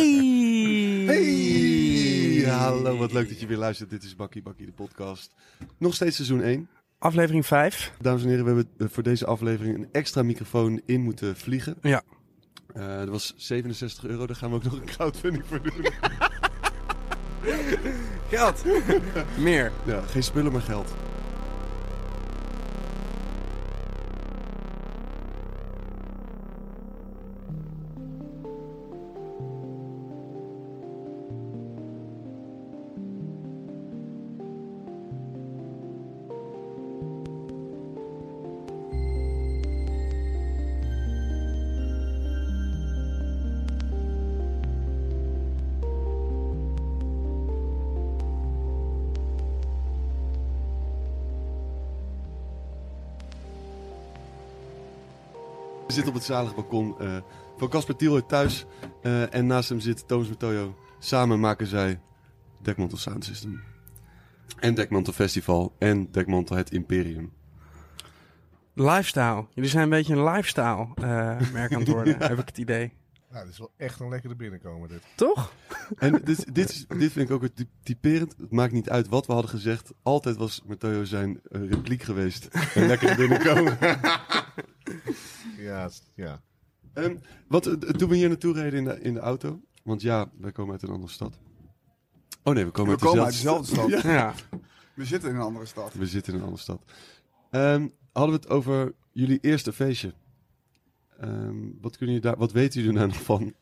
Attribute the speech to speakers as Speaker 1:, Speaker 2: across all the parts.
Speaker 1: Hey!
Speaker 2: Hey! Hallo, wat leuk dat je weer luistert. Dit is Bakkie Bakkie, de podcast. Nog steeds seizoen 1.
Speaker 1: Aflevering 5.
Speaker 2: Dames en heren, we hebben eh, voor deze aflevering een extra microfoon in moeten vliegen.
Speaker 1: Ja.
Speaker 2: Eh, dat was 67 euro, daar gaan we ook nog een crowdfunding voor doen.
Speaker 1: Geld. Meer.
Speaker 2: Ja, geen spullen, maar geld. We zitten op het zalig balkon eh, van Casper Tiel uit thuis. Eh, en naast hem zit Thomas Metoyo. Samen maken zij Dekmantel Sound System. En Dekmantel Festival. En Dekmantel Het Imperium.
Speaker 1: Lifestyle. Jullie zijn een beetje een lifestyle eh, merk aan het worden, heb ik het idee.
Speaker 3: Nou, dit is wel echt een lekkere binnenkomen dit.
Speaker 1: Toch?
Speaker 2: En dit, dit, is, dit vind ik ook het ty- typerend. Het maakt niet uit wat we hadden gezegd. Altijd was Matteo zijn eh, repliek geweest. En lekker binnenkomen.
Speaker 3: Ja, s- ja.
Speaker 2: Ehm, wat, eh, toen we hier naartoe reden in de, in de auto. Want ja, wij komen uit een andere stad. Oh nee, we komen,
Speaker 4: We komen uit dezelfde
Speaker 2: st-
Speaker 4: stad.
Speaker 2: Ja,
Speaker 1: Ja.
Speaker 4: We zitten in een andere stad.
Speaker 2: we zitten in een andere stad. Ehm, hadden we het over jullie eerste feestje. Ehm, wat, kunnen jullie daar, wat weten jullie daar nog van?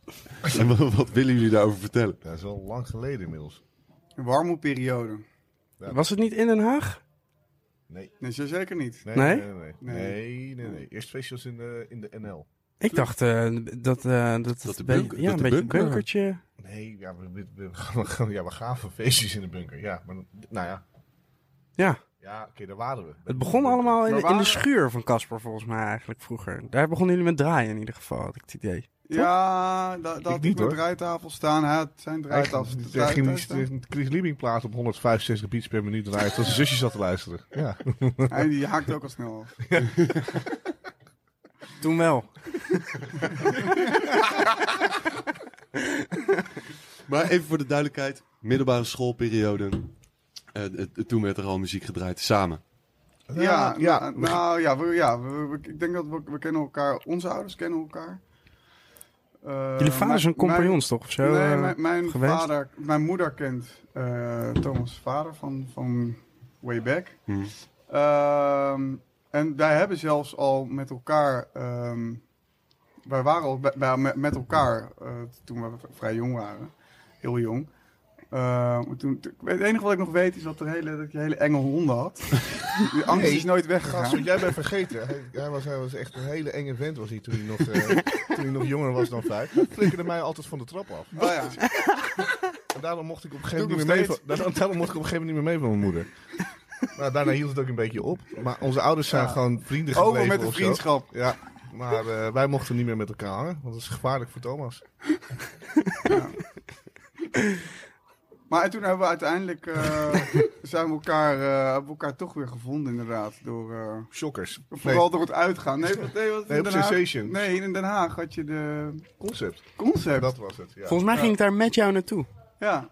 Speaker 2: en wat, wat willen jullie daarover vertellen?
Speaker 3: Dat is wel lang geleden inmiddels.
Speaker 4: Een warmoeperiode.
Speaker 1: Was het niet in Den Haag?
Speaker 3: Nee.
Speaker 4: Nee, zo zeker niet.
Speaker 3: Nee?
Speaker 1: Nee?
Speaker 3: Nee, nee, nee. nee, nee, nee. Eerst feestjes in de, in de NL.
Speaker 1: Ik dacht eh, dat, eh, dat het
Speaker 2: de
Speaker 1: een beetje-
Speaker 2: bunker-
Speaker 1: ja, een
Speaker 2: dat de
Speaker 1: beetje een
Speaker 2: bunker-
Speaker 1: bunkertje.
Speaker 3: Nee, ja we, we, we, we gaan- ja, we gaven feestjes in de bunker. Ja, maar nou ja.
Speaker 1: Ja,
Speaker 3: Ja, oké, daar waren we.
Speaker 1: het begon allemaal in,
Speaker 4: Waar
Speaker 1: de- in de
Speaker 4: waren-
Speaker 1: schuur van Casper volgens mij eigenlijk vroeger. Daar begonnen jullie met draaien in ieder geval, had ik het idee.
Speaker 4: Ja, da,
Speaker 3: Ik
Speaker 4: dat
Speaker 3: niet,
Speaker 4: ik met
Speaker 3: hoor.
Speaker 4: draaitafel staan. Hij had zijn
Speaker 3: Hij
Speaker 4: draaitafel.
Speaker 3: ging- hij ging die Chris Liebing plaat op 165 beats per minuut draaien tot zijn zusje zat te luisteren. Ja.
Speaker 4: Hij die haakt ook al snel af.
Speaker 1: Toen wel.
Speaker 2: Maar even voor de duidelijkheid: middelbare schoolperiode. Eh, eh, toen werd er al muziek gedraaid samen.
Speaker 4: Ja,
Speaker 3: Ja, ja.
Speaker 4: Nou, nou, ja, we, ja we, we- ik denk dat we, we kennen elkaar, onze ouders kennen elkaar. Eh,
Speaker 1: Jullie vader is een
Speaker 4: mijn-
Speaker 1: compagnons toch of zo?
Speaker 4: Mijn, nee,
Speaker 1: eh,
Speaker 4: mijn, mijn
Speaker 1: geweest?
Speaker 4: vader, mijn moeder kent eh, Thomas' vader van, van way back.
Speaker 2: Hmm.
Speaker 4: Ehm, en wij hebben zelfs al met elkaar. ehm, wij waren al bij, bij- met, met elkaar eh, toen we v- vrij jong waren. Heel jong. Ehm, maar toen, toen- het enige wat ik nog weet is dat, er hele, dat je hele enge honden had. Die angst
Speaker 3: Nee.
Speaker 4: is nooit
Speaker 3: Gast, wat
Speaker 4: weggegaan.
Speaker 3: jij bent vergeten. Hij, hij was, hij was echt een hele enge vent was hij toen hij nog, eh, toen hij nog jonger was dan vijf. Hij flikkerde mij altijd van de trap af.
Speaker 4: Oh ja.
Speaker 3: En daarom mocht ik op een gegeven
Speaker 4: Doe ik
Speaker 3: moment
Speaker 4: nog
Speaker 3: niet meer mee van, daarom, daarom mocht ik op een gegeven moment niet meer mee van mijn moeder. Maar daarna hield het ook een beetje op. Maar onze ouders zijn
Speaker 4: Ja.
Speaker 3: gewoon vrienden gebleven
Speaker 4: Over met de
Speaker 3: of zo.
Speaker 4: vriendschap.
Speaker 3: Ja, maar eh, wij mochten niet meer met elkaar hangen. Want dat is gevaarlijk voor Thomas.
Speaker 4: Maar en toen hebben we uiteindelijk. eh, zijn we elkaar, eh, hebben we elkaar toch weer gevonden, inderdaad. Door. eh,
Speaker 3: Shockers.
Speaker 4: Vooral door het uitgaan. Nee, wat, nee, wat
Speaker 3: Nee,
Speaker 4: in
Speaker 3: op
Speaker 4: Den Haag-
Speaker 3: Sensations.
Speaker 4: Nee, in Den Haag had je de
Speaker 3: Nee, concept.
Speaker 4: concept.
Speaker 3: Dat was het, ja.
Speaker 1: Volgens mij ging ik daar met jou naartoe.
Speaker 4: Ja.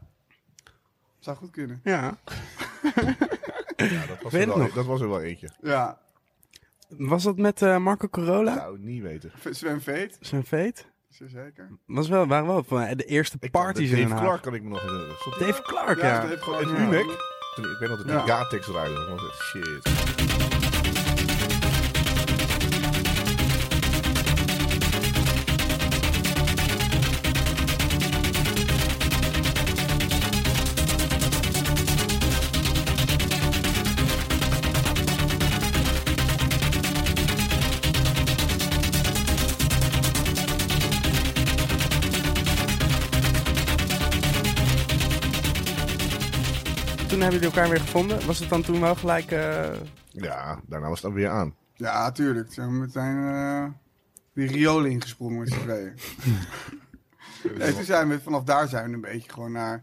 Speaker 4: Zou goed kunnen.
Speaker 1: Ja.
Speaker 3: Ja, dat, was
Speaker 1: Weet
Speaker 3: er
Speaker 1: het
Speaker 3: wel, e-
Speaker 1: nog.
Speaker 3: dat was er wel eentje.
Speaker 4: Ja.
Speaker 1: Was dat met eh, Marco
Speaker 3: Dat
Speaker 1: Corolla?
Speaker 3: zou ik niet weten.
Speaker 4: V- Sven Veet,
Speaker 1: Zijn feet?
Speaker 4: zo zeker.
Speaker 1: Was wel, waren wel van, eh, de eerste
Speaker 3: Ik kan-
Speaker 1: parties
Speaker 3: Dave
Speaker 1: in Den Haag.
Speaker 3: Clark kan ik me nog herinneren. Stond
Speaker 1: Dave Clark,
Speaker 4: Ja,
Speaker 1: ja.
Speaker 4: dat heeft
Speaker 3: In
Speaker 4: gewoon... eh,
Speaker 3: ja. Umek. Toen- Ik weet dat het
Speaker 4: Ja.
Speaker 3: een Gatex draaide. Ik was echt shit.
Speaker 1: Toen hebben jullie elkaar weer gevonden. Was het dan toen wel gelijk... eh,
Speaker 3: Ja, daarna was het dan weer aan.
Speaker 4: Ja, tuurlijk. Toen zijn we meteen eh, die riolen ingesprongen met z'n tweeën. nee, toen zijn we vanaf daar zijn we een beetje gewoon naar...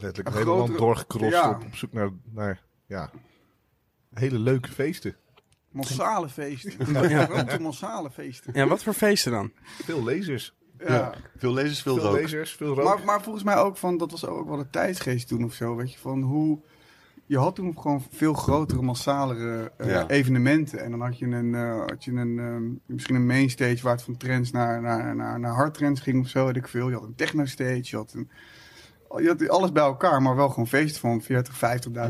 Speaker 3: Letterlijk het
Speaker 4: Een
Speaker 3: hele land
Speaker 4: grotere-
Speaker 3: doorgecrossed
Speaker 4: Ja.
Speaker 3: op, op zoek naar, naar ja, hele leuke feesten.
Speaker 4: Massale feesten. Ja. Grote massale feesten.
Speaker 1: Ja, wat voor feesten dan?
Speaker 3: Veel lezers.
Speaker 4: ja.
Speaker 2: Veel lezers, veel,
Speaker 5: Veel
Speaker 2: rook.
Speaker 5: lezers, veel rook.
Speaker 4: Maar, maar volgens mij ook van, dat was ook wel de tijdsgeest toen of zo, weet je, van hoe... Je had toen gewoon veel grotere, massalere eh,
Speaker 2: Ja.
Speaker 4: evenementen. En dan had je, een, eh, had je een, ehm, misschien een mainstage waar het van trends naar, naar, naar, naar hardtrends ging of zo, weet ik veel. Je had een techno-stage, je had, een, je had alles bij elkaar, maar wel gewoon feesten van 40,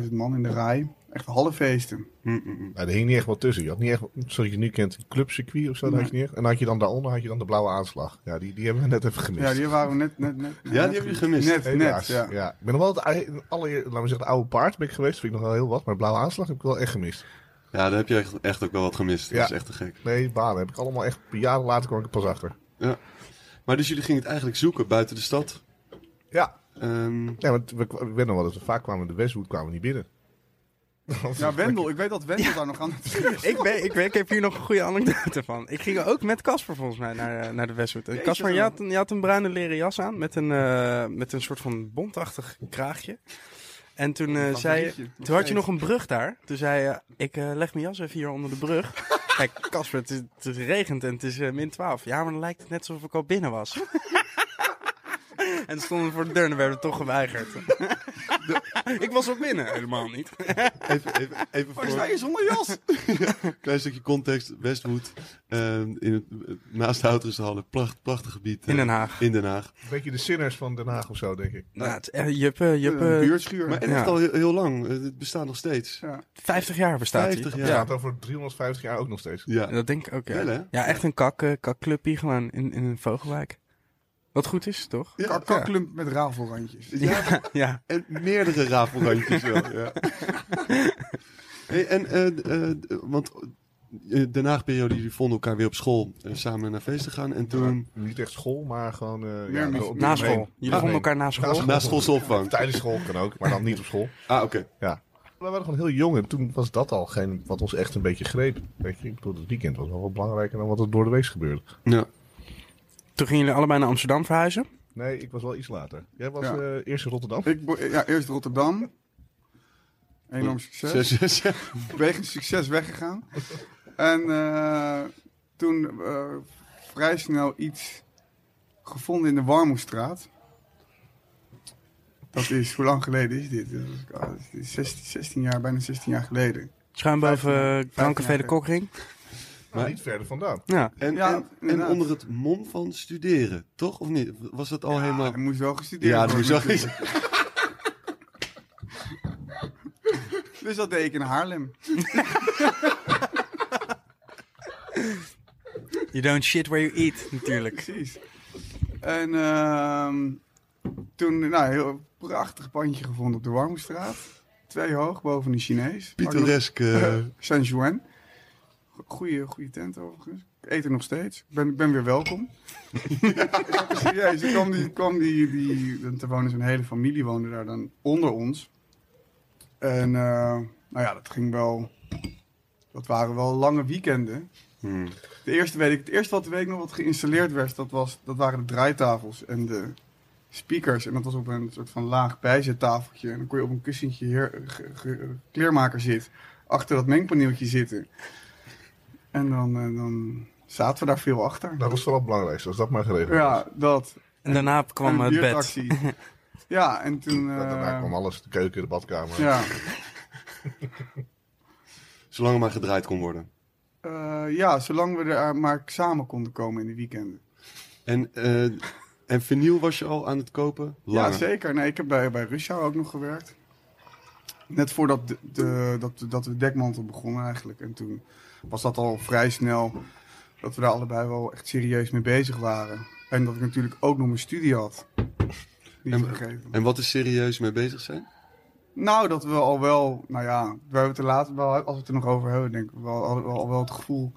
Speaker 4: 50.000 man in de rij. Echt hallenfeesten.
Speaker 2: Mm, mm, mm.
Speaker 3: Maar er hing niet echt wat tussen. Je had niet echt, zoals je nu kent, een clubcircuit of zo. dat
Speaker 4: Nee.
Speaker 3: had je niet echt. En dan had je dan daaronder had je dan de blauwe aanslag. Ja, die, die hebben we net even gemist.
Speaker 4: Ja, die waren we net... net, net ja,
Speaker 2: die heb je gemist.
Speaker 4: Net, net,
Speaker 3: Helaas.
Speaker 4: ja.
Speaker 3: Ik ben nog wel het ei- allereer, laten we zeggen, de oude paard ben ik geweest. Vind ik nog wel heel wat. Maar blauwe aanslag heb ik wel echt gemist.
Speaker 2: Ja, daar heb je echt, echt ook wel wat gemist. Dat
Speaker 3: Ja.
Speaker 2: is echt te gek.
Speaker 3: Nee, banen heb ik allemaal echt jaren later kwam ik er pas achter.
Speaker 2: Maar dus jullie gingen het eigenlijk zoeken buiten de stad.
Speaker 3: Ja.
Speaker 2: Ehm,
Speaker 3: Ja, want we, we werden nog wel eens. Vaak kwamen we de Westwood kwamen we niet binnen.
Speaker 4: Ja, Wendel. Ik weet dat Wendel daar nog aan het doen is.
Speaker 1: Ik, weet, ik, weet, ik heb hier nog een goede anekdote van. Ik ging ook met Casper volgens mij naar, eh, naar de Westwood. En
Speaker 4: Jeetje,
Speaker 1: Casper, je
Speaker 4: man.
Speaker 1: had, een- je had een bruine leren jas aan met een, eh, met een soort van bontachtig kraagje. En toen eh, zei je...
Speaker 4: Favorietje, nog
Speaker 1: Toen had je
Speaker 4: steeds.
Speaker 1: nog een brug daar. Toen zei je, ik eh, leg mijn jas even hier onder de brug. Kijk, Casper, het, is- het regent en het is eh, min 12. Ja, maar dan lijkt het net alsof ik al binnen was. en toen stonden we voor de deur en dan werden we toch geweigerd. ik was al binnen. Helemaal niet.
Speaker 2: even, even, even
Speaker 4: Waar sta
Speaker 2: voor
Speaker 4: je zonder jas?
Speaker 2: een klein stukje context. Westwood, ehm, in het, naast de Houterenhallen, pracht, prachtig gebied. eh,
Speaker 1: In Den Haag.
Speaker 2: in Den Haag.
Speaker 3: Een beetje de sinners van Den Haag of zo, denk ik.
Speaker 1: Nou, het, eh, je hebt, eh, je hebt eh,
Speaker 4: Een buurtschuur.
Speaker 2: Maar echt
Speaker 1: Ja.
Speaker 2: al heel, heel lang. Eh, Het bestaat nog steeds.
Speaker 4: Ja.
Speaker 1: 50 jaar bestaat
Speaker 2: 50
Speaker 1: hij.
Speaker 2: jaar.
Speaker 3: Het
Speaker 1: Ja.
Speaker 3: gaat over 350 jaar ook nog steeds.
Speaker 2: Ja.
Speaker 1: dat denk ik ook. Ja,
Speaker 2: Wel, hè?
Speaker 1: ja echt een kak, eh, kakclubje gewoon in, in een vogelwijk. Wat goed is, toch?
Speaker 2: Ja.
Speaker 4: Kak- kakklump met rafelrandjes.
Speaker 1: Ja, ja.
Speaker 2: En meerdere rafelrandjes wel, ja. Hey, en, eh, eh, want eh, Den Haag-periode, jullie vonden elkaar weer op school eh, samen naar feesten gaan. En toen,
Speaker 3: Niet echt school, maar gewoon... eh,
Speaker 4: Meer
Speaker 3: ja,
Speaker 4: muziek.
Speaker 3: op-
Speaker 1: Na school.
Speaker 3: omheen.
Speaker 1: Jullie vonden elkaar na school.
Speaker 3: school.
Speaker 2: na schoolse opvang.
Speaker 3: Tijdens school kan ook, maar dan niet op school.
Speaker 2: Ah, oké.
Speaker 3: We waren gewoon heel jong en toen was dat al geen, wat ons echt een beetje greep. Weet je, ik bedoel, het weekend was wel wat belangrijker dan wat er door de week gebeurde.
Speaker 2: Ja.
Speaker 1: Toen gingen jullie allebei naar Amsterdam verhuizen.
Speaker 3: Nee, ik was wel iets later. Jij was
Speaker 4: Ja.
Speaker 3: eh, eerst in Rotterdam.
Speaker 4: Ik, bo- ja, eerst Rotterdam. Enorm succes.
Speaker 2: Zes, zes, ja.
Speaker 4: Wegens succes weggegaan. En eh, toen eh, vrij snel iets gevonden in de Warmoestraat. Dat is, hoe lang geleden is dit? Dat is, oh, dat is 16, 16 jaar, bijna 16 jaar geleden.
Speaker 1: Schuin boven eh, Blankenveen de
Speaker 4: jaar.
Speaker 1: Kokring.
Speaker 3: Maar niet verder vandaan.
Speaker 1: Ja.
Speaker 2: En, en,
Speaker 4: Ja,
Speaker 2: en
Speaker 4: inderdaad.
Speaker 2: onder het mom van studeren, toch? Of niet? Was dat al helemaal...
Speaker 4: Er moest wel gestudeerd
Speaker 2: Ja, dat
Speaker 4: worden.
Speaker 2: moest wel
Speaker 4: natuurlijk. Dus dat deed ik in Haarlem.
Speaker 1: You don't shit where you eat, natuurlijk.
Speaker 4: Precies. En ehm, toen, nou, heel prachtig pandje gevonden op de Warmoestraat. Twee hoog boven de Chinees.
Speaker 2: pittoresk. eh,
Speaker 4: Saint Juan. Goeie, goeie tent overigens. Ik eet er nog steeds. Ik ben, ik ben weer welkom. ja, dus serieus. Er kwam die, kwam die, die want er woonde zo'n hele familie woonde daar dan onder ons. En eh, nou ja, dat ging wel. Dat waren wel lange weekenden.
Speaker 2: hmm.
Speaker 4: De eerste weet ik, het eerste wat weet ik nog wat geïnstalleerd werd, dat, was, dat waren de draaitafels en de speakers. En dat was op een soort van laag bijzettafeltje. En dan kon je op een kussentje heer, ge- ge- kleermaker zit, achter dat mengpaneeltje zitten. En dan, eh, dan zaten we daar veel achter.
Speaker 3: Dat was vooral het belangrijkste, als dat maar geregeld was.
Speaker 4: Ja, dat.
Speaker 1: En daarna kwam eh,
Speaker 4: en
Speaker 1: het
Speaker 4: een
Speaker 1: bed.
Speaker 4: biertaxi. ja, en toen... eh,
Speaker 3: Daarna kwam alles, de keuken, de badkamer.
Speaker 4: ja,
Speaker 2: Zolang er maar gedraaid kon worden.
Speaker 4: Eh, ja, zolang we er maar samen konden komen in de weekenden.
Speaker 2: En, eh, en vinyl was je al aan het kopen? Langer.
Speaker 4: Ja, zeker. Nee, ik heb bij, bij Russia ook nog gewerkt. Net voordat de, de- dat, dat we dekmantel begonnen eigenlijk. En toen was dat al vrij snel dat we daar allebei wel echt serieus mee bezig waren. En dat ik natuurlijk ook nog mijn studie had. Niet
Speaker 2: En-
Speaker 4: vergeten.
Speaker 2: En wat is serieus mee bezig zijn?
Speaker 4: Nou, dat we al wel, nou ja, we hebben het er later wel, als we het er nog over hebben, denk ik wel, al, al wel het gevoel.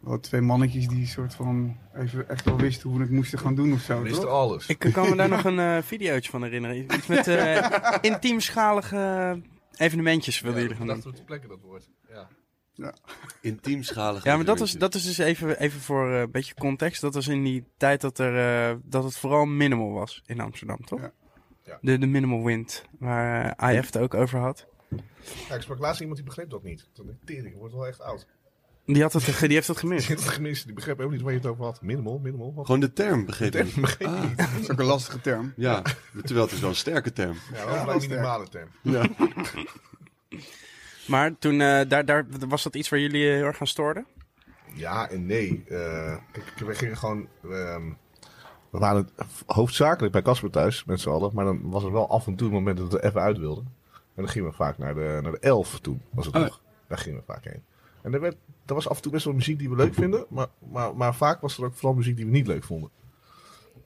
Speaker 4: Wel twee mannetjes die soort van even echt wel wisten hoe we het moesten gaan doen of zo.
Speaker 3: Dan is
Speaker 4: toch?
Speaker 3: er alles.
Speaker 1: Ik kan me daar nog een eh videootje van herinneren. Iets met eh intiemschalige evenementjes wilden jullie gaan doen.
Speaker 3: we te plekken dat woord. Ja.
Speaker 2: Intiemschalig.
Speaker 1: Ja, maar dat is, dat is dus even, even voor eh, een beetje context. Dat was in die tijd dat, er, eh, dat het vooral minimal was in Amsterdam, toch?
Speaker 4: Ja.
Speaker 3: Ja.
Speaker 1: De, de minimal wind, waar eh, IF het ook over had.
Speaker 3: ik sprak laatst iemand die begreep dat niet. Toen dacht ik, tering, je wordt wel echt oud.
Speaker 1: Die, had het, ge- die heeft het gemist.
Speaker 3: Die gemist, die begreep ook niet waar je het over had. Minimal, minimal. Wat
Speaker 2: Gewoon de term, begreep ik.
Speaker 3: term begreep ik niet.
Speaker 4: Dat is ook een lastige term.
Speaker 2: Ja, terwijl het is wel een sterke term.
Speaker 3: Ja, dat was een minimale term.
Speaker 2: Ja.
Speaker 1: Maar toen, eh, daar, daar was dat iets waar jullie eh, heel erg aan stoorden?
Speaker 3: Ja en nee. Eh, kijk, we gingen gewoon. ehm, we waren hoofdzakelijk bij Casper thuis met z'n allen. Maar dan was er wel af en toe een moment dat we er even uit wilden. En dan gingen we vaak naar de, naar de elf toen, was het
Speaker 2: Oh.
Speaker 3: nog. Daar gingen we vaak heen. En daar, werd, daar was af en toe best wel muziek die we leuk vinden. Maar, maar, maar vaak was er ook vooral muziek die we niet leuk vonden.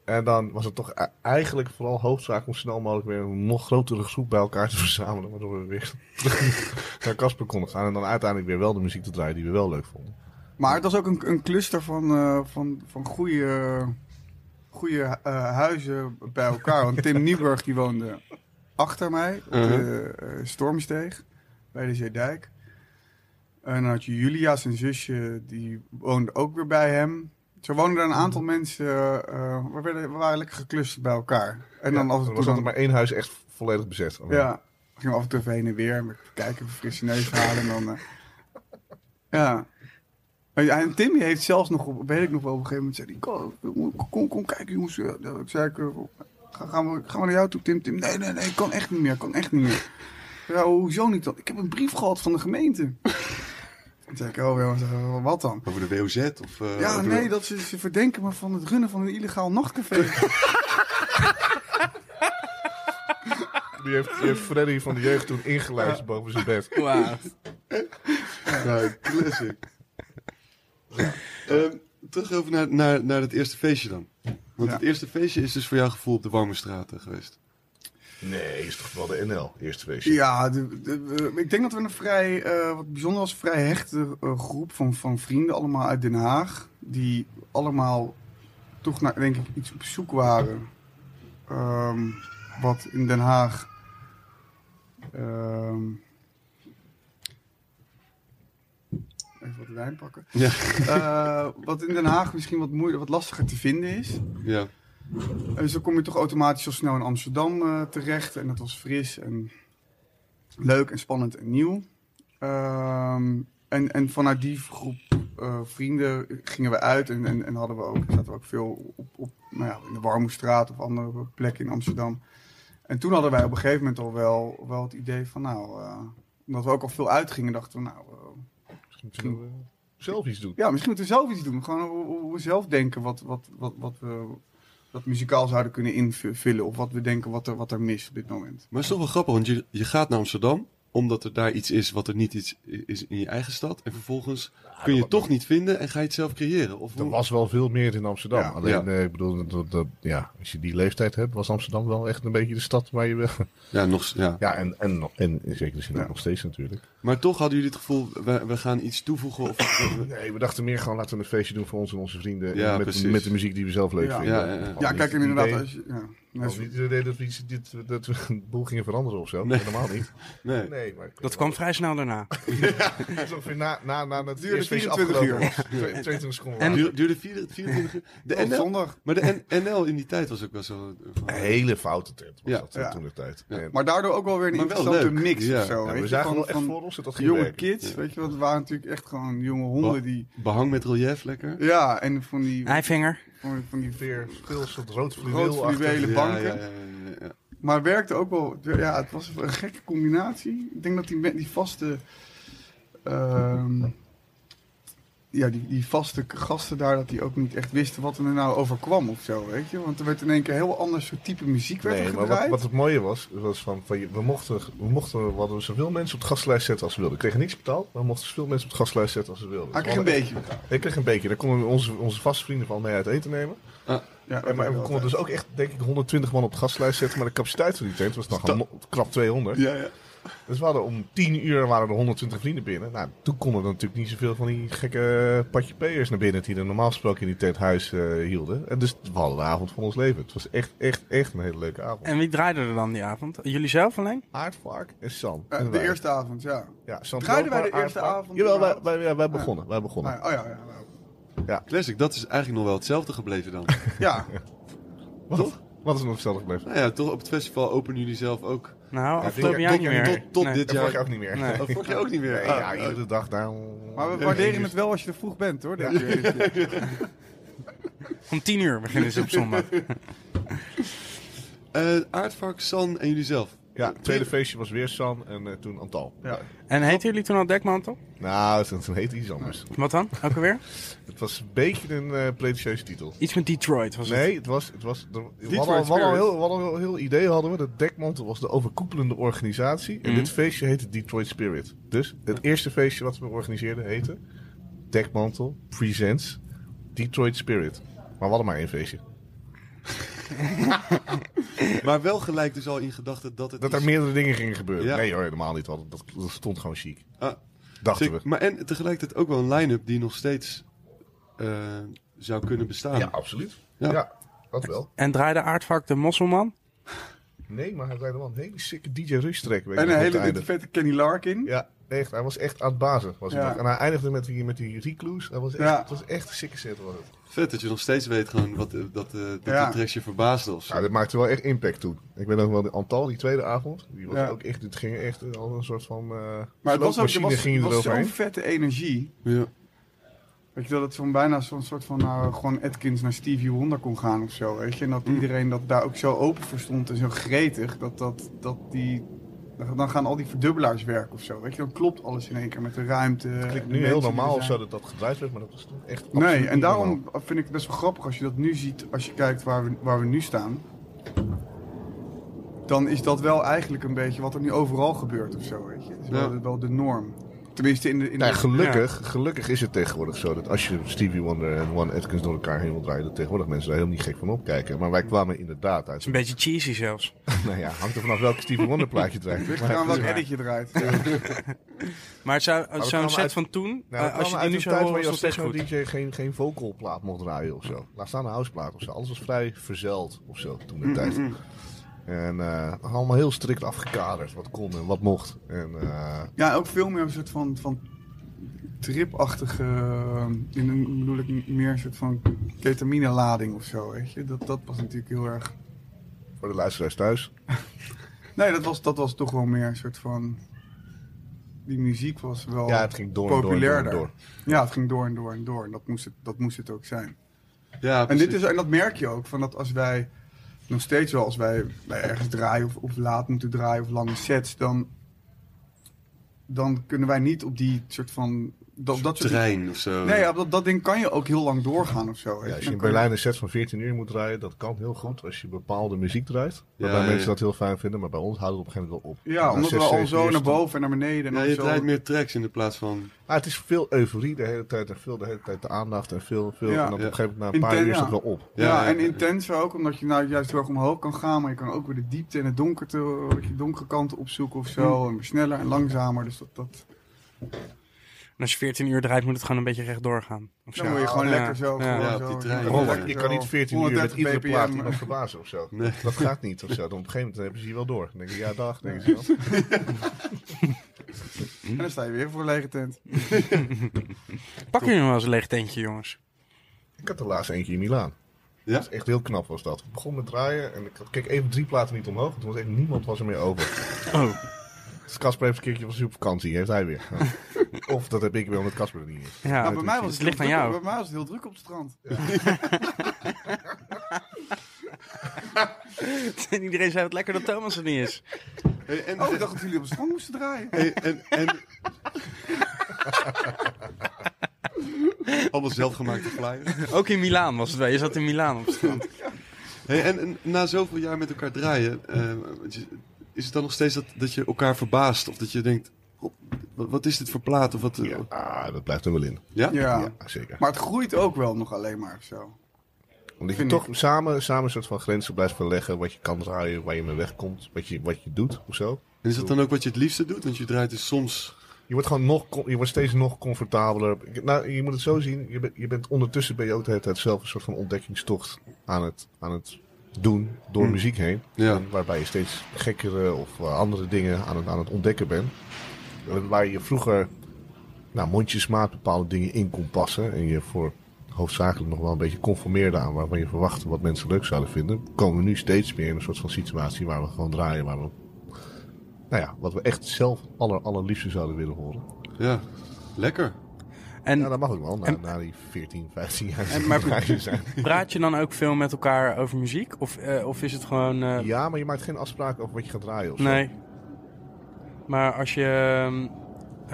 Speaker 3: En dan was het toch e- eigenlijk vooral hoofdzaak om snel mogelijk weer een nog grotere groep bij elkaar te verzamelen. Waardoor we weer terug naar Casper konden gaan. En dan uiteindelijk weer wel de muziek te draaien die we wel leuk vonden.
Speaker 4: Maar het was ook een, een cluster van, eh, van, van goede, goede eh, huizen bij elkaar. Want Tim Nieuwburg die woonde achter mij op de
Speaker 3: Uh-huh.
Speaker 4: eh, Stormsteeg bij de Zeedijk. En dan had je Julia, zijn zusje, die woonde ook weer bij hem. Zo woonden er een aantal
Speaker 3: Mhm.
Speaker 4: mensen, eh, we, werden, we waren lekker geclusterd bij elkaar. En dan
Speaker 3: Ja,
Speaker 4: af en
Speaker 3: er
Speaker 4: toe
Speaker 3: was
Speaker 4: dan,
Speaker 3: altijd maar één huis echt volledig bezet.
Speaker 4: Ja, ging af en toe even heen en weer. Met kijken, frisse neus halen en dan... eh, ja. Ja, En Tim die heeft zelfs nog, op, weet ik nog wel, op een gegeven moment zei hij... Kom, kom, kom, kom kijken jongens. Eh, Ik zei, ik, eh, ga, gaan, we, gaan we naar jou toe, Tim? Tim, nee, nee, nee, kan echt niet meer, kan echt niet meer. Ja, hoezo niet dan? Ik heb een brief gehad van de gemeente. Toen zei ik, oh jongens, eh, wat dan?
Speaker 2: Over de WOZ of... eh,
Speaker 4: Ja,
Speaker 2: over
Speaker 4: nee,
Speaker 2: de-
Speaker 4: dat ze, ze verdenken me van het runnen van een illegaal nachtcafé.
Speaker 3: Die, heeft, die heeft Freddy van de jeugd toen ingelijst boven zijn bed.
Speaker 1: Wauw.
Speaker 2: Ja, classic. Ehm, terug over naar, naar, naar het eerste feestje dan. Want
Speaker 4: Ja.
Speaker 2: het eerste feestje is dus voor jouw gevoel op de warme straten geweest.
Speaker 3: Nee, is toch wel de NL, eerste feestje.
Speaker 4: Ja, de- de- we- ik denk dat we een vrij, eh, wat bijzonder was, vrij hechte eh, groep van, van vrienden, allemaal uit Den Haag. Die allemaal toch naar, denk ik, iets op zoek waren. Ehm, wat in Den Haag. ehm, even wat wijn pakken.
Speaker 2: Ja.
Speaker 4: Eh, wat in Den Haag misschien wat, moeilijker, wat lastiger te vinden is.
Speaker 2: Ja.
Speaker 4: Eh, Dus dan kom je toch automatisch al snel in Amsterdam eh, terecht. En dat was fris en leuk en spannend en nieuw. Ehm, en, en vanuit die groep eh, vrienden gingen we uit. En, en, en hadden we ook, zaten we ook veel op, op nou ja, in de Warmoestraat of andere plekken in Amsterdam. En toen hadden wij op een gegeven moment al wel, wel het idee van nou... eh, omdat we ook al veel uitgingen, dachten we nou... eh,
Speaker 3: Misschien zullen we eh, zelf iets doen.
Speaker 4: ja, misschien moeten we zelf iets doen. Gewoon hoe- hoe we zelf denken wat, wat, wat, wat we dat muzikaal zouden kunnen invullen. Of wat we denken wat er, wat er mis op dit moment.
Speaker 2: Maar het is toch wel grappig, want je, je gaat naar Amsterdam omdat er daar iets is wat er niet iets is in je eigen stad. En vervolgens kun je het toch niet vinden en ga je het zelf creëren. Of
Speaker 3: Er
Speaker 2: hoe-
Speaker 3: was wel veel meer in Amsterdam.
Speaker 4: Ja.
Speaker 3: Alleen,
Speaker 2: Ja.
Speaker 3: eh, ik bedoel, dat, dat- ja, als je die leeftijd hebt, was Amsterdam wel echt een beetje de stad waar je wel...
Speaker 2: Ja, nog, ja.
Speaker 3: Ja, en, en, nog- en in zekere zin ook
Speaker 4: Ja.
Speaker 3: nog steeds natuurlijk.
Speaker 2: Maar toch hadden jullie het gevoel, we, we gaan iets toevoegen. Of,
Speaker 3: Nee, we dachten meer gewoon laten we een feestje doen voor ons en onze vrienden.
Speaker 2: Ja,
Speaker 3: en met,
Speaker 2: precies.
Speaker 3: met de muziek die we zelf leuk
Speaker 4: Ja.
Speaker 3: vinden.
Speaker 2: Ja, ja, ja.
Speaker 3: Hadden
Speaker 4: Ja,
Speaker 3: niet
Speaker 4: kijk, en
Speaker 3: het
Speaker 4: inderdaad.
Speaker 3: idee-
Speaker 4: Als, je- ja,
Speaker 3: hadden niet het idee dat we, iets, dit, dat we een boel gingen veranderen of zo.
Speaker 2: Nee.
Speaker 3: Helemaal niet.
Speaker 2: nee.
Speaker 3: Nee, maar
Speaker 1: Dat kwam vrij snel daarna.
Speaker 3: Het is ongeveer na, na, na het
Speaker 4: Duurde
Speaker 3: eerste feestje
Speaker 4: 24
Speaker 3: afgelopen was. 22 seconden.
Speaker 1: En-
Speaker 2: Duur- Duurde 24 24 uur. De
Speaker 3: eh,
Speaker 4: op
Speaker 2: NL,
Speaker 4: zondag.
Speaker 2: maar de N- NL in die tijd was ook wel zo.
Speaker 3: Een hele foute tent was
Speaker 2: Ja.
Speaker 3: dat eh,
Speaker 4: Ja.
Speaker 3: toen de tijd.
Speaker 2: Ja.
Speaker 3: En-
Speaker 4: Maar daardoor ook wel weer een
Speaker 2: Maar wel
Speaker 4: interessante
Speaker 2: leuk.
Speaker 4: mix
Speaker 2: Ja.
Speaker 4: of zo.
Speaker 3: ja,
Speaker 4: weet
Speaker 3: we
Speaker 4: je,
Speaker 3: zagen
Speaker 4: van-
Speaker 3: wel echt
Speaker 4: van
Speaker 3: voor ons dat dat ging
Speaker 4: Jonge
Speaker 3: werken.
Speaker 4: kids, weet je wel. Dat waren natuurlijk echt gewoon jonge honden die...
Speaker 2: Behang met relief, lekker.
Speaker 4: Ja, en van die...
Speaker 1: Eivinger.
Speaker 4: Van, van die
Speaker 3: Weer veel soort rood
Speaker 4: Rood
Speaker 3: fluweel
Speaker 4: fluwelen. Hele banken.
Speaker 2: Ja, ja, ja, ja, ja.
Speaker 4: Maar werkte ook wel. Ja, het was een gekke combinatie. Ik denk dat die, me- die vaste. ehm, ja, die, die vaste k- gasten daar, dat die ook niet echt wisten wat er nou overkwam of zo, weet je. Want er werd in één keer een heel ander soort type muziek werd
Speaker 3: Nee,
Speaker 4: er
Speaker 3: maar wat,
Speaker 4: gedraaid.
Speaker 3: wat het mooie was, was van, van je- we mochten, we mochten we hadden dus zoveel mensen op de gastlijst zetten als we wilden. We kregen niks betaald, maar we mochten zoveel mensen op de gastlijst zetten als we wilden.
Speaker 4: Ah, ik kreeg een beetje betaald.
Speaker 3: Ik kreeg een beetje. Daar konden we onze, onze vaste vrienden van mee uit eten nemen.
Speaker 2: Ah,
Speaker 4: Ja,
Speaker 3: En, maar, en we
Speaker 4: dat-
Speaker 3: konden dus ook echt, denk ik, 120 man op de gastlijst zetten. Maar de capaciteit van die tent was dan gewoon mo- krap 200.
Speaker 2: Ja, ja.
Speaker 3: Dus we hadden om 10 uur waren er 120 vrienden binnen. Nou, toen konden er natuurlijk niet zoveel van die gekke patjepeers naar binnen die er normaal gesproken in die tenthuis eh hielden. En dus we hadden de avond van ons leven. Het was echt, echt, echt een hele leuke avond.
Speaker 1: En wie draaide er dan die avond? Jullie zelf alleen?
Speaker 3: Aardvark en Sam.
Speaker 4: Eh,
Speaker 3: en
Speaker 4: de
Speaker 3: wij.
Speaker 4: eerste avond, ja.
Speaker 3: Ja, Sam
Speaker 4: Draaiden wij de
Speaker 3: Aardvark.
Speaker 4: eerste avond
Speaker 3: Jawel, wij,
Speaker 4: überhaupt?
Speaker 3: wij, ja, wij begonnen. Wij begonnen.
Speaker 4: Ah, oh ja, ja. nou,
Speaker 2: Classic, dat is eigenlijk nog wel hetzelfde gebleven dan.
Speaker 4: Ja,
Speaker 3: Wat? Wat is er nog hetzelfde gebleven?
Speaker 2: nou ja, toch op het festival openen jullie zelf ook
Speaker 1: Nou,
Speaker 3: Ja,
Speaker 1: afgelopen
Speaker 3: tot-
Speaker 1: jaar
Speaker 3: tot-
Speaker 1: niet meer.
Speaker 2: tot- tot
Speaker 1: Nee.
Speaker 2: dit-
Speaker 3: Dat
Speaker 2: Ja,
Speaker 3: mag je ook niet meer.
Speaker 1: Nee.
Speaker 2: Dat vond je ook niet meer.
Speaker 3: Nee,
Speaker 2: Ah,
Speaker 3: ja,
Speaker 2: ah.
Speaker 3: iedere dag daar.
Speaker 4: Maar we waarderen het wel als je er vroeg bent, hoor. dit keer.
Speaker 1: Om tien uur beginnen ze op zondag.
Speaker 2: Eh, aardvark, San en jullie zelf.
Speaker 3: Ja, het tweede feestje was weer San en eh, toen Antal.
Speaker 4: Ja.
Speaker 1: En heten jullie toen al Dekmantel?
Speaker 3: Nou, toen, toen heette iets anders.
Speaker 1: Wat dan? Ook alweer?
Speaker 3: Het was een beetje een eh pretentieuze titel.
Speaker 1: Iets met Detroit was het.
Speaker 3: Nee, het was. Het was er- we hadden, al-
Speaker 4: Spirit.
Speaker 3: we hadden al heel, we hadden al een heel idee hadden we. Dat Dekmantel was de overkoepelende organisatie. En
Speaker 1: Mhm.
Speaker 3: dit feestje heette Detroit Spirit. Dus het eerste feestje wat we organiseerden heette Dekmantel Presents Detroit Spirit. Maar we hadden maar één feestje.
Speaker 2: Maar wel gelijk dus al in gedachten dat het
Speaker 3: Dat
Speaker 2: iets-
Speaker 3: er meerdere dingen gingen gebeuren.
Speaker 2: Ja.
Speaker 3: Nee hoor, helemaal niet. We hadden- Dat, dat stond gewoon chic.
Speaker 2: Ah,
Speaker 3: Dachten we.
Speaker 2: zeker. Maar en tegelijkertijd ook wel een line-up die nog steeds eh, zou kunnen bestaan.
Speaker 3: Ja, absoluut.
Speaker 2: Ah. Ja.
Speaker 3: Ja. dat wel.
Speaker 1: En draaide Aardvark de Mosselman?
Speaker 3: Nee, maar hij rijdt wel een hele sikke DJ Rush track. weet
Speaker 4: En
Speaker 3: je,
Speaker 4: een
Speaker 3: op het
Speaker 4: hele
Speaker 3: einde.
Speaker 4: dikke vette Kenny Larkin.
Speaker 3: Ja, echt. Hij was echt aan het bazen. Was hij
Speaker 4: Ja.
Speaker 3: nog. En hij eindigde met die, met die recluse. Dat was echt,
Speaker 4: Ja.
Speaker 3: het was echt een sikke set. Was het.
Speaker 2: Vet dat je nog steeds weet gewoon wat, eh, dat, eh dat
Speaker 4: Ja.
Speaker 2: die tracks je verbaasde of zo.
Speaker 3: Ja, dat maakte wel echt impact toen. Ik weet nog wel, die Antal, die tweede avond. Die was
Speaker 4: Ja.
Speaker 3: ook echt, het ging echt eh, al een soort van eh
Speaker 4: Maar het was ook er
Speaker 3: sloopmachine
Speaker 4: was,
Speaker 3: ging
Speaker 4: was zo'n
Speaker 3: eroverheen.
Speaker 4: vette energie.
Speaker 2: Ja.
Speaker 4: Weet je, dat het zo'n bijna zo'n soort van nou, gewoon Atkins naar Stevie Wonder kon gaan of zo. Weet je? En
Speaker 3: Mm.
Speaker 4: dat iedereen dat daar ook zo open voor stond en zo gretig. Dat, dat, dat die, dan gaan al die verdubbelaars werken of zo. Weet je? Dan klopt alles in één keer met de ruimte.
Speaker 3: Het klinkt
Speaker 4: de
Speaker 3: nu heel
Speaker 4: mensen die er
Speaker 3: normaal of
Speaker 4: zijn.
Speaker 3: zo dat dat gedraaid werd, maar dat was toen echt absoluut
Speaker 4: Nee,
Speaker 3: niet
Speaker 4: en
Speaker 3: normaal.
Speaker 4: daarom vind ik het best wel grappig als je dat nu ziet, als je kijkt waar we, waar we nu staan. Dan is dat wel eigenlijk een beetje wat er nu overal gebeurt of zo, weet je. Het is wel,
Speaker 2: Ja.
Speaker 4: wel de norm. Tenminste in de... In
Speaker 3: Nou,
Speaker 4: de
Speaker 3: gelukkig, gelukkig is het tegenwoordig zo dat als je Stevie Wonder en One Atkins door elkaar heen wil draaien, dat tegenwoordig mensen daar helemaal niet gek van opkijken. Maar wij kwamen inderdaad uit.
Speaker 1: Een beetje cheesy zelfs.
Speaker 3: nou ja, hangt er vanaf welke Stevie Wonder plaatje draait.
Speaker 4: Ligt
Speaker 3: Maar-
Speaker 4: eraan welk
Speaker 1: waar.
Speaker 4: edit je draait.
Speaker 1: Maar het zou-
Speaker 3: we
Speaker 1: zo'n
Speaker 3: kwamen
Speaker 1: set
Speaker 3: uit-
Speaker 1: van toen,
Speaker 3: Nou,
Speaker 1: eh, als je die
Speaker 3: uit
Speaker 1: nu
Speaker 3: een
Speaker 1: zou
Speaker 3: tijd
Speaker 1: horen,
Speaker 3: waar
Speaker 1: is
Speaker 3: je
Speaker 1: het nog
Speaker 3: als
Speaker 1: steeds goed.
Speaker 3: techno-dj geen, geen vocalplaat mocht draaien of
Speaker 4: Mm.
Speaker 3: zo. Laat staan een houseplaat of zo. Alles was vrij verzeld of zo toen
Speaker 4: Mm,
Speaker 3: de tijd. En eh, allemaal heel strikt afgekaderd wat kon en wat mocht. En eh,
Speaker 4: Ja, ook veel meer een soort van, van tripachtige, eh, in een, bedoel ik meer een soort van ketamine-lading of zo, weet je. Dat, dat was natuurlijk heel erg...
Speaker 3: voor de luisteraars thuis.
Speaker 4: Nee, dat was, dat was toch wel meer een soort van... Die muziek was wel...
Speaker 3: Ja, het ging door en door en door. en
Speaker 4: Oh, populairder.
Speaker 3: door.
Speaker 4: Ja, het ging door en door en door. En dat moest het, dat moest het ook zijn.
Speaker 2: Ja,
Speaker 4: En,
Speaker 2: precies.
Speaker 4: dit is, en dat merk je ook, van dat als wij nog steeds wel, als wij, wij ergens draaien of, of laat moeten draaien of lange sets, dan, dan kunnen wij niet op die soort van. Dat, dat soort
Speaker 2: Trein of zo.
Speaker 4: Nee, ja, op dat, dat ding kan je ook heel lang doorgaan of zo. weet
Speaker 3: Ja,
Speaker 4: je.
Speaker 3: als je in
Speaker 4: Dan kan je-
Speaker 3: Berlijn een set van 14 uur moet draaien, dat kan heel goed als je bepaalde muziek draait. Waarbij
Speaker 2: Ja, ja.
Speaker 3: mensen dat heel fijn vinden, maar bij ons houden we op een gegeven moment wel op.
Speaker 4: Ja,
Speaker 3: Na
Speaker 4: omdat we
Speaker 3: zes,
Speaker 4: al
Speaker 3: zeven uur
Speaker 4: zo naar
Speaker 3: stond-
Speaker 4: boven en naar beneden. En
Speaker 2: Ja,
Speaker 4: dan
Speaker 2: je
Speaker 4: zo-
Speaker 2: draait meer tracks in de plaats van...
Speaker 3: Ah, het is veel euforie de hele tijd en veel de hele tijd de aandacht en veel, veel.
Speaker 4: Ja.
Speaker 3: en dan
Speaker 2: Ja.
Speaker 3: op een gegeven moment na een paar
Speaker 4: Inten-
Speaker 3: uur is dat
Speaker 4: ja.
Speaker 3: wel op.
Speaker 4: Ja,
Speaker 2: Ja, ja,
Speaker 4: en
Speaker 2: ja.
Speaker 4: intenser ook, omdat je nou juist heel erg omhoog kan gaan, maar je kan ook weer de diepte en het donkerte, de donkere kant opzoeken of zo. En weer sneller en langzamer. Dus dat, dat,
Speaker 1: En als je 14 uur draait, moet het gewoon een beetje rechtdoor gaan. Of zo.
Speaker 4: Dan moet je gewoon
Speaker 1: Ja.
Speaker 4: lekker zo.
Speaker 1: Ja.
Speaker 4: gewoon
Speaker 2: Ja, op
Speaker 4: zo.
Speaker 2: die trein.
Speaker 4: Ja,
Speaker 2: Ja,
Speaker 4: lekker
Speaker 3: je
Speaker 4: zo.
Speaker 3: kan niet 14 uur met
Speaker 4: 130
Speaker 3: iedere
Speaker 4: bpm.
Speaker 3: plaat iemand verbazen of zo.
Speaker 2: Nee.
Speaker 3: Dat gaat niet of zo. Dan op een gegeven moment hebben ze je wel door. Dan denk je, ja dag, denk je wel.
Speaker 4: En dan sta je weer voor een lege tent.
Speaker 1: Pak jullie nog wel eens een leeg tentje, jongens.
Speaker 3: Ik had de laatste eentje in Milaan.
Speaker 2: Ja?
Speaker 3: Oh, Dat is echt heel knap was dat. Ik begon met draaien en ik had- keek even drie platen niet omhoog. Toen was echt niemand was er meer over.
Speaker 1: Oh,
Speaker 3: Dus Casper heeft een keertje was hij op vakantie. Heeft hij weer. Of dat heb ik weer omdat Casper er niet is.
Speaker 1: ja.
Speaker 4: Nou, bij mij was
Speaker 1: het
Speaker 4: het
Speaker 1: ligt
Speaker 4: heel
Speaker 1: aan
Speaker 4: druk-
Speaker 1: jou.
Speaker 4: Bij mij was het heel druk op het strand.
Speaker 1: En iedereen zei wat lekker dat Thomas er niet is.
Speaker 2: Hey, en,
Speaker 4: Oh, ik dacht dat jullie op het strand moesten draaien.
Speaker 2: hey, en, en... Allemaal zelfgemaakte flyers.
Speaker 1: Ook in Milaan was het wel. Je zat in Milaan op strand.
Speaker 2: Hey, en, en na zoveel jaar met elkaar draaien, eh, want je- is het dan nog steeds dat, dat je elkaar verbaast? Of dat je denkt, "Goh, wat, wat is dit voor plaat? Of wat, eh,
Speaker 3: Ja, ah, dat blijft er wel in.
Speaker 2: ja?
Speaker 4: Ja.
Speaker 3: Ja, zeker.
Speaker 4: Maar het groeit ook wel nog alleen maar zo.
Speaker 3: Omdat je
Speaker 4: Vind
Speaker 3: toch samen, samen een soort van grenzen blijft verleggen. Wat je kan draaien, waar je mee wegkomt. Wat je, wat je doet of zo.
Speaker 2: En is dat dan ook wat je het liefste doet? Want je draait dus soms...
Speaker 3: Je wordt gewoon nog, com- je wordt steeds nog comfortabeler. Ik- Nou, je moet het zo zien. Je, bent- je bent ondertussen ben je ook de hele tijd zelf een soort van ontdekkingstocht aan het, aan het doen door muziek heen.
Speaker 2: Ja.
Speaker 3: En Waarbij je steeds gekkere of eh, andere dingen aan het, aan het ontdekken bent. En Waar je vroeger nou, mondjesmaat bepaalde dingen in kon passen. En je voor hoofdzakelijk nog wel een beetje conformeerde aan waarvan je verwachtte wat mensen leuk zouden vinden. Komen we nu steeds meer in een soort van situatie waar we gewoon draaien. Waar we nou ja, wat we echt zelf aller, allerliefste zouden willen horen.
Speaker 2: Ja, lekker.
Speaker 1: En
Speaker 3: ja, dat mag ook wel, na,
Speaker 1: en-
Speaker 3: na die 14, 15 jaar.
Speaker 1: En- maar-
Speaker 3: relatie zijn.
Speaker 1: praat je dan ook veel met elkaar over muziek? Of, eh, of is het gewoon... eh,
Speaker 3: Ja, maar je maakt geen afspraken over wat je gaat draaien of zo.
Speaker 1: nee. Maar als je... ehm,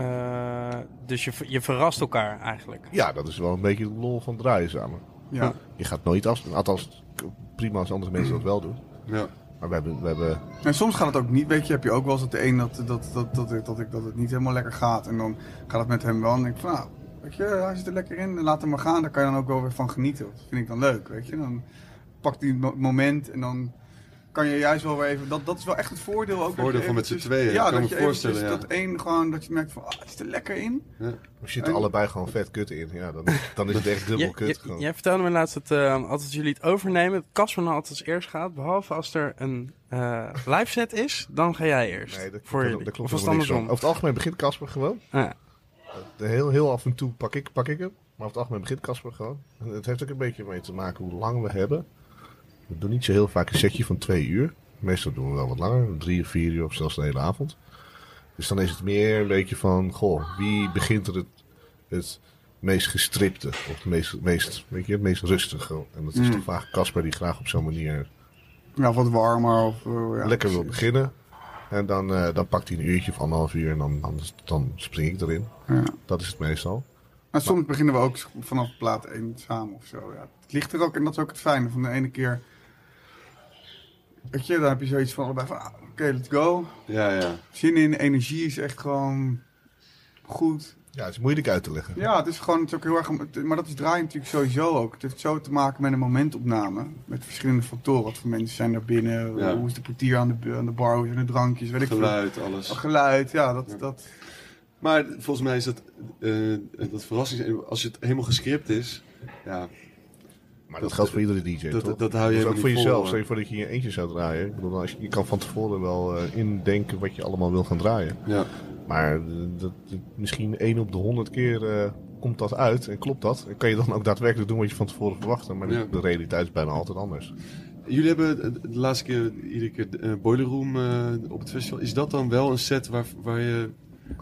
Speaker 1: eh, dus je, ver- je verrast elkaar eigenlijk.
Speaker 3: Ja, dat is wel een beetje de lol van draaien samen.
Speaker 4: Ja.
Speaker 3: Je gaat nooit afspraken. Althans, k- prima als andere mensen dat wel doen.
Speaker 2: Ja.
Speaker 3: Maar we hebben, we hebben
Speaker 4: En soms gaat het ook niet. Weet je, heb je ook wel eens dat de een dat, dat, dat, dat, ik- dat, ik, dat het niet helemaal lekker gaat. En dan gaat het met hem wel. En dan denk ik van, nou, weet je, hij zit er lekker in. Laat hem maar gaan. Daar kan je dan ook wel weer van genieten. Dat vind ik dan leuk, weet je. Dan pakt hij het mo- moment en dan kan je juist wel weer even... Dat, dat is wel echt het voordeel ook. dat
Speaker 2: Voordeel
Speaker 4: je
Speaker 2: van met z'n
Speaker 4: eventjes-
Speaker 2: tweeën,
Speaker 4: Ja,
Speaker 2: kan
Speaker 4: dat
Speaker 2: me
Speaker 4: je eventjes
Speaker 2: voorstellen, ja.
Speaker 4: dat één gewoon, dat je merkt van, ah, het is er lekker in.
Speaker 3: we zitten
Speaker 4: En-
Speaker 3: allebei gewoon vet kut in. Ja, dan, dan is het echt dubbel
Speaker 1: Je-
Speaker 3: kut.
Speaker 1: je-
Speaker 3: gewoon.
Speaker 1: Jij vertelde me laatst dat eh, altijd jullie het overnemen. Dat Casper nou altijd als eerst gaat. Behalve als er een eh live set is, dan ga jij eerst.
Speaker 3: Nee, dat klopt,
Speaker 1: voor
Speaker 3: dat-
Speaker 1: jullie.
Speaker 3: dat klopt
Speaker 1: of was het
Speaker 3: helemaal niks van.
Speaker 1: andersom?
Speaker 3: Over het algemeen begint Casper gewoon.
Speaker 1: Ah, ja.
Speaker 3: De heel, heel af en toe pak ik, pak ik hem. Maar over het algemeen begint Casper gewoon. En Het heeft ook een beetje mee te maken hoe lang we hebben. We doen niet zo heel vaak een setje van twee uur. Meestal doen we wel wat langer. Drie of vier uur of zelfs de hele avond. Dus dan is het meer een beetje van... Goh, wie begint er het, het meest gestripte? Of het meest, meest, weet je, het meest rustige? En dat is
Speaker 4: Mm.
Speaker 3: toch vaak Casper die graag op zo'n manier
Speaker 4: Ja, wat warmer of... eh, ja,
Speaker 3: lekker wil
Speaker 4: precies.
Speaker 3: beginnen. En dan, eh, dan pakt hij een uurtje of anderhalf uur en dan, dan, dan spring ik erin.
Speaker 4: Ja.
Speaker 3: Dat is het meestal.
Speaker 4: Maar soms beginnen we ook vanaf plaat 1 samen of zo. Ja. Het ligt er ook, en dat is ook het fijne van de ene keer. Weet je, dan heb je zoiets van allebei van, ah, oké, let's go.
Speaker 2: Ja, ja.
Speaker 4: Zin in, energie is echt gewoon goed.
Speaker 3: Ja, het is moeilijk uit te leggen.
Speaker 4: Ja, het is gewoon, het is ook heel erg, maar dat is draaien natuurlijk sowieso ook. Het heeft zo te maken met een momentopname. Met verschillende factoren. Wat voor mensen zijn daar binnen?
Speaker 2: Ja.
Speaker 4: Hoe is de portier aan de, bu- aan de bar? Hoe zijn de drankjes? Weet ik veel.
Speaker 2: Geluid, alles.
Speaker 4: Geluid, ja, dat, dat,
Speaker 2: Maar volgens mij is dat, eh, dat verrassing. Als het helemaal gescript is, ja,
Speaker 3: Maar
Speaker 2: Dat-
Speaker 3: dat geldt voor iedere DJ,
Speaker 2: dat,
Speaker 3: toch?
Speaker 2: dat, hou je
Speaker 3: Dus
Speaker 2: helemaal
Speaker 3: ook voor
Speaker 2: niet vol,
Speaker 3: jezelf.
Speaker 2: hè.
Speaker 3: Stel je voor dat je in je eentje zou draaien. Ik bedoel, als je, je kan van tevoren wel eh, indenken wat je allemaal wil gaan draaien.
Speaker 2: Ja,
Speaker 3: Maar eh, dat, misschien één op de honderd keer eh, komt dat uit en klopt dat. En kan je dan ook daadwerkelijk doen wat je van tevoren verwachtte. Maar de-
Speaker 2: Ja.
Speaker 3: de realiteit is bijna altijd anders.
Speaker 2: Jullie hebben de laatste keer iedere keer eh, Boiler Room eh, op het festival. Is dat dan wel een set waar, waar je,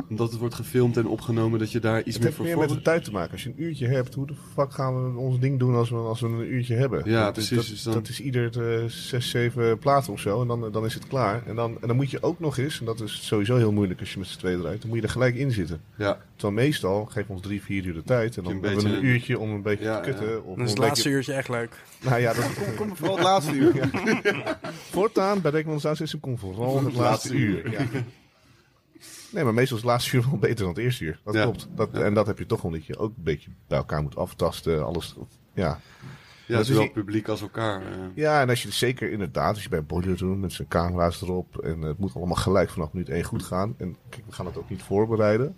Speaker 2: omdat het wordt gefilmd en opgenomen, dat je daar iets
Speaker 3: het
Speaker 2: meer
Speaker 3: heeft
Speaker 2: voor
Speaker 3: meer met de
Speaker 2: voorbereidt?
Speaker 3: tijd te maken. Als je een uurtje hebt, hoe de fuck gaan we ons ding doen als we, als we een uurtje hebben?
Speaker 2: Ja,
Speaker 3: dat, is-
Speaker 2: precies,
Speaker 3: Dat,
Speaker 2: dus dan-
Speaker 3: dat is ieder eh, zes, zeven platen of zo. En dan, dan is het klaar. En dan, en dan moet je ook nog eens, en dat is sowieso heel moeilijk als je met z'n tweeën draait, dan moet je er gelijk in zitten.
Speaker 2: Ja,
Speaker 3: Terwijl meestal geven we ons drie, vier uur de tijd. En dan
Speaker 2: Een beetje-
Speaker 3: hebben we een uurtje om een beetje
Speaker 2: Ja,
Speaker 3: te kutten.
Speaker 2: ja.
Speaker 3: Of
Speaker 1: Dan is
Speaker 3: om
Speaker 1: het
Speaker 3: een
Speaker 1: laatste
Speaker 3: beetje-
Speaker 1: uurtje echt leuk.
Speaker 3: Nou ja, dat
Speaker 4: kom, kom vooral het laatste uur.
Speaker 3: Voortaan bij Dekman Zuid is komt vooral het laatste uur. Ja. Nee, maar meestal is het laatste uur wel beter dan het eerste uur. Dat
Speaker 2: Ja.
Speaker 3: klopt. Dat, En dat heb je toch omdat je ook een beetje bij elkaar moet aftasten. Alles, ja.
Speaker 2: ja
Speaker 3: is
Speaker 2: zowel
Speaker 3: die-
Speaker 2: publiek als elkaar. eh.
Speaker 3: ja, en als je het zeker inderdaad, als je bij Boiler doet met zijn camera's erop. En het moet allemaal gelijk vanaf minuut één goed gaan. En kijk, we gaan het ook niet voorbereiden.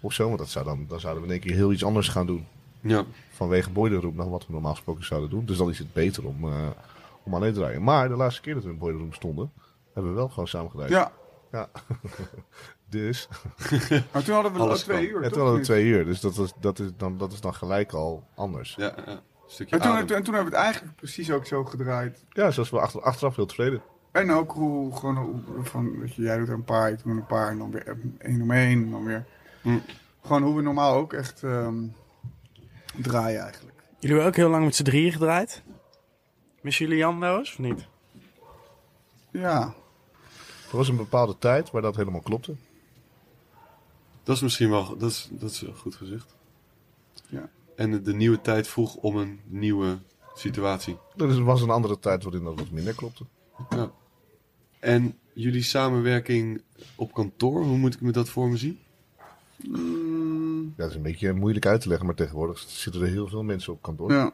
Speaker 3: Of zo, want dat zou dan, dan zouden we in één keer heel iets anders gaan doen.
Speaker 2: ja.
Speaker 3: Vanwege Boiler Room dan wat we normaal gesproken zouden doen. Dus dan is het beter om, eh, om alleen te draaien. Maar de laatste keer dat we in Boiler Room stonden, hebben we wel gewoon samen gedraaid.
Speaker 4: Ja,
Speaker 3: Dus.
Speaker 4: maar toen hadden we
Speaker 2: Alles
Speaker 4: ook twee
Speaker 2: kan.
Speaker 4: uur.
Speaker 3: Ja,
Speaker 4: toch?
Speaker 3: toen hadden we
Speaker 4: Niet?
Speaker 3: twee uur, dus dat is, dat, is dan, dat is dan gelijk al anders.
Speaker 2: Ja, ja. Een stukje
Speaker 4: En toen,
Speaker 2: adem.
Speaker 4: en toen hebben we het eigenlijk precies ook zo gedraaid.
Speaker 3: Ja, zoals we achter, achteraf heel tevreden.
Speaker 4: En ook hoe, gewoon hoe- van, weet je, jij doet er een paar, ik doe er een paar, en dan weer één om één, en dan weer.
Speaker 2: Hm.
Speaker 4: Gewoon hoe we normaal ook echt ehm, draaien eigenlijk.
Speaker 1: Jullie hebben ook heel lang met z'n drieën gedraaid. Missen jullie Jan wel eens, of niet?
Speaker 4: Ja,
Speaker 3: Er was een bepaalde tijd waar dat helemaal klopte.
Speaker 2: Dat is misschien wel, dat is, dat is wel goed gezegd.
Speaker 4: Ja.
Speaker 2: En de, de nieuwe tijd vroeg om een nieuwe situatie.
Speaker 3: Er was een andere tijd waarin dat wat minder klopte.
Speaker 2: Ja. En jullie samenwerking op kantoor, hoe moet ik me dat voor me zien?
Speaker 3: Ja, dat is een beetje moeilijk uit te leggen, maar tegenwoordig zitten er heel veel mensen op kantoor.
Speaker 4: ja.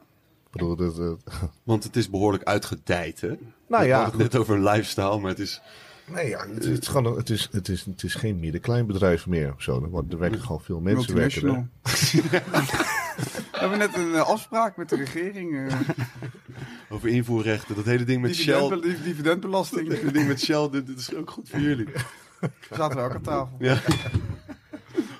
Speaker 3: Ik bedoel, dat, eh,
Speaker 2: Want het is behoorlijk uitgedijd, hè?
Speaker 3: nou
Speaker 2: We
Speaker 3: ja,
Speaker 2: hadden het net over een lifestyle, maar het is...
Speaker 3: nee, ja het, het is gewoon, een- het, is, het, is, het is geen middenkleinbedrijf meer of zo. Er worden- Er werken gewoon veel mensen. Werken,
Speaker 4: multinational.
Speaker 3: er.
Speaker 4: We hebben net een eh, afspraak met de regering. eh,
Speaker 2: Over invoerrechten, dat hele ding met Shell.
Speaker 4: dividend- div- dividendbelasting.
Speaker 2: Dat hele ding met Shell, dit, dit is ook goed voor jullie.
Speaker 4: Zaten we ook aan tafel.
Speaker 2: Ja.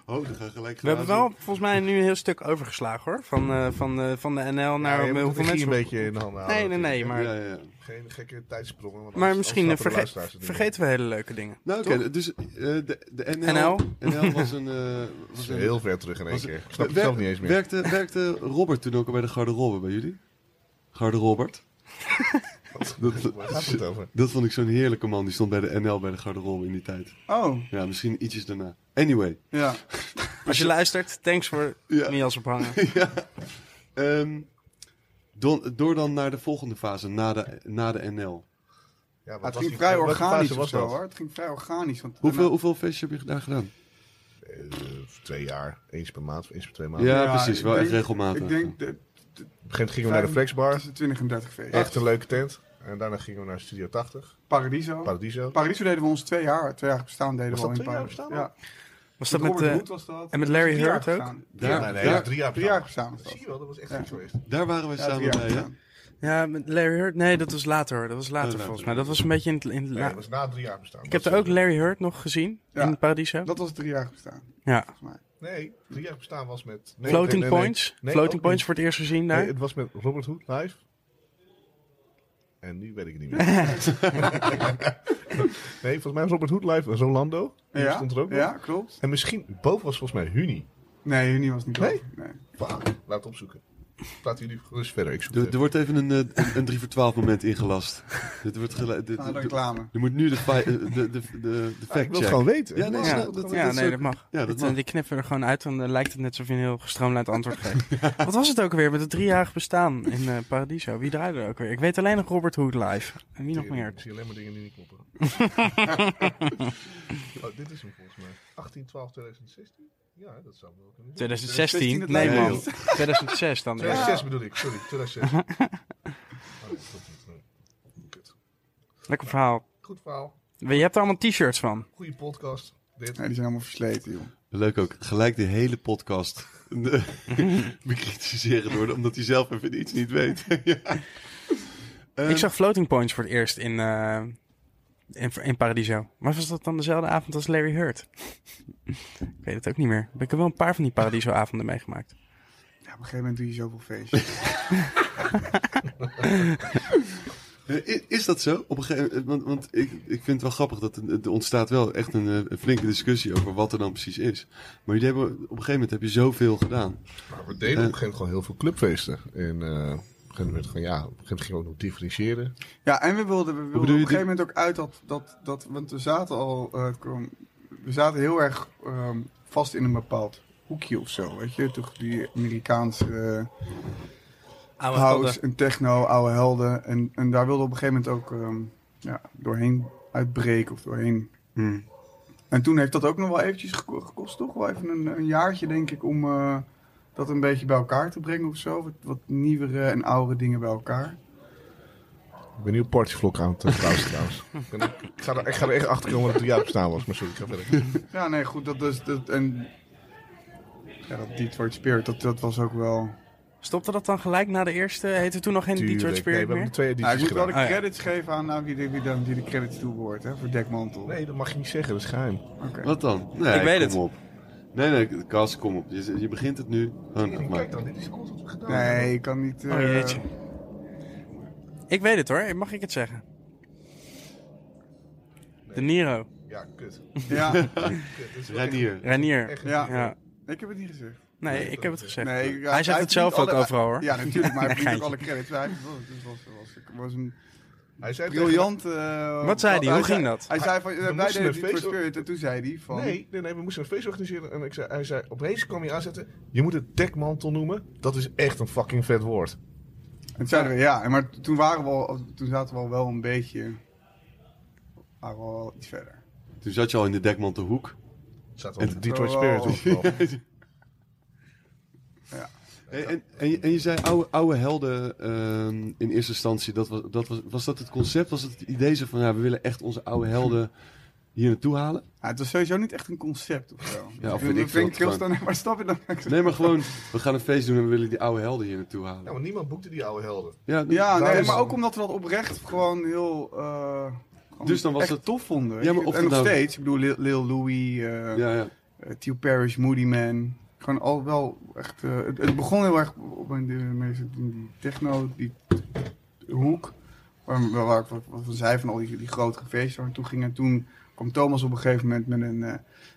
Speaker 2: Oh, dan gaan gelijk
Speaker 3: Nou,
Speaker 1: We hebben wel volgens mij nu een heel stuk overgeslagen hoor. Van, eh, van, eh, van de NL naar
Speaker 3: Nou, je
Speaker 1: eh,
Speaker 3: moet
Speaker 1: hoeveel
Speaker 3: het
Speaker 1: mensen.
Speaker 3: een beetje in de handen
Speaker 1: Nee,
Speaker 3: houden.
Speaker 1: nee, nee.
Speaker 3: natuurlijk,
Speaker 1: Maar,
Speaker 2: Ja, ja, ja.
Speaker 3: hè. Geen gekke tijdsprongen. want
Speaker 1: maar
Speaker 3: anders-
Speaker 1: misschien eh,
Speaker 3: anders snappen de
Speaker 1: verge-
Speaker 3: luisteraars het niet.
Speaker 1: vergeten we hele leuke dingen.
Speaker 2: Nou, oké, dus eh, de, de NL,
Speaker 1: NL?
Speaker 2: NL was een... eh,
Speaker 3: Dat
Speaker 2: was
Speaker 3: is
Speaker 2: een
Speaker 3: Heel ver terug in één
Speaker 2: was-
Speaker 3: keer. Ik snap het
Speaker 2: wer-
Speaker 3: zelf niet eens meer.
Speaker 2: Werkte, werkte Robert toen ook al bij de garderobe bij jullie? Garde dat,
Speaker 3: Waar gaat het over?
Speaker 2: dat vond ik zo'n heerlijke man. Die stond bij de NL bij de garderobe in die tijd.
Speaker 4: Oh,
Speaker 2: Ja, misschien ietsjes daarna. Anyway.
Speaker 4: ja.
Speaker 1: Als je luistert, thanks voor
Speaker 2: Ja.
Speaker 1: Mias ophangen.
Speaker 2: ehm, don- door dan naar de volgende fase, na de, na de NL.
Speaker 3: Ja, wat
Speaker 4: Ja, het
Speaker 3: was
Speaker 4: ging
Speaker 3: die-
Speaker 4: vrij
Speaker 3: welke
Speaker 4: organisch
Speaker 3: fase
Speaker 4: of
Speaker 3: was
Speaker 4: zo
Speaker 3: dat?
Speaker 4: hoor. Het ging vrij organisch. Want
Speaker 2: Hoeveel, hoeveel feestjes heb je daar gedaan?
Speaker 3: Eh, twee jaar. Eens per maand of eens per twee
Speaker 2: Ja,
Speaker 3: maanden.
Speaker 2: precies.
Speaker 4: ik
Speaker 2: Wel
Speaker 4: denk-
Speaker 2: echt regelmatig.
Speaker 4: Ik denk de,
Speaker 3: Op een gegeven moment gingen we naar de Flexbar.
Speaker 4: tussen 20 en 30 feest.
Speaker 3: Echt een leuke tent. En daarna gingen we naar Studio 80.
Speaker 4: Paradiso.
Speaker 3: Paradiso.
Speaker 4: Paradiso deden we ons twee jaar. Twee jaar bestaan deden
Speaker 3: Was
Speaker 4: we al
Speaker 3: dat
Speaker 4: in
Speaker 3: twee jaar
Speaker 4: Paradiso.
Speaker 3: bestaan
Speaker 4: Ja.
Speaker 1: Was
Speaker 4: Met
Speaker 1: dat met,
Speaker 4: Robert
Speaker 1: eh,
Speaker 4: Hood was dat.
Speaker 1: en met Larry
Speaker 4: Drie jaar
Speaker 1: Hurt ook?
Speaker 4: bestaan.
Speaker 2: daar,
Speaker 3: Ja, nee, nee, ja,
Speaker 2: daar,
Speaker 3: drie jaar.
Speaker 4: Drie jaar
Speaker 3: bestaan.
Speaker 4: bestaan was dat.
Speaker 3: Zie je wel, dat was echt
Speaker 4: Ja.
Speaker 3: goed geweest.
Speaker 2: daar waren we
Speaker 4: Ja, drie
Speaker 2: samen
Speaker 4: jaar
Speaker 2: bij, hè?
Speaker 4: bestaan.
Speaker 1: ja, met Larry Hurt? Nee, dat was later hoor. Dat was later
Speaker 2: Oh, later.
Speaker 1: volgens mij. Dat was een beetje in, het- in het
Speaker 3: Nee,
Speaker 1: la-
Speaker 3: dat was na drie jaar bestaan.
Speaker 1: Ik heb er ook Larry Hurt nog gezien
Speaker 4: Ja.
Speaker 1: in Paradiso.
Speaker 4: Dat was drie jaar bestaan.
Speaker 1: Ja.
Speaker 4: Volgens mij.
Speaker 3: Nee, drie jaar bestaan was met... nee,
Speaker 1: Floating
Speaker 3: nee, nee, nee.
Speaker 1: Points.
Speaker 3: Nee,
Speaker 1: Floating
Speaker 3: ook
Speaker 1: Points
Speaker 3: niet.
Speaker 1: voor het eerst gezien daar.
Speaker 3: Nee, het was met Robert Hood live. En nu weet ik het niet meer. nee, volgens mij was Robert Hood live en Rolando. Die
Speaker 4: Ja,
Speaker 3: stond er ook nog.
Speaker 4: ja, klopt.
Speaker 3: En misschien, boven was volgens mij Huni.
Speaker 4: Nee, Unie was niet
Speaker 3: Nee?
Speaker 4: boven. Nee. Ah,
Speaker 3: Wauw, laat het opzoeken. Laten jullie gerust verder. Ik zoek
Speaker 2: Er,
Speaker 3: het
Speaker 2: er wordt even een, eh, een, een 3 voor 12 moment ingelast. dit wordt gele- dit-
Speaker 4: Nou, de
Speaker 2: dit-
Speaker 4: reclame.
Speaker 2: er moet nu de, fi- eh, de, de, de, de
Speaker 3: Ah, ik
Speaker 2: fact
Speaker 3: wil het
Speaker 2: check.
Speaker 3: gewoon weten.
Speaker 2: Ja, nee,
Speaker 1: Ja,
Speaker 2: snap- dat,
Speaker 1: ja,
Speaker 2: dat is
Speaker 1: nee,
Speaker 2: ook-
Speaker 1: dat mag.
Speaker 2: ja, dat
Speaker 1: Dit,
Speaker 2: mag.
Speaker 1: eh, Die knippen er gewoon uit en dan lijkt het net alsof je een heel gestroomlijnd antwoord geeft. Wat was het ook weer met het driejarig bestaan in eh, Paradiso? Wie draaide er ook weer? Ik weet alleen nog Robert Hood live. En wie nog
Speaker 3: Ik zie-
Speaker 1: meer?
Speaker 3: Ik zie alleen maar dingen die niet kloppen. oh, dit is hem volgens mij. 18, 12, 2016? Ja, dat zou wel kunnen. zijn.
Speaker 1: 2016?
Speaker 4: 2016
Speaker 1: Nee
Speaker 2: het
Speaker 1: man,
Speaker 2: lijkt
Speaker 1: 2006 dan. weer.
Speaker 3: 2006 bedoel ik, sorry. 2006. oh, nee, dat klopt niet. Nee. Kut.
Speaker 1: Lekker verhaal.
Speaker 3: Goed verhaal.
Speaker 1: Je hebt er allemaal t-shirts van.
Speaker 3: Goede podcast. Dit.
Speaker 4: Nee, die zijn allemaal versleten, joh.
Speaker 2: Leuk ook. Gelijk de hele podcast de- bekritiseren worden, omdat hij zelf even iets niet weet. ja. Ehm,
Speaker 1: Ik zag Floating Points voor het eerst in, eh, in, in Paradiso. Maar was dat dan dezelfde avond als Larry Hurt? ik weet het ook niet meer. Ik heb wel een paar van die Paradiso-avonden meegemaakt.
Speaker 4: Ja, op een gegeven moment doe je zoveel feestjes.
Speaker 2: eh, i- Is dat zo? Op een gegeven moment, want, want ik, ik vind het wel grappig dat er er ontstaat wel echt een, eh, een flinke discussie over wat er dan precies is. Maar jullie hebben, op een gegeven moment heb je zoveel gedaan.
Speaker 3: Maar we deden op een gegeven moment gewoon heel veel clubfeesten. En eh, op een gegeven moment gewoon, ja, op een gegeven moment gingen we ook nog differentiëren.
Speaker 4: ja, en we wilden, we wilden op
Speaker 2: bedoel
Speaker 4: een
Speaker 2: je
Speaker 4: gegeven moment ook uit dat... dat, dat want we zaten al... eh, het kwam- we zaten heel erg ehm, vast in een bepaald hoekje of zo, weet je. Toch die Amerikaanse... eh,
Speaker 1: Oude
Speaker 4: house en techno, oude helden. En, en daar wilde op een gegeven moment ook ehm, ja, doorheen uitbreken of doorheen. En toen heeft dat ook nog wel eventjes geko- gekost, toch? Wel even een, een jaartje, denk ik, om eh, dat een beetje bij elkaar te brengen of zo. Wat, wat nieuwere en oudere dingen bij elkaar.
Speaker 3: Ik ben nu een partyvlog aan het eh, trouwen trouwens. Ik, ben ook- ik, ga er, ik ga er echt achter komen dat het drie jaar bestaan was. Maar sorry, ik ga verder.
Speaker 4: Ja, nee, goed. Dat is, dat, en ja, dat Detroit Spirit, dat, dat was ook wel...
Speaker 1: Stopte dat dan gelijk na de eerste? Heette toen nog geen Detroit
Speaker 3: Tuurlijk.
Speaker 1: Spirit
Speaker 3: Nee, we hebben
Speaker 1: meer?
Speaker 3: er twee
Speaker 4: Nou, ik
Speaker 3: edities
Speaker 4: moet wel
Speaker 3: gedaan.
Speaker 1: Ah,
Speaker 4: de
Speaker 1: ja.
Speaker 4: credits geven aan, aan wie, de, wie, dan, die de credits toebehoort, hè, voor Dekmantel.
Speaker 3: Nee, dat mag je niet zeggen, dat is geheim.
Speaker 4: Oké.
Speaker 2: Wat dan? Nee,
Speaker 1: Ik weet
Speaker 2: kom
Speaker 1: het.
Speaker 2: op. Nee, nee, Cas, kom op. Je, je begint het nu. Gewoon, maar.
Speaker 3: dan, dit is alles wat we gedaan
Speaker 4: Nee, ik kan niet...
Speaker 1: Oh
Speaker 4: eh,
Speaker 1: jeetje. Ik weet het hoor, mag ik het zeggen? De Niro,
Speaker 3: Ja, kut.
Speaker 4: Ja,
Speaker 3: kut. Dit is wel
Speaker 2: Reinier.
Speaker 1: Renier.
Speaker 3: echt-
Speaker 4: Ja.
Speaker 3: echt-
Speaker 1: Ja.
Speaker 4: ik heb het niet gezegd.
Speaker 1: Nee, ik heb het gezegd.
Speaker 4: Nee, ik-
Speaker 1: hij zegt
Speaker 4: heeft
Speaker 1: het zelf
Speaker 4: niet
Speaker 1: ook
Speaker 4: alle-
Speaker 1: overal hoor.
Speaker 4: Ja, natuurlijk, maar hij heeft
Speaker 1: Nee,
Speaker 4: niet ook alle credits. Hij heeft- het was, het was, het was een
Speaker 3: Hij zei tegen-
Speaker 4: briljant... eh,
Speaker 1: Wat zei hij? Hoe ging
Speaker 4: zei-
Speaker 1: dat?
Speaker 4: Hij zei van, eh, wij
Speaker 3: moesten
Speaker 4: deden
Speaker 3: een
Speaker 4: Deep for
Speaker 3: feest-
Speaker 4: Spirit en toen zei hij van...
Speaker 3: Nee, nee, nee, we moesten een feest organiseren. En ik zei, hij zei, opeens kwam hij aanzetten. Je moet het dekmantel noemen. Dat is echt een fucking vet woord.
Speaker 4: En toen zeiden we, ja, en maar toen, waren we al, toen zaten we al wel een beetje... waren we al wel iets verder.
Speaker 2: Toen zat je al in de dekmantelhoek.
Speaker 3: Het staat wel
Speaker 2: En-
Speaker 3: de Detroit
Speaker 4: Oh.
Speaker 3: Spirit op.
Speaker 2: En, en, en, je- en je zei oude, oude helden ehm, in eerste instantie. Dat was, dat was, was dat het concept? Was dat het idee zo van ja, we willen echt onze oude helden hier naartoe halen?
Speaker 4: Ja, het was sowieso niet echt een concept of zo.
Speaker 2: Ja, of
Speaker 4: Ik
Speaker 2: weet ik veel
Speaker 4: vind
Speaker 2: wat
Speaker 4: ik heel
Speaker 2: gewoon.
Speaker 4: staan, maar stap je dan?
Speaker 2: Nee, maar gewoon, we gaan een feest doen en we willen die oude helden hier naartoe
Speaker 3: Nou,
Speaker 2: halen.
Speaker 3: maar niemand boekte die oude helden.
Speaker 2: Ja, d-
Speaker 4: Ja,
Speaker 3: Daar
Speaker 4: nee,
Speaker 3: is-
Speaker 4: maar ook omdat we dat oprecht gewoon heel... eh, gewoon
Speaker 2: Dus dan was
Speaker 4: echt
Speaker 2: het-
Speaker 4: tof vonden. weet
Speaker 2: Ja, maar
Speaker 4: je.
Speaker 2: of
Speaker 4: en
Speaker 2: dat
Speaker 4: nog
Speaker 2: nou-
Speaker 4: steeds. Ik bedoel, Lil, Lil Louis... eh,
Speaker 2: ja, ja.
Speaker 4: Eh, eh, Theo Parrish, Moody Man. Gewoon al wel echt... eh, het, het begon heel erg op mijn de, meeste- in die techno, die hoek. Waar, waar, waar ik wat, wat van zei, van al die, die grotere feesten waar ik toe ging. En toen kwam Thomas op een gegeven moment met een, eh,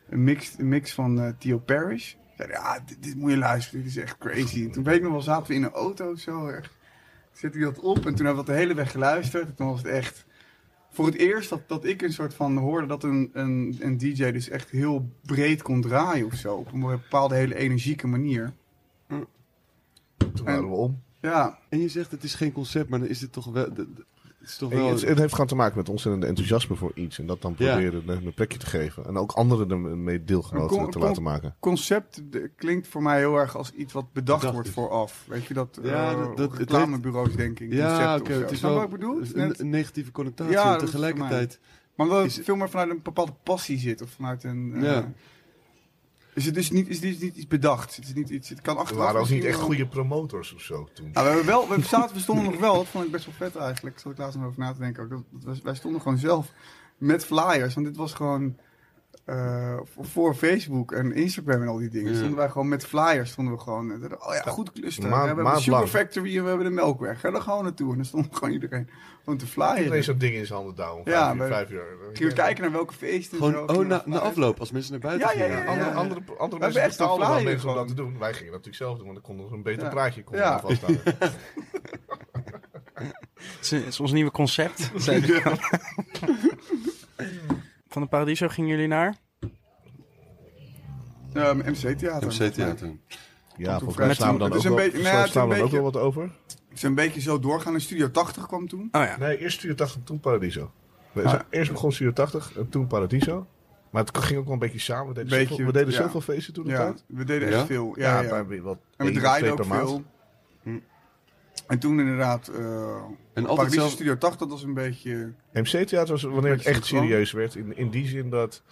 Speaker 4: een, mix, een mix van eh Theo Parrish. Ik zei, ja, dit, dit moet je luisteren, dit is echt crazy. En toen weet ik nog wel, zaten we in een auto of zo. Echt. Zette hij dat op en toen hebben we dat de hele weg geluisterd. En toen was het echt voor het eerst dat, dat ik een soort van hoorde dat een, een, een DJ dus echt heel breed kon draaien of zo. Op een bepaalde hele energieke manier.
Speaker 3: Toen waren we om.
Speaker 4: Ja,
Speaker 2: En je zegt het is geen concept, maar dan is dit toch wel... de- de- Het is toch
Speaker 3: En
Speaker 2: wel...
Speaker 3: Het, het heeft gewoon te maken met ontzettend enthousiasme voor iets. En dat dan
Speaker 2: Ja.
Speaker 3: proberen een, een plekje te geven. En ook anderen ermee deelgenoten
Speaker 4: Een con-
Speaker 3: te
Speaker 4: con-
Speaker 3: laten maken.
Speaker 4: concept eh, klinkt voor mij heel erg als iets wat bedacht
Speaker 2: Bedacht
Speaker 4: wordt
Speaker 2: is.
Speaker 4: vooraf. Weet je dat?
Speaker 2: Ja,
Speaker 4: eh,
Speaker 2: dat- dat-
Speaker 4: op
Speaker 2: het
Speaker 4: reclamebureaus, denk ik.
Speaker 2: Ja,
Speaker 4: concepten
Speaker 2: oké.
Speaker 4: of zo.
Speaker 2: het is
Speaker 4: Snap
Speaker 2: wel
Speaker 4: je wat ik bedoel? Het is
Speaker 2: een,
Speaker 4: net-
Speaker 2: een negatieve connotatie.
Speaker 4: Ja,
Speaker 2: en
Speaker 4: dat is voor mij.
Speaker 2: tegelijkertijd...
Speaker 4: maar omdat
Speaker 2: is-
Speaker 4: het veel meer vanuit een bepaalde passie zit. Of vanuit een. eh,
Speaker 2: Ja.
Speaker 4: Is het dus niet, is dit niet iets bedacht? Het, is niet iets, het kan
Speaker 3: We
Speaker 4: achteraf.
Speaker 3: waren ook Nou, niet
Speaker 4: misschien
Speaker 3: echt
Speaker 4: wel-
Speaker 3: goede promotors of zo toen.
Speaker 4: Nou, we, hebben wel, we, zaten, we stonden nog wel, dat vond ik best wel vet eigenlijk. Zat ik laatst nog over na te denken. Ook. Dat, dat was- wij stonden gewoon zelf met flyers. Want dit was gewoon eh, voor- voor Facebook en Instagram en al die dingen.
Speaker 2: Ja.
Speaker 4: Stonden wij gewoon met flyers. Stonden we gewoon, eh, oh ja, goed cluster.
Speaker 3: Maand-
Speaker 4: we hebben de
Speaker 3: maand
Speaker 4: Super
Speaker 3: lang.
Speaker 4: Factory en we hebben de Melkweg. Ga daar gewoon naartoe. En dan stond gewoon iedereen gewoon te flyen.
Speaker 3: Iedereen zo'n ding in zijn handen duwen. om
Speaker 4: Ja,
Speaker 3: Vijf uur,
Speaker 4: maar-
Speaker 3: vijf uur.
Speaker 4: Gingen we kijken naar welke feesten. en zo,
Speaker 2: Gewoon, oh,
Speaker 4: gingen we
Speaker 2: na, na
Speaker 4: flyers-
Speaker 2: afloop, als mensen naar buiten
Speaker 4: nou, Ja, ja,
Speaker 2: gingen.
Speaker 4: ja, ja.
Speaker 3: Andere, andere, andere
Speaker 4: hebben
Speaker 3: mensen
Speaker 4: echt
Speaker 3: betaalden
Speaker 4: een
Speaker 3: dan
Speaker 4: flyer
Speaker 3: mensen om dat te
Speaker 4: gewoon.
Speaker 3: doen. Wij gingen dat natuurlijk zelf doen, want dan konden we een beter
Speaker 4: Ja.
Speaker 3: praatje konden
Speaker 4: Ja.
Speaker 3: we vasthouden.
Speaker 1: Het is, het is ons nieuwe concept. zei hij. Van de Paradiso gingen jullie naar?
Speaker 4: Ehm, MC Theater.
Speaker 2: MC Theater.
Speaker 3: Ja, volgens
Speaker 4: mij
Speaker 3: mij
Speaker 4: slaan
Speaker 3: slaan
Speaker 4: we
Speaker 3: we
Speaker 4: dan
Speaker 3: dan ook
Speaker 4: Het is ook een wel- beetje- nou ja, het is slaan we een dan
Speaker 3: ook
Speaker 4: ook
Speaker 3: wel
Speaker 4: wel
Speaker 3: wat over.
Speaker 4: Het is een beetje zo doorgaan. In Studio 80 kwam toen.
Speaker 1: Oh ja.
Speaker 3: Nee, eerst Studio 80, toen Paradiso. We
Speaker 4: Ah.
Speaker 3: zijn- Eerst begon Studio 80 en toen Paradiso. Maar het ging ook wel een beetje samen. We deden,
Speaker 4: Beetje,
Speaker 3: zoveel, we deden
Speaker 4: ja.
Speaker 3: zoveel feesten toen de
Speaker 4: Ja,
Speaker 3: tijd.
Speaker 4: we deden echt
Speaker 2: Ja?
Speaker 4: veel. Ja, ja.
Speaker 3: bij- wat
Speaker 4: En
Speaker 3: één
Speaker 4: we
Speaker 3: of
Speaker 4: draaiden
Speaker 3: twee
Speaker 4: ook
Speaker 3: per maand.
Speaker 4: veel.
Speaker 2: Hm.
Speaker 4: En toen inderdaad, eh
Speaker 2: En altijd
Speaker 4: Paradiso
Speaker 2: zelf...
Speaker 4: Studio 80, dat was een beetje...
Speaker 3: MC-theater was wanneer het
Speaker 4: Beetje
Speaker 3: echt
Speaker 4: gewoon.
Speaker 3: serieus werd. In, in die zin dat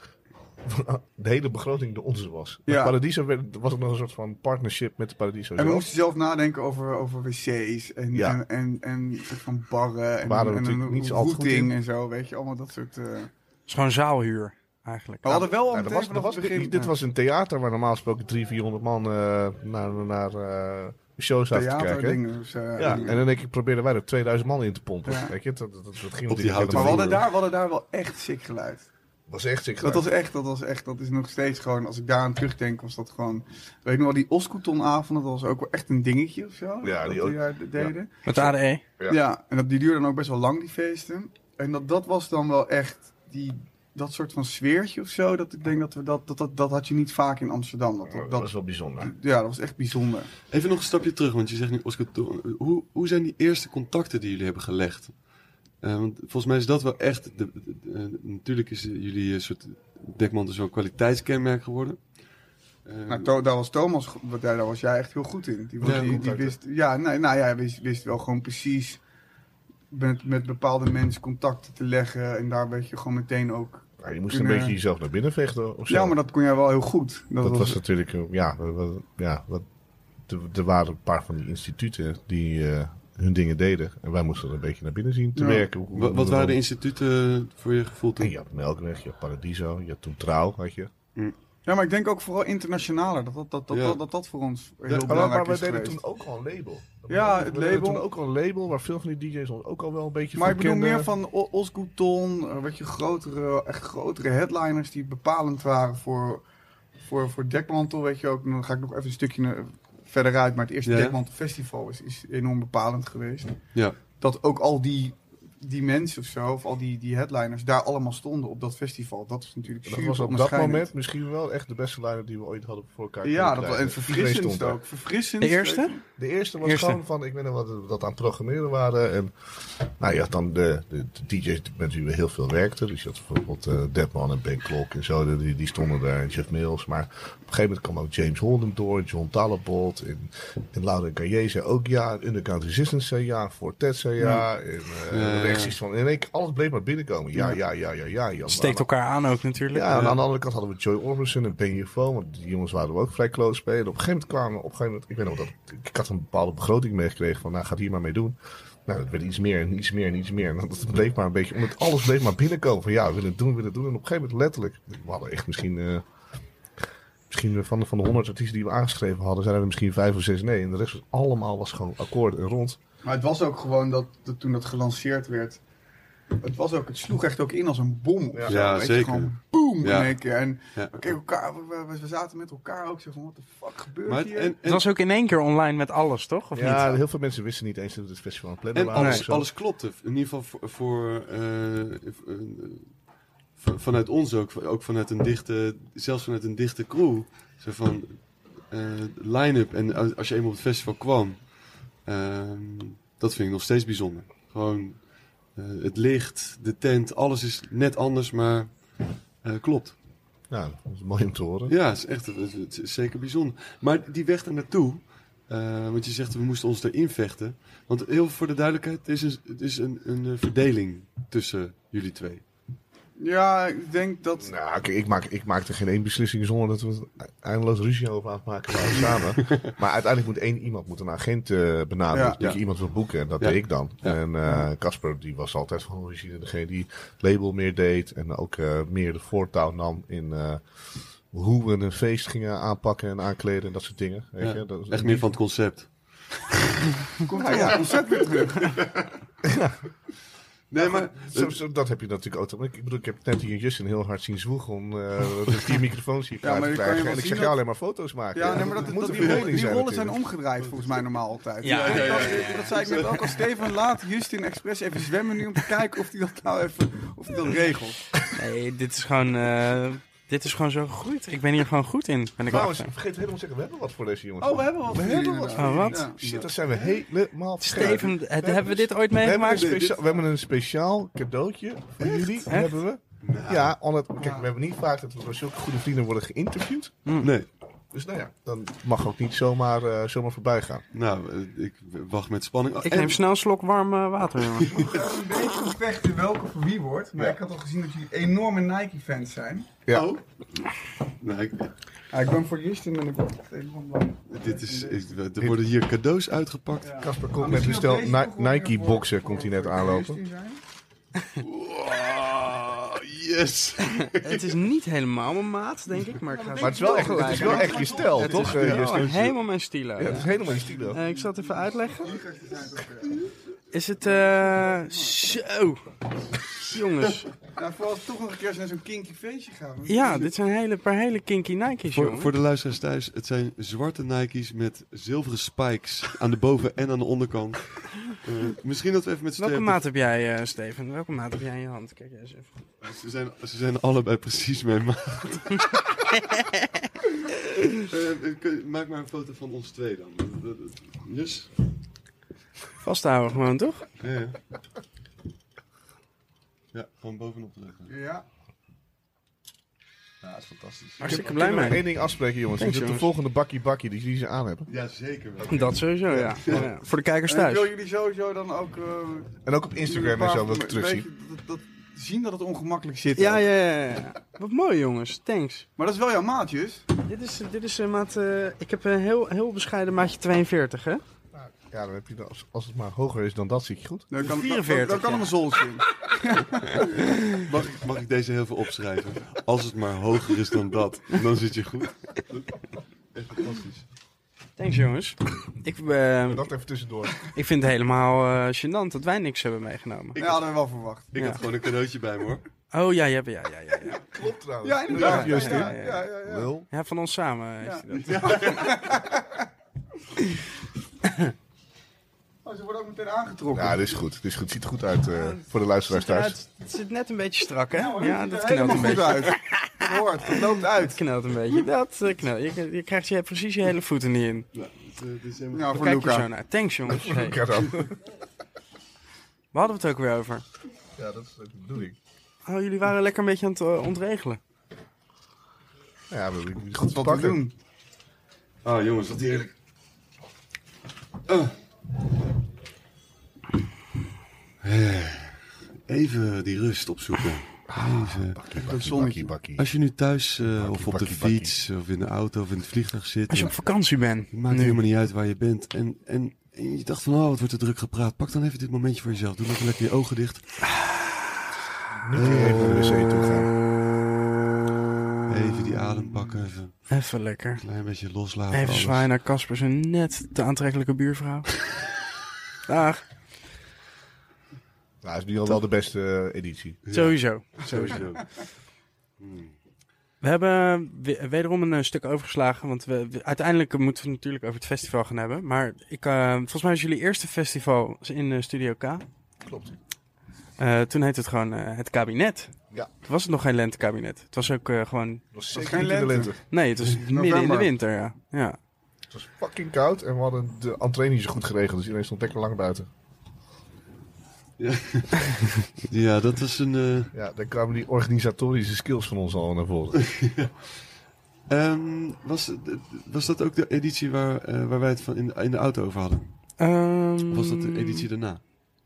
Speaker 3: de hele begroting de onze was. Bij
Speaker 4: Ja.
Speaker 3: Paradiso werd, was het nog een soort van partnership met de Paradiso.
Speaker 4: En we
Speaker 3: zelf.
Speaker 4: moesten zelf nadenken over, over wc's en,
Speaker 3: Ja.
Speaker 4: en, en, en soort van barren en,
Speaker 3: Waren we
Speaker 4: en
Speaker 3: natuurlijk niet altijd goed
Speaker 4: routing
Speaker 3: in.
Speaker 4: en zo, weet je, allemaal dat soort... eh.
Speaker 1: Het is gewoon zaalhuur, eigenlijk.
Speaker 3: Oh.
Speaker 4: We hadden wel al
Speaker 3: Ja,
Speaker 4: meteen
Speaker 3: er nou, was, er
Speaker 4: vanaf
Speaker 3: was,
Speaker 4: het begin... eh,
Speaker 3: dit was een theater waar normaal gesproken 300, 400 man eh, naar, naar eh, shows zaten te kijken.
Speaker 4: theaterdingen. Dus, eh,
Speaker 3: Ja,
Speaker 4: dingen.
Speaker 3: en dan denk ik, probeerden wij er 2000 man in te pompen.
Speaker 4: Ja.
Speaker 3: Weet je, dat, dat, dat ging
Speaker 2: Op die
Speaker 3: natuurlijk
Speaker 2: houten
Speaker 3: helemaal
Speaker 4: maar we
Speaker 3: niet.
Speaker 4: hadden, daar, we hadden daar wel echt sick geluid.
Speaker 3: was echt ziek.
Speaker 4: Dat was echt, dat was echt, dat is nog steeds gewoon, als ik daaraan terugdenk, was dat gewoon, weet ik nog wel, die Oscouton-avond, dat was ook wel echt een dingetje of zo.
Speaker 3: Ja,
Speaker 4: dat
Speaker 3: die ook.
Speaker 4: daar de- deden.
Speaker 1: Met E. ADE.
Speaker 3: Ja.
Speaker 4: Ja. en dat, die duurde dan ook best wel lang, die feesten. En dat, dat was dan wel echt die, dat soort van sfeertje of zo, dat ik denk dat we dat, dat, dat, dat had je niet vaak in Amsterdam. Dat, Oh, dat,
Speaker 3: dat was wel bijzonder.
Speaker 4: ja, dat was echt bijzonder.
Speaker 2: Even nog een stapje terug, want je zegt nu Oscar Toorn. Hoe, hoe zijn die eerste contacten die jullie hebben gelegd? Eh, want volgens mij is dat wel echt... De, de- de- eh, natuurlijk is eh, jullie een soort... Dekman is zo'n kwaliteitskenmerk geworden. Eh,
Speaker 4: Nou, to- daar was Thomas, go- daar, daar was jij echt heel goed in. Die, was-
Speaker 2: Ja,
Speaker 4: die, die
Speaker 3: contacten.
Speaker 4: wist, ja, nou, nou ja, hij wist, wist wel gewoon precies met, met bepaalde mensen contacten te leggen. En daar werd je gewoon meteen ook...
Speaker 3: Ja, je moest
Speaker 4: kunnen-
Speaker 3: een beetje jezelf naar binnen vechten of zo.
Speaker 4: Ja, maar dat kon jij wel heel goed. Dat,
Speaker 3: dat
Speaker 4: was,
Speaker 3: was natuurlijk, eh, ja, dat was- ja dat, er, er waren een paar van die instituten die eh, hun dingen deden. En wij moesten er een beetje naar binnen zien te
Speaker 4: Ja.
Speaker 3: werken. Hoe-
Speaker 2: wa-
Speaker 3: hoe-
Speaker 2: wat,
Speaker 3: hoe-
Speaker 2: waren de instituten eh, voor je gevoel toen?
Speaker 3: En Je had Melkweg, je had Paradiso, je had toen Trouw, had je.
Speaker 4: Ja, maar ik denk ook vooral internationaler. Dat dat, dat, dat,
Speaker 2: Ja.
Speaker 4: dat, dat, dat voor ons heel
Speaker 2: maar-
Speaker 4: belangrijk
Speaker 3: maar we
Speaker 4: is
Speaker 3: deden
Speaker 4: geweest.
Speaker 3: toen ook al een label.
Speaker 4: Ja, het
Speaker 3: we deden
Speaker 4: label.
Speaker 3: toen ook al een label waar veel van die DJ's ons ook al wel een beetje
Speaker 4: Maar ik
Speaker 3: van
Speaker 4: bedoel
Speaker 3: kenden.
Speaker 4: meer van O- Osgoodton, eh, weet je, grotere, echt grotere headliners die bepalend waren voor, voor, voor Dekmantel, weet je ook. En Dan ga ik nog even een stukje eh, verder uit, maar het eerste
Speaker 2: Ja.
Speaker 4: Dekmantel Festival is, is enorm bepalend geweest.
Speaker 2: Ja.
Speaker 4: Dat ook al die, die mensen of zo, of al die, die headliners, daar allemaal stonden op dat festival. Dat is natuurlijk
Speaker 3: Dat
Speaker 4: super
Speaker 3: was op dat
Speaker 4: onderscheidend.
Speaker 3: moment misschien wel echt de beste line die we ooit hadden voor elkaar.
Speaker 4: Ja, dat
Speaker 3: kunnen
Speaker 4: was, en
Speaker 3: krijgen. Iedereen
Speaker 4: verfrissend
Speaker 3: stond
Speaker 4: ook. Verfrissend. eh,
Speaker 1: De eerste?
Speaker 3: daar. De eerste was
Speaker 1: Eerste.
Speaker 3: gewoon van, ik weet nog wat we dat aan het programmeren waren. En nou, je had dan de, de, de DJ's met wie we heel veel werkten. Dus je had bijvoorbeeld eh, Deadman en Ben Klok en zo. Die, die stonden daar en Jeff Mills. Maar op een gegeven moment kwam ook James Holden door. John Talabot. En, en Laura Gaye zei ook ja. En Underground Resistance zei ja. Fortet zei ja. En eh
Speaker 2: Ja, ja, ja.
Speaker 3: rechts iets van... En ik, alles bleef maar binnenkomen. Ja, ja, ja, ja, ja. ja
Speaker 1: Steekt elkaar aan ook natuurlijk.
Speaker 3: ja, nou. en aan de andere kant hadden we Joy Orbison en Ben UFO. Want die jongens waren we ook vrij close bij. En op een gegeven moment kwamen... Op een gegeven moment, ik, weet nog dat, ik had een bepaalde begroting meegekregen. Van, nou, ga hier maar mee doen. Nou, dat werd iets meer en iets meer en iets meer. En dat bleef maar een beetje... Omdat alles bleef maar binnenkomen. Van ja, we willen het doen, we willen het doen. En op een gegeven moment letterlijk... We hadden echt misschien... eh, misschien van de, van de 100 artiesten die we aangeschreven hadden, zijn er misschien vijf of zes nee. En de rest was allemaal was gewoon akkoord en rond.
Speaker 4: Maar het was ook gewoon dat, dat toen dat gelanceerd werd. Het, was ook, het sloeg echt ook in als een bom. of
Speaker 3: Ja.
Speaker 4: zo,
Speaker 2: Ja,
Speaker 4: weet je,
Speaker 2: zeker.
Speaker 4: Gewoon boom
Speaker 2: Ja.
Speaker 4: in één keer. En
Speaker 2: Ja.
Speaker 4: we, keken elkaar, we, we- we zaten met elkaar ook zo van, wat de fuck gebeurt
Speaker 2: Maar het-
Speaker 4: hier?
Speaker 2: en,
Speaker 1: Het
Speaker 2: en,
Speaker 1: was ook in één keer online met alles, toch? Of
Speaker 3: Ja,
Speaker 1: niet?
Speaker 3: heel veel mensen wisten niet eens dat het festival een plannen
Speaker 2: en
Speaker 3: waren.
Speaker 2: alles,
Speaker 3: of zo.
Speaker 2: alles klopte. In ieder geval voor, voor, eh, v- eh, v- vanuit ons ook. Ook vanuit een dichte, zelfs vanuit een dichte crew. Zo van eh, line-up. En als- als je eenmaal op het festival kwam, ehm, dat vind ik nog steeds bijzonder. Gewoon eh, het licht, de tent, alles is net anders, maar eh, klopt.
Speaker 3: Nou, dat is mooi om te horen.
Speaker 2: Ja, het is echt het is- het is zeker bijzonder. Maar die weg daar naartoe, eh, want je zegt we moesten ons erin vechten. Want heel voor de duidelijkheid, het is een, het is een, een eh, verdeling tussen jullie twee.
Speaker 4: ja, ik denk dat...
Speaker 3: Nou, kijk, ik maak, ik maak er geen één beslissing zonder dat we er eindeloos ruzie over aan het maken waren samen. Maar uiteindelijk moet één iemand moet een agent eh, benaderen.
Speaker 4: Ja.
Speaker 3: dat je
Speaker 2: Ja.
Speaker 3: iemand wil boeken en dat
Speaker 2: Ja.
Speaker 3: deed ik dan.
Speaker 2: Ja.
Speaker 3: En eh, Casper die was altijd van oh, je ziet degene die het label meer deed en ook eh, meer de voortouw nam in eh, hoe we een feest gingen aanpakken en aankleden en dat soort dingen. Weet
Speaker 2: Ja,
Speaker 3: je? Dat,
Speaker 2: Echt meer van het concept.
Speaker 4: Komt
Speaker 2: Nou
Speaker 4: hij ja, ontzettend weer terug.
Speaker 2: Nee, maar
Speaker 3: Zo, zo- dat heb je natuurlijk ook. Ik bedoel, ik heb net hier Justin heel hard zien zwoegen om eh, de vier microfoons hier
Speaker 4: Ja, maar
Speaker 3: klaar te
Speaker 4: je kan je
Speaker 3: krijgen.
Speaker 4: wel
Speaker 3: En ik
Speaker 4: zien
Speaker 3: zeg ja
Speaker 4: dat-
Speaker 3: alleen maar foto's maken.
Speaker 4: Ja, nee, maar dat, dat,
Speaker 3: moet een
Speaker 4: die, rollen,
Speaker 3: verdeling
Speaker 4: die rollen zijn
Speaker 3: natuurlijk.
Speaker 4: omgedraaid volgens mij normaal altijd.
Speaker 1: Ja,
Speaker 4: Ik
Speaker 1: ja, ja,
Speaker 4: dacht-
Speaker 1: ja, ja.
Speaker 4: Dat zei ik net ook al. Steven, laat Justin Express even zwemmen nu om te kijken of hij dat nou even of hij dat regelt.
Speaker 1: Nee, dit is gewoon, eh, dit is gewoon zo gegroeid. Ik ben hier gewoon goed in, ben ik
Speaker 3: Trouwens,
Speaker 1: achter.
Speaker 3: ik vergeet helemaal te zeggen, we hebben wat voor deze jongens.
Speaker 4: Oh, we hebben wat.
Speaker 3: We
Speaker 4: voor
Speaker 3: hebben
Speaker 4: jullie
Speaker 3: wat.
Speaker 4: inderdaad.
Speaker 1: Oh, wat?
Speaker 4: Ja.
Speaker 3: Shit, dat zijn we helemaal vergeten.
Speaker 1: Steven, eh, hebben we dit ooit
Speaker 3: we hebben, een
Speaker 1: meegemaakt?
Speaker 3: specia- we hebben een speciaal cadeautje voor jullie. Hebben we. Ja, on het, kijk, we hebben niet vaak dat we door zulke goede vrienden worden geïnterviewd.
Speaker 2: nee,
Speaker 3: Dus nou ja, dan mag ook niet zomaar, eh, zomaar voorbij gaan.
Speaker 2: nou, eh, ik wacht met spanning.
Speaker 1: Ik
Speaker 2: En-
Speaker 1: neem snel een slok warm eh, water, jongen.
Speaker 4: Ik weet niet echt in welke voor wie wordt, maar
Speaker 3: Ja.
Speaker 4: ik had al gezien dat jullie enorme Nike-fans zijn.
Speaker 3: Ja.
Speaker 2: Oh. Nou, ik-
Speaker 4: Ah, ik ben voor Justin en ik word echt helemaal bang.
Speaker 2: dit is, ik- er worden hier cadeaus uitgepakt.
Speaker 4: Ja.
Speaker 3: Casper
Speaker 4: Maar
Speaker 3: komt met
Speaker 4: Ah, misschien
Speaker 3: een stel
Speaker 4: dat deze toch wel weer voor-
Speaker 3: Nike-boxen,
Speaker 4: voor-
Speaker 3: komt hij
Speaker 4: voor
Speaker 3: net aanlopen.
Speaker 4: Justin zijn.
Speaker 2: Wow, yes!
Speaker 1: het is niet helemaal mijn maat, denk ik, maar ik ga
Speaker 3: Maar het is wel echt, het is wel echt je stijl,
Speaker 1: Het
Speaker 3: toch?
Speaker 1: is
Speaker 3: eh, Justin?
Speaker 1: helemaal mijn stilo.
Speaker 3: Ja, het is helemaal je stilo.
Speaker 1: Eh, ik zal het even uitleggen. Is het... eh, Zo. Jongens.
Speaker 4: Nou, vooral als we toch nog een keer naar zo'n kinky feestje gaan.
Speaker 1: Ja, dit zijn hele, paar hele kinky Nike's,
Speaker 2: Voor,
Speaker 1: jongen.
Speaker 2: voor de luisteraars thuis, het zijn zwarte Nike's met zilveren spikes aan de boven- en aan de onderkant. Eh, misschien dat we even met z'n
Speaker 1: Welke
Speaker 2: tweeën-
Speaker 1: maat heb jij, eh, Steven? Welke maat heb jij in je hand? Kijk eens even.
Speaker 2: Ze zijn, ze zijn allebei precies mijn maat. Eh, kun- maak maar een foto van ons twee dan. Dus?
Speaker 1: Vasthouden gewoon, toch?
Speaker 2: Ja, ja. Ja, gewoon bovenop leggen.
Speaker 4: Ja.
Speaker 3: dat is fantastisch.
Speaker 1: Hartstikke blij mee.
Speaker 3: Eén ding afspreken, jongens.
Speaker 1: Thanks,
Speaker 3: is dat de
Speaker 1: jongens.
Speaker 3: volgende bakkie bakkie die jullie ze aan hebben.
Speaker 2: Ja, zeker wel.
Speaker 1: Dat sowieso, ja. Ja, Voor de kijkers
Speaker 4: En ik wil
Speaker 1: thuis.
Speaker 4: jullie sowieso dan ook... eh,
Speaker 3: En ook op
Speaker 4: een
Speaker 3: Instagram
Speaker 4: paar
Speaker 3: en zo
Speaker 4: van-
Speaker 3: wil ik het terugzien.
Speaker 4: weet je, Dat, dat, zien dat het ongemakkelijk zit.
Speaker 1: Ja,
Speaker 4: ook.
Speaker 1: ja, ja, ja, ja. Wat mooi, jongens. Thanks.
Speaker 4: Maar dat is wel jouw maatjes.
Speaker 1: Dit is, dit is een maat... eh, ik heb een heel, heel bescheiden maatje 42, hè?
Speaker 3: Ja, dan heb je dan- als, als het maar hoger is dan dat, zie ik je goed.
Speaker 4: Dan kan,
Speaker 1: 44,
Speaker 4: Dan, dan kan
Speaker 1: ja.
Speaker 4: er een zoltje in.
Speaker 2: Mag, ik- mag ik deze heel veel opschrijven? Als het maar hoger is dan dat, dan zit je goed. Echt fantastisch.
Speaker 1: Thanks, jongens. Ik, eh,
Speaker 3: Dat even tussendoor.
Speaker 1: ik vind het helemaal eh gênant dat wij niks hebben meegenomen.
Speaker 4: Ja, hadden we wel verwacht.
Speaker 2: Ik
Speaker 1: Ja.
Speaker 2: had gewoon een cadeautje bij me hoor.
Speaker 1: Oh, ja, ja, ja, ja, ja. Ja,
Speaker 3: Klopt trouwens.
Speaker 4: Ja, inderdaad.
Speaker 3: Ja, Justin.
Speaker 4: Ja, ja, ja, ja.
Speaker 3: Lul.
Speaker 1: ja van ons samen heeft
Speaker 4: Ja.
Speaker 1: hij dat.
Speaker 4: Oh, ze worden ook meteen aangetrokken.
Speaker 3: Ja, dit is goed. Dit is goed. Het ziet er goed uit eh, voor de luisteraars
Speaker 1: Ja,
Speaker 3: thuis.
Speaker 1: het, het zit net een beetje strak, hè?
Speaker 4: Ja, hoor,
Speaker 1: Ja,
Speaker 4: het ziet
Speaker 1: dat
Speaker 4: er
Speaker 1: knelt een
Speaker 4: helemaal
Speaker 1: beetje.
Speaker 4: goed uit. Dat hoort, het loopt
Speaker 1: Het
Speaker 4: uit.
Speaker 1: knelt een beetje. Dat eh, knelt. Je, je krijgt je, precies je hele voeten niet in.
Speaker 2: Ja, het, eh, het is helemaal...
Speaker 4: Nou, voor
Speaker 1: Kijk je zo
Speaker 4: Luca.
Speaker 1: naar. Thanks, jongens. Hey,
Speaker 3: Ja, dan.
Speaker 1: waar hadden we het ook weer over?
Speaker 3: Ja, dat is de bedoeling.
Speaker 1: Oh, jullie waren lekker een beetje aan het eh, ontregelen.
Speaker 3: Ja, we hebben
Speaker 4: Goed
Speaker 3: goed
Speaker 4: wat te doen.
Speaker 2: Ah jongens, wat heerlijk. Ah. Eh, Even die rust opzoeken. Even.
Speaker 3: Een
Speaker 4: zonnetje.
Speaker 3: zonnetje. Bakkie, bakkie.
Speaker 2: Als je nu thuis eh, of op de
Speaker 3: bakkie, bakkie.
Speaker 2: fiets of in de auto of in het vliegtuig zit,
Speaker 1: Als je op vakantie bent.
Speaker 2: maakt
Speaker 1: nu.
Speaker 2: helemaal niet uit waar je bent. En, en, en je dacht van, oh wat wordt er druk gepraat. Pak dan even dit momentje voor jezelf. Doe lekker, lekker je ogen dicht.
Speaker 4: Ah.
Speaker 3: Nu kun je even naar de wc toe gaan.
Speaker 2: Even die adem pakken, even een
Speaker 1: Even lekker.
Speaker 2: klein beetje loslaten.
Speaker 1: Even
Speaker 2: alles.
Speaker 1: zwaaien naar Casper, zijn net te aantrekkelijke buurvrouw. Dag.
Speaker 3: Nou, is nu al wel de beste eh, editie.
Speaker 2: Ja,
Speaker 1: Sowieso.
Speaker 2: sowieso. Hmm.
Speaker 1: We hebben we- wederom een eh, stuk overgeslagen, want we, we- uiteindelijk moeten we het natuurlijk over het festival gaan hebben. Maar ik, eh, volgens mij was jullie eerste festival in eh, Studio K.
Speaker 3: Klopt.
Speaker 1: Eh, toen heette het gewoon eh, het kabinet.
Speaker 3: Ja.
Speaker 1: Toen was het nog geen lentekabinet. Het was ook eh, gewoon...
Speaker 3: Het was
Speaker 4: geen
Speaker 3: zeker niet in de
Speaker 4: lente.
Speaker 3: lente.
Speaker 1: Nee, het was midden in de
Speaker 4: November.
Speaker 1: winter, ja. ja.
Speaker 3: Het was fucking koud en we hadden de entree niet zo goed geregeld. Dus iedereen stond lekker lang buiten.
Speaker 2: Ja, dat is een... eh,
Speaker 3: Ja, daar kwamen die organisatorische skills van ons al naar voren.
Speaker 2: Ehm, was, was dat ook de editie waar, eh, waar wij het van in, in de auto over hadden?
Speaker 1: Ehm,
Speaker 2: Of was dat de editie daarna?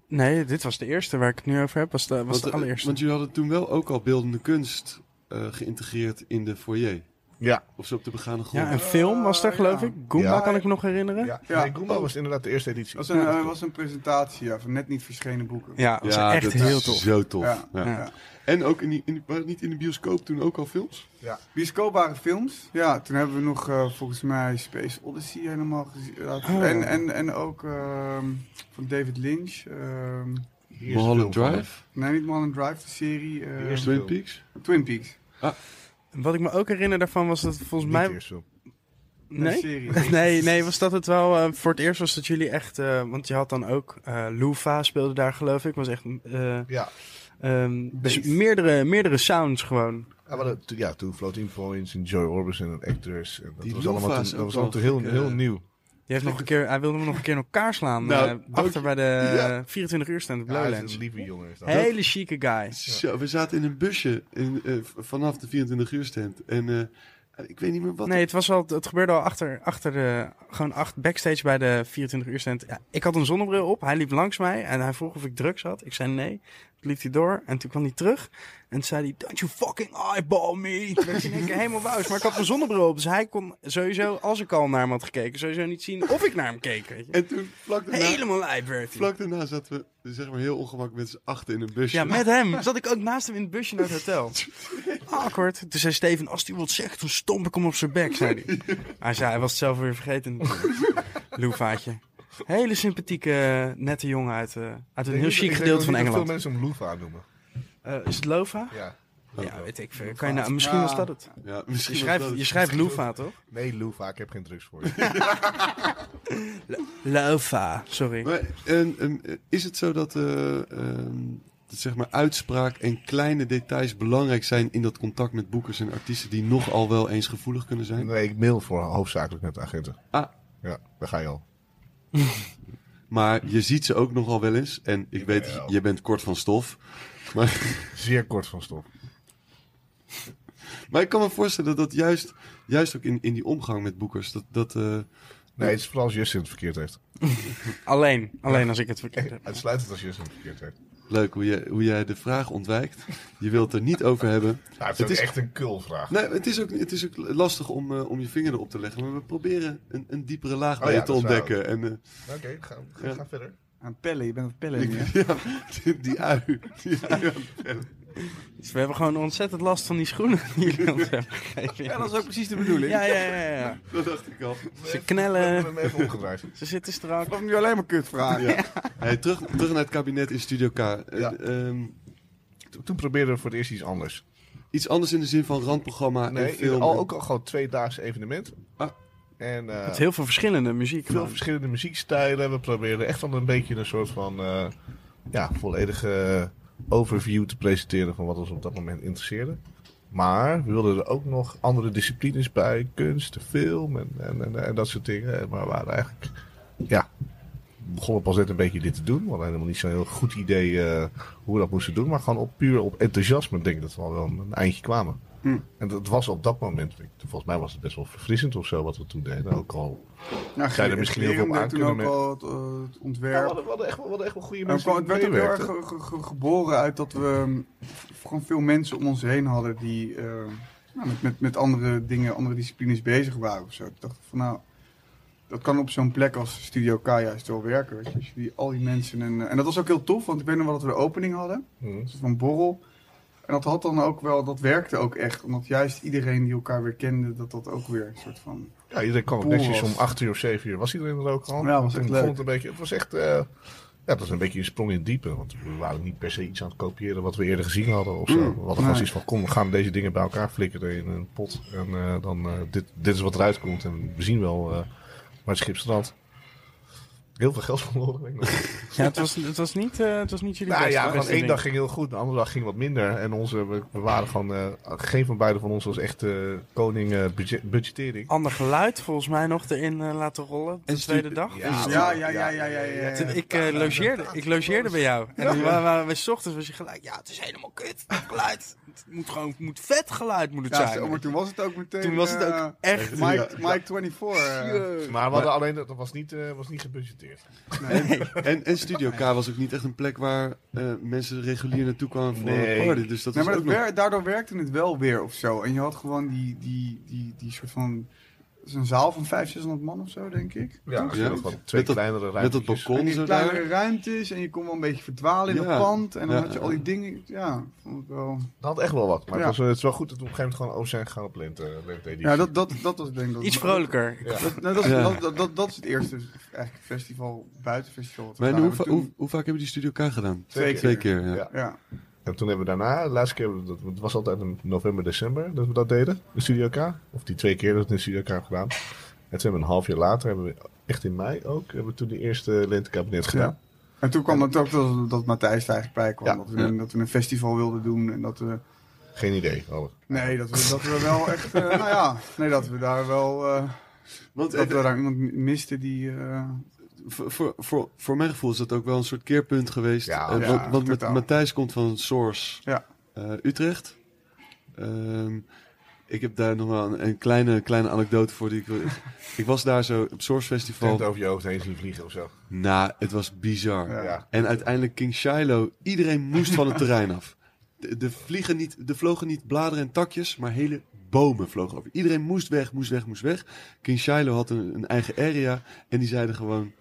Speaker 1: Nee, dit was de eerste waar ik het nu over heb. Was de, was
Speaker 2: Want,
Speaker 1: de
Speaker 2: eh,
Speaker 1: allereerste.
Speaker 2: Want jullie hadden toen wel ook al beeldende kunst eh, geïntegreerd in de foyer.
Speaker 3: ja.
Speaker 2: Of zo op de begane grond.
Speaker 1: ja, een film was er, geloof
Speaker 4: ja.
Speaker 1: ik. Goomba
Speaker 3: Ja.
Speaker 1: kan ik me nog herinneren. Ja,
Speaker 3: ja. Nee, Goomba was inderdaad de eerste editie.
Speaker 4: Dat was een,
Speaker 1: Ja.
Speaker 4: eh, was een presentatie ja, van net niet verschenen boeken.
Speaker 1: dat was echt
Speaker 2: dat
Speaker 1: heel
Speaker 2: is
Speaker 1: tof.
Speaker 2: Zo tof.
Speaker 4: Ja.
Speaker 2: Ja.
Speaker 1: Ja.
Speaker 2: En ook in die, in, die- waren het niet in de bioscoop toen ook al films?
Speaker 4: Bioscoopbare films. Ja, toen hebben we nog eh, volgens mij Space Odyssey helemaal gezien.
Speaker 1: Oh.
Speaker 4: En, en, en ook ehm, van David Lynch. ehm,
Speaker 3: Hier is de
Speaker 2: Mulholland
Speaker 3: film van.
Speaker 2: Drive,
Speaker 4: nee, niet Mulholland Drive, de serie. eh,
Speaker 3: De eerste
Speaker 2: Twin
Speaker 3: film.
Speaker 2: Peaks.
Speaker 4: Twin Peaks.
Speaker 1: Wat ik me ook herinner daarvan was dat volgens
Speaker 3: Niet
Speaker 1: mij...
Speaker 3: de eerste film.
Speaker 4: De
Speaker 1: Nee?
Speaker 4: serie.
Speaker 1: Nee, nee, was dat het wel. eh, voor het eerst was dat jullie echt. eh, want je had dan ook. eh Lufa speelde daar, geloof ik. Was echt. eh,
Speaker 3: Ja.
Speaker 1: ehm, dus
Speaker 4: Beest.
Speaker 1: meerdere, meerdere sounds gewoon.
Speaker 3: Ja, maar dat- toen- ja, toen Floating Points en Joy Orbison en Actors. En dat
Speaker 2: Die
Speaker 3: was allemaal,
Speaker 2: Loefa's
Speaker 3: toen-
Speaker 2: ook
Speaker 3: dat was
Speaker 2: wel
Speaker 3: allemaal toen heel,
Speaker 2: gek, eh,
Speaker 3: heel nieuw.
Speaker 1: Die heeft nog een keer, hij wilde me nog een keer in elkaar slaan.
Speaker 2: Nou,
Speaker 1: eh,
Speaker 2: dank
Speaker 1: achter bij de
Speaker 2: Ja.
Speaker 1: eh, 24 uur staande
Speaker 3: Ja, hij
Speaker 1: Blowlands.
Speaker 3: is een lieve jongen. Is dat.
Speaker 1: Hele chique guy.
Speaker 2: Zo, we zaten in een busje in, eh, v- vanaf de 24 uur stand. En eh, ik weet niet meer wat.
Speaker 1: Nee, het, was al, het gebeurde al achter, achter de, gewoon acht, backstage bij de 24 uur stand. Ja, ik had een zonnebril op, hij liep langs mij en hij vroeg of ik drugs had. Ik zei nee. Toen liep hij door en toen kwam hij terug en toen zei hij, don't you fucking eyeball me. Toen werd hij in één keer helemaal wauws, maar ik had mijn zonnebril op. Dus hij kon sowieso, als ik al naar hem had gekeken, sowieso niet zien of ik naar hem keek. Weet je.
Speaker 2: En toen vlak
Speaker 3: Nou,
Speaker 2: daarna,
Speaker 1: Helemaal lijp werd hij.
Speaker 2: vlak daarna zaten we zeg maar heel ongemakkelijk met z'n achten in een busje.
Speaker 1: Ja, met hem. Zat ik ook naast hem in het busje naar het hotel. Awkward. Toen zei Steven, als hij wat zegt, dan stomp ik hem op zijn bek, zei hij. Hij zei, hij was het zelf weer vergeten. Loefaatje. Hele sympathieke, nette jongen uit, eh, uit een heel chic gedeelte van
Speaker 3: veel
Speaker 1: Engeland.
Speaker 3: mensen hem Loefa noemen.
Speaker 1: Eh, is het Lova?
Speaker 3: Ja.
Speaker 1: Ja, weet ik veel. Kan je nou, misschien
Speaker 4: Ja.
Speaker 1: was dat het.
Speaker 2: Ja,
Speaker 1: Je
Speaker 2: misschien was
Speaker 1: schrijft,
Speaker 2: dat
Speaker 1: je
Speaker 2: het.
Speaker 1: schrijft Loeva, toch?
Speaker 3: Nee, Loefa, ik heb geen drugs voor je.
Speaker 1: Lova, sorry.
Speaker 2: Maar, en, ehm, is het zo dat, eh, ehm, dat zeg maar uitspraak en kleine details belangrijk zijn in dat contact met boekers en artiesten die nogal wel eens gevoelig kunnen zijn?
Speaker 3: nee, ik mail voor hoofdzakelijk met de agenten.
Speaker 2: Ah.
Speaker 3: Ja, daar ga je al.
Speaker 2: Maar je ziet ze ook nogal wel eens. En ik weet,
Speaker 3: Jawel.
Speaker 2: je bent kort van stof. Maar,
Speaker 3: Zeer kort van stof.
Speaker 2: maar ik kan me voorstellen dat dat juist, juist ook in, in die omgang met boekers, dat, dat eh,
Speaker 3: Nee, het is vooral als Justin het verkeerd heeft.
Speaker 1: Alleen, alleen als ik het verkeerd heb.
Speaker 3: Uitsluitend als Justin het verkeerd heeft.
Speaker 2: leuk hoe, je, hoe jij de vraag ontwijkt. Je wilt er niet over hebben.
Speaker 3: Nou, het is,
Speaker 2: Het is-
Speaker 3: ook echt een kulvraag.
Speaker 2: Nee, het is ook, het is ook lastig om, eh, om je vinger erop te leggen. Maar we proberen een, een diepere laag
Speaker 3: Oh
Speaker 2: bij
Speaker 3: ja,
Speaker 2: je te
Speaker 3: dat is waar
Speaker 2: ontdekken. En, eh,
Speaker 3: Oké, ga, ga,
Speaker 2: Ja.
Speaker 3: ga verder.
Speaker 4: Aan pellen, Ah, je bent aan pellen.
Speaker 2: Ik-
Speaker 4: hè?
Speaker 2: ja, eh, die, die ui. Die ui aan het bellen.
Speaker 1: Dus we hebben gewoon ontzettend last van die schoenen die jullie ons hebben gegeven.
Speaker 4: Ja,
Speaker 1: Ja,
Speaker 4: dat is ook precies de bedoeling.
Speaker 1: ja, ja, ja, ja.
Speaker 2: Dat dacht ik al.
Speaker 1: Ze knellen.
Speaker 3: We hebben hem even omgedraaid.
Speaker 1: Ze zitten strak.
Speaker 4: Of nu alleen maar kutvragen.
Speaker 2: Ja. Hey, terug, terug naar het kabinet in Studio K. Eh,
Speaker 3: Ja.
Speaker 2: ehm,
Speaker 3: Toen- Toen probeerden we voor het eerst iets anders.
Speaker 2: iets anders in de zin van randprogramma en
Speaker 3: Nee,
Speaker 2: film.
Speaker 3: al, ook al gewoon tweedaagse evenement.
Speaker 2: Ah.
Speaker 3: En eh,
Speaker 1: Met heel veel verschillende muziek.
Speaker 3: veel
Speaker 1: man.
Speaker 3: verschillende muziekstijlen. We probeerden echt wel een beetje een soort van eh, ja, volledige overview te presenteren van wat ons op dat moment interesseerde. Maar we wilden er ook nog andere disciplines bij, kunst, film en, en, en, en dat soort dingen. Maar we waren eigenlijk, ja, begonnen pas net een beetje dit te doen. We hadden helemaal niet zo'n heel goed idee eh, hoe we dat moesten doen. Maar gewoon op, puur op enthousiasme denk ik dat we al wel een, een eindje kwamen.
Speaker 4: Hm.
Speaker 3: En dat was op dat moment, volgens mij was het best wel verfrissend of zo wat we toen deden. Ook al
Speaker 4: Nou,
Speaker 3: Zou je er misschien heel veel op
Speaker 4: Gerard
Speaker 3: aan
Speaker 4: toen
Speaker 3: kunnen
Speaker 4: ook al het, eh, het
Speaker 3: Ja, we
Speaker 4: ontwerp.
Speaker 3: hadden, we hadden echt, wel- we hadden echt wel goede
Speaker 4: En het
Speaker 3: mensen.
Speaker 4: kwam- het werd
Speaker 3: die
Speaker 4: ook heel erg
Speaker 3: meewerkten.
Speaker 4: ge- ge- ge- geboren uit dat we mm, v- gewoon veel mensen om ons heen hadden die eh, nou, met, met, met andere dingen, andere disciplines bezig waren of zo. Ik dacht van nou, dat kan op zo'n plek als Studio K juist wel werken. Weet je? Als je die, al die mensen en, eh, en dat was ook heel tof, want ik weet nog wel dat we de opening hadden.
Speaker 3: Mhm.
Speaker 4: Een soort van borrel. En dat had dan ook wel, dat werkte ook echt. Omdat juist iedereen die elkaar weer kende, dat dat ook weer een soort van...
Speaker 3: Ja, iedereen kwam
Speaker 4: Poel
Speaker 3: netjes
Speaker 4: was.
Speaker 3: om 8 uur of 7 uur. Was iedereen er ook al?
Speaker 4: Ja, was
Speaker 3: Ik vond
Speaker 4: echt leuk.
Speaker 3: Het, een beetje, het was echt. eh, ja, het was een beetje een sprong in het diepe. Want we waren niet per se iets aan het kopiëren wat we eerder gezien hadden. Of zo.
Speaker 4: Mm,
Speaker 3: we hadden
Speaker 4: nee.
Speaker 3: gewoon iets van: kom, we gaan deze dingen bij elkaar flikkeren in een pot. En eh, dan, eh, dit, dit is wat eruit komt. En we zien wel eh, waar het schip strandt. Heel veel geld verloren. Denk ik.
Speaker 1: Ja, het was, het was, niet, eh, het was niet jullie
Speaker 3: Nou
Speaker 1: beste,
Speaker 3: ja,
Speaker 1: beste
Speaker 3: gewoon één
Speaker 1: ding.
Speaker 3: dag ging heel goed, de andere dag ging wat minder. En onze, we, we waren gewoon, eh, geen van beiden van ons was echt eh, koning eh, budget- budgettering.
Speaker 1: Ander geluid volgens mij nog erin eh, laten rollen. De
Speaker 2: En stu-
Speaker 1: tweede dag.
Speaker 3: Ja,
Speaker 4: Ja, ja, ja, ja, ja, ja.
Speaker 1: Toen ik, eh, logeerde, ik logeerde bij jou. En dan wa- waren we 's ochtends was je gelijk. Ja, het is helemaal kut. dat Geluid. Het moet gewoon het moet vet geluid moet het
Speaker 4: Ja,
Speaker 1: zijn.
Speaker 4: maar toen was het ook meteen...
Speaker 1: Toen was het ook
Speaker 4: eh,
Speaker 1: echt.
Speaker 4: Mike, Mike 24. eh.
Speaker 3: Maar we hadden alleen, dat was niet, eh, was niet gebudgeteerd.
Speaker 2: En, en Studio K was ook niet echt een plek waar eh, mensen regulier naartoe kwamen voor
Speaker 3: Nee.
Speaker 2: een party. Dus dat
Speaker 4: Nee,
Speaker 2: was
Speaker 4: maar
Speaker 2: ook
Speaker 4: dat
Speaker 2: nog...
Speaker 4: wer- daardoor werkte het wel weer of zo. En je had gewoon die, die, die, die soort van... Het is een zaal van 500, 600 man of zo, denk ik.
Speaker 3: Ja, dus
Speaker 2: Ja.
Speaker 3: gewoon twee
Speaker 2: Met dat-
Speaker 3: kleinere
Speaker 2: Met dat
Speaker 3: ruimtes.
Speaker 2: balkon
Speaker 4: En
Speaker 2: zo
Speaker 4: die
Speaker 2: daar.
Speaker 4: kleinere ruimtes en je kon wel een beetje verdwalen in
Speaker 2: Ja.
Speaker 4: het pand. En dan
Speaker 2: Ja.
Speaker 4: had je al die dingen. Ja, vond ik wel.
Speaker 3: Dat had echt wel wat. Maar
Speaker 4: Ja.
Speaker 3: het, was, eh, het is wel goed dat we op een gegeven moment gewoon over zijn gegaan op Lent. eh, Lent editie.
Speaker 4: Ja, dat, dat, dat was denk ik. Dat
Speaker 1: Iets vrolijker.
Speaker 4: Dat, nou, dat, is-
Speaker 2: Ja.
Speaker 4: dat, dat, dat, dat is het eerste eigenlijk festival, buitenfestival. wat we
Speaker 2: Maar en
Speaker 4: gedaan
Speaker 2: hoe, va-
Speaker 4: hebben.
Speaker 2: hoe, hoe vaak hebben die Studio K gedaan?
Speaker 4: Twee
Speaker 2: Twee keer, ja.
Speaker 3: Ja.
Speaker 4: Toen- Ja.
Speaker 3: En toen hebben we daarna, de laatste keer, hebben we dat, het was altijd in november, december dat we dat deden, de Studio K. Of die twee keer dat we de Studio K hebben gedaan. En toen hebben we een half jaar later, hebben we echt in mei ook, hebben we toen de eerste lentekabinet gedaan.
Speaker 4: En toen kwam het ook dat, dat Matthijs er eigenlijk bij kwam.
Speaker 3: Ja.
Speaker 4: Dat, we, een- dat we een festival wilden doen. En dat we.
Speaker 3: Geen idee. Alle.
Speaker 4: Nee, dat we, dat we wel echt. eh, nou ja, nee, dat we daar wel. eh,
Speaker 2: Want
Speaker 4: dat
Speaker 2: eh,
Speaker 4: we daar iemand misten die. eh,
Speaker 2: voor, voor, voor, voor mijn gevoel is dat ook wel een soort keerpunt geweest.
Speaker 3: Ja,
Speaker 2: Eh,
Speaker 4: ja,
Speaker 2: want want met,
Speaker 4: totaal.
Speaker 2: Matthijs komt van Source
Speaker 4: Ja.
Speaker 2: eh, Utrecht. Ehm, ik heb daar nog wel een, een kleine, kleine anekdote voor. Die ik, wil- ik- ik was daar zo op Source Festival.
Speaker 3: Tent over je hoofd heen zien vliegen of zo.
Speaker 2: Nou, het was bizar.
Speaker 4: Ja.
Speaker 3: Ja.
Speaker 2: En uiteindelijk King Shiloh, iedereen moest van het terrein af. De, de, vliegen niet, de vlogen niet bladeren en takjes, maar hele bomen vlogen over. Iedereen moest weg, moest weg, moest weg. King Shiloh had een, een eigen area en die zeiden gewoon...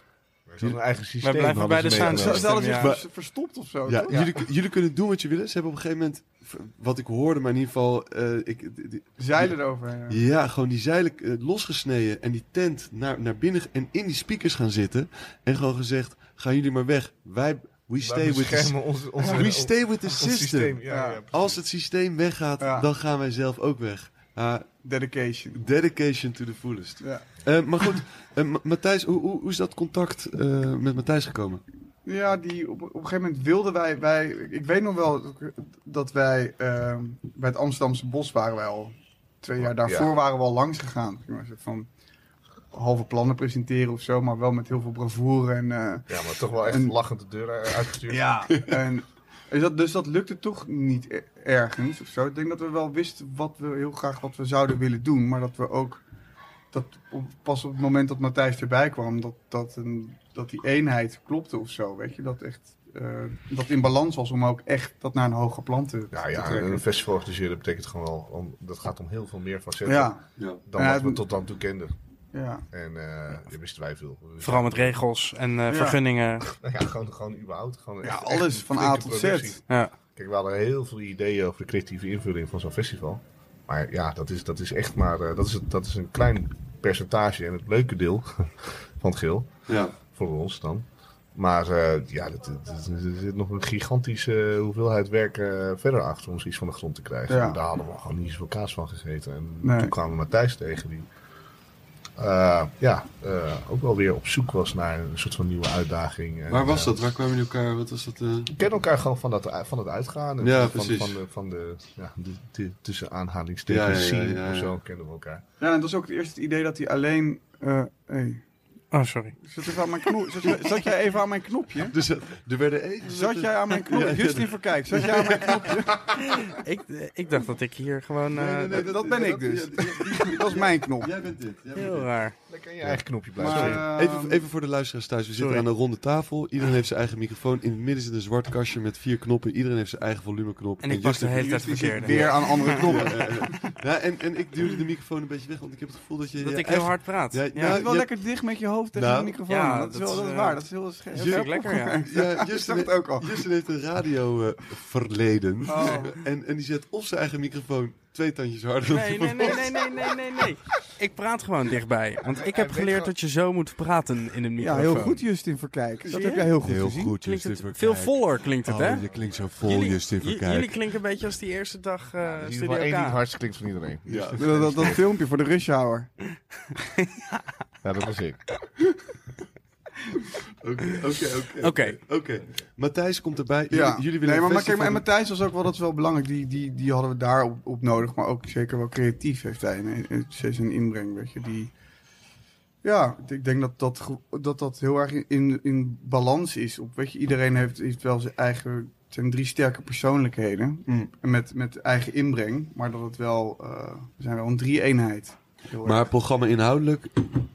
Speaker 3: Ze hadden een eigen systeem.
Speaker 1: blijven
Speaker 3: hadden
Speaker 1: bij
Speaker 3: ze
Speaker 1: de
Speaker 3: meegenomen.
Speaker 4: ze ze
Speaker 1: sound
Speaker 4: hadden zich
Speaker 1: ja.
Speaker 4: vers- verstopt of zo.
Speaker 2: Ja,
Speaker 4: Oh, toch?
Speaker 2: Jullie, jullie kunnen doen wat je willen. Ze hebben op een gegeven moment, v- wat ik hoorde, maar in ieder geval... eh, ik, d- d-
Speaker 4: Zeilen erover. ja.
Speaker 2: ja, gewoon die zeilen eh, losgesneden en die tent naar, naar binnen ge- en in die speakers gaan zitten. En gewoon gezegd, gaan jullie maar weg. Wij, we
Speaker 3: Wij
Speaker 2: stay with the
Speaker 3: beschermen onze, onze,
Speaker 2: We stay with the
Speaker 3: ons
Speaker 2: system.
Speaker 3: systeem. Ja, ja,
Speaker 4: Ja.
Speaker 3: precies.
Speaker 2: Als het systeem weggaat,
Speaker 4: Ja.
Speaker 2: dan gaan wij zelf ook weg. Ah,
Speaker 4: Dedication.
Speaker 2: dedication to the fullest.
Speaker 4: Ja.
Speaker 2: Eh, maar goed, eh, Ma- Matthijs, hoe, hoe, hoe is dat contact eh, met Matthijs gekomen?
Speaker 4: Ja, die, op, op een gegeven moment wilden wij, wij... Ik weet nog wel dat ik- dat wij ehm, bij het Amsterdamse Bos waren wij al... Twee jaar daarvoor
Speaker 3: Ja.
Speaker 4: waren we al langs gegaan. Zeg maar, een soort Van halve plannen presenteren of zo, maar wel met heel veel bravoure. En, eh,
Speaker 3: Ja, maar toch wel echt
Speaker 4: En-
Speaker 3: lachend de deur uit- uitgestuurd.
Speaker 4: en, dus, dat, dus dat lukte toch niet e- ergens of zo. Ik denk dat we wel wisten wat we heel graag wat we zouden willen doen, maar dat we ook dat op- pas op het moment dat Matthijs erbij kwam, dat, dat, een, dat die eenheid klopte of zo, weet je, dat echt eh, dat in balans was om ook echt dat naar een hoger plan te,
Speaker 3: Ja,
Speaker 4: te
Speaker 3: ja,
Speaker 4: trekken.
Speaker 3: een festival organiseren betekent gewoon wel, om, dat gaat om heel veel meer facetten
Speaker 4: Ja,
Speaker 2: Ja.
Speaker 3: dan
Speaker 4: Ja,
Speaker 3: wat we
Speaker 4: het-
Speaker 3: tot dan toe kenden.
Speaker 4: ja.
Speaker 3: En eh je wisten wij veel. Dus
Speaker 1: Vooral met regels en eh,
Speaker 4: Ja.
Speaker 1: vergunningen.
Speaker 3: Nou ja, gewoon, gewoon überhaupt. Gewoon
Speaker 4: ja
Speaker 3: echt- echt
Speaker 4: alles
Speaker 3: een
Speaker 4: van A
Speaker 3: flinke
Speaker 4: tot
Speaker 3: productie.
Speaker 4: Z.
Speaker 1: Ja.
Speaker 3: Kijk, we hadden heel veel ideeën over de creatieve invulling van zo'n festival. Maar ja, dat is, dat is echt maar... eh, dat, is, dat is een klein percentage en het leuke deel van het geel.
Speaker 2: Ja.
Speaker 3: Voor ons dan. Maar eh, ja, dat- dat- dat- er zit nog een gigantische hoeveelheid werk eh, verder achter om zoiets van de grond te krijgen.
Speaker 4: Ja.
Speaker 3: En daar hadden we gewoon niet zoveel kaas van gegeten. En
Speaker 4: Nee.
Speaker 3: toen kwamen we Matthijs tegen die eh, ja, eh, ook wel weer op zoek was naar een soort van nieuwe uitdaging. En,
Speaker 2: Waar was
Speaker 3: eh,
Speaker 2: dat? Waar kwamen jullie elkaar? Wat was dat? eh?
Speaker 3: we kennen elkaar gewoon van, dat, van het uitgaan. En
Speaker 2: Ja,
Speaker 3: van,
Speaker 2: precies.
Speaker 3: Van de, van de, ja, de, de- tussen aanhalingstekens
Speaker 2: Ja, ja, ja,
Speaker 3: scene
Speaker 2: ja, ja.
Speaker 3: of zo kennen we elkaar.
Speaker 4: Ja, en dat was ook het eerste idee dat hij alleen... eh hey,
Speaker 1: Oh, sorry.
Speaker 4: zat, even aan mijn knop, zat, zat jij even aan mijn knopje?
Speaker 2: Dus eh, er werden even...
Speaker 4: Zat jij aan mijn knopje?
Speaker 2: Ja, ja.
Speaker 4: Justin Verkijk, zat jij aan mijn knopje?
Speaker 1: Ik, eh, ik dacht dat ik hier gewoon... eh,
Speaker 2: Nee, nee, nee,
Speaker 4: dat- dat ben ik dus.
Speaker 2: ja, ja,
Speaker 4: Dat is mijn knop.
Speaker 2: Jij bent dit. jij bent
Speaker 1: Heel
Speaker 2: dit.
Speaker 1: raar.
Speaker 3: Lekker in je eigen knopje blijven.
Speaker 4: Maar,
Speaker 3: zitten.
Speaker 4: eh,
Speaker 2: Even, even voor de luisteraars thuis. We zitten
Speaker 1: Sorry.
Speaker 2: aan een ronde tafel. Iedereen heeft zijn eigen microfoon. In het midden zit een zwart kastje met vier knoppen. Iedereen heeft zijn eigen volumeknop.
Speaker 1: En ik was de
Speaker 2: Justin-
Speaker 1: hele tijd
Speaker 4: Justin zit
Speaker 1: verkeerde.
Speaker 4: weer aan andere knoppen.
Speaker 2: Ja, ja, ja. Ja, en, en ik duwde de microfoon een beetje weg, want ik heb het gevoel dat je...
Speaker 1: Dat
Speaker 2: je
Speaker 1: ik heel
Speaker 2: eigen-
Speaker 1: hard praat.
Speaker 2: Ja,
Speaker 1: Ja,
Speaker 2: nou,
Speaker 4: Het is wel
Speaker 2: je-
Speaker 4: lekker dicht met je hoofd tegen
Speaker 2: Nou,
Speaker 4: de microfoon.
Speaker 1: ja,
Speaker 4: dat, is
Speaker 1: dat
Speaker 4: wel, dat
Speaker 1: is,
Speaker 4: is
Speaker 1: eh,
Speaker 4: waar. Dat is heel scherp.
Speaker 1: Dat is natuurlijk lekker, ja.
Speaker 2: Ja,
Speaker 4: Ik
Speaker 2: Justin,
Speaker 4: zag het ook al.
Speaker 2: Justin heeft een radio eh, verleden.
Speaker 4: Oh.
Speaker 2: En, en die zet of zijn eigen microfoon twee tandjes harder dan
Speaker 1: Nee,
Speaker 2: die
Speaker 1: nee,
Speaker 2: van
Speaker 1: nee,
Speaker 2: ons.
Speaker 1: nee, nee, nee, nee, nee. Ik praat gewoon dichtbij. Want ik
Speaker 5: Hij
Speaker 1: heb
Speaker 5: weet
Speaker 1: geleerd
Speaker 5: gewoon-
Speaker 1: dat je zo moet praten in een
Speaker 2: Ja,
Speaker 1: microfoon.
Speaker 2: heel
Speaker 6: Ja, heel goed Justin Verkijk. Dat heb jij heel goed
Speaker 2: Heel
Speaker 6: gezien.
Speaker 2: goed,
Speaker 1: Klinkt
Speaker 2: Justin
Speaker 1: het,
Speaker 2: Verkijk.
Speaker 1: veel voller klinkt het, hè?
Speaker 2: Oh, je klinkt zo vol,
Speaker 1: Jullie-
Speaker 2: Justin
Speaker 1: j- Jullie
Speaker 2: Verkijk.
Speaker 1: klinken een beetje als die eerste dag eh
Speaker 5: Nou, In ieder
Speaker 1: Studio
Speaker 5: geval één die het
Speaker 1: K.
Speaker 5: hardst klinkt van iedereen.
Speaker 2: Ja.
Speaker 4: Dat, dat, dat filmpje voor de rush hour.
Speaker 5: Ja, dat was ik.
Speaker 2: Oké, oké, oké.
Speaker 1: Oké.
Speaker 2: Oké. Matthijs komt erbij. Jullie,
Speaker 4: Ja.
Speaker 2: jullie willen
Speaker 4: nee, maar,
Speaker 2: een
Speaker 4: maar kijk, maar en
Speaker 2: festival-
Speaker 4: Matthijs was ook wel, dat is wel belangrijk. Die, die, die hadden we daar op, op nodig. Maar ook zeker wel creatief heeft hij een, een- zijn inbreng, weet je. Die, ja, ik denk dat dat, ge- dat, dat heel erg in, in balans is. Op, weet je, iedereen heeft, heeft wel zijn eigen... Het zijn drie sterke persoonlijkheden.
Speaker 2: Mm.
Speaker 4: Met, met eigen inbreng. Maar dat het wel... eh, we zijn wel een drie-eenheid. Heel erg.
Speaker 2: Maar programma inhoudelijk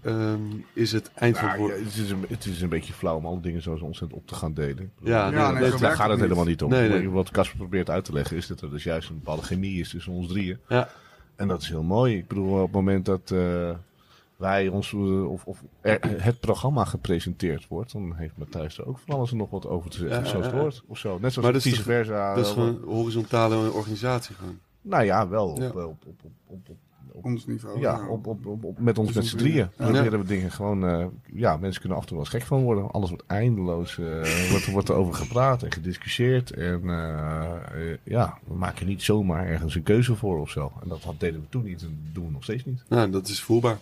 Speaker 2: ehm, is het
Speaker 3: Nou, ja,
Speaker 2: eindverantwoordelijk.
Speaker 3: het, is een, het is een beetje flauw om alle dingen zo ontzettend op te gaan delen. Ik bedoel,
Speaker 2: Ja, nee,
Speaker 4: Ja, nee,
Speaker 2: dat-
Speaker 4: zo
Speaker 3: daar
Speaker 4: werkt
Speaker 3: gaat het
Speaker 4: niet.
Speaker 3: helemaal niet om.
Speaker 2: Nee, nee.
Speaker 3: Maar Wat Casper probeert uit te leggen is dat er dus juist een bepaalde chemie is tussen ons drieën.
Speaker 2: Ja.
Speaker 3: En dat is heel mooi. Ik bedoel, op het moment dat eh, wij ons, eh, of, of er- het programma gepresenteerd wordt, dan heeft Matthijs er ook van alles en nog wat over te zeggen.
Speaker 2: Ja,
Speaker 3: zoals het
Speaker 2: ja, ja.
Speaker 3: hoort, of zo. Net
Speaker 2: Maar
Speaker 3: zoals
Speaker 2: dat is
Speaker 3: vice
Speaker 2: toch-
Speaker 3: versa.
Speaker 2: dat is
Speaker 3: eh,
Speaker 2: gewoon horizontale organisatie gewoon.
Speaker 3: Nou ja, wel. Op,
Speaker 2: Ja.
Speaker 3: eh, op, op, op, op, op,
Speaker 4: Ons niveau.
Speaker 3: ja, op, op, op, op- met ons
Speaker 4: Oh, Dus
Speaker 3: met
Speaker 4: ons
Speaker 3: z'n drieën.
Speaker 4: drieën.
Speaker 2: Ja.
Speaker 3: Proberen we dingen gewoon... eh, ja, mensen kunnen af en toe wel eens gek van worden. Alles wordt eindeloos... eh wordt, wordt er over gepraat en gediscussieerd. En eh, eh, ja, we maken niet zomaar ergens een keuze voor of zo. En dat had- deden we toen niet en doen we nog steeds niet.
Speaker 2: Nou, dat is voelbaar.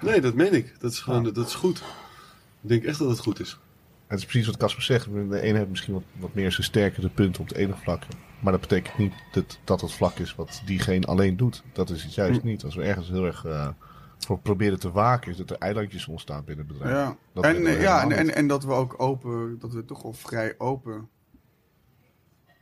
Speaker 2: nee, dat meen ik. Dat is gewoon, dat is goed. Ik denk echt dat het goed is.
Speaker 3: Het is precies wat Casper zegt. De ene heeft misschien wat, wat meer zijn sterkere punten op het ene vlak. Maar dat betekent niet dat, dat het vlak is wat diegene alleen doet. Dat is het juist
Speaker 4: Hm.
Speaker 3: niet. Als we ergens heel erg eh, voor proberen te waken, is dat er eilandjes ontstaan binnen het bedrijf.
Speaker 4: Ja.
Speaker 3: Dat
Speaker 4: en,
Speaker 3: willen we
Speaker 4: eh, ja,
Speaker 3: helemaal
Speaker 4: en,
Speaker 3: niet.
Speaker 4: en, en dat we ook open, dat we toch wel vrij open.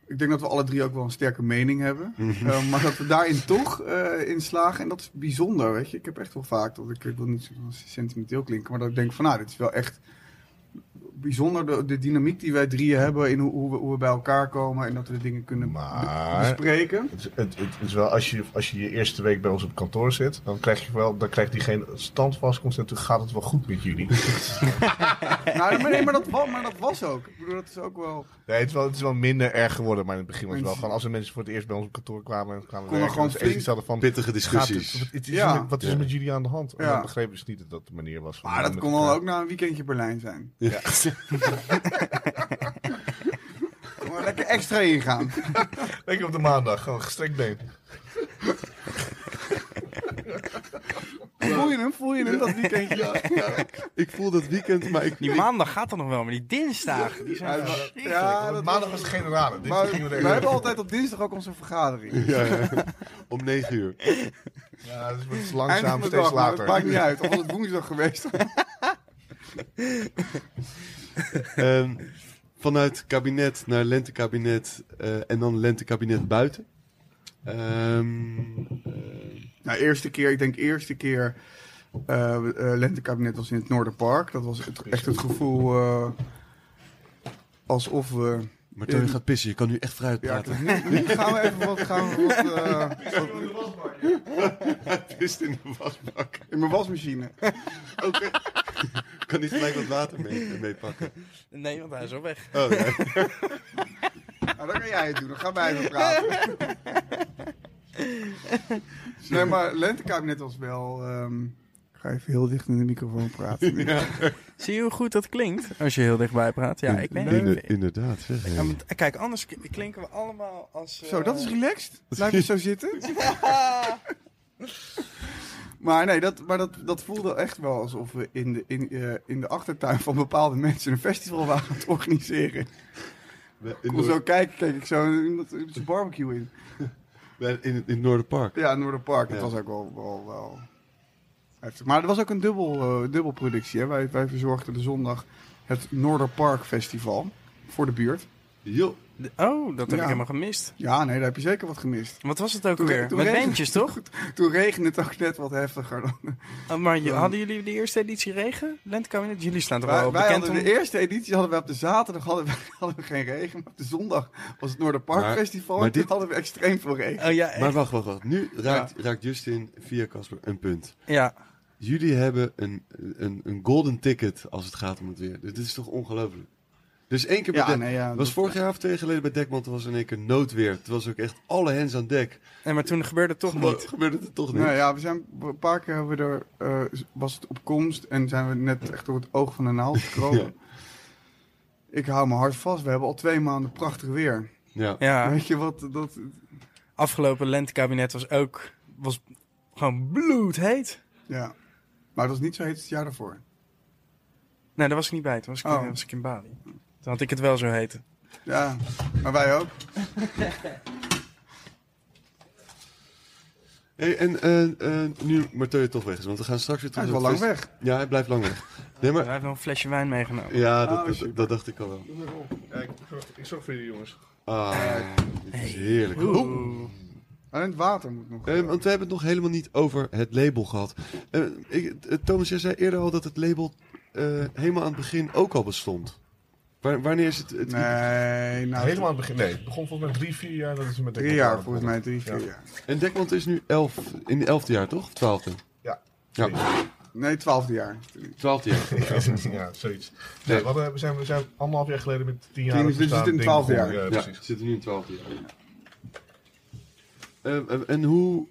Speaker 4: Ik denk dat we alle drie ook wel een sterke mening hebben.
Speaker 3: Mhm.
Speaker 4: Eh, maar dat we daarin toch eh, in slagen. En dat is bijzonder, weet je. Ik heb echt wel vaak dat ik, ik wil niet zo sentimenteel klinken. Maar dat ik denk van, nou, dit is wel echt bijzonder. De, de dynamiek die wij drieën hebben. In hoe, hoe, we, hoe we bij elkaar komen. En dat we de dingen kunnen be-
Speaker 3: Maar
Speaker 4: bespreken.
Speaker 3: het, het, het is wel, als, je, als je je eerste week bij ons op kantoor zit, dan krijg je wel, dan krijgt diegene standvast constant. Toen gaat het wel goed met jullie.
Speaker 4: Nou, maar, nee, maar, dat, wa- maar dat was ook. Ik bedoel, dat is ook wel...
Speaker 3: nee, het, is wel, het is wel minder erg geworden, maar in het begin was het wel gewoon als er mensen voor het eerst bij ons op kantoor kwamen en kwamen
Speaker 4: Kon er
Speaker 3: werken,
Speaker 4: gewoon
Speaker 3: dat ze eerst
Speaker 4: flink-
Speaker 3: iets hadden van
Speaker 2: Pittige
Speaker 3: gaat het-
Speaker 2: discussies.
Speaker 3: wat- het is
Speaker 4: Ja.
Speaker 3: met- wat is er
Speaker 2: Ja.
Speaker 3: met jullie aan de hand? En
Speaker 4: Ja.
Speaker 3: dan begrepen ze niet dat dat de manier was. van-
Speaker 4: Maar dat
Speaker 3: met
Speaker 4: kon
Speaker 3: elkaar.
Speaker 4: wel ook na een weekendje Berlijn zijn.
Speaker 2: Ja.
Speaker 4: Kom maar lekker extra ingaan.
Speaker 3: Lekker op de maandag, gewoon gestrekt been.
Speaker 4: Voel je hem? Voel je hem dat weekendje?
Speaker 2: Ja, ja. Ik voel dat weekend, maar ik...
Speaker 1: Die maandag gaat er nog wel, maar die dinsdagen, die zijn
Speaker 4: Ja,
Speaker 1: verschrikkelijk.
Speaker 4: ja,
Speaker 3: Want
Speaker 4: dat
Speaker 3: maandag was het generale. Dit
Speaker 4: Maar
Speaker 3: gingen we
Speaker 4: we
Speaker 3: er
Speaker 4: hebben altijd op dinsdag ook onze vergadering.
Speaker 2: Ja, ja. Om negen uur.
Speaker 3: Ja, het wordt
Speaker 4: Eind van
Speaker 3: langzaam,
Speaker 4: de
Speaker 3: steeds
Speaker 4: dag, maar
Speaker 3: later.
Speaker 4: Het maakt niet uit. Of was het woensdag geweest.
Speaker 2: Ehm, vanuit kabinet naar lentekabinet eh, en dan lentekabinet buiten. Ehm, eh,
Speaker 4: Nou, eerste keer, ik denk eerste keer. eh, eh, lentekabinet was in het Noorderpark. Dat was het- echt het gevoel. eh, alsof we.
Speaker 2: Martijn je gaat pissen, je kan nu echt vrij
Speaker 4: Ja,
Speaker 2: praten.
Speaker 4: nu gaan we even wat. Gaan we wat eh,
Speaker 2: Hij pist in de wasbak.
Speaker 4: in mijn wasmachine.
Speaker 2: Oké. kan niet gelijk wat water mee, mee pakken.
Speaker 1: Nee, want hij is al weg.
Speaker 2: Oh, ja.
Speaker 4: Nou, dan kan jij het doen. Dan gaan wij even praten. nee, maar lentekabinet was wel... ehm, Ik ga even heel dicht in de microfoon praten. nu.
Speaker 1: Zie je hoe goed dat klinkt als je heel dichtbij praat? Ja, ik ben
Speaker 2: Inder- Inderdaad, zeg.
Speaker 1: Ja, want, eh, Kijk, anders k- klinken we allemaal als... eh,
Speaker 4: Zo, dat is relaxed. Blijf je zo zitten. maar nee, dat, maar dat, dat voelde echt wel alsof we in de, in, eh, in de achtertuin van bepaalde mensen een festival waren aan het organiseren.
Speaker 2: Bij-
Speaker 4: Ik
Speaker 2: In,
Speaker 4: kon
Speaker 2: Noord-
Speaker 4: zo kijken, keek ik zo iemand op zijn barbecue in.
Speaker 2: bij- in, in het Noorderpark.
Speaker 4: Ja, Noorderpark. Dat
Speaker 2: Ja.
Speaker 4: was ook wel, wel, wel heftig. Maar het was ook een dubbel, eh, dubbelproductie. Hè? Wij, wij verzorgden de zondag het Noorderpark Festival voor de buurt.
Speaker 2: Jo.
Speaker 1: de- Oh, dat heb
Speaker 4: Ja.
Speaker 1: ik helemaal gemist.
Speaker 4: Ja, nee, daar heb je zeker wat gemist.
Speaker 1: Wat was het ook
Speaker 4: Toen-
Speaker 1: weer?
Speaker 4: toen
Speaker 1: Met
Speaker 4: regen-
Speaker 1: bandjes, toch?
Speaker 4: Toen regende het ook net wat heftiger. Dan...
Speaker 1: Oh, maar je-
Speaker 4: Ja.
Speaker 1: hadden jullie de eerste editie regen? Lentekabinet? Jullie staan toch
Speaker 4: Wij,
Speaker 1: wel
Speaker 4: wij
Speaker 1: bekend
Speaker 4: hadden de
Speaker 1: om...
Speaker 4: eerste editie hadden we op de zaterdag hadden we, hadden we geen regen. Maar op de zondag was het Noorderpark
Speaker 2: Maar-
Speaker 4: Festival.
Speaker 2: maar
Speaker 4: en toen
Speaker 2: dit-
Speaker 4: hadden we extreem veel regen.
Speaker 1: Oh ja, echt?
Speaker 2: Maar wacht, wacht, wacht. Nu raakt, raakt Justin via Casper een punt.
Speaker 1: eh, ja.
Speaker 2: Jullie hebben een, een, een golden ticket als het gaat om het weer. Dit is toch ongelooflijk? Dus één keer per
Speaker 4: Ja,
Speaker 2: dek.
Speaker 4: nee, ja.
Speaker 2: was vorig jaar of twee jaar geleden bij Dekman, toen was er in één keer noodweer. Toen was ook echt alle hens aan dek.
Speaker 1: En maar toen gebeurde het toch
Speaker 2: Gewoon
Speaker 1: niet.
Speaker 2: gebeurde het toch niet.
Speaker 4: Nou ja, we zijn een paar keer hebben we er, eh, was het op komst en zijn we net echt door het oog van de naald gekropen. Ik hou me hard vast. We hebben al twee maanden prachtig weer.
Speaker 2: Ja.
Speaker 1: Ja,
Speaker 4: Weet je wat? Dat,
Speaker 1: afgelopen lentekabinet was ook was gewoon bloedheet.
Speaker 4: ja. Maar dat is niet zo heet als het jaar daarvoor.
Speaker 1: Nee, daar was ik niet bij. Toen was ik,
Speaker 4: Oh.
Speaker 1: was ik in Bali. Toen had ik het wel zo heten.
Speaker 4: Ja, maar wij ook.
Speaker 2: Hey, en eh, eh, nu Marteu toch weg is, want we gaan straks weer
Speaker 4: Hij
Speaker 2: terug.
Speaker 4: is wel
Speaker 2: naar
Speaker 4: lang
Speaker 2: het
Speaker 4: weg.
Speaker 2: feest. Ja, hij blijft lang weg. Nee,
Speaker 1: Hij
Speaker 2: maar...
Speaker 1: heeft nog een flesje wijn meegenomen.
Speaker 2: Ja,
Speaker 4: Oh,
Speaker 2: dat,
Speaker 4: super.
Speaker 2: dat, dat dacht ik al wel.
Speaker 3: Kijk, ik zorg voor jullie jongens.
Speaker 2: Ah, dit is heerlijk.
Speaker 1: Oeh.
Speaker 4: Alleen het water moet nog.
Speaker 2: Eh, want we hebben het nog helemaal niet over het label gehad. Eh, ik, eh, Thomas, jij zei eerder al dat het label eh, helemaal aan het begin ook al bestond. Wa- wanneer is het? het
Speaker 4: nee, nou,
Speaker 3: Helemaal aan het begin. Nee, het begon volgens mij drie, vier jaar. Dat is met
Speaker 4: drie jaar volgens mij. Drie, vier
Speaker 3: Ja.
Speaker 4: jaar.
Speaker 2: En Dekmant is nu elf, in het elfde jaar, toch? Of twaalfde?
Speaker 3: Ja.
Speaker 2: Ja,
Speaker 4: Nee, twaalfde jaar.
Speaker 2: twaalfde jaar.
Speaker 3: ja, zoiets. Nee, we, hadden- we zijn, we zijn anderhalf jaar geleden met tien jaar.
Speaker 4: Tien is- dit is in twaalfde jaar.
Speaker 3: Ja,
Speaker 2: Ja,
Speaker 3: eh, precies.
Speaker 2: we zitten nu in het twaalfde jaar. Eh, eh, en hoe,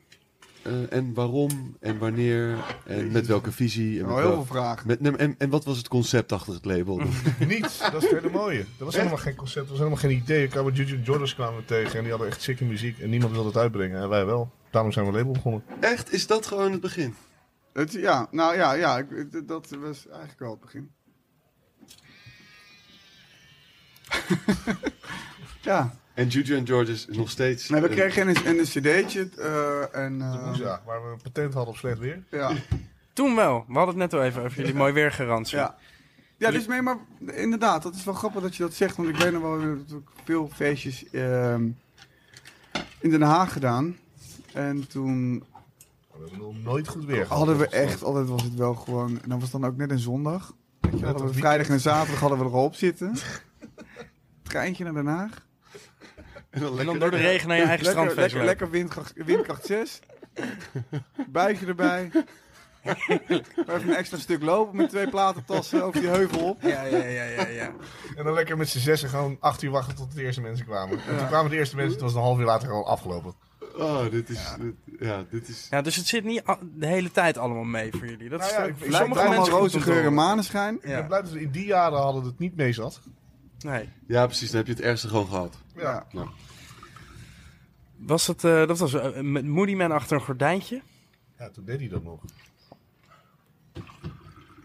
Speaker 2: eh, en waarom, en wanneer, en met welke visie? En, met
Speaker 4: Nou, heel veel
Speaker 2: wel-
Speaker 4: vragen.
Speaker 2: met, nee, en, en wat was het concept achter het label?
Speaker 3: Niets, dat is het hele mooie. Dat was helemaal geen concept, dat was helemaal geen idee. Ik kwam met Juju Jordans kwamen we tegen en die hadden echt zieke muziek en niemand wilde het uitbrengen. En wij wel. Daarom zijn we label begonnen.
Speaker 2: Echt, is dat gewoon het begin?
Speaker 4: Het, ja, nou ja, ja ik- d- dat was eigenlijk wel het begin. ja,
Speaker 2: En Juju en George is nog steeds...
Speaker 4: nee, we
Speaker 2: eh,
Speaker 4: kregen een, een cd'tje eh, en... eh,
Speaker 3: Dus ja, waar we een patent hadden op slecht weer.
Speaker 4: ja,
Speaker 1: Toen wel. We hadden het net al even over jullie mooi weergarantie.
Speaker 4: ja. Ja, dus nee, maar inderdaad, dat is wel grappig dat je dat zegt. Want ik weet nog wel, eh, dat ik veel feestjes ehm, in Den Haag gedaan. En toen
Speaker 3: We hebben nog nooit goed weer gehad.
Speaker 4: hadden we echt, altijd was het wel gewoon... En dat was dan ook net een zondag. Weet je,
Speaker 3: Net
Speaker 4: hadden
Speaker 3: een
Speaker 4: we vrijdag en zaterdag hadden we erop zitten. Treintje naar Den Haag.
Speaker 1: En
Speaker 2: En dan lekker-
Speaker 1: dan door de regen naar je eigen
Speaker 4: lekker,
Speaker 1: strandfeest
Speaker 4: lekker,
Speaker 1: lopen.
Speaker 4: lekker windkracht, windkracht 6. Bijtje erbij. Maar even een extra stuk lopen met twee platen tassen over die heuvel op.
Speaker 1: Ja, ja, ja, ja, ja.
Speaker 3: En dan lekker met z'n zessen gewoon acht uur wachten tot de eerste mensen kwamen. En toen kwamen de eerste mensen, het was een half uur later gewoon afgelopen.
Speaker 2: Oh, dit is... Ja, dit, ja, dit is...
Speaker 1: Ja, dus het zit niet a- de hele tijd allemaal mee voor jullie. Dat is
Speaker 3: Nou ja,
Speaker 1: ook
Speaker 3: ik-
Speaker 1: voor
Speaker 3: ik-
Speaker 1: sommige
Speaker 3: ik-
Speaker 4: Allemaal
Speaker 1: mensen goed
Speaker 4: roze
Speaker 1: om te
Speaker 4: geur en
Speaker 1: horen.
Speaker 4: maneschijn.
Speaker 3: Ik ben
Speaker 1: Ja.
Speaker 3: blij dat we in die jaren hadden het niet mee zat.
Speaker 1: Nee.
Speaker 2: ja, precies. Dan heb je het ergste gewoon gehad.
Speaker 4: Ja.
Speaker 1: Was dat, eh, dat was eh, met Moody Man achter een gordijntje.
Speaker 3: Ja, toen deed hij dat nog.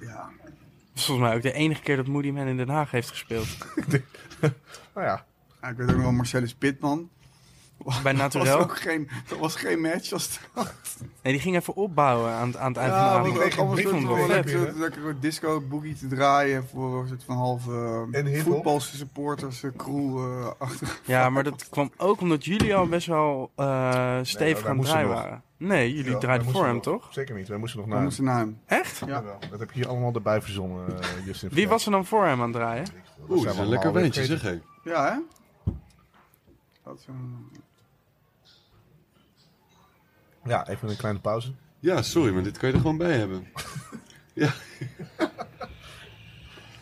Speaker 4: ja.
Speaker 1: Dat is volgens mij ook de enige keer dat Moody Man in Den Haag heeft gespeeld.
Speaker 3: Nou ja,
Speaker 4: Ah, ik weet ook nog wel Marcellus Pitman.
Speaker 1: Bij
Speaker 4: Dat was
Speaker 1: Naturel.
Speaker 4: ook geen, dat was geen match. Als dat.
Speaker 1: Nee, die ging even opbouwen aan, het- aan het eind
Speaker 4: Ja,
Speaker 1: van de
Speaker 4: want
Speaker 3: kreeg
Speaker 4: ook
Speaker 1: avond.
Speaker 3: een
Speaker 4: allemaal
Speaker 1: Ik vond
Speaker 3: brief
Speaker 4: soort
Speaker 1: het wel vet.
Speaker 3: van de lekker, hè?
Speaker 4: lekker, lekker disco boogie te draaien voor een soort van halve
Speaker 3: En
Speaker 4: eh,
Speaker 3: hip-hop.
Speaker 4: voetbalse supporters eh, crew eh, achter.
Speaker 1: Ja, maar dat kwam ook omdat jullie al best wel eh
Speaker 3: wij
Speaker 1: stevig aan het
Speaker 3: moesten
Speaker 1: draaien
Speaker 3: nog.
Speaker 1: waren. Nee, jullie
Speaker 3: Ja, wij
Speaker 1: draaiden voor
Speaker 3: moesten
Speaker 1: hem,
Speaker 3: nog-
Speaker 1: toch?
Speaker 3: Zeker niet, wij moesten nog
Speaker 1: Nou,
Speaker 4: Dan
Speaker 3: naar
Speaker 4: moesten naar hem.
Speaker 1: Echt?
Speaker 4: Ja.
Speaker 3: Jawel, Dat heb je hier allemaal erbij verzonnen, eh, Justin.
Speaker 1: Wie was er dan voor hem aan het draaien?
Speaker 2: Oeh, dat is een lekker wijntje, zeg hé.
Speaker 4: Ja, hè? Dat is een-
Speaker 3: Ja, even een kleine pauze.
Speaker 2: Ja, sorry, maar dit kan je er gewoon bij hebben.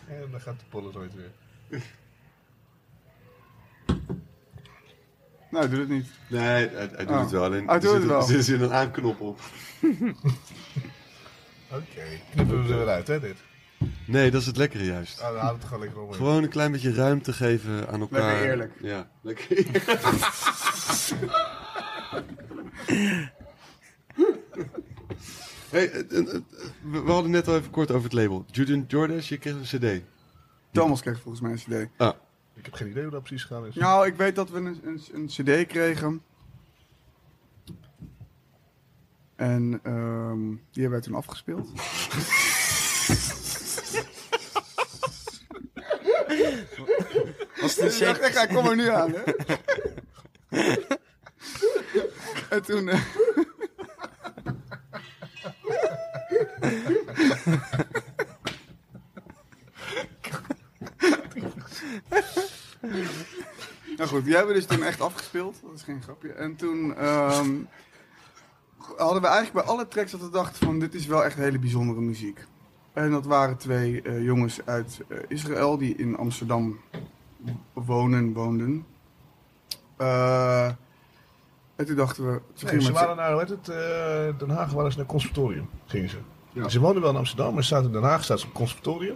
Speaker 3: En dan gaat de Polaroid weer.
Speaker 4: Nee, doe het niet.
Speaker 2: Nee, hij, hij doet
Speaker 4: Oh.
Speaker 2: het wel. Alleen,
Speaker 4: Hij doet
Speaker 2: er
Speaker 4: het
Speaker 2: zit
Speaker 4: wel.
Speaker 2: een- Er zit een aanknop op.
Speaker 3: Oké, knippen we er weer uit, hè, dit?
Speaker 2: Nee, dat is het lekkere juist.
Speaker 3: Ah, dan houden we het gewoon lekker om.
Speaker 2: Gewoon een klein beetje ruimte geven aan elkaar.
Speaker 4: Lekker eerlijk.
Speaker 2: Ja, lekker eerlijk. hey, eh, eh, eh, we we hadden net al even kort over het label. Juden Jordash, je kreeg een cd.
Speaker 4: Thomas kreeg volgens mij een cd.
Speaker 2: Ah,
Speaker 3: Ik heb geen idee hoe dat precies gegaan is.
Speaker 4: Nou, ik weet dat we een, een, een cd kregen. En ehm, die hebben wij toen afgespeeld.
Speaker 1: Was het een
Speaker 4: Dus ik dacht,
Speaker 1: shake?
Speaker 4: ik ga- kom er nu aan, hè. en toen... eh, nou goed, die hebben we dus toen echt afgespeeld. Dat is geen grapje. En toen... ehm, hadden we eigenlijk bij alle tracks dat we dachten van dit is wel echt hele bijzondere muziek. En dat waren twee eh, jongens uit eh, Israël die in Amsterdam wonen, woonden. Eh, en toen dachten we... toen
Speaker 3: Nee,
Speaker 4: gingen
Speaker 3: ze
Speaker 4: we
Speaker 3: waren naar, hoe heet het, eh, Den Haag waren ze naar het conservatorium, gingen ze. Dus
Speaker 4: Ja.
Speaker 3: Ze woonden wel in Amsterdam, maar ze zaten in Den Haag, zaten ze op het conservatorium.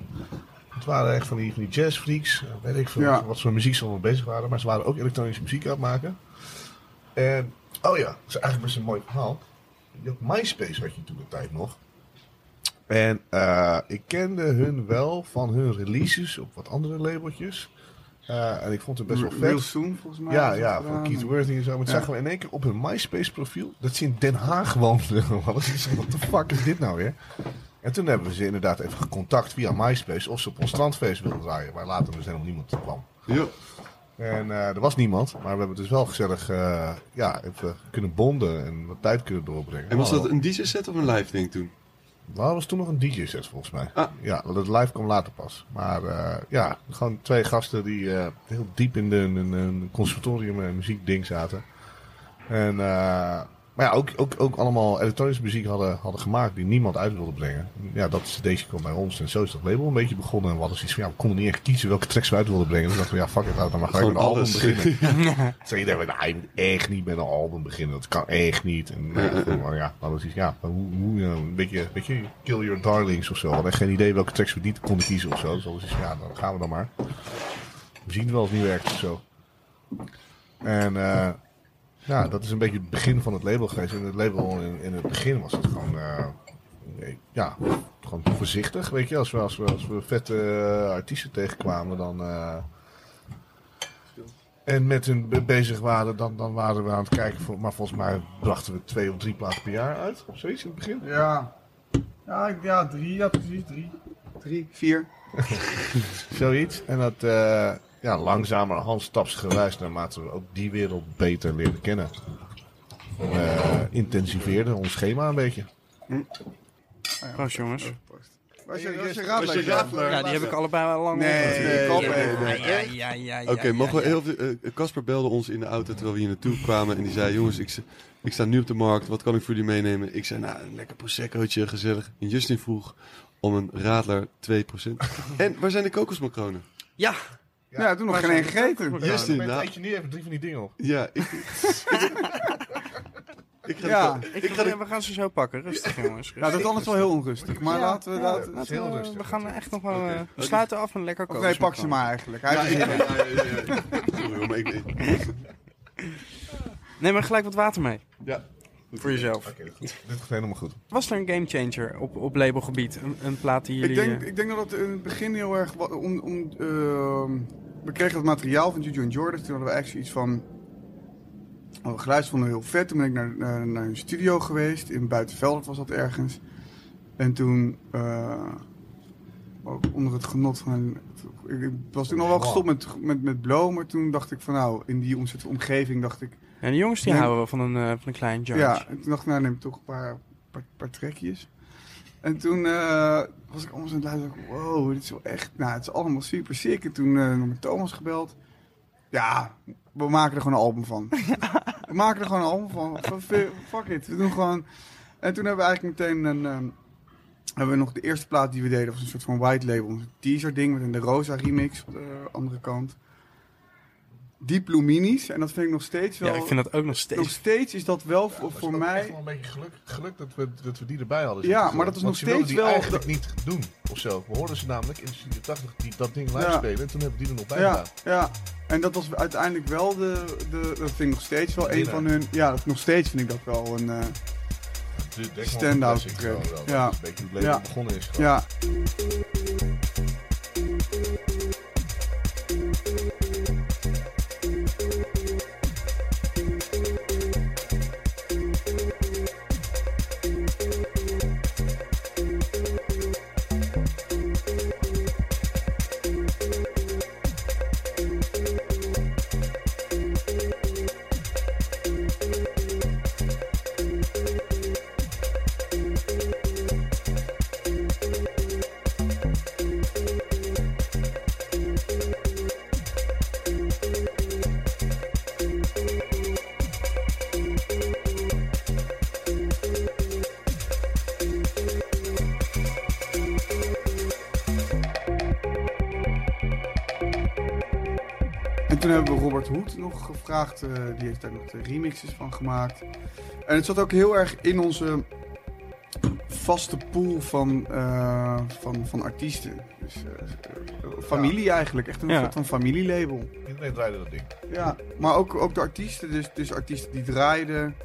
Speaker 3: Het waren echt van die, van die jazzfreaks, eh, weet ik veel,
Speaker 4: Ja.
Speaker 3: wat ze met muziek ze allemaal bezig waren. Maar ze waren ook elektronische muziek aan het maken. En, oh ja, dat is eigenlijk best een mooi verhaal. Je had MySpace had je toen de tijd nog. En eh, ik kende hun wel van hun releases op wat andere labeltjes. Eh, en ik vond het best wel vet.
Speaker 4: Real Soon, volgens mij.
Speaker 3: Ja,
Speaker 4: was het
Speaker 3: ja,
Speaker 4: gedaan.
Speaker 3: van Keith Worthy en zo. Maar het
Speaker 4: Ja.
Speaker 3: zag we in één keer op hun MySpace-profiel dat ze in Den Haag woonden. Wat de fuck is dit nou weer? En toen hebben we ze inderdaad even gecontact via MySpace of ze op ons strandfeest wilden draaien. Maar later dus helemaal niemand kwam.
Speaker 2: Jo.
Speaker 3: En eh, er was niemand, maar we hebben dus wel gezellig eh, ja, even kunnen bonden en wat tijd kunnen doorbrengen.
Speaker 2: En was dat
Speaker 3: Nou,
Speaker 2: een DJ-set of een live ding toen?
Speaker 3: nou, was toen nog een DJ-set volgens mij.
Speaker 2: Ah.
Speaker 3: Ja, want het live kwam later pas. Maar eh, ja, gewoon twee gasten die eh, heel diep in een de, in een conservatorium en muziekding zaten. En, eh, maar ja, ook, ook, ook allemaal elektronische muziek hadden, hadden gemaakt die niemand uit wilde brengen. Ja, dat cd'tje kwam bij ons en zo is dat label een beetje begonnen. En we hadden zoiets van, ja, we konden niet echt kiezen welke tracks we uit wilden brengen. Dus dachten we, ja, fuck it, laten we maar gelijk
Speaker 2: Gewoon
Speaker 3: een album
Speaker 2: alles.
Speaker 3: beginnen. Zeg je denkt, nou, je moet echt niet met een album beginnen. Dat kan echt niet. En nou ja, gewoon, ja, maar dat is, ja, maar hoe, hoe, eh, een beetje, een beetje Kill Your Darlings of zo. We hadden echt geen idee welke tracks we niet konden kiezen of zo. Dus alles is, ja, dan gaan we dan maar. We zien wel of het niet werkt of zo. En eh, ja, dat is een beetje het begin van het label geweest. En het label in, in het begin was het gewoon, eh, nee, ja, gewoon voorzichtig. Weet je, als we, als we, als we vette eh, artiesten tegenkwamen, dan... eh, en met hun be- bezig waren, dan, dan waren we aan het kijken. Voor, maar volgens mij brachten we twee of drie platen per jaar uit. Of zoiets in het begin.
Speaker 4: Ja. Ja, ik- ja, drie, ja, precies, drie. Drie, vier.
Speaker 3: Zoiets. En dat eh ja, langzamerhand stapsgewijs, naarmate we ook die wereld beter leren kennen. eh intensiveerden ons schema een beetje.
Speaker 1: Proost, jongens.
Speaker 4: Was je,
Speaker 3: Hey,
Speaker 4: was je
Speaker 3: Raadler?
Speaker 4: Raadler?
Speaker 2: Was je Raadler?
Speaker 1: Ja, die heb ik allebei wel lang
Speaker 4: Nee,
Speaker 1: opgezet.
Speaker 4: nee,
Speaker 1: Ja,
Speaker 4: nee, nee, nee.
Speaker 1: ja, ja, ja, ja,
Speaker 2: Oké, mogen we
Speaker 1: ja.
Speaker 2: heel veel... eh, Casper belde ons in de auto terwijl we hier naartoe kwamen. En die zei, jongens, ik, s- ik sta nu op de markt. Wat kan ik voor jullie meenemen? Ik zei, nou, een lekker proseccootje, gezellig. En Justin vroeg om een Radler 2%. en waar zijn de kokosmacronen?
Speaker 1: Ja,
Speaker 4: Ja, toen nog geen één gegeten.
Speaker 2: Yes,
Speaker 3: Op een
Speaker 2: inderdaad.
Speaker 3: moment Nou, eet je nu even drie van die dingen op.
Speaker 2: Ja, ik... ik ga
Speaker 4: Ja.
Speaker 2: de-
Speaker 1: ik ga, we gaan ze zo pakken. Rustig, jongens.
Speaker 4: Ja, Nou, dat is anders wel heel onrustig. Maar
Speaker 1: Ja.
Speaker 4: laten we dat...
Speaker 3: is
Speaker 1: Laten
Speaker 3: heel
Speaker 1: we-
Speaker 3: rustig. Oh,
Speaker 1: We gaan er echt nog wel... eh,
Speaker 2: Oké.
Speaker 1: we sluiten af en lekker
Speaker 4: Of
Speaker 1: koken.
Speaker 4: nee, pak ze maar eigenlijk. Hij
Speaker 2: Ja, ik...
Speaker 4: heeft er zin in.
Speaker 2: ja, ja, ja, ja. Sorry, hoor, maar ik... ik-
Speaker 1: Neem er gelijk wat water mee.
Speaker 2: Ja.
Speaker 1: Voor jezelf.
Speaker 3: Oké, goed. Dit gaat helemaal goed.
Speaker 1: Was er een gamechanger op, op labelgebied? Een, een plaat die jullie...
Speaker 4: Ik denk,
Speaker 1: eh,
Speaker 4: ik denk dat het in het begin heel erg... wa- Om, om, ehm, we kregen dat materiaal van Juju en Jordan. Toen hadden we echt zoiets van... Oh, het geluid vonden we heel vet. Toen ben ik naar, naar, naar hun studio geweest. In Buitenveldert was dat ergens. En toen... eh, ook onder het genot van... een- Ik ik was toen al wel gestopt met, met, met blow. Maar toen dacht ik van nou... In die omzet- omgeving dacht ik...
Speaker 1: Ja, de jongens die
Speaker 4: Ja.
Speaker 1: houden wel van een, eh, van een klein judge.
Speaker 4: Ja, en toen dacht ik, nou neem ik toch een paar, paar, paar trekjes. En toen eh, was ik allemaal aan het luisteren. dacht ik, Wow, dit is wel echt... Nou, het is allemaal super sick. En toen eh nog met Thomas gebeld. Ja, we maken er gewoon een album van. We maken er gewoon een album van. Van fi- Fuck it, we doen gewoon... En toen hebben we eigenlijk meteen een... ehm, hebben we nog de eerste plaat die we deden. was een soort van white label. Een teaser ding met een De Rosa remix op de andere kant. Deep Blue Minis. En dat vind ik nog steeds wel...
Speaker 1: Ja, ik vind dat ook nog steeds...
Speaker 4: Nog steeds is dat wel voor,
Speaker 3: Het was
Speaker 4: voor
Speaker 3: ook
Speaker 4: mij.
Speaker 3: echt wel een beetje geluk, geluk dat, we, dat we die erbij hadden.
Speaker 4: Ja,
Speaker 3: zitten.
Speaker 4: maar dat is
Speaker 3: Want
Speaker 4: nog
Speaker 3: ze wilden
Speaker 4: steeds
Speaker 3: die
Speaker 4: wel
Speaker 3: eigenlijk niet doen of zo. We hoorden ze namelijk in de Studio 80 die, dat ding live
Speaker 4: Ja.
Speaker 3: spelen. En toen hebben we die er nog bij
Speaker 4: Ja,
Speaker 3: gedaan.
Speaker 4: ja. En dat was uiteindelijk wel de. de dat vind ik nog steeds wel een
Speaker 3: Winnaar.
Speaker 4: van hun. Ja, dat, nog steeds vind ik dat wel een. eh,
Speaker 3: De Dekman
Speaker 4: Stand-out
Speaker 3: Classic
Speaker 4: track.
Speaker 3: gewoon wel.
Speaker 4: Ja.
Speaker 3: Dat is een beetje hoe het leven
Speaker 4: Ja.
Speaker 3: begonnen is. gewoon.
Speaker 4: ja. En toen hebben we Robert Hoed nog gevraagd. eh, die heeft daar nog de remixes van gemaakt. En het zat ook heel erg in onze vaste pool van, eh, van, van artiesten. Dus, eh, eh, familie eigenlijk. Echt een
Speaker 1: Ja.
Speaker 4: soort van familielabel.
Speaker 3: Iedereen draaide dat ding.
Speaker 4: Ja, maar ook, ook de artiesten. Dus, dus artiesten die draaiden.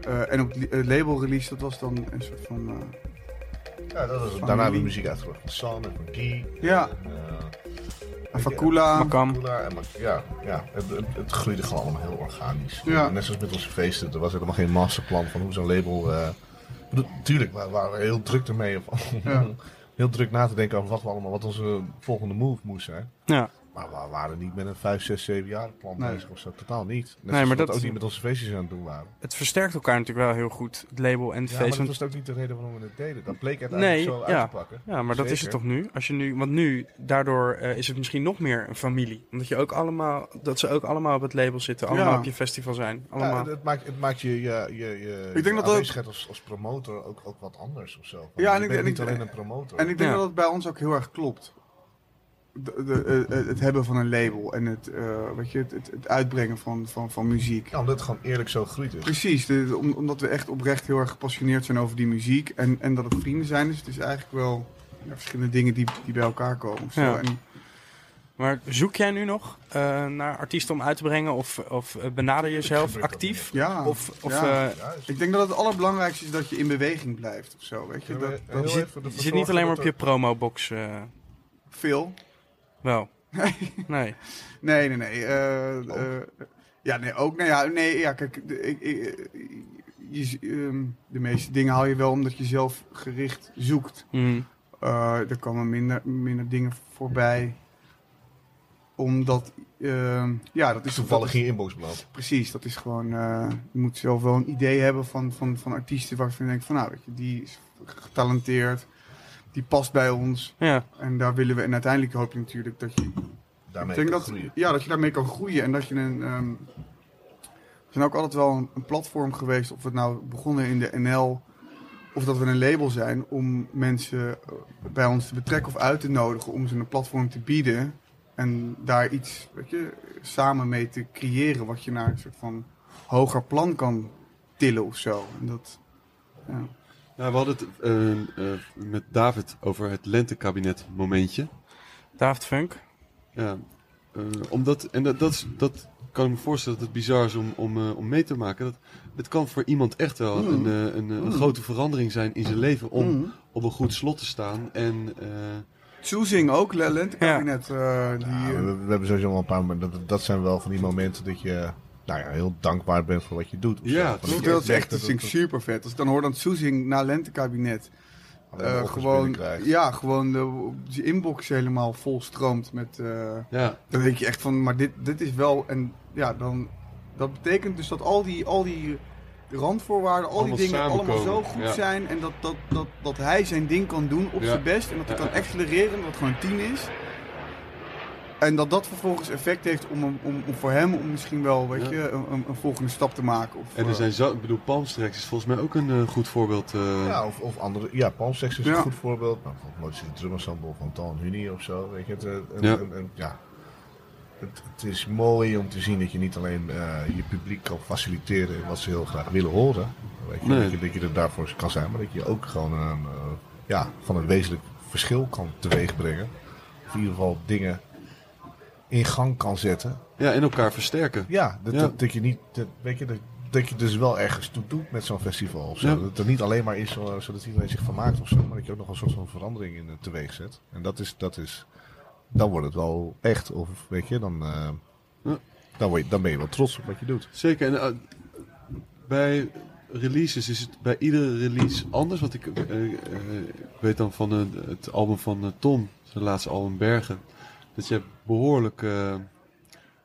Speaker 4: eh, en op li- eh, label release, dat was dan een soort van... eh,
Speaker 3: Ja, dat was,
Speaker 4: Van
Speaker 3: daarna hebben
Speaker 4: wie?
Speaker 3: we muziek uitgebracht. Van San en van Guy.
Speaker 4: ja,
Speaker 3: En, eh,
Speaker 1: eh,
Speaker 4: Avakula.
Speaker 1: Makam.
Speaker 3: Kula en Mac- ja, ja het, het, het groeide gewoon allemaal heel organisch.
Speaker 4: Ja.
Speaker 3: Net zoals met onze feesten. Er was helemaal geen masterplan van hoe zo'n label... eh, ik bedoel, tuurlijk, we waren we heel druk ermee. Of,
Speaker 4: Ja.
Speaker 3: heel druk na te denken over wat, we allemaal, wat onze volgende move moest zijn.
Speaker 1: Ja.
Speaker 3: Maar we waren niet met een 5, 6, 7 jaar plan
Speaker 4: Nee.
Speaker 3: bezig of zo. Totaal niet. Net
Speaker 1: Nee,
Speaker 3: zoals
Speaker 1: maar
Speaker 3: we
Speaker 1: dat-
Speaker 3: ook niet met onze feestjes aan het doen waren.
Speaker 1: Het versterkt elkaar natuurlijk wel heel goed, het label en het
Speaker 3: Ja, maar
Speaker 1: feest.
Speaker 3: dat
Speaker 1: want-
Speaker 3: was ook niet de reden waarom we het deden. Dat bleek uiteindelijk
Speaker 1: Nee,
Speaker 3: zo
Speaker 1: ja.
Speaker 3: uit te pakken.
Speaker 1: Ja, maar dat is het
Speaker 3: Zeker.
Speaker 1: toch nu? Als je nu want nu, daardoor eh, is het misschien nog meer een familie. Omdat je ook allemaal, dat ze ook allemaal op het label zitten, allemaal
Speaker 4: Ja.
Speaker 1: op je festival zijn.
Speaker 3: Ja,
Speaker 1: Allemaal.
Speaker 3: het, het maakt, het maakt je, je, je, je,
Speaker 4: denk
Speaker 3: je
Speaker 4: dat dat-
Speaker 3: aanwezigheid als, als promotor ook, ook wat anders of zo. Want
Speaker 4: Ja, en
Speaker 3: je
Speaker 4: ik-
Speaker 3: bent
Speaker 4: en
Speaker 3: niet
Speaker 4: ik-
Speaker 3: alleen een promotor.
Speaker 4: En ik denk
Speaker 1: Ja.
Speaker 4: dat het bij ons ook heel erg klopt. De, de, eh, het hebben van een label en het, eh, weet je, het, het, het uitbrengen van, van, van muziek.
Speaker 3: Ja, omdat het gewoon eerlijk zo groeit is.
Speaker 4: Precies, de- om- omdat we echt oprecht heel erg gepassioneerd zijn over die muziek. En, en dat het vrienden zijn, dus het is eigenlijk wel ja, verschillende dingen die, die bij elkaar komen. of zo.
Speaker 1: Ja.
Speaker 4: En,
Speaker 1: Maar zoek jij nu nog eh, naar artiesten om uit te brengen? Of, of eh, benader jezelf
Speaker 3: gebeurt dat
Speaker 1: actief?
Speaker 4: ja.
Speaker 1: Of, of
Speaker 4: Ja.
Speaker 1: eh,
Speaker 3: Juist.
Speaker 4: ik denk dat het allerbelangrijkste is dat je in beweging blijft of zo. Weet je,
Speaker 3: Kunnen we
Speaker 4: dat,
Speaker 3: heel
Speaker 4: dat
Speaker 3: even
Speaker 4: zit
Speaker 3: ervoor
Speaker 1: je zit
Speaker 3: zorgen
Speaker 1: niet alleen maar op
Speaker 3: dat
Speaker 1: je
Speaker 3: er-
Speaker 1: promobox? eh
Speaker 4: veel.
Speaker 1: wel. Nee.
Speaker 4: Nee, nee, nee. eh, eh, ja, nee, ook. Nou ja, nee, ja, kijk, de, ik, ik- je, z- ehm, de meeste dingen haal je wel omdat je zelf gericht zoekt.
Speaker 1: Mm.
Speaker 4: Eh er komen minder, minder dingen voorbij. Omdat, ehm, ja, dat is
Speaker 3: Toevallig
Speaker 4: dat
Speaker 3: in je inbox beland.
Speaker 4: is- Precies, dat is gewoon. eh, je moet zelf wel een idee hebben van, van, van artiesten waarvan je denkt: van nou, weet je, die is getalenteerd, die past bij ons.
Speaker 1: Ja.
Speaker 4: En daar willen we. En uiteindelijk hoop je natuurlijk dat je
Speaker 3: Daarmee
Speaker 4: ik denk
Speaker 3: kan
Speaker 4: dat,
Speaker 3: groeien.
Speaker 4: ja, dat je daarmee kan groeien. En dat je een. ehm, we zijn ook altijd wel een, een platform geweest. Of we het nou begonnen in de NL. Of dat we een label zijn. Om mensen eh, bij ons te betrekken of uit te nodigen. Om ze een platform te bieden. En daar iets weet je, samen mee te creëren. Wat je naar een soort van hoger plan kan tillen of zo. En dat, ja.
Speaker 2: Nou, we hadden het eh, eh, met David over het lentekabinet momentje.
Speaker 1: Daft Funk.
Speaker 2: Ja, eh, omdat, en dat, dat, is- dat kan ik me voorstellen dat het bizar is om, om, eh, om mee te maken. Dat, het kan voor iemand echt wel
Speaker 4: Mm.
Speaker 2: een, eh, een, eh, een
Speaker 4: Mm.
Speaker 2: grote verandering zijn in zijn leven om
Speaker 4: Mm.
Speaker 2: op een goed slot te staan. En eh,
Speaker 4: Soezing ook, Le- Lentekabinet. eh, die,
Speaker 3: Ja,
Speaker 4: eh,
Speaker 3: we, we hebben sowieso wel een paar momenten. Dat, dat zijn wel van die momenten dat je nou ja, heel dankbaar bent voor wat je doet. of
Speaker 2: Ja,
Speaker 3: zo. Van
Speaker 2: toch?
Speaker 3: je
Speaker 4: Dat is echt
Speaker 3: dat-
Speaker 4: dat vind ik
Speaker 3: dat-
Speaker 4: super vet. Als ik dan hoor dat Soezing na lentekabinet
Speaker 3: dat-
Speaker 4: eh,
Speaker 3: dat- dat-
Speaker 4: gewoon,
Speaker 3: binnenkrijgt.
Speaker 4: ja, gewoon de, die inbox helemaal vol stroomt met. eh,
Speaker 2: ja,
Speaker 4: dan denk je echt van, maar dit, dit is wel. En ja, dan. Dat betekent dus dat al die, al die randvoorwaarden, al
Speaker 2: Allemaal
Speaker 4: die dingen allemaal zo
Speaker 2: samenkomen,
Speaker 4: goed
Speaker 2: ja.
Speaker 4: zijn. En dat, dat, dat, dat hij zijn ding kan doen op
Speaker 2: Ja.
Speaker 4: zijn best. En dat hij
Speaker 2: Ja,
Speaker 4: kan
Speaker 2: ja.
Speaker 4: accelereren, omdat het gewoon een 10 is. En dat dat vervolgens effect heeft om, hem- om, om voor hem om misschien wel weet
Speaker 2: Ja.
Speaker 4: je, een, een- een volgende stap te maken. Of,
Speaker 2: en
Speaker 4: eh,
Speaker 2: er zijn zo, ik bedoel, Palmstrex is volgens mij ook een eh, goed voorbeeld. eh,
Speaker 3: Ja, of, of andere. Ja, Palmsex is
Speaker 4: Ja.
Speaker 3: een goed voorbeeld. Nou, bijvoorbeeld is het drummersample van Tan Huni of zo. Weet je, het, eh, een-
Speaker 2: Ja.
Speaker 3: een- een- ja. Het, het is mooi om te zien dat je niet alleen eh, je publiek kan faciliteren in wat ze heel graag willen horen. Weet je,
Speaker 2: Nee.
Speaker 3: dat, je, dat je er daarvoor kan zijn, maar dat je ook gewoon een, eh, ja, van een wezenlijk verschil kan teweegbrengen. Of in ieder geval dingen in gang kan zetten.
Speaker 2: ja, en elkaar versterken.
Speaker 3: Ja, dat,
Speaker 2: Ja.
Speaker 3: Dat, dat je niet. Dat, weet je, dat, dat je dus wel ergens toe doet met zo'n festival. Of zo.
Speaker 2: Ja.
Speaker 3: Dat het er niet alleen maar is eh, zodat iedereen zich van maakt of zo. Maar dat je ook nog een soort van verandering in eh, teweeg zet. En dat is, dat is. Dan wordt het wel echt. Of weet je, dan. eh,
Speaker 2: Ja.
Speaker 3: dan, word je, dan ben je wel trots op wat je doet.
Speaker 2: Zeker. En eh, bij releases is het bij iedere release anders. Want ik, eh, eh, ik weet dan van eh, het album van eh, Tom, zijn laatste album Bergen, dat je behoorlijk eh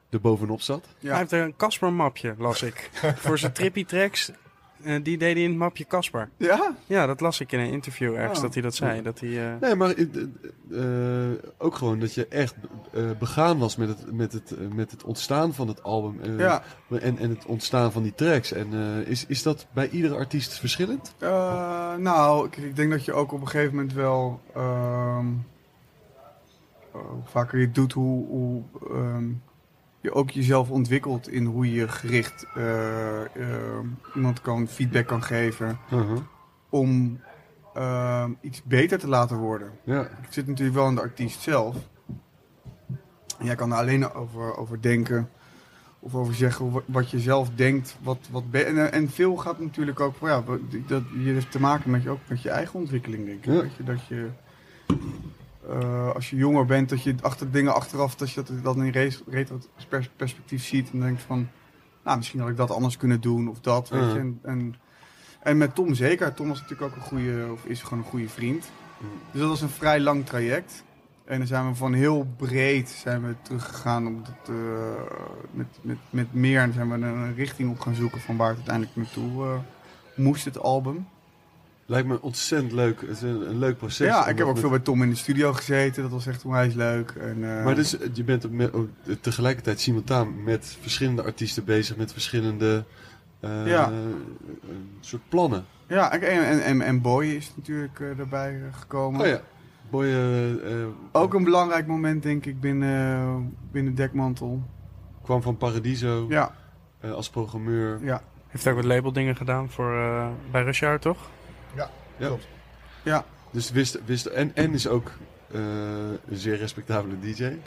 Speaker 2: er bovenop zat.
Speaker 4: Ja.
Speaker 1: Hij heeft er een Casper-mapje, las ik. Voor zijn trippy tracks. eh, die deed hij in het mapje Casper.
Speaker 4: Ja?
Speaker 1: Ja, dat las ik in een interview ergens
Speaker 4: Oh.
Speaker 1: dat hij dat zei. Dat hij, eh,
Speaker 2: Nee, maar eh, eh, eh, ook gewoon dat je echt eh, begaan was met het, met, het, eh, met het ontstaan van het album eh,
Speaker 4: Ja.
Speaker 2: en, en het ontstaan van die tracks. En eh, is, is dat bij iedere artiest verschillend?
Speaker 4: Eh, nou, ik, ik denk dat je ook op een gegeven moment wel. ehm, eh, hoe vaker je het doet, hoe. hoe ehm, je ook jezelf ontwikkelt in hoe je gericht eh, eh, iemand kan, feedback kan geven
Speaker 2: Mhm.
Speaker 4: om eh, iets beter te laten worden.
Speaker 2: Ja.
Speaker 4: Het zit natuurlijk wel in de artiest zelf. En Jij kan er alleen over, over denken. Of over zeggen wa- wat je zelf denkt. Wat, wat be- en, en veel gaat natuurlijk ook. Ja, wat- dat, je heeft te maken met je, ook met je eigen ontwikkeling, denk ik.
Speaker 2: Ja.
Speaker 4: Dat je. Dat je eh, als je jonger bent, dat je achter dingen achteraf. dat je dat, dat in res- retro-perspectief ziet. en denkt van. Nou, misschien had ik dat anders kunnen doen. of dat. Weet
Speaker 2: Ja.
Speaker 4: je. En, en, en met Tom zeker. Tom was natuurlijk ook een goede. of is gewoon een goede vriend. Dus dat was een vrij lang traject. En dan zijn we van heel breed zijn we teruggegaan op dat, eh, met, met, met meer. En zijn we een richting op gaan zoeken van waar het uiteindelijk naartoe eh, moest, het album.
Speaker 2: Lijkt me ontzettend leuk. Het is een, een leuk proces.
Speaker 4: ja,
Speaker 2: om
Speaker 4: ik
Speaker 2: dat
Speaker 4: heb ook
Speaker 2: met-
Speaker 4: veel bij Tom in de studio gezeten. Dat was echt onwijs leuk. En, eh,
Speaker 2: Maar dus, eh, je bent ook met- ook tegelijkertijd simultaan met verschillende artiesten bezig, met verschillende eh,
Speaker 4: Ja.
Speaker 2: eh, soort plannen.
Speaker 4: Ja, en, en, en, en Boy is natuurlijk eh, erbij eh, gekomen.
Speaker 2: Oh ja, boy. eh, eh,
Speaker 4: Ook een belangrijk moment, denk ik, binnen, binnen Dekmantel.
Speaker 2: kwam van Paradiso
Speaker 4: Ja,
Speaker 2: eh, als programmeur.
Speaker 4: ja.
Speaker 1: Heeft ook wat labeldingen gedaan voor, eh, bij Rush Hour, toch?
Speaker 2: Dus wist, wist en, en is ook eh, een zeer respectabele DJ.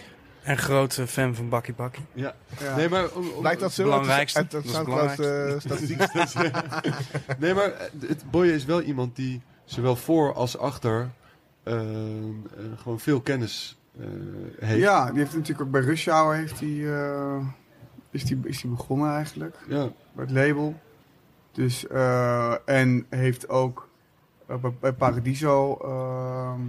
Speaker 1: En grote fan van Bakkie Bakkie.
Speaker 2: Ja.
Speaker 4: ja.
Speaker 2: Nee, maar om- om-
Speaker 5: Lijkt dat zo?
Speaker 1: belangrijkste.
Speaker 5: Uit de
Speaker 1: Dat is
Speaker 5: Soundcloud eh, statistiek.
Speaker 2: Nee, maar eh, het Boye is wel iemand die zowel voor als achter eh, eh, gewoon veel kennis eh, heeft.
Speaker 4: Ja, die heeft natuurlijk ook bij Rush Hour heeft die, eh, is, die, is die begonnen eigenlijk.
Speaker 2: Ja.
Speaker 4: bij het label. Dus, eh, en heeft ook eh, bij, bij Paradiso ehm,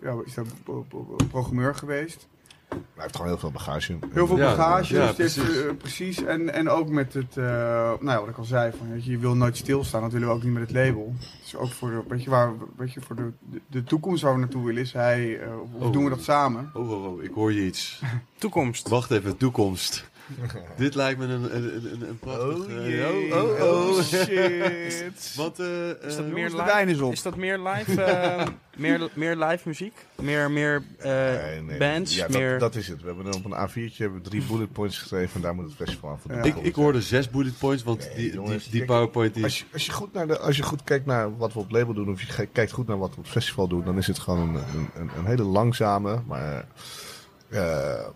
Speaker 4: ja, is daar pro- pro- programmeur geweest.
Speaker 3: Hij heeft gewoon heel veel bagage.
Speaker 4: Heel veel
Speaker 2: Ja,
Speaker 4: bagage,
Speaker 2: ja,
Speaker 4: dus dit,
Speaker 2: precies.
Speaker 4: eh, precies. En, en ook met het, eh, nou ja, wat ik al zei, van, weet je, je wil nooit stilstaan, dat willen we ook niet met het label. Dus ook voor de, weet je, waar, we- weet je, voor de, de, de toekomst waar we naartoe willen, is hij, eh, of
Speaker 2: Oh.
Speaker 4: doen we dat samen?
Speaker 2: Oh, oh, oh, ik hoor je iets.
Speaker 1: Toekomst.
Speaker 2: Wacht even, toekomst. Dit lijkt me een, een, een, een prachtig...
Speaker 3: Oh
Speaker 2: eh,
Speaker 4: shit.
Speaker 2: Want, eh,
Speaker 1: Is dat
Speaker 2: eh,
Speaker 1: meer
Speaker 6: de wijn is
Speaker 1: live?
Speaker 6: op.
Speaker 1: Is dat meer live, eh, meer, meer live muziek? Meer, meer eh,
Speaker 3: Nee, nee.
Speaker 1: bands?
Speaker 3: Ja, dat,
Speaker 1: meer...
Speaker 3: dat is het. We hebben op een A4'tje hebben we drie bullet points geschreven en daar moet het festival aan voldoen.
Speaker 4: Ja.
Speaker 2: ik, ik hoorde zes bullet points, want
Speaker 3: Nee,
Speaker 2: die,
Speaker 3: jongens,
Speaker 2: die, die
Speaker 3: kijk,
Speaker 2: powerpoint die
Speaker 3: Als je, als, je goed naar de, als je goed kijkt naar wat we op het label doen, of je ge- kijkt goed naar wat we op het festival doen, dan is het gewoon een, een- een, een hele langzame, maar eh,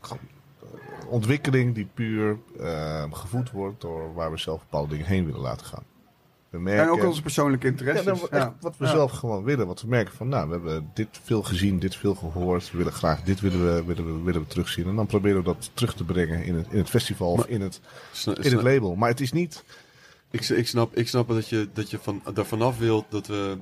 Speaker 3: gewoon, eh, ontwikkeling die puur eh, gevoed wordt door waar we zelf bepaalde dingen heen willen laten gaan. We merken,
Speaker 4: En ook onze persoonlijke
Speaker 3: Ja,
Speaker 4: interesses.
Speaker 3: nou,
Speaker 4: Ja,
Speaker 3: echt wat we
Speaker 4: Ja.
Speaker 3: zelf gewoon willen. Wat we merken van, nou, we hebben dit veel gezien, dit veel gehoord. We willen graag dit willen we, willen we, willen we terugzien. En dan proberen we dat terug te brengen in het, in het festival of in het,
Speaker 2: sna-
Speaker 3: in
Speaker 2: sna-
Speaker 3: het label. Maar het is niet
Speaker 2: Ik, s- ik snap, ik snap dat je, dat je van, daar vanaf wilt dat, we,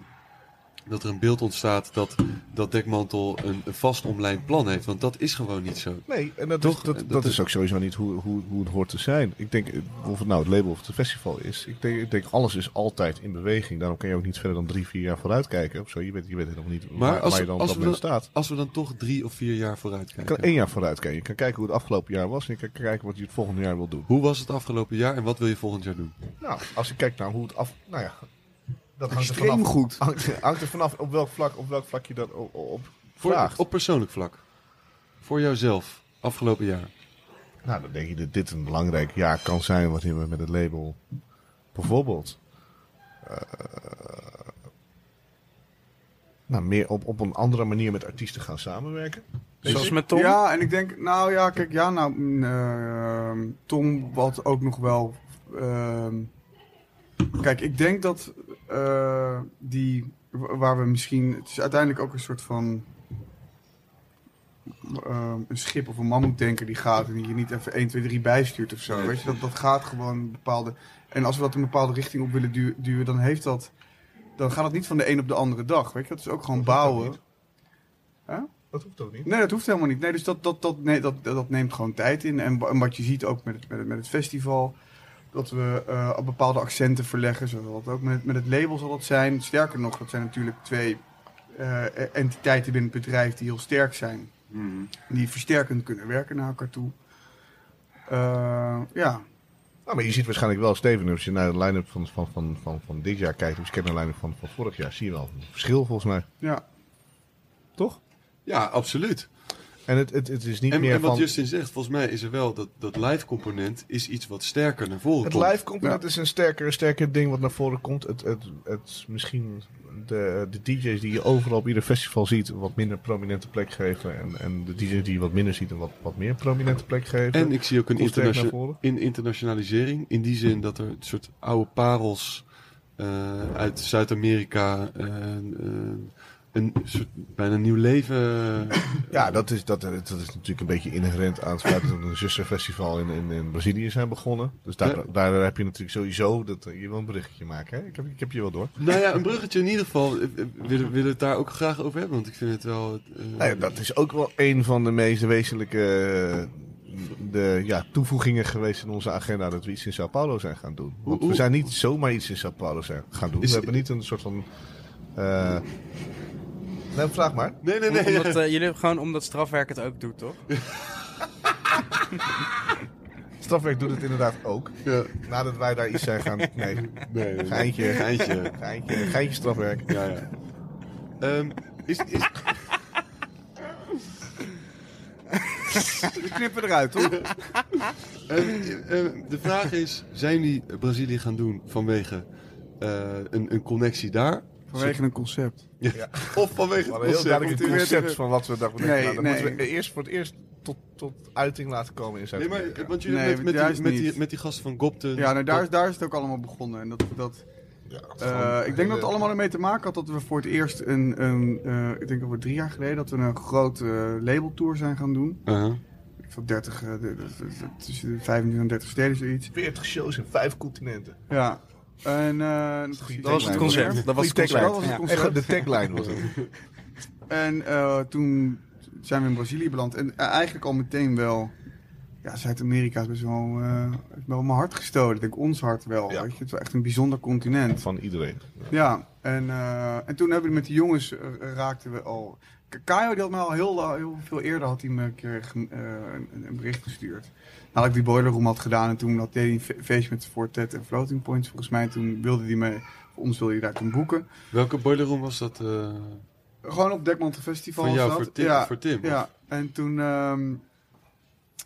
Speaker 2: dat er een beeld ontstaat dat, dat Dekmantel een, een vast omlijnd plan heeft. Want dat is gewoon niet zo.
Speaker 3: Nee, en dat,
Speaker 2: Toch?
Speaker 3: is, dat,
Speaker 2: Dat
Speaker 3: dat,
Speaker 2: is-
Speaker 3: is ook sowieso niet hoe, hoe, hoe het hoort te zijn. Ik denk, eh, of het nou het label of het festival is, ik denk, ik denk alles is altijd in beweging. Daarom kan je ook niet verder dan drie, vier jaar vooruit kijken. Of zo. Je, weet, je weet helemaal niet waar,
Speaker 2: als-
Speaker 3: waar je dan
Speaker 2: als
Speaker 3: op dat
Speaker 2: we
Speaker 3: moment staat.
Speaker 2: Als we dan toch drie of vier jaar vooruit
Speaker 3: Je kan
Speaker 2: kijken.
Speaker 3: één jaar vooruit kijken. Je kan kijken hoe het afgelopen jaar was en je kan kijken wat je het volgende jaar wil doen.
Speaker 2: Hoe was het afgelopen jaar en wat wil je volgend jaar doen?
Speaker 3: Nou, als je kijkt naar hoe het af... Nou ja, dat hangt er
Speaker 4: extreem
Speaker 3: vanaf.
Speaker 4: goed.
Speaker 3: Hangt, hangt er vanaf op welk vlak, op welk vlak je dat op, op
Speaker 2: Voor,
Speaker 3: vraagt.
Speaker 2: op persoonlijk vlak. Voor jouzelf, afgelopen jaar.
Speaker 3: Nou, dan denk je dat dit een belangrijk jaar kan zijn waarin we met het label bijvoorbeeld eh, nou, meer op, op een andere manier met artiesten gaan samenwerken.
Speaker 1: Zoals met Tom?
Speaker 4: Ja, en ik denk, nou ja, kijk, ja, nou, mm, ehm, Tom wat ook nog wel. ehm, kijk, ik denk dat eh, die, wa- waar we misschien, het is uiteindelijk ook een soort van ehm, een schip of een mammoetdenker die gaat en die je niet even 1, 2, 3 bijstuurt of zo.
Speaker 2: Nee.
Speaker 4: Weet je, dat, dat gaat gewoon een bepaalde. En als we dat een bepaalde richting op willen du- duwen, dan heeft dat, dan gaat het niet van de een op de andere dag. Weet je, dat is ook gewoon
Speaker 3: Dat hoeft ook
Speaker 4: bouwen.
Speaker 3: niet. Dat hoeft ook niet.
Speaker 4: Nee, dat hoeft helemaal niet. Nee, dus dat, dat, dat, nee, dat, dat neemt gewoon tijd in. En, wa- en wat je ziet ook met het, met het, met het festival, dat we eh, bepaalde accenten verleggen. Zo zal dat ook met, met het label zal dat zijn. Sterker nog, dat zijn natuurlijk twee eh, entiteiten binnen het bedrijf die heel sterk zijn. Die versterkend kunnen werken naar elkaar toe. Eh, ja,
Speaker 3: Nou, maar je ziet waarschijnlijk wel, Steven, als je naar de line-up van, van, van, van, van dit jaar kijkt, of je kijkt naar de line-up van, van vorig jaar, zie je wel een verschil volgens mij.
Speaker 4: ja.
Speaker 3: Toch?
Speaker 2: Ja, absoluut.
Speaker 3: En het, het, het is niet
Speaker 2: En,
Speaker 3: meer
Speaker 2: en wat
Speaker 3: van...
Speaker 2: Justin zegt, volgens mij is er wel dat, dat live component is iets wat sterker naar voren
Speaker 3: Het
Speaker 2: komt.
Speaker 3: live component is een sterker, sterker ding wat naar voren komt. Het, het, het misschien de, de DJ's die je overal op ieder festival ziet, een wat minder prominente plek geven. En, en de DJ's die je wat minder ziet, een wat, wat meer prominente plek geven.
Speaker 2: En ik zie ook een
Speaker 3: Komt sterk
Speaker 2: internation-
Speaker 3: naar voren.
Speaker 2: in internationalisering. In die zin dat er een soort oude parels eh, uit Zuid-Amerika eh, eh, een soort bijna nieuw leven. eh,
Speaker 3: Ja, dat is, dat, dat is natuurlijk een beetje inherent aan het feit dat een zusterfestival in, in, in Brazilië zijn begonnen. Dus daar,
Speaker 2: Ja.
Speaker 3: daar heb je natuurlijk sowieso dat eh, je wil een bruggetje maken. Hè? Ik, heb, ik heb je wel door.
Speaker 2: Nou ja, een bruggetje in ieder geval. Eh, eh, Willen we het daar ook graag over hebben? Want ik vind het wel. eh,
Speaker 3: Nou ja, dat is ook wel een van de meest wezenlijke eh, de, ja, toevoegingen geweest in onze agenda dat we iets in Sao Paulo zijn gaan doen. Want
Speaker 2: hoe-
Speaker 3: we zijn niet zomaar iets in Sao Paulo zijn gaan doen.
Speaker 2: Is-
Speaker 3: we hebben niet een soort van. eh, Nee, vraag maar.
Speaker 2: Nee, nee, nee.
Speaker 1: Omdat, eh, jullie hebben gewoon omdat strafwerk het ook doet, toch?
Speaker 3: Strafwerk doet het inderdaad ook.
Speaker 2: Ja.
Speaker 3: Nadat wij daar iets zijn gaan. Nee,
Speaker 2: Nee, nee, nee.
Speaker 3: geintje.
Speaker 2: Geintje.
Speaker 3: Geintje, geintje strafwerk.
Speaker 2: Ja, ja. Ehm, is, is,
Speaker 6: We knippen eruit, hoor.
Speaker 2: Eh, eh, de vraag is, zijn die Brazilië gaan doen vanwege eh, een, een connectie daar?
Speaker 6: Vanwege een concept.
Speaker 2: Of vanwege
Speaker 3: We
Speaker 2: het
Speaker 3: hadden
Speaker 2: concept?
Speaker 3: heel duidelijk het
Speaker 2: Natuurlijk.
Speaker 3: concept van wat we dachten.
Speaker 4: Nee,
Speaker 3: Nee, nou, dan
Speaker 4: nee.
Speaker 3: moeten we eerst voor het eerst tot, tot uiting laten komen in
Speaker 2: Nee, maar
Speaker 3: Zuid-Amerika.
Speaker 2: eh, want jullie
Speaker 4: Nee,
Speaker 2: met, met,
Speaker 4: juist
Speaker 2: die, met, die,
Speaker 4: niet.
Speaker 2: met die gasten van Gopten...
Speaker 4: Ja, nou, daar, is, daar is het ook allemaal begonnen. En dat, dat, eh, ik denk dat het allemaal ermee te maken had dat we voor het eerst een, een eh, ik denk alweer drie jaar geleden, dat we een grote eh, labeltour zijn gaan doen.
Speaker 2: Uh-huh.
Speaker 4: Ik zat 30, eh, de- de- de- tussen de 25 en 30 steden zoiets.
Speaker 3: 40 shows in vijf continenten.
Speaker 4: Ja. En, eh,
Speaker 3: goede
Speaker 1: Dat was het concept. Dat was het
Speaker 3: Goeie
Speaker 1: concept.
Speaker 3: tagline.
Speaker 4: Dat was het
Speaker 1: Ja.
Speaker 4: concept.
Speaker 3: Echt, de tagline was het.
Speaker 4: En eh, toen zijn we in Brazilië beland. En eh, eigenlijk al meteen wel. Ja, Zuid-Amerika is best wel, eh, heeft wel mijn hart gestolen. Ik denk ons hart wel.
Speaker 3: Ja.
Speaker 4: Weet je? Het is wel echt een bijzonder continent.
Speaker 3: Van iedereen.
Speaker 4: Ja, en, eh, en toen hebben we met de jongens eh, raakten we al. K- Kaio die had me al heel, la- heel veel eerder had hij me een keer ge- eh, een, een bericht gestuurd. Nadat ik die boiler room had gedaan en toen had deed hij een fe- feestje met Fortet en Floating Points volgens mij. Toen wilde hij me, voor ons wilde hij daar toen boeken.
Speaker 2: Welke boiler room was dat eh
Speaker 4: Gewoon op Dekmantel Festival.
Speaker 2: van jou
Speaker 4: was dat.
Speaker 2: voor Tim?
Speaker 4: Ja,
Speaker 2: Voor Tim?
Speaker 4: Ja, en toen ehm,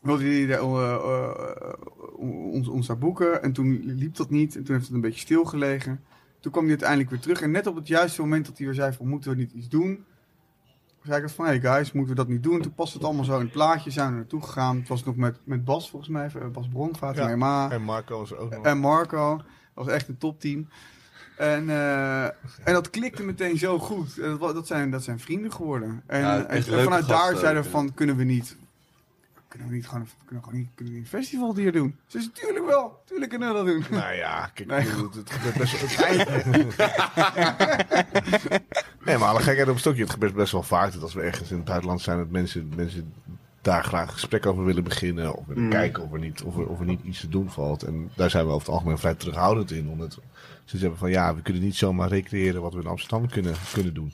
Speaker 4: wilde hij daar, eh, eh, ons, ons daar boeken. En toen liep dat niet. En toen heeft het een beetje stilgelegen. Toen kwam hij uiteindelijk weer terug. En net op het juiste moment dat hij weer zei van moeten we niet iets doen. Zei ik dat van, hey guys, moeten we dat niet doen? Toen past het allemaal zo in het plaatje, zijn we naartoe gegaan. Het was nog met, met Bas volgens mij, eh, Bas Bronkvaart,
Speaker 3: Ja.
Speaker 4: en Ma.
Speaker 3: En Marco was er ook nog.
Speaker 4: En Marco. Dat was echt een topteam. En, eh, en dat klikte meteen zo goed. En dat, wa- dat, zijn, dat zijn vrienden geworden. En,
Speaker 2: Ja,
Speaker 4: en-
Speaker 2: echt
Speaker 4: en
Speaker 2: leuke
Speaker 4: vanuit daar
Speaker 2: gasten
Speaker 4: zeiden we
Speaker 2: ook,
Speaker 4: van, kunnen we niet... Kunnen we niet gewoon, kunnen we gewoon niet, kunnen we niet een festival hier doen? Ze is tuurlijk wel. Tuurlijk kunnen we dat doen.
Speaker 3: Nou ja, kijk,
Speaker 4: Nee.
Speaker 3: het, het gebeurt best wel... het eind- nee, maar alle gekheid op een stokje. Het gebeurt best wel vaak dat als we ergens in het buitenland zijn... dat mensen, mensen daar graag een gesprek over willen beginnen... of willen
Speaker 2: Mm.
Speaker 3: kijken of er, niet, of, er, of er niet iets te doen valt. En daar zijn we over het algemeen vrij terughoudend in. Omdat ze zeggen van ja, we kunnen niet zomaar recreëren... wat we in Amsterdam kunnen, kunnen doen.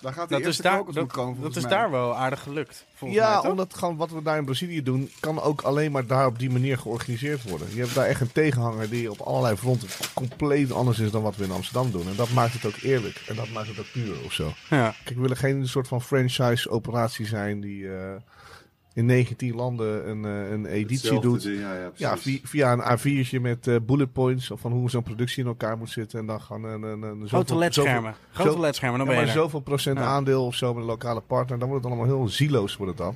Speaker 4: Daar gaat de
Speaker 1: Dat is,
Speaker 4: eerste
Speaker 1: daar,
Speaker 4: focus
Speaker 1: dat,
Speaker 4: op komen,
Speaker 1: dat
Speaker 4: volgens
Speaker 1: is
Speaker 4: mij.
Speaker 1: daar wel aardig gelukt. Volgens mij,
Speaker 3: Ja,
Speaker 1: toch?
Speaker 3: omdat gewoon wat we daar in Brazilië doen, kan ook alleen maar daar op die manier georganiseerd worden. Je hebt daar echt een tegenhanger die op allerlei fronten compleet anders is dan wat we in Amsterdam doen. En dat maakt het ook eerlijk. En dat maakt het ook puur of zo.
Speaker 1: Ja.
Speaker 3: Kijk, we willen geen soort van franchise-operatie zijn die eh, in 19 landen een, eh, een editie
Speaker 2: Hetzelfde
Speaker 3: doet.
Speaker 2: ding, Ja, ja,
Speaker 3: Ja,
Speaker 2: precies.
Speaker 3: vi- via een A4'tje met eh, bullet points of van hoe zo'n productie in elkaar moet zitten. En dan gaan een, een, een,
Speaker 1: Grote ledschermen. Grote
Speaker 3: zo-
Speaker 1: ledschermen, dan
Speaker 3: ja,
Speaker 1: ben je
Speaker 3: maar
Speaker 1: er.
Speaker 3: zoveel procent
Speaker 1: Ja.
Speaker 3: aandeel of zo met een lokale partner, dan wordt het allemaal heel zieloos wordt het dan.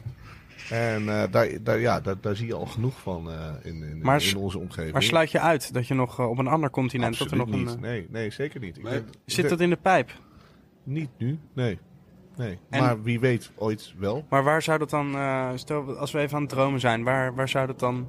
Speaker 3: En eh, daar, daar, ja, daar, daar zie je al genoeg van eh, in, in,
Speaker 1: Maar s-
Speaker 3: in onze omgeving.
Speaker 1: Maar sluit je uit dat je nog eh, op een ander continent... dat er
Speaker 3: Absoluut
Speaker 1: nog
Speaker 3: niet.
Speaker 1: Een,
Speaker 3: Nee, nee, zeker niet. Ik
Speaker 2: Maar-
Speaker 3: denk-
Speaker 1: eh,
Speaker 3: ik
Speaker 1: zit
Speaker 3: denk-
Speaker 1: dat in de pijp?
Speaker 3: Niet nu, nee. nee.
Speaker 1: En-
Speaker 3: Maar wie weet ooit wel.
Speaker 1: Maar waar zou dat dan, eh, stel als we even aan het dromen zijn, waar, waar zou dat dan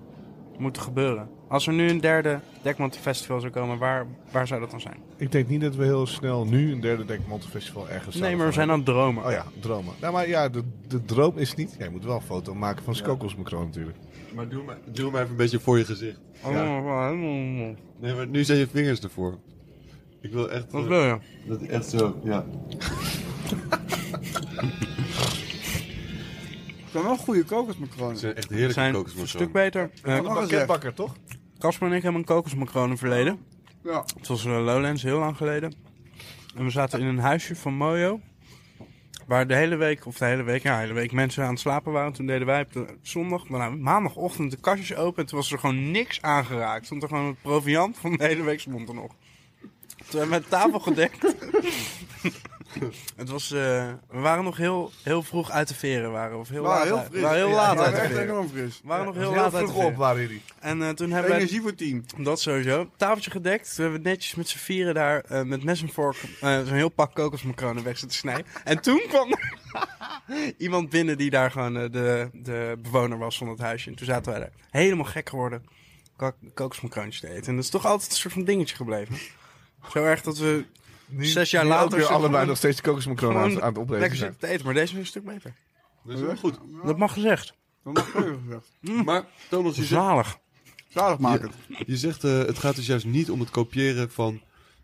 Speaker 1: moeten gebeuren? Als er nu een derde Dekmantel Festival zou komen, waar, waar zou dat dan zijn?
Speaker 3: Ik denk niet dat we heel snel nu een derde Dekmantel Festival ergens
Speaker 1: nee,
Speaker 3: zouden
Speaker 1: maar we
Speaker 3: gaan
Speaker 1: zijn aan het dromen.
Speaker 3: Oh ja, dromen. Nou, maar ja, de, de droom is niet... Ja, je moet wel een foto maken van Skokos Macron natuurlijk.
Speaker 2: Maar doe maar, doe maar even een beetje voor je gezicht.
Speaker 1: Oh, oh, oh.
Speaker 2: Nee, maar nu zijn je vingers ervoor. Ik wil echt...
Speaker 1: Wat
Speaker 2: eh,
Speaker 1: wil je?
Speaker 2: dat echt zo, ja.
Speaker 4: Het zijn wel goede kokos met
Speaker 2: Het
Speaker 4: kronen.
Speaker 2: zijn echt heerlijke
Speaker 1: Zijn
Speaker 2: kokos.
Speaker 1: een stuk beter.
Speaker 3: Van
Speaker 1: Eh,
Speaker 3: een pakketbakker, toch?
Speaker 1: Casper en ik hebben een kokosmacroon in het verleden.
Speaker 4: Ja.
Speaker 1: Het was eh, Lowlands, heel lang geleden. En we zaten in een huisje van Mojo. Waar de hele week, of de hele week, ja, de hele week mensen aan het slapen waren. Toen deden wij op de zondag, maar nou, maandagochtend de kastjes open. En toen was er gewoon niks aangeraakt. Stond er gewoon het proviant van de hele week stond er nog. Toen hebben we de tafel gedekt. het was, eh, we waren nog heel, heel vroeg uit de veren. Waren, of heel
Speaker 4: Waren
Speaker 1: laat,
Speaker 4: heel
Speaker 1: uit-
Speaker 4: fris.
Speaker 1: waren heel laat
Speaker 4: Ja,
Speaker 1: uit de
Speaker 4: echt
Speaker 1: veren.
Speaker 4: enorm fris.
Speaker 1: We waren nog heel,
Speaker 3: Heel
Speaker 1: laat uit de
Speaker 3: vroeg op
Speaker 1: veren.
Speaker 3: waren jullie.
Speaker 1: En eh, toen hebben wij
Speaker 4: Energie voor team.
Speaker 1: dat sowieso. Tafeltje gedekt. We hebben netjes met z'n vieren daar eh, met mes en vork eh, zo'n heel pak kokosmacronen weg zitten snijden. En toen kwam er iemand binnen die daar gewoon eh, de, de bewoner was van het huisje. En toen zaten wij daar helemaal gek geworden kak- kokosmacroontjes te eten. En dat is toch altijd een soort van dingetje gebleven. Zo erg dat we
Speaker 3: Nu-
Speaker 1: zes jaar
Speaker 3: nu
Speaker 1: later
Speaker 3: ook weer
Speaker 1: zitten we
Speaker 3: allebei
Speaker 1: gewoon-
Speaker 3: nog steeds kokosmacronen nou, aan,
Speaker 1: gewoon
Speaker 3: aan het opeten
Speaker 1: lekker
Speaker 3: zijn.
Speaker 1: zitten te eten. Maar deze is een stuk beter.
Speaker 2: Dat is wel goed.
Speaker 1: Dat mag gezegd.
Speaker 4: Dat mag keurig gezegd.
Speaker 2: Maar Thomas, je zegt,
Speaker 1: Zalig.
Speaker 4: Zalig maken.
Speaker 2: je zegt eh, het gaat dus juist niet om het kopiëren van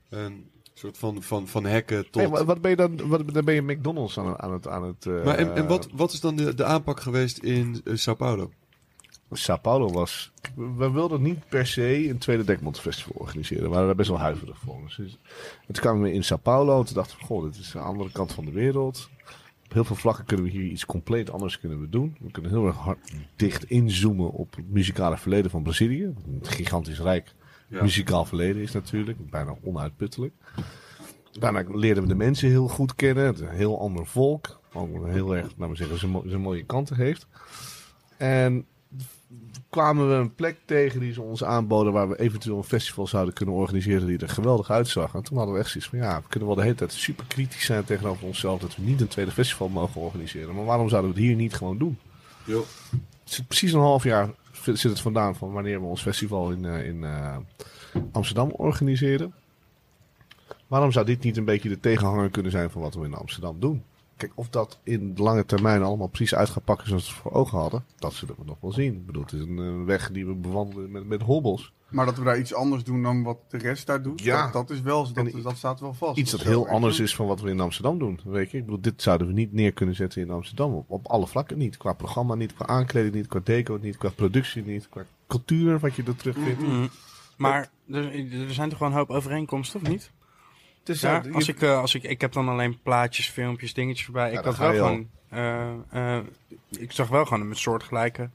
Speaker 2: een soort van, van, van hekken tot...
Speaker 3: Nee, maar wat ben je dan? Wat, dan ben je McDonald's aan, aan het aan het. eh,
Speaker 2: Maar en, en wat, wat is dan de, de aanpak geweest in eh, Sao Paulo?
Speaker 3: Sao Paulo was. We, we wilden niet per se een tweede Dekmondfestival organiseren. We waren daar best wel huiverig voor. Dus, dus- en toen kwamen we in Sao Paulo. En toen dachten we: Goh, dit is de andere kant van de wereld. Op heel veel vlakken kunnen we hier iets compleet anders kunnen we doen. We kunnen heel erg hard dicht inzoomen op het muzikale verleden van Brazilië. Wat Een gigantisch rijk
Speaker 2: Ja.
Speaker 3: muzikaal verleden is natuurlijk. Bijna onuitputtelijk. Daarna leerden we de mensen heel goed kennen. Het is een heel ander volk. Ook een heel erg, laten we zeggen, zijn mo- zijn mooie kanten heeft. En kwamen we een plek tegen die ze ons aanboden waar we eventueel een festival zouden kunnen organiseren die er geweldig uitzag. En toen hadden we echt zoiets van ja, we kunnen wel de hele tijd super kritisch zijn tegenover onszelf dat we niet een tweede festival mogen organiseren. Maar waarom zouden we het hier niet gewoon doen?
Speaker 2: Jo.
Speaker 3: Het zit precies een half jaar zit het vandaan van wanneer we ons festival in, eh, in eh, Amsterdam organiseren. Waarom zou dit niet een beetje de tegenhanger kunnen zijn van wat we in Amsterdam doen? Kijk, of dat in de lange termijn allemaal precies uit gaat pakken zoals we het voor ogen hadden, dat zullen we nog wel zien. Ik bedoel, het is een eh, weg die we bewandelen met, met hobbels.
Speaker 4: Maar dat we daar iets anders doen dan wat de rest daar doet,
Speaker 3: Ja.
Speaker 4: dat, dat is wel, dat,
Speaker 3: En i-
Speaker 4: dat staat wel vast.
Speaker 3: Iets dat
Speaker 4: we
Speaker 3: heel
Speaker 4: echt
Speaker 3: anders
Speaker 4: doen.
Speaker 3: is van wat we in Amsterdam doen. Weet je? Ik bedoel, dit zouden we niet neer kunnen zetten in Amsterdam. Op, op alle vlakken niet. Qua programma niet, qua aankleding niet, qua deco niet, qua productie niet, qua cultuur wat je er terugvindt.
Speaker 1: Mm. Maar er, er zijn toch gewoon een hoop overeenkomsten, of niet?
Speaker 4: Het is
Speaker 1: Ja,
Speaker 4: zo, je-
Speaker 1: als ik, eh, als ik, ik heb dan alleen plaatjes, filmpjes, dingetjes voorbij. ik
Speaker 3: daar
Speaker 1: had
Speaker 3: ga
Speaker 1: wel
Speaker 3: je al.
Speaker 1: gewoon. eh, eh, ik zag wel gewoon een soortgelijke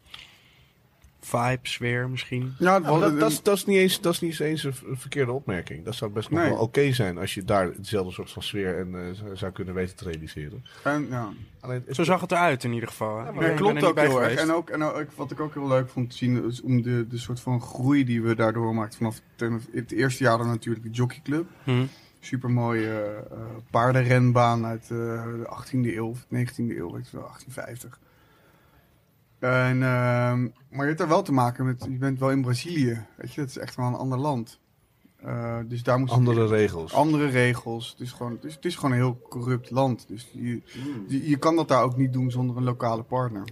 Speaker 1: vibes weer misschien.
Speaker 4: ja, het
Speaker 3: Nou,
Speaker 4: was-
Speaker 3: dat, dat, is, dat, is niet eens, dat is niet eens een ver- verkeerde opmerking. Dat zou best nog
Speaker 4: Nee.
Speaker 3: wel oké zijn als je daar hetzelfde soort van sfeer en, eh, zou- zou kunnen weten te realiseren.
Speaker 4: en, ja.
Speaker 3: Alleen, het-
Speaker 1: Zo zag het eruit in ieder geval. hè. Ik ben
Speaker 4: Nee,
Speaker 1: er
Speaker 4: klopt
Speaker 1: niet
Speaker 4: ook
Speaker 1: bij
Speaker 4: heel erg.
Speaker 1: geweest.
Speaker 4: En, ook, en ook, wat ik ook heel leuk vond te zien, is om de, de soort van groei die we daardoor maakten. Vanaf ten- het eerste jaar dan natuurlijk de Jockey Club.
Speaker 1: Hm.
Speaker 4: Supermooie eh, eh, paardenrenbaan uit eh, de 18e eeuw of 19e eeuw, weet je wel, 1850. En, ehm, maar je hebt daar wel te maken met, je bent wel in Brazilië, weet je, dat is echt wel een ander land. Eh, dus daar moet
Speaker 3: andere regels.
Speaker 4: andere regels. Het is gewoon, het is, het is gewoon een heel corrupt land. Dus je, je, je kan dat daar ook niet doen zonder een lokale partner.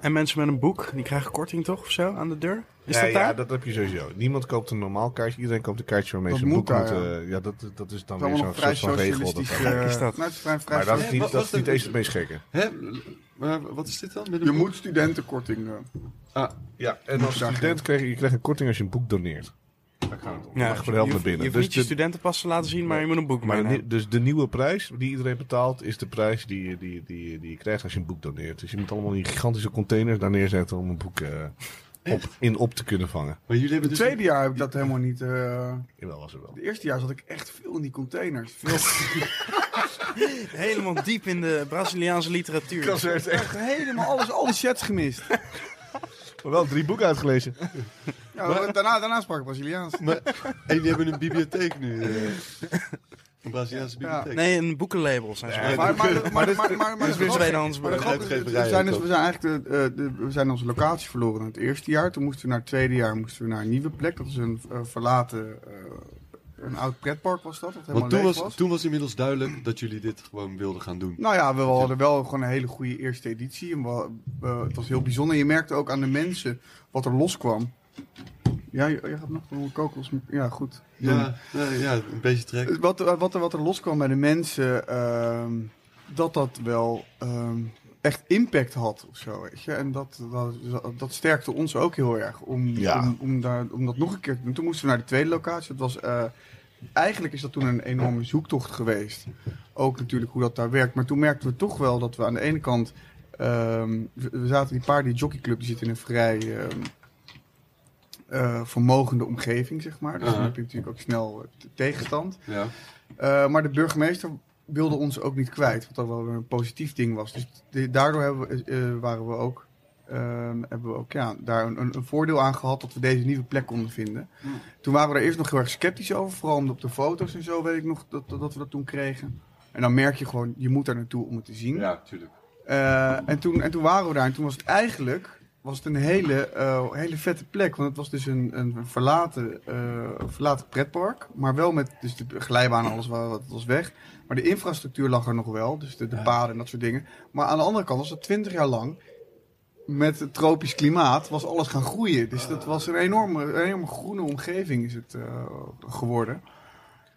Speaker 1: En mensen met een boek, die krijgen korting toch of zo aan de deur? Is
Speaker 3: ja,
Speaker 1: dat
Speaker 3: ja,
Speaker 1: daar?
Speaker 3: dat heb je sowieso. Niemand koopt een normaal kaartje. Iedereen koopt een kaartje waarmee
Speaker 4: Dat
Speaker 3: ze een
Speaker 4: moet
Speaker 3: boek
Speaker 4: daar,
Speaker 3: moeten... eh,
Speaker 4: ja.
Speaker 3: ja, dat, dat is dan
Speaker 4: Het is
Speaker 3: weer
Speaker 4: allemaal
Speaker 3: zo'n
Speaker 4: nog vrij
Speaker 3: soort van regel. Dat
Speaker 4: socialistisch.
Speaker 3: dat-
Speaker 1: Gek is
Speaker 4: eh,
Speaker 1: dat.
Speaker 4: nou, het is vrij, vrij
Speaker 3: maar dat is
Speaker 4: socialistisch.
Speaker 3: niet, dat is
Speaker 2: Wat-
Speaker 3: niet eens het meest gekke.
Speaker 2: Hè? Maar wat is dit dan? Met een Ah,
Speaker 4: Je
Speaker 2: boek?
Speaker 4: moet studentenkorting. eh.
Speaker 3: Ja, en als student krijg je, je krijgt een korting als je een boek doneert. Daar gaat het om.
Speaker 1: Ja,
Speaker 3: Ja, voor de helft
Speaker 1: je
Speaker 3: naar
Speaker 1: hoeft-
Speaker 3: binnen.
Speaker 1: Je hoeft
Speaker 3: Dus
Speaker 1: niet je
Speaker 3: de-
Speaker 1: studentenpas te laten zien, maar je moet een boek
Speaker 3: Maar
Speaker 4: nou.
Speaker 1: meenemen.
Speaker 3: ni- dus de nieuwe prijs die iedereen betaalt, is de prijs die, die, die, die je krijgt als je een boek doneert. Dus je moet allemaal die gigantische containers daar neerzetten om een boek eh, op, in op te kunnen vangen.
Speaker 2: Maar jullie hebben
Speaker 4: Het
Speaker 2: dus...
Speaker 4: tweede jaar heb ik dat helemaal niet. eh.
Speaker 3: Jawel, was er wel.
Speaker 4: Het eerste jaar zat ik echt veel in die containers. Veel,
Speaker 1: Helemaal diep in de Braziliaanse literatuur.
Speaker 4: echt helemaal alles, al die sets gemist.
Speaker 3: Maar wel drie boeken uitgelezen.
Speaker 4: Ja, daarna, daarna sprak ik Braziliaans.
Speaker 2: Maar, en jullie hebben een bibliotheek nu. eh. een Braziliaanse bibliotheek.
Speaker 1: Nee, een boekenlabel zijn ze.
Speaker 2: Ja,
Speaker 4: Maar, maar, maar, maar, maar, maar,
Speaker 1: dat is
Speaker 4: maar
Speaker 1: weer
Speaker 4: de grap-
Speaker 1: tweedehands
Speaker 4: maar de
Speaker 1: boek.
Speaker 4: grap is, we zijn, dus, we zijn eigenlijk de, eh, de- we zijn onze locatie verloren in het eerste jaar. Toen moesten we naar het tweede jaar moesten we naar een nieuwe plek. Dat is een eh, verlaten, eh, een oud pretpark was dat. dat helemaal
Speaker 2: Want toen
Speaker 4: leeg
Speaker 2: was, toen was inmiddels duidelijk dat jullie dit gewoon wilden gaan doen.
Speaker 4: Nou ja, we hadden wel gewoon een hele goede eerste editie. En we- eh, het was heel bijzonder. Je merkte ook aan de mensen wat er loskwam. Ja, je, je gaat nog wel kokos. Ja, goed.
Speaker 2: Ja, nee, ja een beetje trek.
Speaker 4: Eh, Wat, er- wat, er, wat er loskwam bij de mensen, ehm, dat dat wel ehm, echt impact had of zo. Weet je? En dat, dat, dat sterkte ons ook heel erg om,
Speaker 3: Ja.
Speaker 4: om, om, daar, om dat nog een keer te doen. Toen moesten we naar de tweede locatie. Dat was, eh, eigenlijk is dat toen een enorme zoektocht geweest. ook natuurlijk hoe dat daar werkt. Maar toen merkten we toch wel dat we aan de ene kant... ehm, we we zaten die paar, die jockeyclub, die zit in een vrij ehm, eh, vermogende omgeving, zeg maar. Dus dan
Speaker 2: Uh-huh.
Speaker 4: heb je natuurlijk ook snel eh, t- tegenstand.
Speaker 2: Ja.
Speaker 4: Eh, maar de burgemeester wilde ons ook niet kwijt, wat dan wel weer een positief ding was. Dus de- daardoor hebben we, eh, waren we ook, ehm, hebben we ook ja, daar een, een, een voordeel aan gehad dat we deze nieuwe plek konden vinden. Toen waren we er eerst nog heel erg sceptisch over, vooral omdat op de foto's en zo weet ik nog dat, dat, dat we dat toen kregen. En dan merk je gewoon, je moet daar naartoe om het te zien.
Speaker 2: ja, tuurlijk.
Speaker 4: Eh, en, toen, en toen waren we daar en toen was het eigenlijk was het een hele, eh, hele vette plek. Want het was dus een, een verlaten, eh, verlaten pretpark. Maar wel met dus de glijbaan en alles wa- wat was weg. Maar de infrastructuur lag er nog wel. Dus de, de paden en dat soort dingen. Maar aan de andere kant was dat twintig jaar lang... Met het tropisch klimaat was alles gaan groeien. Dus dat was een enorme, een enorme groene omgeving is het eh, geworden.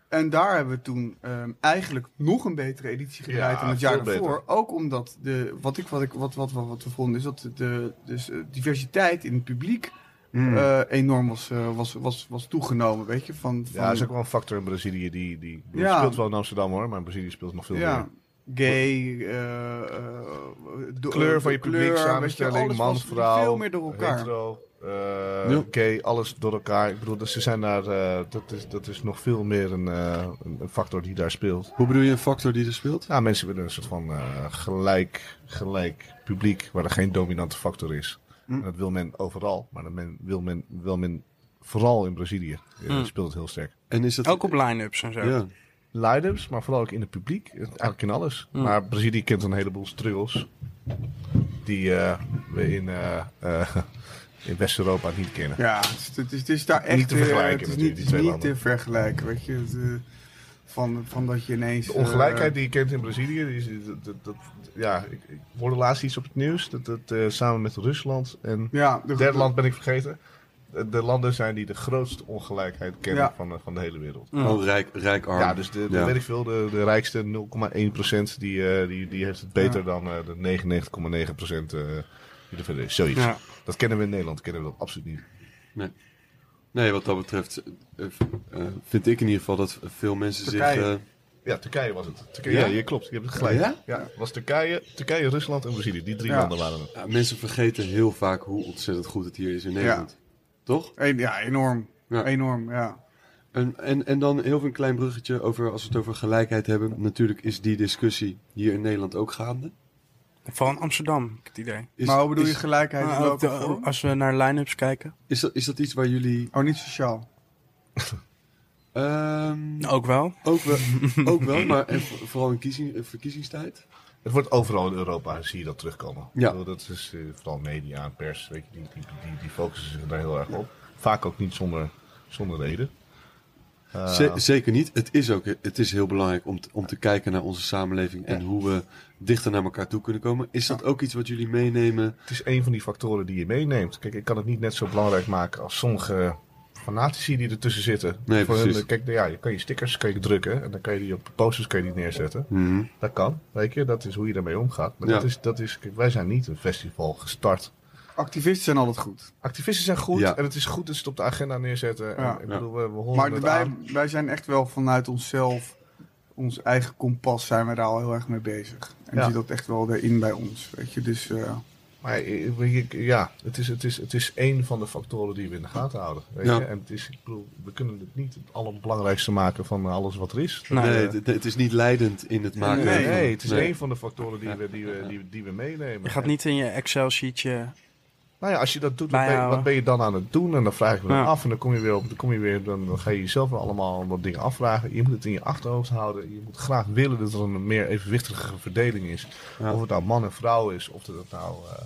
Speaker 4: En daar hebben we toen ehm, eigenlijk nog een betere editie gedraaid
Speaker 3: Ja,
Speaker 4: dan het jaar
Speaker 3: veel beter.
Speaker 4: daarvoor. Ook omdat de, wat, ik, wat, ik, wat, wat, wat, wat we vonden is dat de dus, eh, diversiteit in het publiek
Speaker 3: Hmm.
Speaker 4: eh, enorm was, eh, was, was, was toegenomen. Weet je, van, van
Speaker 3: Ja, dat is ook wel een factor in Brazilië. Die, die, die
Speaker 4: Ja.
Speaker 3: speelt wel in Amsterdam hoor, maar in Brazilië speelt het nog veel
Speaker 4: ja,
Speaker 3: meer.
Speaker 4: gay, eh, eh, de
Speaker 3: Kleur van je
Speaker 4: kleur,
Speaker 3: publiek,
Speaker 4: weet je,
Speaker 3: samenstelling,
Speaker 4: alles
Speaker 3: man,
Speaker 4: was
Speaker 3: vrouw,
Speaker 4: Veel meer door elkaar.
Speaker 3: Hetero, eh,
Speaker 2: Ja.
Speaker 3: gay, alles door elkaar. Ik bedoel, dat ze zijn daar, eh, dat, is, dat is nog veel meer een, eh, een een factor die daar speelt.
Speaker 2: Hoe bedoel je een factor die er speelt?
Speaker 3: Ja, Nou, mensen willen een soort van eh, gelijk, gelijk publiek waar er geen dominante factor is. En dat wil men overal, maar dat men, wil, men, wil men vooral in Brazilië. eh,
Speaker 1: Mm.
Speaker 3: Speelt het heel sterk.
Speaker 2: En is dat...
Speaker 1: Ook op line-ups en zo.
Speaker 2: Ja.
Speaker 3: Leiders, maar vooral ook in het publiek. eh, Eigenlijk in alles.
Speaker 1: Mm.
Speaker 3: Maar Brazilië kent een heleboel struggles die eh, we in, eh, eh, in West-Europa niet kennen.
Speaker 4: Ja, het is, het is, het is daar echt
Speaker 3: Niet te
Speaker 4: eh,
Speaker 3: vergelijken
Speaker 4: Het is
Speaker 3: natuurlijk,
Speaker 4: niet,
Speaker 3: die
Speaker 4: het is
Speaker 3: twee
Speaker 4: niet
Speaker 3: landen.
Speaker 4: te vergelijken. Weet je, het, eh, van, van dat je ineens.
Speaker 3: De ongelijkheid die je kent in Brazilië, die is, dat, dat, dat- ja, ik, ik hoorde laatst iets op het nieuws, dat, dat eh, samen met Rusland en
Speaker 4: eh, ja, de,
Speaker 3: Het derde land ben ik vergeten. De, de landen zijn die de grootste ongelijkheid kennen
Speaker 4: Ja.
Speaker 3: van, de, van de hele wereld.
Speaker 1: Mm.
Speaker 2: Oh, rijk, rijk arm.
Speaker 3: Ja, dus de, de,
Speaker 2: Ja.
Speaker 3: weet ik veel, de, de rijkste 0,1% die, eh, die, die heeft het beter dan eh, de 99,9% eh die er verder is. Zoiets.
Speaker 1: Ja.
Speaker 3: Dat kennen we in Nederland, kennen we dat absoluut niet.
Speaker 2: Nee, wat dat betreft eh, eh, vind ik in ieder geval dat veel mensen zich...
Speaker 4: Turkije.
Speaker 2: eh,
Speaker 3: Ja, Turkije was het. Turkije,
Speaker 2: Ja?
Speaker 3: ja? je klopt. Je hebt het gelijk.
Speaker 2: Ja?
Speaker 3: Ja, het was Turkije, Turkije, Rusland en Brazilië. Die drie
Speaker 4: Ja.
Speaker 3: landen waren het.
Speaker 2: ja, mensen vergeten heel vaak hoe ontzettend goed het hier is in Nederland. Toch?
Speaker 4: En- ja, enorm.
Speaker 2: Ja.
Speaker 4: Enorm, ja.
Speaker 2: En, en, en dan heel veel een klein bruggetje over, als we het over gelijkheid hebben. Natuurlijk is die discussie hier in Nederland ook gaande.
Speaker 1: Vooral in Amsterdam, heb ik het idee.
Speaker 2: Is,
Speaker 4: maar hoe bedoel
Speaker 2: is,
Speaker 4: je gelijkheid
Speaker 3: Ah,
Speaker 4: in
Speaker 1: Maar ook
Speaker 4: welke
Speaker 3: oh,
Speaker 1: de-
Speaker 4: vorm?
Speaker 1: als we naar line-ups kijken.
Speaker 2: Is dat, is dat iets waar jullie...
Speaker 4: Oh, niet sociaal.
Speaker 2: ehm,
Speaker 1: Ook wel.
Speaker 2: ook, wel, ook wel, maar en vo- vooral in kiezing, eh, verkiezingstijd.
Speaker 3: Het wordt overal in Europa, zie je dat terugkomen. Ik
Speaker 2: Ja.
Speaker 3: bedoel, dat is eh, vooral media en pers, weet je, die, die, die, die focussen zich daar heel erg op. Vaak ook niet zonder, zonder reden. Eh,
Speaker 2: Ze- zeker niet. Het is ook het is heel belangrijk om, t- om te kijken naar onze samenleving en hoe we dichter naar elkaar toe kunnen komen. Is dat ook iets wat jullie meenemen?
Speaker 3: het is een van die factoren die je meeneemt. Kijk, ik kan het niet net zo belangrijk maken als sommige fanatici die ertussen zitten.
Speaker 2: Nee, precies.
Speaker 3: Hun, kijk, nou ja, je kan je stickers kan je drukken en dan kan je die op posters kan je die neerzetten. Dat kan, weet je. Dat is hoe je daarmee omgaat. Maar
Speaker 2: Ja.
Speaker 3: dat is, dat is, kijk, wij zijn niet een festival gestart
Speaker 4: Activisten zijn altijd goed.
Speaker 3: Activisten zijn goed
Speaker 2: Ja.
Speaker 3: en het is goed dat ze het op de agenda neerzetten. En,
Speaker 4: Ja.
Speaker 3: ik bedoel, we, we horen
Speaker 4: Maar
Speaker 3: het
Speaker 4: wij,
Speaker 3: aan.
Speaker 4: wij zijn echt wel vanuit onszelf, ons eigen kompas, zijn we daar al heel erg mee bezig. En
Speaker 3: Ja.
Speaker 4: zit dat echt wel erin bij ons, weet je. Dus eh,
Speaker 3: Maar eh, weet je, ik- ja, het is, het, is, het is één van de factoren die we in de gaten houden. Weet
Speaker 2: Ja.
Speaker 3: je? En het is, ik bedoel, we kunnen het niet het allerbelangrijkste maken van alles wat er is.
Speaker 1: Nou,
Speaker 2: nee, het- het is niet leidend in het maken.
Speaker 3: nee,
Speaker 2: van-
Speaker 3: nee, het is
Speaker 2: nee.
Speaker 3: één van de factoren die we, die we, die, we- die we meenemen.
Speaker 1: Je gaat
Speaker 3: En-
Speaker 1: niet in je Excel-sheetje...
Speaker 3: nou ja, als je dat doet, wat ben, je-
Speaker 1: Bijhouden.
Speaker 3: wat ben je dan aan het doen? En dan vraag ik me
Speaker 1: Ja.
Speaker 3: dan af en dan kom je weer op, dan, kom je weer, dan dan ga je jezelf weer allemaal allemaal dingen afvragen. Je moet het in je achterhoofd houden. Je moet graag willen dat er een meer evenwichtige verdeling is.
Speaker 2: Ja.
Speaker 3: Of het nou man en vrouw is, of dat het nou... eh,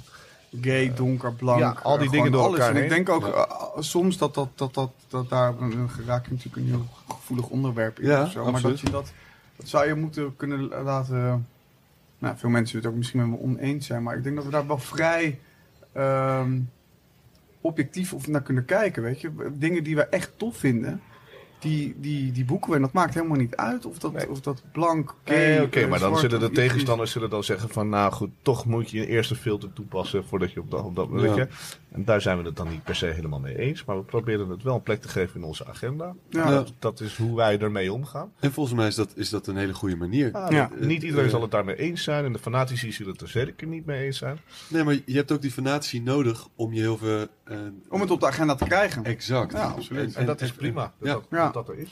Speaker 4: gay, donker, blank.
Speaker 3: ja, al die
Speaker 4: eh,
Speaker 3: dingen
Speaker 4: gewoon
Speaker 3: door
Speaker 4: alles.
Speaker 3: elkaar
Speaker 4: En ik
Speaker 3: heen.
Speaker 4: denk ook eh, soms dat, dat, dat, dat, dat daar een geraak je natuurlijk een heel gevoelig onderwerp in.
Speaker 2: Ja,
Speaker 4: of zo. Maar
Speaker 2: absoluut.
Speaker 4: dat, je dat, dat zou je moeten kunnen laten... Nou, veel mensen het ook misschien met me oneens zijn. Maar ik denk dat we daar wel vrij ehm, objectief of naar kunnen kijken. Weet je? Dingen die we echt tof vinden... Die, die, die boeken we en dat maakt helemaal niet uit of dat,
Speaker 3: Nee.
Speaker 4: of dat blank, gay,
Speaker 3: Nee, oké,
Speaker 4: eh,
Speaker 3: maar dan
Speaker 4: zwart
Speaker 3: zullen
Speaker 4: of
Speaker 3: de
Speaker 4: iets is.
Speaker 3: tegenstanders zullen dan zeggen van... nou goed, toch moet je eerst een filter toepassen voordat je op dat... Op dat weet
Speaker 2: Ja.
Speaker 3: je? En daar zijn we het dan niet per se helemaal mee eens. Maar we proberen het wel een plek te geven in onze agenda.
Speaker 4: Ja.
Speaker 2: Ja.
Speaker 3: Dat, dat is hoe wij ermee omgaan.
Speaker 2: En volgens mij is dat, is dat een hele goede manier.
Speaker 3: Ah,
Speaker 1: Ja.
Speaker 3: dat- Niet iedereen zal het daarmee eens zijn. En de fanatici zullen het er zeker niet mee eens zijn.
Speaker 2: Nee, maar je hebt ook die fanatie nodig om je heel veel... eh,
Speaker 4: Om het op de agenda te krijgen.
Speaker 2: Exact.
Speaker 4: Ja, absoluut.
Speaker 3: En dat is prima. Dat
Speaker 2: Ja.
Speaker 3: dat,
Speaker 4: Ja.
Speaker 3: dat, dat er is.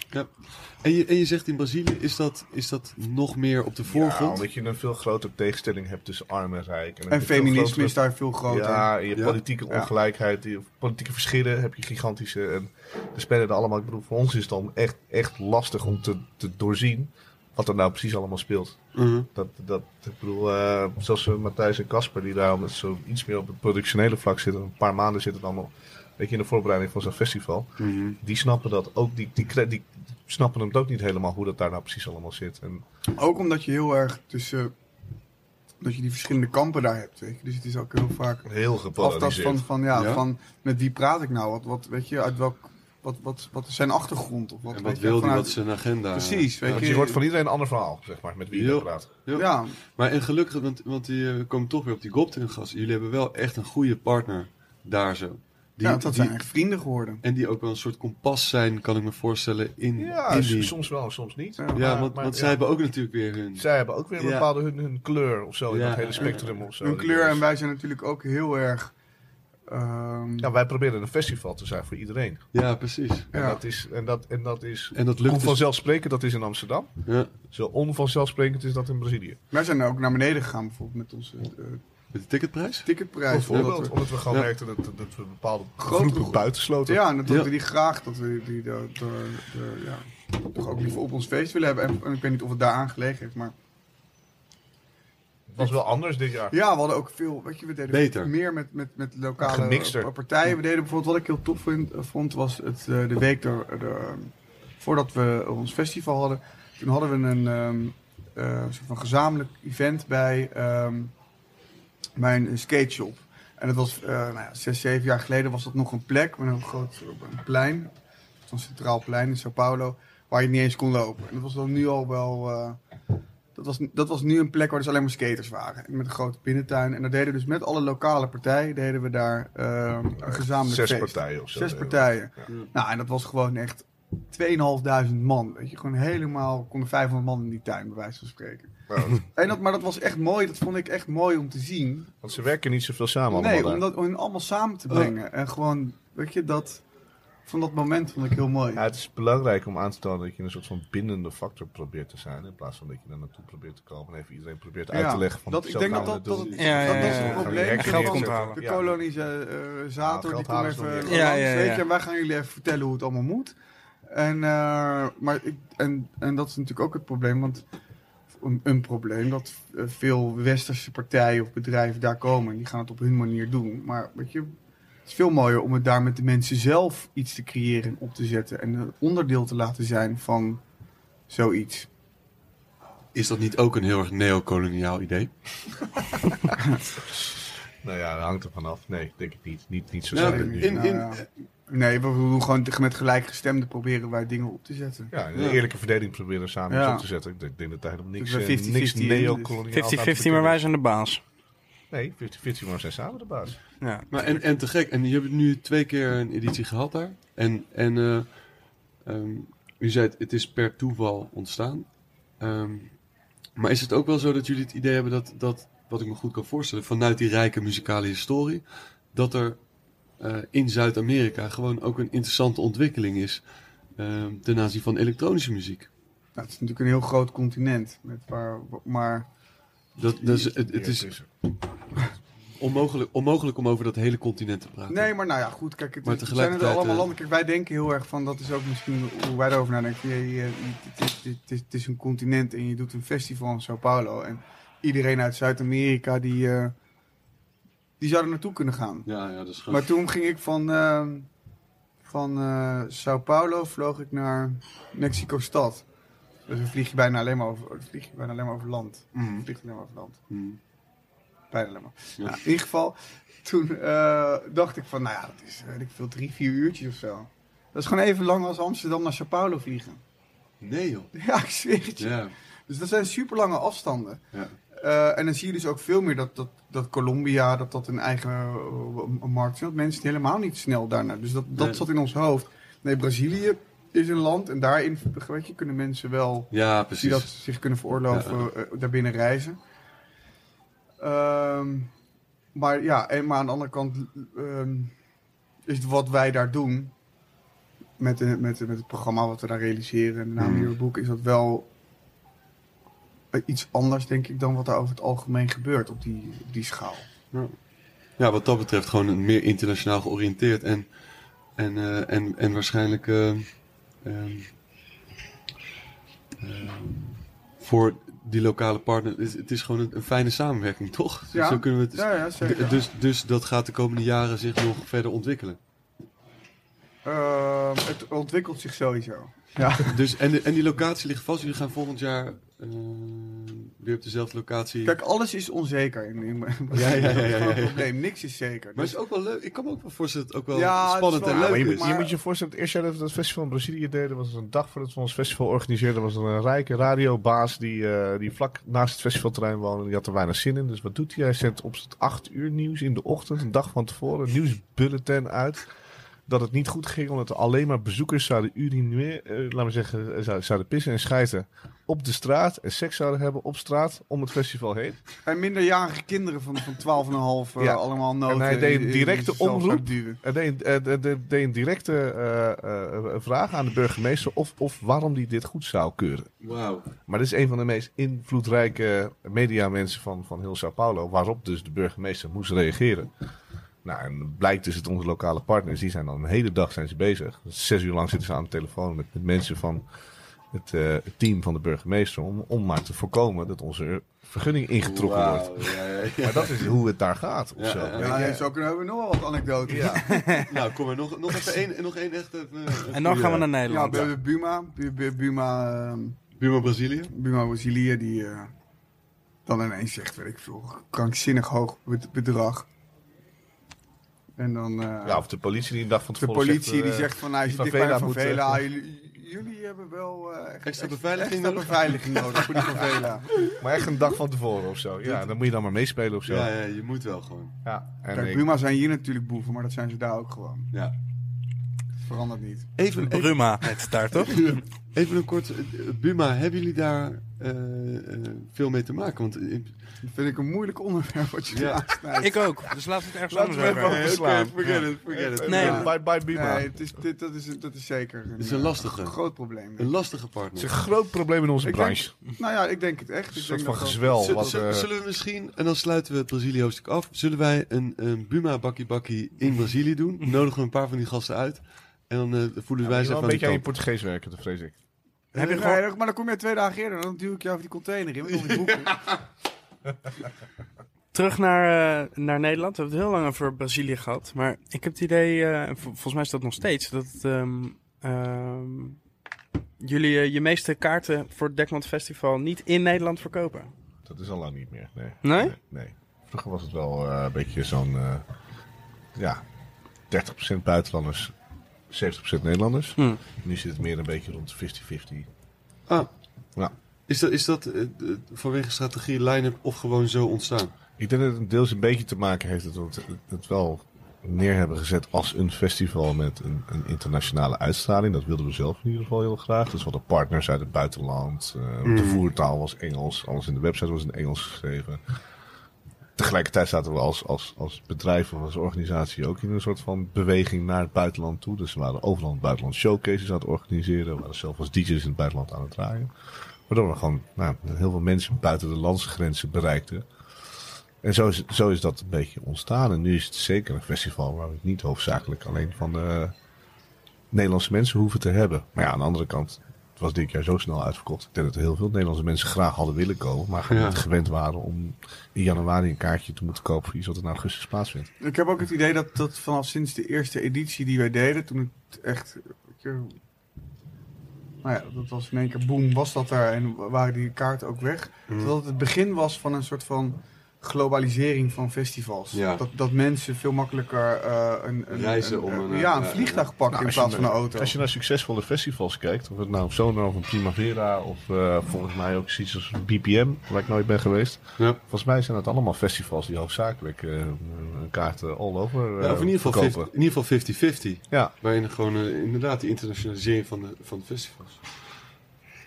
Speaker 2: En je, en je zegt in Brazilië, is dat, is dat nog meer op de
Speaker 3: Ja,
Speaker 2: voorgrond?
Speaker 3: omdat je een veel grotere tegenstelling hebt tussen arm en rijk.
Speaker 4: En
Speaker 3: een veel
Speaker 4: feminisme
Speaker 3: grotere-
Speaker 4: is daar veel groter.
Speaker 3: Ja, en je
Speaker 2: Ja.
Speaker 3: politieke
Speaker 4: Ja.
Speaker 3: ongelijkheid, die politieke verschillen heb je gigantische. En we spelen er allemaal. Ik bedoel, voor ons is het dan echt, echt lastig om te, te doorzien wat er nou precies allemaal speelt.
Speaker 2: Mhm.
Speaker 3: Dat, dat, ik bedoel, eh, zelfs eh, Matthijs en Casper, die daar met zo iets meer op het productionele vlak zitten. Een paar maanden zitten dan al, weet je, in de voorbereiding van zo'n festival.
Speaker 2: Mhm.
Speaker 3: Die snappen dat ook, die, die, kre- die snappen het ook niet helemaal hoe dat daar nou precies allemaal zit. En
Speaker 4: Ook omdat je heel erg tussen... Dat je die verschillende kampen daar hebt. Weet je. Dus het is ook heel vaak
Speaker 3: heel
Speaker 4: aftast
Speaker 3: gepolariseerd.
Speaker 4: van, van, ja,
Speaker 2: Ja.
Speaker 4: van met wie praat ik nou? Wat, wat weet je, uit welk... Wat, wat, wat is zijn achtergrond? Of wat,
Speaker 2: En
Speaker 4: weet
Speaker 2: wat
Speaker 4: je,
Speaker 2: wil die,
Speaker 4: vanuit-
Speaker 2: wat is zijn agenda?
Speaker 4: Precies, weet
Speaker 3: Want je hoort van iedereen een ander verhaal, zeg maar, met wie je
Speaker 2: Heel-
Speaker 3: daar praat.
Speaker 4: Ja,
Speaker 2: Maar en gelukkig, want, want die eh, komen toch weer op die Gopten gas. Jullie hebben wel echt een goede partner daar zo. Die,
Speaker 4: ja, dat
Speaker 2: die-
Speaker 4: zijn echt vrienden geworden.
Speaker 2: En die ook wel een soort kompas zijn, kan ik me voorstellen, in,
Speaker 3: Ja,
Speaker 2: in
Speaker 3: s-
Speaker 2: die...
Speaker 3: soms wel, soms niet.
Speaker 4: Ja,
Speaker 2: ja,
Speaker 3: Maar-
Speaker 2: want,
Speaker 3: maar-
Speaker 2: want
Speaker 3: ja.
Speaker 2: zij hebben ook natuurlijk weer hun...
Speaker 3: Zij hebben ook weer een
Speaker 2: Ja.
Speaker 3: bepaalde hun, hun kleur of zo, in
Speaker 2: Ja.
Speaker 3: dat hele spectrum of zo.
Speaker 4: Hun kleur
Speaker 3: Dus-
Speaker 4: en wij zijn natuurlijk ook heel erg... ehm,
Speaker 3: Ja, wij proberen een festival te zijn voor iedereen.
Speaker 2: Ja, precies.
Speaker 3: En
Speaker 4: Ja.
Speaker 3: dat is, en dat, en dat is
Speaker 2: En dat lukt dus.
Speaker 3: onvanzelfsprekend, dat is in Amsterdam.
Speaker 2: Ja,
Speaker 3: Zo onvanzelfsprekend is dat in Brazilië.
Speaker 4: Wij zijn ook naar beneden gegaan bijvoorbeeld met onze eh,
Speaker 2: met de ticketprijs.
Speaker 4: ticketprijs.
Speaker 3: Bijvoorbeeld
Speaker 4: omdat we-
Speaker 3: omdat we gewoon
Speaker 2: Ja.
Speaker 3: merkten dat, dat we bepaalde
Speaker 4: Grote
Speaker 3: groepen
Speaker 4: groepen.
Speaker 3: buitensloten.
Speaker 4: ja, en dat wilden
Speaker 2: Ja.
Speaker 4: die graag dat we die de, de, de- ja, toch ook liever op ons feest willen hebben. En, en ik weet niet of het daar aangelegen heeft, maar
Speaker 3: Het was wel anders dit jaar.
Speaker 4: ja, we hadden ook veel, weet je, we deden
Speaker 2: Beter.
Speaker 4: meer met, met, met lokale
Speaker 3: Gemixter.
Speaker 4: eh, partijen. We deden bijvoorbeeld, wat ik heel tof vind, eh, vond, was het, eh, de week er, de- voordat we ons festival hadden. Toen hadden we een ehm, eh, soort van gezamenlijk event bij ehm, mijn skate shop. En dat was, eh, nou ja, zes, zeven jaar geleden was dat nog een plek met een groot eh, een plein. Zo'n centraal plein in Sao Paulo, waar je niet eens kon lopen. En dat was dan nu al wel... eh, dat was, dat was nu een plek waar dus alleen maar skaters waren. Met een grote binnentuin. En daar deden we dus met alle lokale partijen deden we daar ehm, een gezamenlijk
Speaker 3: Zes
Speaker 4: feest.
Speaker 3: partijen of zo.
Speaker 4: Zes partijen. Nou, en dat was gewoon echt 2.500 man. Weet je, gewoon helemaal konden 500 man in die tuin, bij wijze van spreken.
Speaker 3: Nou,
Speaker 4: En dat, maar dat was echt mooi, dat vond ik echt mooi om te zien.
Speaker 3: want ze werken niet zoveel samen allemaal
Speaker 4: nee,
Speaker 3: daar.
Speaker 4: om, dat, om hen allemaal samen te brengen. En gewoon, weet je, dat, van dat moment vond ik heel mooi.
Speaker 3: Ja, het is belangrijk om aan te tonen dat je een soort van bindende factor probeert te zijn. In plaats van dat je daar naartoe probeert te komen en even iedereen probeert uit
Speaker 4: Ja,
Speaker 3: te leggen van
Speaker 4: dat- ik
Speaker 3: zo
Speaker 4: denk
Speaker 3: gaan
Speaker 4: dat
Speaker 3: we
Speaker 4: dat-
Speaker 3: het doen.
Speaker 4: dat-
Speaker 1: Ja,
Speaker 4: dat
Speaker 1: ja,
Speaker 4: was
Speaker 1: ja, ja.
Speaker 4: het
Speaker 3: Gaan
Speaker 4: probleem.
Speaker 1: geld
Speaker 3: we geld
Speaker 1: komt
Speaker 3: onthalen.
Speaker 1: halen.
Speaker 4: De
Speaker 3: Ja.
Speaker 4: kolonisator,
Speaker 3: Ja,
Speaker 4: die
Speaker 3: geld
Speaker 4: komt
Speaker 3: halen ze
Speaker 4: even
Speaker 3: nog niet
Speaker 4: langs,
Speaker 3: echt.
Speaker 1: Ja, ja, ja.
Speaker 4: weet je. En wij gaan jullie even vertellen hoe het allemaal moet. En, eh, maar ik, en, en dat is natuurlijk ook het probleem, want een, een probleem dat eh, veel westerse partijen of bedrijven daar komen. en Die gaan het op hun manier doen. Maar weet je, het is veel mooier om het daar met de mensen zelf iets te creëren en op te zetten. En een onderdeel te laten zijn van zoiets.
Speaker 2: Is dat niet ook een heel erg neocoloniaal idee?
Speaker 3: Nou ja, dat hangt er vanaf. Nee, denk ik niet. Niet, niet zo
Speaker 2: Ja,
Speaker 3: zijn
Speaker 4: zijn we
Speaker 3: we
Speaker 2: in,
Speaker 4: nu.
Speaker 3: nu.
Speaker 2: in,
Speaker 4: Nou ja. Nee, we we doen gewoon te- met gelijkgestemden proberen wij dingen op te zetten.
Speaker 3: Ja, een
Speaker 2: Ja.
Speaker 3: eerlijke verdeling proberen samen
Speaker 4: Ja.
Speaker 3: iets op te zetten. Ik denk, ik denk dat daar helemaal niks,
Speaker 4: Dus we
Speaker 3: eh,
Speaker 4: 50-50
Speaker 3: niks
Speaker 4: in, dus.
Speaker 3: neocoloniaal
Speaker 1: 50-50, maar wij zijn de baas.
Speaker 3: Nee, 50-50, maar we zijn samen de baas.
Speaker 1: Ja.
Speaker 2: Maar en, en te gek. En je hebt nu twee keer een editie gehad daar. En, en eh, ehm, u zei het, het is per toeval ontstaan. Ehm, maar is het ook wel zo dat jullie het idee hebben dat, dat, wat ik me goed kan voorstellen, vanuit die rijke muzikale historie, dat er eh, in Zuid-Amerika gewoon ook een interessante ontwikkeling is ehm, ten aanzien van elektronische muziek?
Speaker 4: Nou, het is natuurlijk een heel groot continent. Met waar, maar
Speaker 2: Dat, dat is, Dus het,
Speaker 3: Hier
Speaker 2: het is
Speaker 3: tussen.
Speaker 2: onmogelijk, onmogelijk om over dat hele continent te praten.
Speaker 4: Nee, maar nou ja, goed. Kijk, het,
Speaker 2: Maar
Speaker 4: het zijn
Speaker 2: tegelijkertijd,
Speaker 4: er allemaal
Speaker 2: eh,
Speaker 4: landen. Kijk, wij denken heel erg van, dat is ook misschien hoe wij erover nadenken. eh, Je, je- het, is, het is- het is een continent en je doet een festival in Sao Paulo. En iedereen uit Zuid-Amerika, die, eh, die zou er naartoe kunnen gaan.
Speaker 2: Ja, ja, dat is gewoon...
Speaker 4: Maar toen ging ik van, eh, van eh, Sao Paulo vloog ik naar Mexico-stad. Dus dan vlieg je bijna alleen maar over, vlieg je bijna alleen maar over land.
Speaker 2: Mhm.
Speaker 4: Vlieg je alleen maar over land.
Speaker 2: Mhm.
Speaker 4: Bijna alleen maar.
Speaker 2: Ja.
Speaker 4: Nou, in ieder geval, toen eh, dacht ik van, nou ja, dat is, weet ik veel, drie, vier uurtjes of zo. Dat is gewoon even lang als Amsterdam naar Sao Paulo vliegen.
Speaker 2: Nee joh.
Speaker 4: Ja, ik zweer het je.
Speaker 2: Ja,
Speaker 4: Dus dat zijn super lange afstanden.
Speaker 2: ja.
Speaker 4: Eh, Eh, en dan zie je dus ook veel meer dat, dat, dat Colombia dat dat een eigen eh, m- markt is. Dat mensen helemaal niet snel daarnaar. Dus dat, dat
Speaker 2: Nee.
Speaker 4: zat in ons hoofd. Nee, Brazilië is een land en daarin weet je, kunnen mensen wel
Speaker 2: Ja,
Speaker 4: die
Speaker 2: precies.
Speaker 4: dat zich kunnen veroorloven eh, daarbinnen reizen. Ehm, maar ja, en, maar aan de andere kant ehm, is wat wij daar doen met, de- met, de- met het programma wat we daar realiseren en de naam
Speaker 2: Hmm.
Speaker 4: Hero Book is dat wel eh, iets anders denk ik dan wat er over het algemeen gebeurt op die, op die schaal.
Speaker 2: Ja, wat dat betreft gewoon een meer internationaal georiënteerd en, en, eh, en, en waarschijnlijk eh, ehm, ehm, voor die lokale partner. Het is, het is gewoon een, een fijne samenwerking, toch? Dus
Speaker 4: Ja.
Speaker 2: Zo kunnen we het.
Speaker 4: Ja, ja, zeker.
Speaker 2: d- dus, dus dat gaat de komende jaren zich nog verder ontwikkelen.
Speaker 4: Ehm, het ontwikkelt zich sowieso.
Speaker 2: Dus, en, de- en die locatie ligt vast. Jullie gaan volgend jaar eh, weer op dezelfde locatie.
Speaker 4: Kijk, alles is onzeker. In, in,
Speaker 2: ja, ja,
Speaker 4: dat is
Speaker 2: ja,
Speaker 4: gewoon
Speaker 2: ja.
Speaker 4: het probleem. Niks is zeker.
Speaker 2: maar
Speaker 4: Dus-
Speaker 2: het is ook wel leuk. Ik kan me ook wel voorstellen dat het ook wel
Speaker 4: Ja, het is
Speaker 2: spannend
Speaker 4: wel-
Speaker 2: en
Speaker 4: Ja,
Speaker 2: leuk
Speaker 3: Nou, maar je,
Speaker 2: is.
Speaker 3: moet, je
Speaker 4: maar-
Speaker 3: moet je voorstellen, het eerste jaar dat we dat festival in Brazilië deden, was het een dag voordat we ons festival organiseerden, was er een rijke radiobaas die, eh, die vlak naast het festivalterrein woonde. Die had er weinig zin in, dus wat doet hij? Hij zet op het 8 uur nieuws in de ochtend, een dag van tevoren, een nieuwsbulletin uit. Dat het niet goed ging, omdat er alleen maar bezoekers zouden urineren, eh, laten we zeggen, eh, zouden, zouden pissen en schijten op de straat. En seks zouden hebben op straat om het festival heen.
Speaker 4: En minderjarige kinderen van, van 12,5 eh,
Speaker 3: Ja.
Speaker 4: allemaal noten.
Speaker 3: En hij deed
Speaker 4: in- in- in
Speaker 3: directe
Speaker 4: zichzelf
Speaker 3: omroep.
Speaker 4: gaan duwen.
Speaker 3: Er deed, er- er- er deed een directe eh, eh, vraag aan de burgemeester of, of waarom die dit goed zou keuren.
Speaker 2: Wauw.
Speaker 3: Maar dit is een van de meest invloedrijke mediamensen van, van heel Sao Paulo. Waarop dus de burgemeester moest reageren. Nou, en blijkt dus dat onze lokale partners, die zijn dan een hele dag zijn ze bezig. Zes uur lang zitten ze aan de telefoon met, met mensen van het, eh, het team van de burgemeester. Om, om maar te voorkomen dat onze vergunning ingetrokken wordt.
Speaker 2: Wauw, ja, ja, ja.
Speaker 3: Maar dat is hoe het daar gaat. Of
Speaker 2: Ja,
Speaker 3: zo.
Speaker 2: ja, ja.
Speaker 4: Ja, ja, zo kunnen we nog wel wat anekdotes. Ja,
Speaker 3: Ja.
Speaker 2: Nou, kom maar, nog, nog even één, nog één echt... even, eh,
Speaker 1: En dan gaan we naar
Speaker 4: ja
Speaker 1: Nederland.
Speaker 4: bij Buma, Bu- Bu- Buma, ehm,
Speaker 2: Buurman Brazilië?
Speaker 4: Buma Brazilië, die eh, dan ineens zegt, weet ik veel, krankzinnig hoog bed- bedrag. En dan eh,
Speaker 3: Ja, of de politie die een dag van
Speaker 4: de
Speaker 3: tevoren
Speaker 4: politie
Speaker 3: zegt, eh,
Speaker 4: die zegt van, nou, je zit
Speaker 3: die
Speaker 4: dicht bij de
Speaker 3: favela moet, eh,
Speaker 4: favela, jullie, jullie hebben wel eh, echt-
Speaker 2: Extra beveiliging
Speaker 4: extra
Speaker 2: nodig?
Speaker 4: beveiliging nodig voor die favela.
Speaker 3: Maar echt een dag van tevoren of zo. Ja, dan moet je dan maar meespelen of zo.
Speaker 2: Ja,
Speaker 3: Ja,
Speaker 2: ja, je moet wel gewoon.
Speaker 3: En
Speaker 4: Kijk,
Speaker 3: ik-
Speaker 4: Buma zijn hier natuurlijk boeven, maar dat zijn ze daar ook gewoon.
Speaker 2: Ja.
Speaker 4: Verandert niet.
Speaker 2: Even, even,
Speaker 1: Bruma heet het daar, toch?
Speaker 2: even een kort... eh, eh, Buma, hebben jullie daar eh, eh, veel mee te maken? Want eh,
Speaker 4: Dat vind ik een moeilijk onderwerp wat je
Speaker 2: Ja.
Speaker 4: ja. aansnijdt.
Speaker 1: Ik ook, dus laten we het ergens
Speaker 3: Laten
Speaker 1: anders
Speaker 3: we
Speaker 1: over
Speaker 3: even
Speaker 1: hebben.
Speaker 3: over slaan.
Speaker 2: forget it, forget it.
Speaker 1: Nee.
Speaker 4: Ja.
Speaker 3: Bye bye Bima.
Speaker 4: Nee, het is, dit, dat, is, dat is zeker een,
Speaker 2: Het is een
Speaker 4: eh,
Speaker 2: lastige.
Speaker 4: groot probleem.
Speaker 2: Een lastige
Speaker 3: Het is
Speaker 2: partner.
Speaker 3: een groot probleem in onze
Speaker 4: Ik
Speaker 3: branche.
Speaker 4: nou ja, ik denk het echt.
Speaker 3: een
Speaker 4: Ik
Speaker 3: soort
Speaker 4: denk
Speaker 3: van
Speaker 4: dat dat-
Speaker 3: gezwel.
Speaker 2: Zullen,
Speaker 3: Wat, eh,
Speaker 2: zullen we misschien, en dan sluiten we het Brazilië-hoofdstuk af, zullen wij een, een Buma bakkie bakkie in Brazilië doen? Nodigen we een paar van die gasten uit en dan eh, voelen wij
Speaker 3: je
Speaker 2: ze even
Speaker 3: wel een
Speaker 2: aan de
Speaker 3: beetje aan je
Speaker 2: kant.
Speaker 3: Portugees werken, dat vrees ik.
Speaker 1: Heb je
Speaker 4: Eh, Nee,
Speaker 1: gewoon-
Speaker 4: nee, maar dan kom je twee dagen eerder. Dan duw ik jou over die container in. want dan kom je boeken.
Speaker 1: Terug naar, eh, naar Nederland. We hebben het heel lang over Brazilië gehad. Maar ik heb het idee, eh, en vol- volgens mij is dat nog steeds, dat ehm, ehm, jullie eh, je meeste kaarten voor het Dekmond Festival niet in Nederland verkopen.
Speaker 3: Dat is al lang niet meer. Nee.
Speaker 1: Nee?
Speaker 3: nee. Vroeger was het wel eh, een beetje zo'n. eh, ja, 30% buitenlanders, 70% Nederlanders.
Speaker 1: Hm.
Speaker 3: Nu zit het meer een beetje rond 50-50.
Speaker 2: Ah,
Speaker 3: Ja.
Speaker 2: is dat, is dat eh, de- vanwege strategie, line-up of gewoon zo ontstaan?
Speaker 3: Ik denk dat het deels een beetje te maken heeft dat we het, het wel neer hebben gezet als een festival met een, een internationale uitstraling. Dat wilden we zelf in ieder geval heel graag. Dus we hadden partners uit het buitenland. eh, De voertaal was Engels. Alles in de website was in Engels geschreven. Tegelijkertijd zaten we als, als, als bedrijf of als organisatie ook in een soort van beweging naar het buitenland toe. Dus we waren overal in het buitenland showcases aan het organiseren. We waren zelf als DJ's in het buitenland aan het draaien. Waardoor we gewoon nou, heel veel mensen buiten de landsgrenzen bereikten. En zo is, zo is dat een beetje ontstaan. En nu is het zeker een festival waar we het niet hoofdzakelijk alleen van de Nederlandse mensen hoeven te hebben. Maar ja, aan de andere kant, het was dit jaar zo snel uitverkocht. Ik denk dat er heel veel Nederlandse mensen graag hadden willen komen. Maar gewoon
Speaker 2: Ja.
Speaker 3: niet gewend waren om in januari een kaartje te moeten kopen voor iets wat er in augustus plaatsvindt.
Speaker 4: ik heb ook het idee dat, dat vanaf sinds de eerste editie die wij deden, toen het echt... weet je, nou ja, dat was in
Speaker 2: Mm.
Speaker 4: Mm. één keer boom, was dat daar en wa- waren die kaarten ook weg. Dat het het begin was van een soort van globalisering van festivals.
Speaker 2: Ja.
Speaker 4: Dat, dat mensen veel makkelijker eh, een, een,
Speaker 2: Reizen om een,
Speaker 4: ja, een
Speaker 2: eh,
Speaker 4: vliegtuig
Speaker 3: Nou,
Speaker 4: pakken in
Speaker 3: als je
Speaker 4: plaats van
Speaker 3: naar-
Speaker 4: een auto.
Speaker 3: Als je naar succesvolle festivals kijkt, of het nou Sonar of een Primavera of eh, volgens mij ook zoiets als BPM, waar ik nooit ben geweest.
Speaker 2: Ja.
Speaker 4: Eh,
Speaker 3: Volgens mij zijn het allemaal festivals die hoofdzakelijk eh, een kaart eh, all over eh,
Speaker 2: Ja, nou, of in ieder geval
Speaker 3: verkopen.
Speaker 2: 50 in ieder geval 50-50.
Speaker 3: Ja.
Speaker 2: Waarin gewoon eh, inderdaad die internationalisering van de, van de festivals.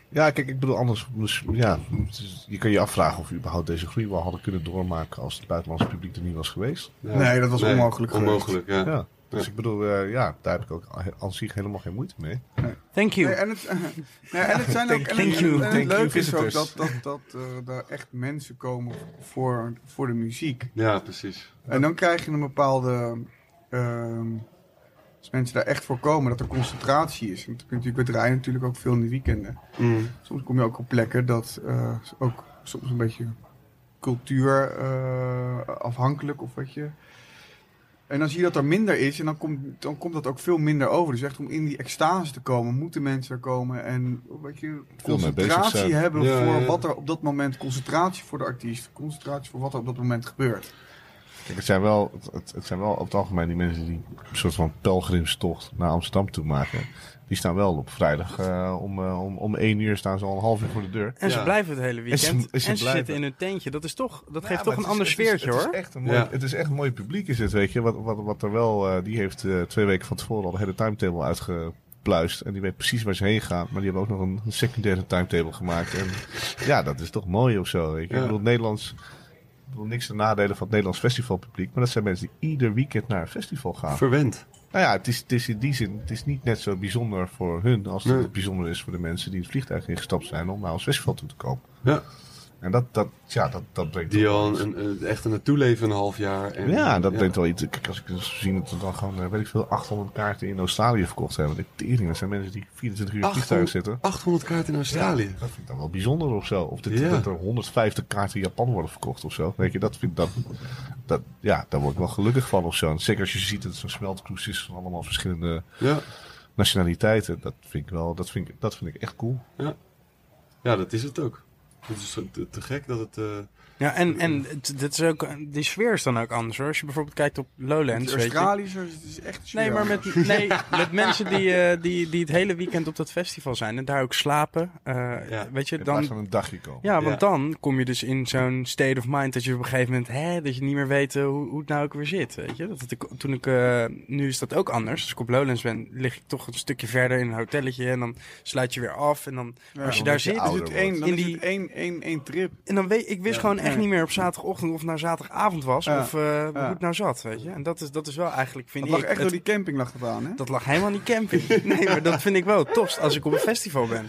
Speaker 3: ja, kijk, ik bedoel anders, dus, ja, het is- je kan je afvragen of we überhaupt deze groei wel hadden kunnen doormaken als het buitenlandse publiek er niet was geweest.
Speaker 2: Ja.
Speaker 4: Nee, dat was onmogelijk geweest.
Speaker 2: Onmogelijk, ja.
Speaker 3: Ja. Dus
Speaker 2: Ja.
Speaker 3: ik bedoel, eh, ja, daar heb ik ook aan- aan zich helemaal geen moeite mee.
Speaker 1: Thank
Speaker 4: Nee,
Speaker 1: you.
Speaker 4: en het, eh, nee, en het zijn ook. En
Speaker 1: Thank
Speaker 4: het,
Speaker 1: you.
Speaker 4: en het
Speaker 3: Thank you,
Speaker 4: leuke is ook
Speaker 3: visitors.
Speaker 4: dat, dat, dat eh, er echt mensen komen voor, voor de muziek.
Speaker 2: Ja, precies.
Speaker 4: En dan krijg je een bepaalde. ehm, als mensen daar echt voor komen, dat er concentratie is. Want natuurlijk, we draaien natuurlijk ook veel in de weekenden.
Speaker 2: Mm.
Speaker 4: Soms kom je ook op plekken dat eh, ook soms een beetje cultuur eh, afhankelijk of wat je. En dan zie je dat er minder is en dan komt, dan komt dat ook veel minder over. Dus echt om in die extase te komen, moeten mensen er komen en weet je,
Speaker 3: Veel mee bezig
Speaker 4: concentratie
Speaker 3: zijn.
Speaker 4: hebben
Speaker 2: Ja,
Speaker 4: voor
Speaker 2: ja.
Speaker 4: wat er op dat moment, concentratie voor de artiest, concentratie voor wat er op dat moment gebeurt.
Speaker 3: Kijk, het zijn wel, het- het, het zijn wel op het algemeen die mensen die een soort van pelgrimstocht naar Amsterdam toe maken. Die staan wel op vrijdag eh, om, eh, om, om één uur staan ze al een half uur voor de deur.
Speaker 1: En ze
Speaker 2: Ja.
Speaker 1: blijven het hele weekend.
Speaker 3: En
Speaker 1: En
Speaker 3: ze-
Speaker 1: ze,
Speaker 3: en ze blijven.
Speaker 1: zitten in hun tentje. Dat, is toch, dat geeft toch
Speaker 3: Ja, maar
Speaker 1: een
Speaker 3: het
Speaker 1: ander
Speaker 3: is-
Speaker 1: sfeertje
Speaker 3: het is,
Speaker 1: hoor.
Speaker 3: Het is, echt een mooi,
Speaker 2: Ja.
Speaker 3: het is echt een mooi publiek is het, weet je. Wat, wat, wat er wel, eh, die heeft eh, twee weken van tevoren al de hele timetable uitgepluist. En die weet precies waar ze heen gaan. Maar die hebben ook nog een, een secundaire timetable gemaakt. En ja, dat is toch mooi of zo, weet je.
Speaker 2: Ja.
Speaker 3: Ik bedoel, Nederlands... Ik bedoel, niks te nadelen van het Nederlands festivalpubliek. Maar dat zijn mensen die ieder weekend naar een festival gaan.
Speaker 2: Verwend.
Speaker 3: Nou ja, het is, het is in die zin het is niet net zo bijzonder voor hun als
Speaker 2: Nee.
Speaker 3: het bijzonder is voor de mensen die het vliegtuig ingestapt zijn om naar ons festival toe te komen.
Speaker 2: Ja.
Speaker 3: En dat, dat, ja, dat, dat brengt
Speaker 2: Die
Speaker 3: wel-
Speaker 2: al een, een, echt een naartoe leven een half jaar. En,
Speaker 3: Ja, dat
Speaker 2: denkt
Speaker 3: brengt wel iets. Kijk, als ik dus zie dat we dan gewoon, eh, weet ik veel, 800 kaarten in Australië verkocht hebben. Ik tering, dat zijn mensen die 24 uur in het vliegtuig
Speaker 2: 800,
Speaker 3: zitten.
Speaker 2: 800 kaarten in Australië.
Speaker 3: Dat vind ik dan wel bijzonder of zo. Of dit,
Speaker 2: Ja.
Speaker 3: dat er 150 kaarten in Japan worden verkocht of zo. Weet je, dat vind ik dat, dat, ja, daar word ik wel gelukkig van of zo. En zeker als je ziet dat het zo'n smeltkroes is van allemaal verschillende
Speaker 2: Ja.
Speaker 3: nationaliteiten. Dat vind ik wel, dat vind ik, dat vind ik echt cool.
Speaker 2: ja, dat is het ook. Het is zo te, te gek dat het... eh,
Speaker 1: Ja, en, en het- dat is ook, die sfeer is dan ook anders hoor. Als je bijvoorbeeld kijkt op Lowlands.
Speaker 4: De
Speaker 1: Weet je.
Speaker 4: Australiërs, het is echt
Speaker 1: Nee,
Speaker 4: chill.
Speaker 1: maar met, nee, met mensen die, eh, die, die het hele weekend op dat festival zijn en daar ook slapen. eh,
Speaker 2: Ja,
Speaker 1: weet je,
Speaker 3: In plaats
Speaker 1: dan,
Speaker 3: van een dagje komen.
Speaker 1: Ja, want
Speaker 2: Ja.
Speaker 1: dan kom je dus in zo'n state of mind dat je op een gegeven moment, hè, dat je niet meer weet eh, hoe, hoe het nou ook weer zit. Weet je? Dat het, ik- toen ik, eh, nu is dat ook anders. Als ik op Lowlands ben, lig ik toch een stukje verder in een hotelletje en dan sluit je weer af. En dan,
Speaker 4: Ja,
Speaker 1: als je
Speaker 4: dan
Speaker 1: daar
Speaker 3: word je
Speaker 1: zit,
Speaker 3: ouder.
Speaker 4: is het één, dan
Speaker 1: In
Speaker 4: is
Speaker 1: die-
Speaker 4: het één, één, één trip.
Speaker 1: en dan weet ik, wist
Speaker 2: Ja.
Speaker 1: gewoon echt
Speaker 4: Ja.
Speaker 1: niet meer op zaterdagochtend of het nou zaterdagavond was
Speaker 4: Ja.
Speaker 1: of eh, hoe
Speaker 4: Ja.
Speaker 1: het nou zat. Weet je? En dat is, dat is wel eigenlijk, vind
Speaker 4: Dat lag
Speaker 1: ik,
Speaker 4: echt
Speaker 1: het-
Speaker 4: door die camping lag dat aan, hè?
Speaker 1: dat lag helemaal niet camping. nee, maar dat vind ik wel het tofst als ik op een festival ben.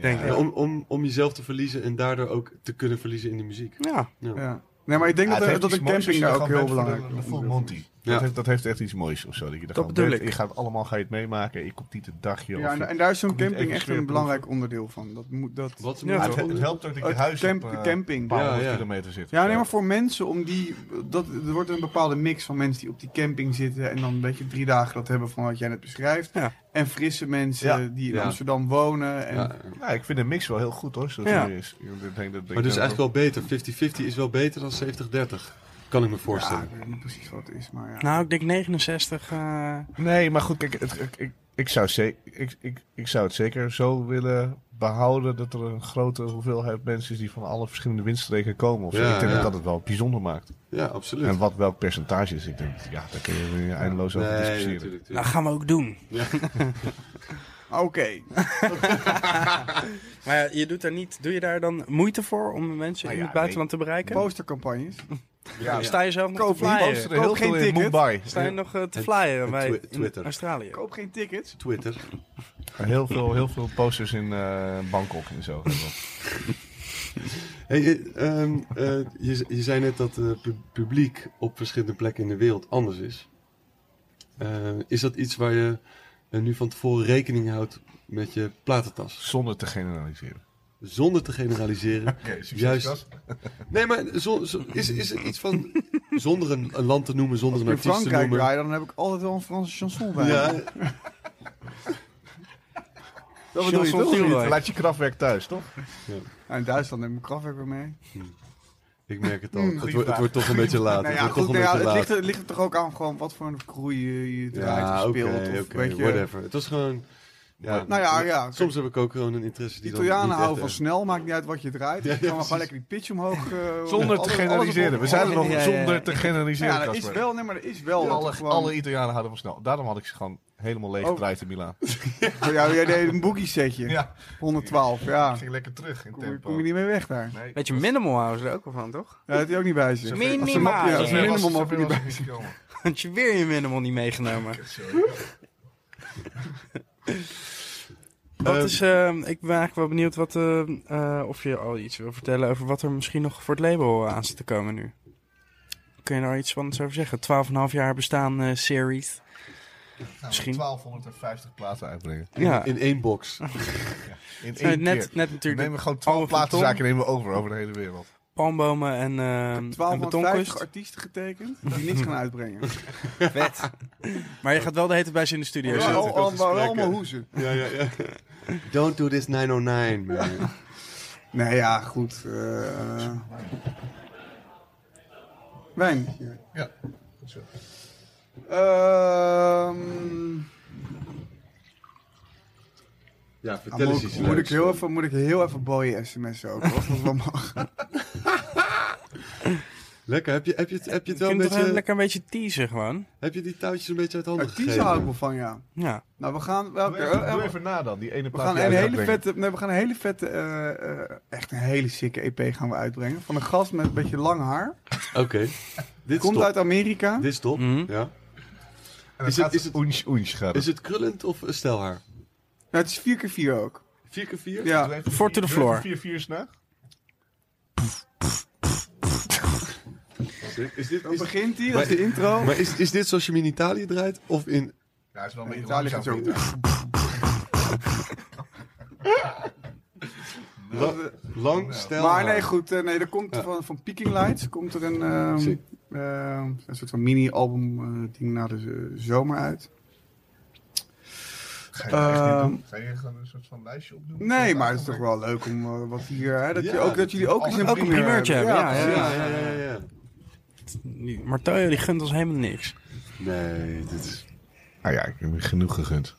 Speaker 1: Denk ik.
Speaker 2: ja, om, om, om jezelf te verliezen en daardoor ook te kunnen verliezen in de muziek.
Speaker 1: Ja,
Speaker 4: Ja. Nee, maar ik denk
Speaker 3: Ja,
Speaker 4: dat,
Speaker 3: het
Speaker 4: er- dat
Speaker 3: heeft
Speaker 4: een
Speaker 3: iets moois als
Speaker 4: camping
Speaker 3: je
Speaker 4: daar
Speaker 3: er
Speaker 4: ook
Speaker 3: gewoon
Speaker 4: heel
Speaker 3: bent voor de-
Speaker 4: belangrijk
Speaker 3: de full Monty.
Speaker 2: Ja.
Speaker 3: Dat, heeft, dat heeft echt iets moois of zo. Dat, je er
Speaker 1: Dat
Speaker 3: gewoon
Speaker 1: bedoel
Speaker 3: bent.
Speaker 1: ik.
Speaker 3: Je gaat allemaal ga je het meemaken. Je komt niet een dagje.
Speaker 4: Ja,
Speaker 3: of je-
Speaker 4: en, en daar is zo'n
Speaker 3: Komt niet
Speaker 4: camping
Speaker 3: even
Speaker 4: echt een
Speaker 3: sfeerproeven.
Speaker 4: belangrijk onderdeel van. Dat moet, dat,
Speaker 2: Wat
Speaker 1: Ja,
Speaker 3: Ja,
Speaker 2: het,
Speaker 3: het, het helpt ook dat je
Speaker 4: Uit
Speaker 3: huis
Speaker 4: camp-
Speaker 3: op eh,
Speaker 4: camping.
Speaker 3: paar honderd
Speaker 2: Ja, ja.
Speaker 3: kilometer zit.
Speaker 4: Ja, nee, maar voor mensen om die. Dat, er wordt een bepaalde mix van mensen die op die camping zitten. en dan een beetje drie dagen dat hebben van wat jij net beschrijft.
Speaker 1: Ja.
Speaker 4: En frisse mensen
Speaker 3: Ja.
Speaker 4: die in
Speaker 2: Ja.
Speaker 4: Amsterdam wonen. En,
Speaker 2: ja,
Speaker 3: Ja, ik vind de mix wel heel goed hoor. Zoals
Speaker 1: Ja.
Speaker 3: ja. is. Ik denk dat,
Speaker 2: maar dus eigenlijk wel beter. 50-50 is wel beter dan 70-30. Kan ik me
Speaker 4: ja,
Speaker 2: voorstellen.
Speaker 4: ik weet niet precies wat het is, maar ja.
Speaker 1: nou, ik denk 69. eh,
Speaker 3: Nee, maar goed, kijk, het- ik, ik, ik, zou ze- ik, ik, ik zou het zeker zo willen behouden dat er een grote hoeveelheid mensen is die van alle verschillende windstreken komen. Of zo.
Speaker 2: Ja,
Speaker 3: ik denk
Speaker 2: ja.
Speaker 3: dat dat het wel bijzonder maakt.
Speaker 2: Ja, absoluut.
Speaker 3: En wat welk percentage is, ik denk, ja, daar kun je weer eindeloos over
Speaker 2: nee,
Speaker 3: discussiëren.
Speaker 2: natuurlijk.
Speaker 1: dat
Speaker 2: natuurlijk.
Speaker 1: nou, gaan we ook doen.
Speaker 4: Ah, Oké.
Speaker 1: Maar ja, je doet daar niet, doe je daar dan moeite voor om mensen in
Speaker 3: Nou ja,
Speaker 1: het buitenland te bereiken?
Speaker 4: Postercampagnes.
Speaker 2: Ja,
Speaker 1: Sta je zelf nog
Speaker 4: Koop
Speaker 1: te
Speaker 4: niet
Speaker 1: flyeren?
Speaker 3: Poster heel
Speaker 4: Koop
Speaker 3: veel
Speaker 4: geen
Speaker 3: in
Speaker 4: ticket.
Speaker 3: Mumbai.
Speaker 1: Sta je nog eh, te
Speaker 2: En-
Speaker 1: flyeren
Speaker 2: en
Speaker 1: bij
Speaker 2: twi-
Speaker 1: in
Speaker 2: Twitter.
Speaker 1: Australië?
Speaker 4: Koop geen tickets.
Speaker 2: Twitter.
Speaker 3: Heel veel, heel veel posters in eh, Bangkok en zo.
Speaker 2: Hey, eh, ehm, eh, je, je zei net dat het publiek op verschillende plekken in de wereld anders is. Eh, is dat iets waar je eh, nu van tevoren rekening houdt met je platentas?
Speaker 3: Zonder te generaliseren.
Speaker 2: Zonder te generaliseren. Juist. Nee, maar zo- zo- is, is er iets van. Zonder een, een land te noemen, zonder
Speaker 4: Als
Speaker 2: een
Speaker 4: ik in
Speaker 2: artiest te
Speaker 4: Frankrijk
Speaker 2: noemen.
Speaker 4: draai, dan heb ik altijd wel een Franse chanson bij. me.
Speaker 2: Ja,
Speaker 4: Dat bedoel je toch?
Speaker 1: Chanson Gilroy.
Speaker 3: Laat je krachtwerk thuis, toch?
Speaker 4: Nou, in Duitsland neem ik mijn krachtwerk weer mee.
Speaker 2: Ik merk het al.
Speaker 4: Mm,
Speaker 2: het,
Speaker 4: goeie
Speaker 2: wordt- het
Speaker 4: vraag.
Speaker 2: wordt toch een beetje laat.
Speaker 4: Nou
Speaker 2: het
Speaker 4: ja,
Speaker 2: wordt
Speaker 4: goed,
Speaker 2: toch een
Speaker 4: nou ja,
Speaker 2: beetje
Speaker 4: het,
Speaker 2: laat.
Speaker 4: ligt, er- het ligt er toch ook aan gewoon wat voor een kroei je, je draait
Speaker 2: ja,
Speaker 4: of
Speaker 2: oké,
Speaker 4: speelt.
Speaker 2: oké,
Speaker 4: of weet je,
Speaker 2: whatever. Het was gewoon... Ja,
Speaker 4: Nou ja, ja.
Speaker 2: Soms heb ik ook gewoon een interesse
Speaker 4: de
Speaker 2: die
Speaker 4: Italianen
Speaker 2: dan niet
Speaker 4: houden
Speaker 2: echt eh,
Speaker 4: van
Speaker 2: is.
Speaker 4: snel, maakt niet uit wat je draait.
Speaker 2: Ja, ja,
Speaker 4: Je kan
Speaker 2: precies.
Speaker 4: maar gewoon lekker die pitch omhoog. eh,
Speaker 3: Zonder te
Speaker 4: alles-
Speaker 3: generaliseren. We
Speaker 4: alles
Speaker 3: zijn er
Speaker 4: op-
Speaker 3: nog
Speaker 1: Ja, ja, ja.
Speaker 3: zonder te generaliseren.
Speaker 4: Ja, er is
Speaker 3: Casper.
Speaker 4: wel, nee, maar er is wel. dat
Speaker 3: alle,
Speaker 4: er gewoon-
Speaker 3: alle Italianen hadden van snel. Daarom had ik ze gewoon helemaal leeg
Speaker 4: Oh.
Speaker 3: gedraaid in Milaan.
Speaker 4: Voor jou, jij deed een boogie setje.
Speaker 3: Ja,
Speaker 4: 112, ja.
Speaker 3: ik ging lekker terug in
Speaker 4: Kom, je-
Speaker 3: tempo.
Speaker 4: kom je niet mee weg daar.
Speaker 3: Nee.
Speaker 1: Beetje minimal houden er ook wel van, toch?
Speaker 4: Ja, dat had hij ook niet bij zich.
Speaker 1: Minimaal.
Speaker 4: Als een mapje-
Speaker 1: Ja,
Speaker 4: als een
Speaker 1: Zover
Speaker 4: minimum had hij niet bij
Speaker 3: niet gekomen.
Speaker 1: Want je weer je minimal niet meegenomen.
Speaker 3: Nou,
Speaker 1: Wat
Speaker 2: Ehm,
Speaker 1: is, ehm, ik ben eigenlijk wel benieuwd wat, ehm, eh, of je al iets wil vertellen over wat er misschien nog voor het label eh, aan zit te komen nu. Kun je daar iets spannends over zeggen? 12,5 jaar bestaan eh, series. Misschien.
Speaker 3: 1250 platen uitbrengen.
Speaker 1: Ja,
Speaker 2: In één box.
Speaker 3: In
Speaker 1: Nou,
Speaker 3: één keer.
Speaker 1: Eh, net, net
Speaker 3: We
Speaker 1: natuurlijk
Speaker 3: nemen gewoon
Speaker 1: Alle van
Speaker 3: 12 platenzaken nemen we over, over de hele wereld.
Speaker 1: palmbomen en, ehm en
Speaker 4: 1250
Speaker 1: betonkust.
Speaker 4: artiesten getekend die niks gaan uitbrengen.
Speaker 1: Vet. maar je gaat wel de hete bij ze in de studio
Speaker 4: Ja, oh,
Speaker 1: zitten.
Speaker 4: al- al- maar wel allemaal hoezen.
Speaker 2: ja, ja, ja. Don't do this 909, man.
Speaker 4: Nee, ja, goed. eh wijn.
Speaker 3: Ja, goed zo.
Speaker 4: Ehm,
Speaker 2: Ja,
Speaker 4: ah,
Speaker 2: vertel
Speaker 4: moet,
Speaker 2: eens
Speaker 4: ik-
Speaker 2: iets
Speaker 4: moet, ik
Speaker 2: leuks.
Speaker 4: heel even, moet ik heel even boy sms'en ook, of dat wel mag.
Speaker 2: Lekker, heb je, heb, je het, heb je
Speaker 1: Je
Speaker 2: het wel een
Speaker 1: kunt toch
Speaker 2: beetje...
Speaker 1: even lekker een beetje teasen gewoon.
Speaker 2: Heb je die touwtjes een beetje uit handen
Speaker 4: Artiesten
Speaker 2: gegeven?
Speaker 4: hou ik wel van, ja.
Speaker 1: Ja.
Speaker 4: Nou, we gaan... wel-
Speaker 3: Doe even, doe even na dan, die ene
Speaker 4: We
Speaker 3: plaat
Speaker 4: gaan,
Speaker 3: die
Speaker 4: een
Speaker 3: jij
Speaker 4: hele
Speaker 3: gaat
Speaker 4: vette, nee, we gaan een hele vette, eh, eh, echt een hele sikke EP gaan we uitbrengen. Van een gast met een beetje lang haar.
Speaker 2: Oké. Dit
Speaker 4: Komt
Speaker 2: is top.
Speaker 4: uit Amerika.
Speaker 2: Dit is top,
Speaker 1: Mhm.
Speaker 2: ja.
Speaker 3: brengen. En
Speaker 2: Is
Speaker 3: dan
Speaker 2: het-
Speaker 3: gaat
Speaker 2: is
Speaker 3: het oens oens gaat
Speaker 2: Is het krullend of stelhaar?
Speaker 4: Nou, het is 4x4 ook.
Speaker 2: 4x4?
Speaker 4: Ja.
Speaker 1: Voor to the floor.
Speaker 3: 4 4 snag.
Speaker 2: Is dit, is dit,
Speaker 4: Dan
Speaker 2: is-
Speaker 4: begint hij, dat is de intro.
Speaker 2: maar is, is dit zoals je hem in Italië draait? Of in...
Speaker 3: Ja, het is wel een
Speaker 4: In
Speaker 3: beetje
Speaker 4: Italië
Speaker 3: langzaam.
Speaker 4: gaat het
Speaker 3: voor
Speaker 4: zo.
Speaker 2: La- lang, stelhaar?
Speaker 4: Maar nee, goed. eh, nee, er komt van, van Peking Lights komt er een, ehm,
Speaker 2: Zie.
Speaker 4: ehm, een soort van mini-album eh, ding na de z- zomer uit.
Speaker 3: Ga je dat echt niet
Speaker 4: Ehm,
Speaker 3: doen? Ga je gewoon een soort van lijstje opdoen?
Speaker 4: Nee, maar het is toch wel leuk om eh, wat hier... Hè, dat, je
Speaker 2: Ja.
Speaker 4: ook, dat jullie ook eens een
Speaker 1: Ook een primeurtje hebben, ja,
Speaker 4: precies.
Speaker 2: Ja, ja, ja, ja.
Speaker 1: Die Martello die gunt ons helemaal niks.
Speaker 2: Nee, dit is...
Speaker 3: Ah ja, ik heb je genoeg gegund.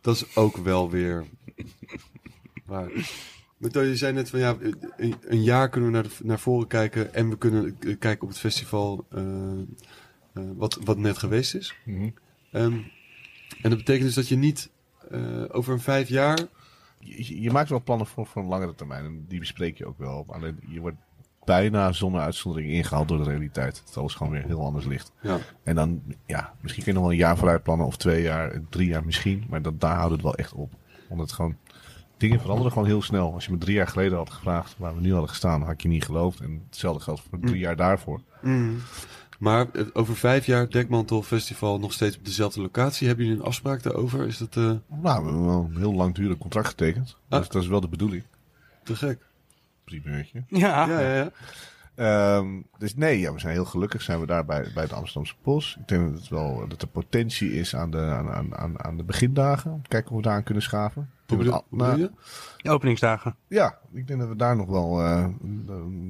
Speaker 2: Dat is ook wel weer waar. Matteo, je zei net van ja, een, een jaar kunnen we naar, de- naar voren kijken en we kunnen eh, kijken op het festival eh, eh, wat, wat net geweest is. Ehm, en dat betekent dus dat je niet eh, over een vijf jaar.
Speaker 3: Je, je- je maakt wel plannen voor, voor een langere termijn en die bespreek je ook wel. Alleen je wordt bijna zonder uitzondering ingehaald door de realiteit. Dat alles gewoon weer heel anders ligt.
Speaker 2: Ja,
Speaker 3: En dan, ja, misschien kun je nog wel een jaar vooruit plannen of twee jaar, drie jaar misschien. Maar dat, daar houdt het wel echt op. Omdat gewoon, dingen veranderen gewoon heel snel. Als je me drie jaar geleden had gevraagd waar we nu hadden gestaan, had ik je niet geloofd. En hetzelfde geldt voor
Speaker 2: Mm.
Speaker 3: drie jaar daarvoor.
Speaker 2: maar eh, over vijf jaar Dekmantel Festival nog steeds op dezelfde locatie. Hebben jullie een afspraak daarover? Is dat eh,
Speaker 3: Nou, we hebben wel een heel langdurig contract getekend.
Speaker 2: Ah.
Speaker 3: Dus dat is wel de bedoeling.
Speaker 2: te gek?
Speaker 3: Primeurtje.
Speaker 1: Ja.
Speaker 2: Ja, ja, ja.
Speaker 3: Ehm, dus nee, ja, we zijn heel gelukkig zijn we daar bij, bij het Amsterdamse Bos. Ik denk dat, het wel, dat er potentie is aan de, aan, aan, aan, aan de begindagen. Om te kijken hoe we daar aan kunnen schaven. Ik
Speaker 2: Hoe
Speaker 3: denk dat
Speaker 2: bedoel,
Speaker 3: al-
Speaker 2: hoe bedoel
Speaker 3: nou,
Speaker 2: je?
Speaker 1: Openingsdagen.
Speaker 3: Ja, ik denk dat we daar nog wel eh,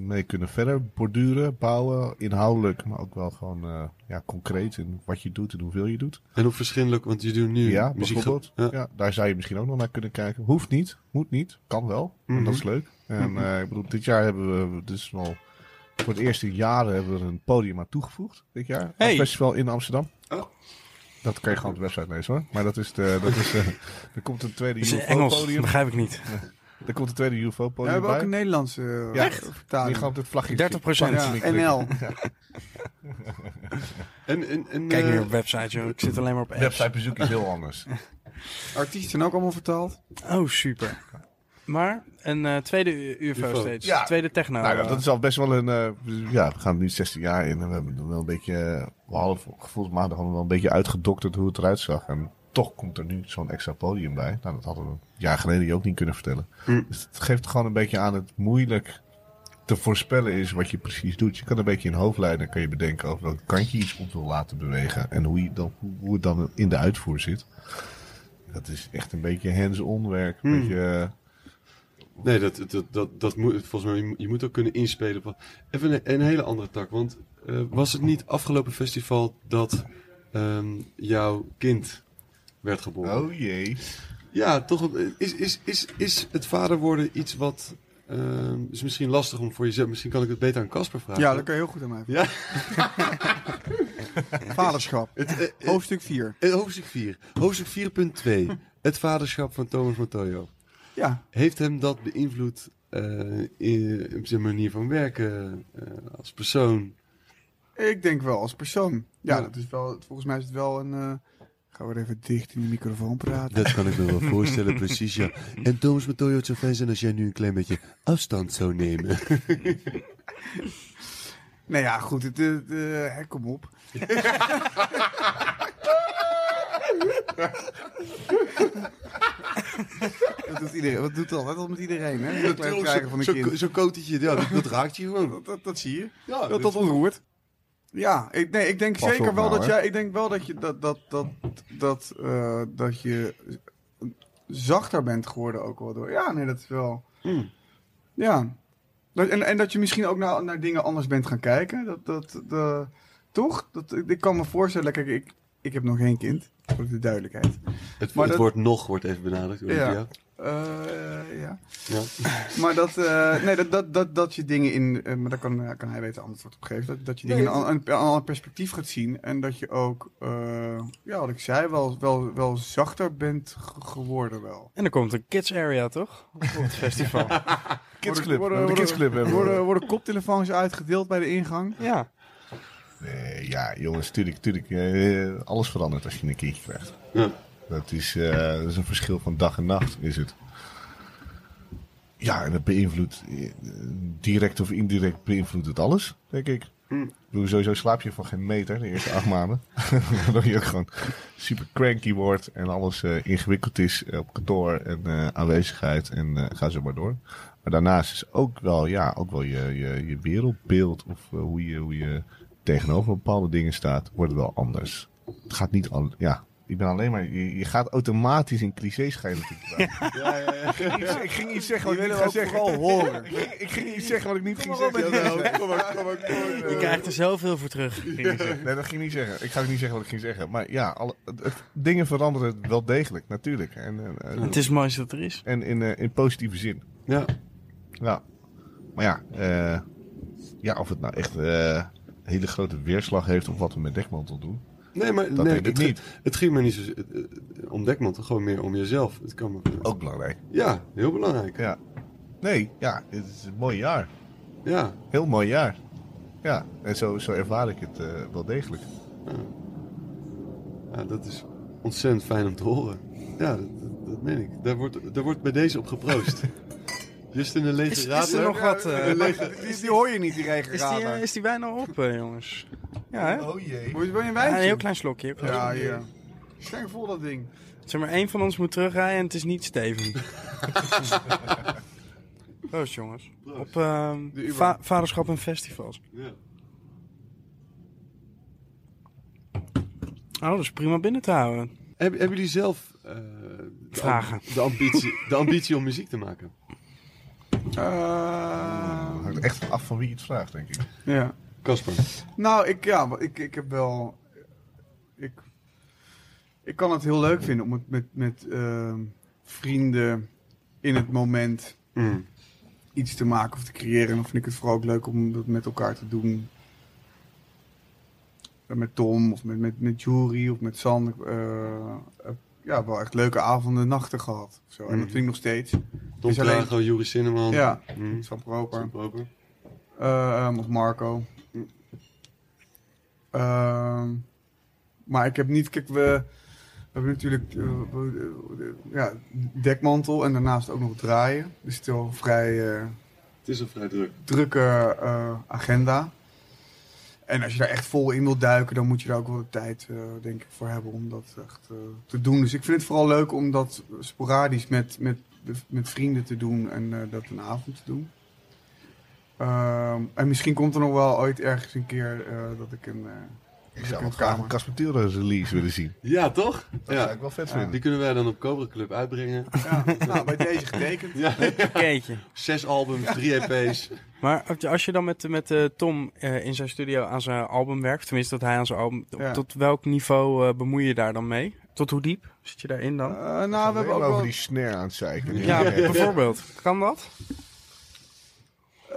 Speaker 3: mee kunnen verder borduren, bouwen, inhoudelijk, maar ook wel gewoon eh, ja, concreet in wat je doet en hoeveel je doet.
Speaker 2: En op verschillende, want je doet nu
Speaker 3: Ja,
Speaker 2: muziek.
Speaker 3: bijvoorbeeld.
Speaker 2: Ja.
Speaker 3: Ja. daar zou je misschien ook nog naar kunnen kijken. Hoeft niet, moet niet, kan wel. En dat is leuk. En eh, ik bedoel, dit jaar hebben we dus wel voor het eerst in jaren hebben we er een podium aan toegevoegd. Dit jaar.
Speaker 1: Hey.
Speaker 3: Een festival in Amsterdam.
Speaker 2: Oh.
Speaker 3: Dat kan je gewoon op de website lezen hoor. Maar dat is de, dat is de, er komt een tweede
Speaker 1: Dus in Engels,
Speaker 3: UFO-podium.
Speaker 1: begrijp ik niet.
Speaker 3: Er komt een tweede
Speaker 4: We
Speaker 3: UFO-podium
Speaker 4: hebben ook
Speaker 3: bij.
Speaker 4: een Nederlandse eh,
Speaker 3: Ja. Die
Speaker 4: vertaling.
Speaker 3: gewoon op dit vlaggetje.
Speaker 1: 30%.
Speaker 3: vlaggetje
Speaker 4: Ja,
Speaker 3: klikken.
Speaker 4: NL.
Speaker 2: En, en, en,
Speaker 1: Kijk
Speaker 2: eh,
Speaker 1: nu op website, joh. Ik zit alleen maar op apps.
Speaker 3: Websitebezoek is heel anders.
Speaker 4: Artiesten zijn ook allemaal vertaald.
Speaker 1: Oh, super. Maar een eh, tweede u- UFO,
Speaker 2: UFO.
Speaker 1: steeds.
Speaker 3: Ja.
Speaker 1: Tweede techno.
Speaker 3: nou, ja, dat is al best wel een. eh, ja, we gaan nu 16 jaar in en we hebben wel een beetje. eh, We hadden gevoelsmatig hadden we wel een beetje uitgedokterd hoe het eruit zag. En toch komt er nu zo'n extra podium bij. Nou, dat hadden we een jaar geleden je ook niet kunnen vertellen. Dus het geeft gewoon een beetje aan het moeilijk te voorspellen is wat je precies doet. Je kan een beetje in hoofdlijnen kan je bedenken over welk kant je iets op wil laten bewegen. En hoe, je dan, hoe- hoe het dan in de uitvoer zit. Dat is echt een beetje hands-on werk. Een beetje, eh,
Speaker 2: Nee, dat, dat, dat, dat moet, volgens mij, je moet ook kunnen inspelen. op wat- Even een, een hele andere tak, want eh, was het niet afgelopen festival dat ehm, jouw kind werd geboren?
Speaker 3: Oh jee.
Speaker 2: Ja, toch. een- Is, is, is, is het vader worden iets wat. ehm, is misschien lastig om voor jezelf. Misschien kan ik het beter aan Casper vragen.
Speaker 4: Ja, daar kan je heel goed aan mij.
Speaker 2: Ja.
Speaker 4: Vaderschap.
Speaker 2: Het, eh, eh,
Speaker 4: Hoofdstuk 4.
Speaker 2: eh, hoofdstuk 4. Hoofdstuk 4.2. Het vaderschap van Thomas Matojo.
Speaker 4: Ja,
Speaker 2: Heeft hem dat beïnvloed eh, in, in zijn manier van werken eh, als persoon?
Speaker 4: ik denk wel als persoon. Ja,
Speaker 2: Ja.
Speaker 4: dat is wel, volgens mij is het wel een... eh, Gaan we er even dicht in die microfoon praten.
Speaker 2: Dat kan ik me wel voorstellen, precies ja. En Thomas Matojo, het zou fijn zijn als jij nu een klein beetje afstand zou nemen.
Speaker 4: Nou ja, goed, het, het, eh, hè, kom op. dat doet iedereen. Wat doet dat? Dat doet met iedereen, hè? Het krijgen van een kind.
Speaker 2: Zo'n kotetje, ja, dat, dat raakt je gewoon.
Speaker 4: Dat, dat, dat zie je.
Speaker 2: Ja,
Speaker 4: Dat dat ontroert. Ja, ik, nee, ik denk
Speaker 3: Pas
Speaker 4: zeker
Speaker 3: op
Speaker 4: wel
Speaker 3: nou,
Speaker 4: dat
Speaker 3: hè.
Speaker 4: jij. Ik denk wel dat je dat dat dat dat eh, dat je zachter bent geworden ook wel door. Ja, nee, dat is wel.
Speaker 2: Mm.
Speaker 4: Ja. Dat- en, en dat je misschien ook naar, naar dingen anders bent gaan kijken. Dat, dat, de, toch? Dat, ik kan me voorstellen, kijk, ik, ik heb nog geen kind. Voor de duidelijkheid.
Speaker 2: Het,
Speaker 4: Maar
Speaker 2: het
Speaker 4: dat-
Speaker 2: woord nog wordt even benadrukt. hoor.
Speaker 4: Ja.
Speaker 2: Ja.
Speaker 4: Eh, ja.
Speaker 2: Ja.
Speaker 4: Maar dat, eh, nee, dat, dat, dat, dat je dingen in. eh, maar daar kan, eh, kan hij beter antwoord op geven. Dat, dat je dingen in een, an- een ander perspectief gaat zien. En dat je ook, eh, ja, wat ik zei, wel, wel, wel zachter bent ge- geworden. Wel.
Speaker 1: En er komt een kids area, toch? Op het festival.
Speaker 3: Kidsclub.
Speaker 4: Worden-
Speaker 3: Worden, de
Speaker 4: worden-
Speaker 3: kidsclub
Speaker 4: Er
Speaker 3: hebben we.
Speaker 4: worden, worden koptelefoons uitgedeeld bij de ingang.
Speaker 1: ja.
Speaker 3: Nee, ja, jongens, tuurlijk, tuurlijk. eh, alles verandert als je een kindje krijgt.
Speaker 2: Ja.
Speaker 3: Dat is, eh, dat is een verschil van dag en nacht, is het. Ja, en dat beïnvloedt, eh, direct of indirect beïnvloedt het alles, denk ik. Ik bedoel, sowieso slaap je van geen meter de eerste acht maanden. Waardoor je ook gewoon super cranky wordt en alles eh, ingewikkeld is eh, op kantoor en eh, aanwezigheid en eh, ga zo maar door. Maar daarnaast is ook wel, ja, ook wel je, je, je wereldbeeld of eh, hoe, je, hoe je tegenover bepaalde dingen staat, wordt wel anders. Het gaat niet al, ja. Ik ben alleen maar, je, je gaat automatisch in clichés gaan natuurlijk. Ik, ging- ik ging iets zeggen wat ik niet ga zeggen.
Speaker 4: horen.
Speaker 3: Ik ging, ik ging iets zeggen wat ik niet ging zeggen.
Speaker 2: Kom maar, kom maar,
Speaker 1: Je krijgt er zoveel voor terug.
Speaker 3: Nee, dat ging ik niet zeggen. Ik ga ook niet zeggen wat ik ging zeggen. Maar ja, alle, het- het- dingen veranderen wel degelijk, natuurlijk. En, en, en-
Speaker 1: Het is mooi dat er is.
Speaker 3: en in, eh, in positieve zin.
Speaker 2: Ja.
Speaker 3: Ja. Maar ja, eh, ja of het nou echt eh, een hele grote weerslag heeft op wat we met dekmantel doen.
Speaker 2: Nee, maar
Speaker 3: Dat
Speaker 2: nee,
Speaker 3: denk ik
Speaker 2: het,
Speaker 3: niet.
Speaker 2: Het ging me niet zo eh, eh, om Dekmant, gewoon meer om jezelf. Het kan me,
Speaker 3: Ook belangrijk.
Speaker 2: Ja, heel belangrijk.
Speaker 3: Ja. Nee, ja, het is een mooi jaar.
Speaker 2: Ja.
Speaker 3: Heel mooi jaar. Ja, en zo, zo ervaar ik het eh, wel degelijk.
Speaker 2: Ja, dat is ontzettend fijn om te horen. Ja, dat, dat, dat meen ik. Daar wordt, daar wordt bij deze op geproost. Justin een lege
Speaker 1: Is, is
Speaker 2: radler.
Speaker 1: er nog wat? eh,
Speaker 2: Een lege-
Speaker 4: Die, die hoor je niet, die
Speaker 1: is, die, eh,
Speaker 4: regenrader.
Speaker 1: is die wijn al op, eh, jongens? Ja, hè?
Speaker 3: Oh jee.
Speaker 4: Moet je wel een
Speaker 1: Ja, een
Speaker 4: wijntje?
Speaker 1: heel klein slokje. heel klein
Speaker 4: Ja,
Speaker 1: slokje.
Speaker 4: hier. Streng vol dat ding.
Speaker 1: Zeg maar, één van ons moet terugrijden en het is niet Steven. Proost, jongens. Op ehm,
Speaker 2: De Uber.
Speaker 1: va- vaderschap en festivals.
Speaker 2: Ja.
Speaker 1: Oh, dat is prima binnen te houden.
Speaker 2: Hebben, hebben jullie zelf eh, de am-
Speaker 1: Vragen.
Speaker 2: De, ambitie, de ambitie om muziek te maken?
Speaker 4: Eh,
Speaker 1: Eh,
Speaker 3: Het hangt echt af van wie je het vraagt, denk ik.
Speaker 4: ja.
Speaker 2: Casper.
Speaker 4: Nou, ik, ja, wa- ik, ik heb wel. Ik, ik kan het heel leuk vinden om het met, met ehm, vrienden in het moment
Speaker 2: Mm.
Speaker 4: iets te maken of te creëren. En dan vind ik het vooral ook leuk om dat met elkaar te doen. Eh, Met Tom of met, met, met Jury of met San. Ik, eh, heb, ja, wel echt leuke avonden, nachten gehad. Of zo. En dat vind ik nog steeds.
Speaker 2: Tom
Speaker 4: Is alleen-
Speaker 2: Klago, Juri Sinneman.
Speaker 4: Ja.
Speaker 2: Mm.
Speaker 4: Sam Proper.
Speaker 2: Proper.
Speaker 4: Eh, ehm, of Marco. Ehm, maar ik heb niet, kijk, we, we hebben natuurlijk eh, we- eh, ja, dekmantel en daarnaast ook nog draaien. Dus het is wel een vrij eh,
Speaker 2: Het is al vrij druk.
Speaker 4: drukke eh, agenda. En als je daar echt vol in wilt duiken, dan moet je daar ook wel de tijd, eh, denk ik, voor hebben om dat echt eh, te doen. Dus ik vind het vooral leuk om dat sporadisch met, met, met vrienden te doen en eh, dat een avond te doen. Ehm, en misschien komt er nog wel ooit ergens een keer eh, dat ik een, eh,
Speaker 3: Ik zou ook graag een Casper Tielers release willen zien.
Speaker 2: Ja, toch?
Speaker 3: Dat zou ik wel vet vinden.
Speaker 2: Die kunnen wij dan op Cobra Club uitbrengen.
Speaker 4: Ja, nou, bij deze getekend.
Speaker 2: Ja.
Speaker 1: Keetje.
Speaker 2: Zes albums, drie E EP's.
Speaker 1: Maar als je- als je dan met, met eh, Tom eh, in zijn studio aan zijn album werkt, tenminste dat hij aan zijn album,
Speaker 4: Ja.
Speaker 1: tot welk niveau eh, bemoei je daar dan mee? Tot hoe diep zit je daarin dan?
Speaker 4: Eh, nou, we hebben ook
Speaker 3: over
Speaker 4: wel...
Speaker 3: die snare aan het zeiken.
Speaker 1: ja, bijvoorbeeld. Kan dat?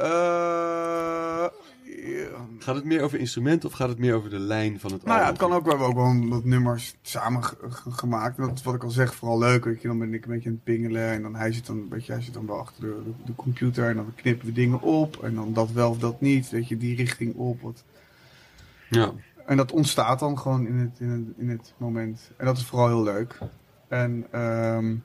Speaker 4: Eh, ja.
Speaker 2: Gaat het meer over instrumenten of gaat het meer over de lijn van het album?
Speaker 4: Nou ja, het kan ook. We hebben ook wel wat nummers samen ge- ge- gemaakt. En dat is wat ik al zeg, vooral leuk. Weet je, dan ben ik een beetje aan het pingelen. En dan hij zit dan, weet je, hij zit dan wel achter de, de, de computer. En dan knippen we dingen op. En dan dat wel of dat niet. Weet je, die richting op. Wat.
Speaker 2: Ja.
Speaker 4: En dat ontstaat dan gewoon in het, in, het, in het moment. En dat is vooral heel leuk. En ehm,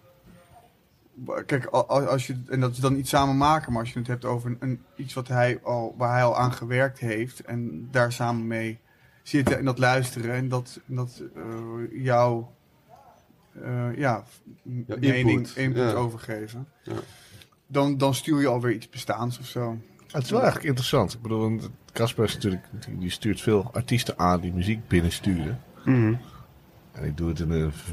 Speaker 4: wa- kijk, a- a- als je, en dat is dan iets samen maken. Maar als je het hebt over een, een- iets wat hij al, waar hij al aan gewerkt heeft. En daar samen mee zitten en dat luisteren. En dat, dat eh, jouw eh, ja,
Speaker 2: Ja,
Speaker 4: mening,
Speaker 2: input.
Speaker 4: input,
Speaker 2: Ja.
Speaker 4: overgeven.
Speaker 2: Ja.
Speaker 4: Dan, dan stuur je alweer iets bestaans of zo.
Speaker 3: Ja, het is wel eigenlijk interessant. Ik bedoel, want Casper is natuurlijk, die- die stuurt veel artiesten aan die muziek binnensturen.
Speaker 4: Mm.
Speaker 3: En ik doe het in een v-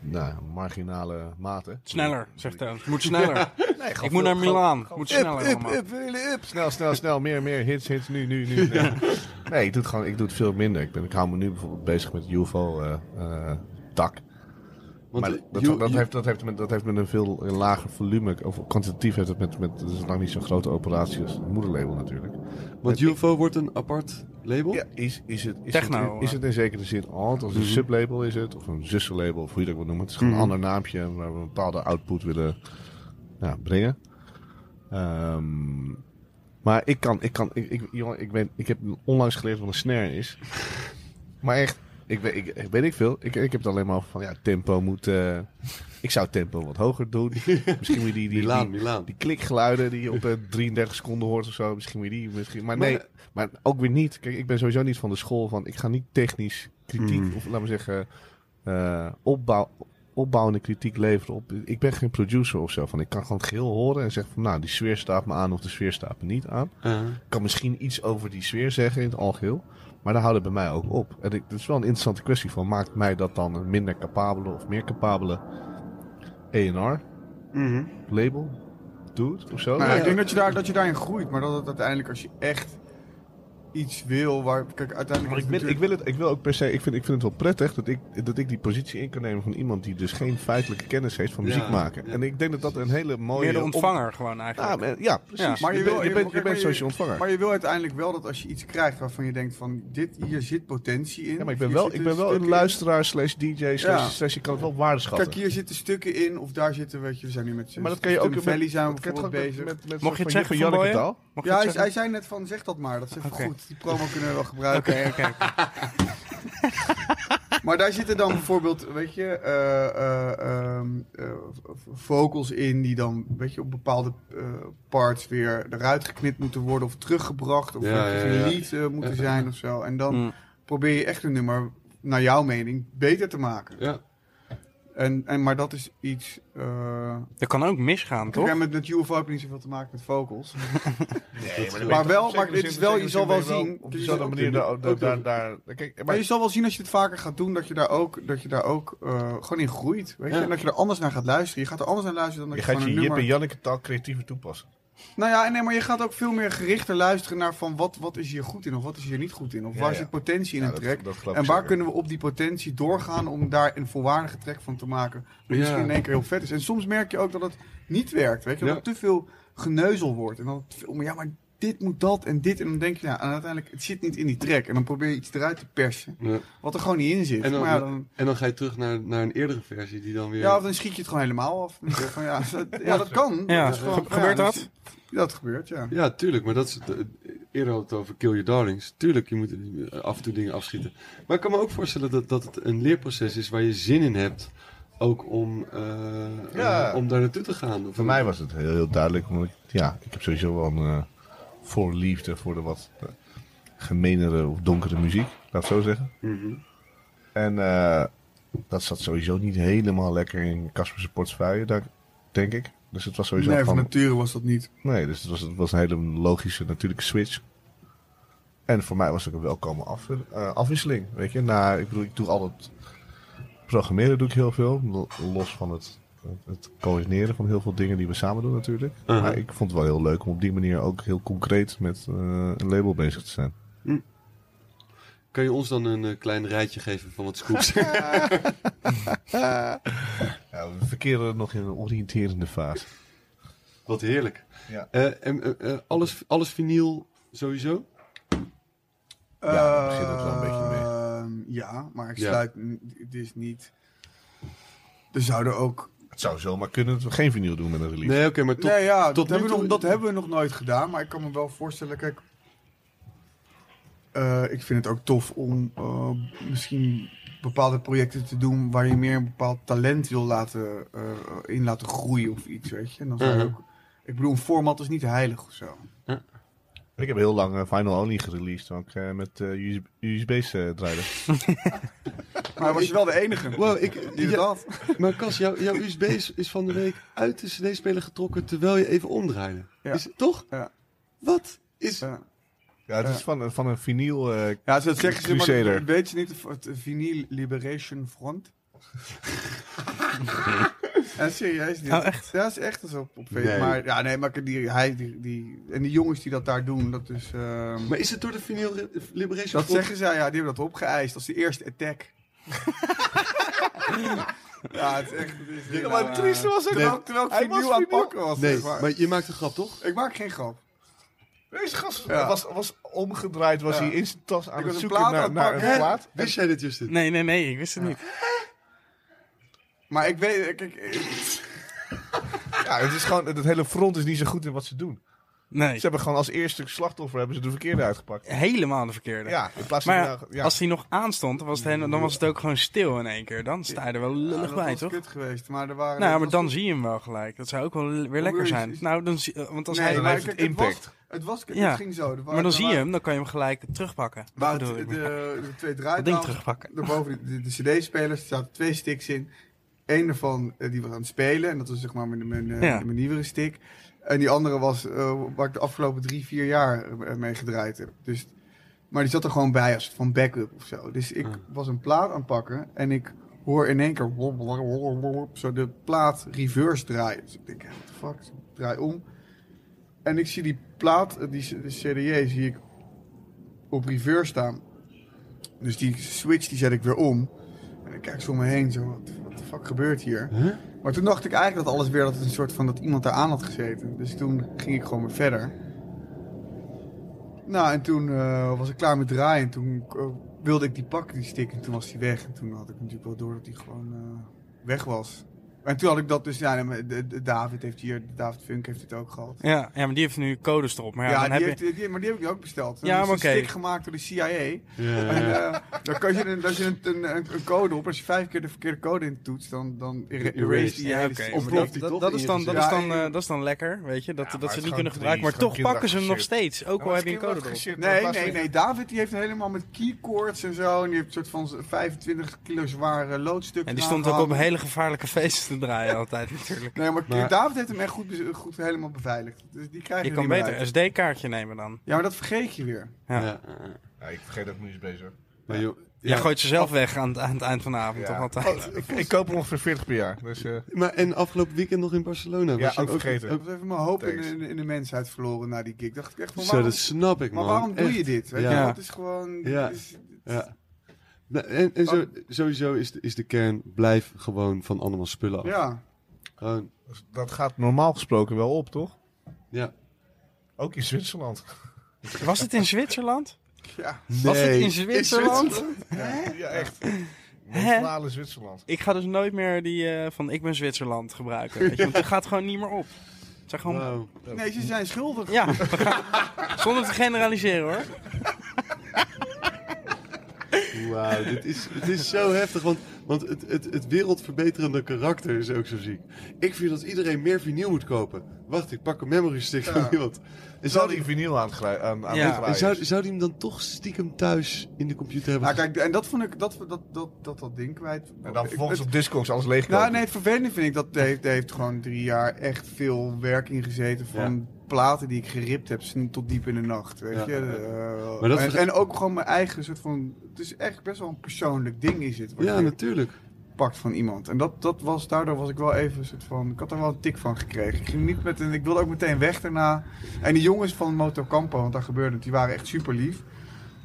Speaker 3: nou, marginale mate.
Speaker 1: Sneller, zegt hij. Het moet sneller.
Speaker 3: Nee, gewoon
Speaker 1: Ik moet
Speaker 3: veel-
Speaker 1: naar
Speaker 3: gewoon-
Speaker 1: Milaan. Het moet sneller
Speaker 3: Up, up,
Speaker 1: allemaal.
Speaker 3: up, we willen up. Snel, snel, snel. Meer, meer. Hits, hits. Nu, nu, nu. Nee, Nee, ik doe het gewoon. Ik doe het veel minder. Ik, ben, ik hou me nu bijvoorbeeld bezig met UFO eh eh, dak.
Speaker 2: Want
Speaker 3: maar
Speaker 2: eh,
Speaker 3: dat,
Speaker 2: you-
Speaker 3: dat,
Speaker 2: you-
Speaker 3: heeft, dat, heeft met, dat heeft met een veel lager volume, of kwantitatief heeft het met, met het is lang niet zo'n grote operatie als het moederlabel natuurlijk.
Speaker 2: Want UFO wordt een apart label?
Speaker 3: Ja, is, is, het, is,
Speaker 1: Techno,
Speaker 3: het, in- is
Speaker 1: eh.
Speaker 3: het in zekere zin alt, als een sublabel is het, of een zussenlabel, of hoe je dat wil noemen. Het is gewoon een ander naamje waar we een bepaalde output willen ja, brengen. Ehm, maar ik kan, ik kan, ik, ik, jongen, ik, ben, ik heb onlangs geleerd wat een snare is. maar echt, ik weet, ik, weet ik veel. Ik, ik heb het alleen maar over van, ja, tempo moet, eh, ik zou tempo wat hoger doen. Misschien moet je die, die, die,
Speaker 2: Milaan, Milaan.
Speaker 3: die klikgeluiden die je op eh, 33 seconden hoort of zo. Misschien weer die. Misschien, maar
Speaker 2: Maar-
Speaker 3: nee, maar ook weer niet. Kijk, ik ben sowieso niet van de school van... Ik ga niet technisch kritiek,
Speaker 2: Mm.
Speaker 3: of laten we zeggen... eh, opbouw, opbouwende kritiek leveren op... Ik ben geen producer of zo. Van, ik kan gewoon het geheel horen en zeggen van... Nou, die sfeer staat me aan of de sfeer staat me niet aan.
Speaker 2: Eh,
Speaker 3: Ik kan misschien iets over die sfeer zeggen in het algeheel. Maar daar houdt het bij mij ook op. En ik, dat is wel een interessante kwestie van... Maakt mij dat dan een minder capabele of meer capabele E&R
Speaker 2: mhm.
Speaker 3: label doet of zo?
Speaker 4: Nou,
Speaker 3: Oh, Ja.
Speaker 4: Ik denk dat je, daar, dat je daarin groeit, maar dat het uiteindelijk als je echt iets wil, waar kijk uiteindelijk.
Speaker 3: Maar ik,
Speaker 4: is
Speaker 3: ben,
Speaker 4: het
Speaker 3: ik,
Speaker 4: natuurlijk-
Speaker 3: wil het, ik wil ook per se, ik vind, ik vind het wel prettig dat ik, dat ik die positie in kan nemen van iemand die dus geen feitelijke kennis heeft van
Speaker 2: Ja,
Speaker 3: muziek maken.
Speaker 2: ja.
Speaker 3: En ik denk dat dat een hele mooie.
Speaker 1: Meer de
Speaker 3: op-
Speaker 1: ontvanger gewoon eigenlijk.
Speaker 3: Ja, maar- ja, precies.
Speaker 1: Ja.
Speaker 3: maar je,
Speaker 4: wil-
Speaker 3: bent, je,
Speaker 4: je-
Speaker 3: bent, je
Speaker 4: kijk,
Speaker 3: bent
Speaker 4: maar
Speaker 3: zoals
Speaker 4: je-
Speaker 3: je ontvanger.
Speaker 4: maar je wil uiteindelijk wel dat als je iets krijgt waarvan je denkt van dit hier zit potentie in.
Speaker 3: ja, maar ik
Speaker 4: of
Speaker 3: ben
Speaker 4: hier
Speaker 3: wel,
Speaker 4: zitten
Speaker 3: ik ben wel een
Speaker 4: stukken
Speaker 3: luisteraar slash DJ slash,
Speaker 4: Ja.
Speaker 3: slash je kan het wel waardeschatten.
Speaker 4: Kijk, hier zitten stukken in, of daar zitten, weet je, we zijn nu met
Speaker 3: maar dat kan je ook
Speaker 4: Stem Valley zijn we
Speaker 3: dat kan je
Speaker 4: bijvoorbeeld
Speaker 3: toch ook
Speaker 4: bezig.
Speaker 3: met, met
Speaker 1: Mocht je het
Speaker 3: van Jip
Speaker 1: zeggen,
Speaker 3: en
Speaker 1: Van
Speaker 3: Janneke
Speaker 1: Boyen?
Speaker 3: taal?
Speaker 1: Mag je
Speaker 4: ja,
Speaker 1: het
Speaker 4: hij,
Speaker 1: zeggen?
Speaker 4: hij zei net van zeg dat maar, dat is even
Speaker 1: Oké.
Speaker 4: goed. Die promo kunnen we wel
Speaker 1: Oké,
Speaker 4: gebruiken.
Speaker 1: oké. oké.
Speaker 4: Maar daar zitten dan bijvoorbeeld, weet je, eh, eh, ehm, eh, v- vocals in die dan, weet je, op bepaalde eh, parts weer eruit geknipt moeten worden of teruggebracht of
Speaker 2: Ja,
Speaker 4: eh,
Speaker 2: ja, ja.
Speaker 4: gelead, eh, moeten zijn of zo. En dan
Speaker 1: Mm.
Speaker 4: probeer je echt een nummer, naar jouw mening, beter te maken.
Speaker 2: Ja.
Speaker 4: En, en, maar dat is iets. eh
Speaker 1: Dat kan ook misgaan,
Speaker 4: kijk,
Speaker 1: toch?
Speaker 4: met, met UFO heb je niet zoveel te maken met vocals.
Speaker 3: Nee, maar,
Speaker 4: maar wel,
Speaker 3: zeker
Speaker 4: maar dit is
Speaker 3: zin-
Speaker 4: wel,
Speaker 3: zeker
Speaker 4: je zal wel
Speaker 3: zin ben je
Speaker 4: zien.
Speaker 3: Op
Speaker 4: je
Speaker 3: dezelfde
Speaker 4: zal-
Speaker 3: manier daar. daar- daar- daar- Kijk,
Speaker 4: Maar
Speaker 3: maar
Speaker 4: je zal wel zien als je het vaker gaat doen, dat je daar ook, dat je daar ook eh, gewoon in groeit. Weet je?
Speaker 2: Ja.
Speaker 4: En dat je er anders naar gaat luisteren. Je gaat er anders naar luisteren dan
Speaker 3: je
Speaker 4: dat je,
Speaker 3: gaat
Speaker 4: gewoon
Speaker 3: je
Speaker 4: een
Speaker 3: Jip en
Speaker 4: nummer...
Speaker 3: Janneke taal creatiever toepassen.
Speaker 4: Nou ja, nee, maar je gaat ook veel meer gerichter luisteren naar van wat, wat is hier goed in of wat is hier niet goed in. Of
Speaker 3: Ja,
Speaker 4: waar
Speaker 3: ja.
Speaker 4: zit potentie in
Speaker 3: Ja,
Speaker 4: een
Speaker 3: dat-
Speaker 4: track.
Speaker 3: dat geloof
Speaker 4: en
Speaker 3: ik
Speaker 4: waar
Speaker 3: zeker.
Speaker 4: kunnen we op die potentie doorgaan om daar een volwaardige track van te maken. Die
Speaker 2: Ja.
Speaker 4: misschien in één keer heel vet is. En soms merk je ook dat het niet werkt. Weet je? Dat
Speaker 2: Ja.
Speaker 4: er te veel geneuzel wordt. En dan veel meer, ja, maar dit moet dat en dit. En dan denk je, ja, en uiteindelijk, het zit niet in die track. En dan probeer je iets eruit te persen.
Speaker 2: Ja.
Speaker 4: Wat er gewoon niet in zit.
Speaker 2: En, dan,
Speaker 4: maar ja, dan...
Speaker 2: en dan ga je terug naar, naar een eerdere versie die dan weer...
Speaker 4: Ja, of dan schiet je het gewoon helemaal af. Dan zeg je van, ja, dat, ja, dat kan.
Speaker 1: Ja,
Speaker 4: Dat is gewoon-
Speaker 1: ge- gebeurt
Speaker 4: ja,
Speaker 1: dat?
Speaker 4: Dat gebeurt, ja.
Speaker 2: Ja, tuurlijk, maar dat is, het, eh, eerder hadden we het over Kill Your Darlings. Tuurlijk, je moet eh, af en toe dingen afschieten. Maar ik kan me ook voorstellen dat, dat het een leerproces is waar je zin in hebt. Ook om, eh,
Speaker 3: Ja.
Speaker 2: eh, om daar naartoe te gaan. Of-
Speaker 3: Voor mij was het heel, heel duidelijk, omdat ik, ja, ik heb sowieso wel een eh, voorliefde voor de wat eh, gemenere of donkere muziek, laat het zo zeggen.
Speaker 2: Mhm.
Speaker 3: En eh, dat zat sowieso niet helemaal lekker in Casper's portefeuille, daar- denk ik. Dus het was sowieso
Speaker 4: Nee, van
Speaker 3: van...
Speaker 4: nature was dat niet.
Speaker 3: Nee, dus het was, het was een hele logische, natuurlijke switch. En voor mij was het ook een welkome af, eh, afwisseling. Weet je, nou, ik bedoel, ik doe altijd. Programmeren doe ik heel veel. lo- Los van het, het coördineren van heel veel dingen die we samen doen, natuurlijk.
Speaker 2: Uh-huh.
Speaker 3: Maar ik vond het wel heel leuk om op die manier ook heel concreet met eh, een label bezig te zijn.
Speaker 2: Kan je ons dan een eh, klein rijtje geven van wat scoops?
Speaker 3: Ja, we verkeren nog in een oriënterende fase.
Speaker 2: wat heerlijk.
Speaker 3: Ja.
Speaker 2: Eh, en, eh, eh, alles, alles vinyl sowieso?
Speaker 3: Ja, daar begint het wel een beetje mee.
Speaker 4: mee. Ehm, Ja, maar ik
Speaker 2: Ja.
Speaker 4: sluit... n- Het is niet... Er zouden ook...
Speaker 3: Het zou zomaar kunnen dat we geen vinyl doen met een release.
Speaker 2: Nee, oké, maar tot,
Speaker 4: nee, ja,
Speaker 2: tot
Speaker 4: dat,
Speaker 2: nu
Speaker 4: hebben we
Speaker 2: toe-
Speaker 4: nog, dat hebben we nog nooit gedaan. Maar ik kan me wel voorstellen... Kijk, eh, ik vind het ook tof om eh, misschien bepaalde projecten te doen... waar je meer een bepaald talent wil laten, eh, in laten groeien of iets, weet je. En dan zou je
Speaker 2: Mhm.
Speaker 4: ook... Ik bedoel, een format is niet heilig of zo.
Speaker 3: Ik heb heel lang eh, Final Only gereleased, ook eh, met eh, USB USB's eh draaien.
Speaker 4: Maar was je wel de enige
Speaker 2: Wow, ik,
Speaker 4: die het
Speaker 2: ja,
Speaker 4: had.
Speaker 2: maar Cas, jouw- jouw USB is, is van de week uit de CD-speler getrokken terwijl je even omdraaide.
Speaker 4: Ja.
Speaker 2: Is, toch?
Speaker 4: Ja.
Speaker 2: Wat is.
Speaker 4: Ja.
Speaker 3: Ja, het is
Speaker 4: Ja.
Speaker 3: van, van een vinyl. eh,
Speaker 4: Ja, ze zeggen ze, maar
Speaker 3: Crusader.
Speaker 4: dat weet je niet of het Vinyl Liberation Front. ja, serieus niet.
Speaker 1: Oh, echt?
Speaker 4: Ja, is echt eens op, op Facebook.
Speaker 2: Nee.
Speaker 4: Maar ja, nee, maar die, hij, die, die, en die jongens die dat daar doen, dat is... ehm,
Speaker 2: Maar is het door de Vinyl Re- Liberation
Speaker 4: dat
Speaker 2: Front-
Speaker 4: zeggen zij, ja, die hebben dat opgeëist als de eerste attack. ja, het is echt... Het is
Speaker 3: Ja, maar het trieste was ook
Speaker 4: terwijl,
Speaker 3: dat
Speaker 4: terwijl ik
Speaker 3: hij
Speaker 4: vinyl
Speaker 3: was
Speaker 4: aan het
Speaker 3: vinyl.
Speaker 4: pakken was.
Speaker 2: Nee,
Speaker 4: zeg maar.
Speaker 2: maar je maakt een grap, toch?
Speaker 4: Ik maak geen grap.
Speaker 3: Deze gast
Speaker 4: Ja.
Speaker 3: was, was omgedraaid, was
Speaker 4: Ja.
Speaker 3: hij in zijn tas aan
Speaker 4: Ik
Speaker 3: het
Speaker 4: was een
Speaker 3: zoeken
Speaker 4: plaat aan
Speaker 3: naar,
Speaker 4: het
Speaker 3: naar
Speaker 4: pakken.
Speaker 3: een
Speaker 4: Hè?
Speaker 3: plaat.
Speaker 2: Wist jij dit, Justin?
Speaker 1: Nee, nee, nee, ik wist het niet.
Speaker 4: Maar ik weet... Kijk, ik-
Speaker 3: Ja, het is gewoon, het hele front is niet zo goed in wat ze doen.
Speaker 1: Nee,
Speaker 3: Ze hebben gewoon als eerste slachtoffer hebben ze de verkeerde uitgepakt.
Speaker 1: helemaal de verkeerde.
Speaker 3: Ja, in plaats van... nou-
Speaker 1: Maar
Speaker 3: ja,
Speaker 1: als hij nog aanstond, dan was, het helemaal- dan was het ook gewoon stil in één keer. Dan sta je er wel
Speaker 4: Ja,
Speaker 1: lullig
Speaker 4: dat
Speaker 1: bij,
Speaker 4: was
Speaker 1: toch?
Speaker 4: kut geweest, maar er waren...
Speaker 1: Nou ja,
Speaker 4: dat
Speaker 1: maar
Speaker 4: was
Speaker 1: dan zie je hem wel gelijk. Dat zou ook wel le- weer lekker
Speaker 4: is-
Speaker 1: zijn.
Speaker 4: is-
Speaker 1: Nou, dan zie, eh, want als
Speaker 4: Nee,
Speaker 1: hij,
Speaker 3: dan
Speaker 4: maar
Speaker 3: heeft het
Speaker 4: kijk, het was-
Speaker 3: impact.
Speaker 4: Het, was, het
Speaker 1: Ja.
Speaker 4: ging zo. Er waren-
Speaker 1: maar dan
Speaker 4: er
Speaker 1: zie je
Speaker 4: waren-
Speaker 1: hem, dan kan je hem gelijk terugpakken.
Speaker 4: Waar
Speaker 1: Dat
Speaker 4: het-
Speaker 1: bedoel
Speaker 4: de,
Speaker 1: ik maar.
Speaker 4: de twee
Speaker 1: Dat ding
Speaker 4: draaitafels,
Speaker 1: terugpakken.
Speaker 4: daarboven de, de, cd-spelers, er zaten twee sticks in. Eén daarvan eh, die was aan het spelen, en dat was zeg maar mijn, mijn, eh,
Speaker 1: Ja.
Speaker 4: mijn nieuwere stick. En die andere was eh, waar ik de afgelopen drie, vier jaar eh, mee gedraaid heb. Dus, maar die zat er gewoon bij als soort van backup of zo. Dus ik was een plaat aan het pakken en ik hoor in één keer wop, wop, wop, wop, wop, zo de plaat reverse draaien. Dus ik denk, what the fuck, Dus ik draai om. En ik zie die plaat, eh, die c- de CDJ, zie ik op reverse staan. Dus die switch die zet ik weer om. En ik kijk zo om me heen, zo, wat, wat de fuck gebeurt hier? Maar toen dacht ik eigenlijk dat alles weer, dat het een soort van, dat iemand daar aan had gezeten. Dus toen ging ik gewoon weer verder. Nou, en toen eh, was ik klaar met draaien. En toen eh, wilde ik die pakken, die stick. En toen was die weg. En toen had ik natuurlijk wel door dat die gewoon eh, weg was. En toen had ik dat dus, ja, nee, maar de- de David heeft hier, David Funk heeft het ook gehad.
Speaker 1: Ja, ja, maar die heeft nu codes erop. Maar
Speaker 4: Ja,
Speaker 1: ja, dan
Speaker 4: die
Speaker 1: heb
Speaker 4: heeft,
Speaker 1: je...
Speaker 4: die- maar die heb ik ook besteld.
Speaker 1: Ja,
Speaker 4: Ja, is
Speaker 1: maar
Speaker 4: een
Speaker 1: oké.
Speaker 4: stick gemaakt door de CIA. En,
Speaker 2: Ja.
Speaker 4: eh, dan kan je, een, daar zit een, een, een code op. Als je vijf keer de verkeerde code in toetst, dan, dan er- erase die
Speaker 1: Ja,
Speaker 4: hele
Speaker 1: oké.
Speaker 4: systeem.
Speaker 1: Maar
Speaker 2: Ontploft die
Speaker 1: dat,
Speaker 2: toch
Speaker 1: dat, is dan, dat, is dan,
Speaker 4: Ja,
Speaker 1: eh,
Speaker 4: ik-
Speaker 1: dat is dan lekker, weet je, dat,
Speaker 3: maar
Speaker 1: dat ze het
Speaker 3: het is
Speaker 1: niet
Speaker 3: gewoon
Speaker 1: kunnen gebruiken. Maar
Speaker 3: triest,
Speaker 1: toch
Speaker 3: gewoon
Speaker 1: pakken ze hem nog steeds, ook al heb je een code erop.
Speaker 4: Nee, nee, nee. David die heeft helemaal met keycords en zo. En die heeft een soort van 25 kilo zware loodstuk.
Speaker 1: En die stond ook op hele gevaarlijke feesten te draaien altijd natuurlijk.
Speaker 4: Nee, maar,
Speaker 2: Maar-
Speaker 4: David heeft hem echt goed, bez- goed helemaal beveiligd. Dus die krijg je
Speaker 1: Je kan
Speaker 4: niet meer
Speaker 1: beter een
Speaker 4: uit.
Speaker 1: SD-kaartje nemen dan.
Speaker 4: Ja, maar dat vergeet je weer.
Speaker 1: Ja.
Speaker 2: Ja, eh,
Speaker 3: ik vergeet dat ik nu eens bezig
Speaker 2: Maar joh,
Speaker 1: Jij gooit ze zelf weg aan, het- aan het eind van de avond,
Speaker 3: Ja.
Speaker 1: toch altijd?
Speaker 3: ik, ik koop er ongeveer 40 per jaar. Dus, eh,
Speaker 2: Maar en afgelopen weekend nog in Barcelona.
Speaker 3: ja,
Speaker 2: was je
Speaker 3: ook vergeten.
Speaker 4: Ik was even mijn hoop in,
Speaker 3: Thanks.
Speaker 4: in- in de mensheid verloren na die gig. Dacht ik echt van,
Speaker 2: Zo,
Speaker 4: waarom,
Speaker 2: dat snap ik, man.
Speaker 4: maar waarom doe je
Speaker 2: Echt.
Speaker 4: dit? Weet
Speaker 2: Ja.
Speaker 4: je,
Speaker 1: Ja.
Speaker 4: dat is gewoon...
Speaker 2: Ja.
Speaker 4: dit is-
Speaker 2: Ja. Nou, en en zo, sowieso is de, is de kern, blijf gewoon van allemaal spullen af.
Speaker 4: ja.
Speaker 2: Gewoon,
Speaker 3: Dus Dat gaat normaal gesproken wel op, toch?
Speaker 2: ja.
Speaker 3: Ook in Zwitserland.
Speaker 1: Was het in Zwitserland?
Speaker 4: Ja.
Speaker 1: Was het
Speaker 2: Nee.
Speaker 1: in Zwitserland?
Speaker 3: Ja, echt.
Speaker 1: Hè?
Speaker 3: Neutrale Zwitserland.
Speaker 1: Ik ga dus nooit meer die eh, van ik ben Zwitserland gebruiken. Weet je? Want het gaat gewoon niet meer op. Het zijn gewoon...
Speaker 2: Wauw.
Speaker 4: Nee, ze zijn schuldig.
Speaker 1: Ja, we gaan- zonder te generaliseren hoor.
Speaker 2: Wauw, dit is, het is zo heftig, want, want het, het, het wereldverbeterende karakter is ook zo ziek. Ik vind dat iedereen meer vinyl moet kopen. Wacht, ik pak een memory stick van iemand. En
Speaker 3: Zal
Speaker 2: zou,
Speaker 3: die
Speaker 2: die,
Speaker 3: vinyl aan het grij- aan, aan
Speaker 1: Ja.
Speaker 3: het draaien
Speaker 2: en
Speaker 3: is.
Speaker 2: zou, zou die hem dan toch stiekem thuis in de computer hebben?
Speaker 4: Nou, kijk, en dat vond ik, dat dat, dat, dat, dat ding kwijt.
Speaker 3: En dan
Speaker 4: Ik-
Speaker 3: vervolgens
Speaker 4: het-
Speaker 3: op Discogs alles leeg
Speaker 4: Nou, nee, het vervelende vind ik dat Dave, Dave heeft gewoon drie jaar echt veel werk ingezeten. Van platen die ik geript heb sn- tot diep in de nacht. Weet
Speaker 2: Ja,
Speaker 4: je?
Speaker 2: ja, ja.
Speaker 4: Eh,
Speaker 2: Maar dat
Speaker 4: en,
Speaker 2: is-
Speaker 4: en ook gewoon mijn eigen soort van. Het is echt best wel een persoonlijk ding, is het? Wat
Speaker 2: Ja,
Speaker 4: je
Speaker 2: natuurlijk.
Speaker 4: pakt van iemand. En dat, dat was, daardoor was ik wel even een soort van. Ik had er wel een tik van gekregen. Ik ging niet met en ik wilde ook meteen weg daarna. En die jongens van Motocampo, want daar gebeurde het, die waren echt super lief.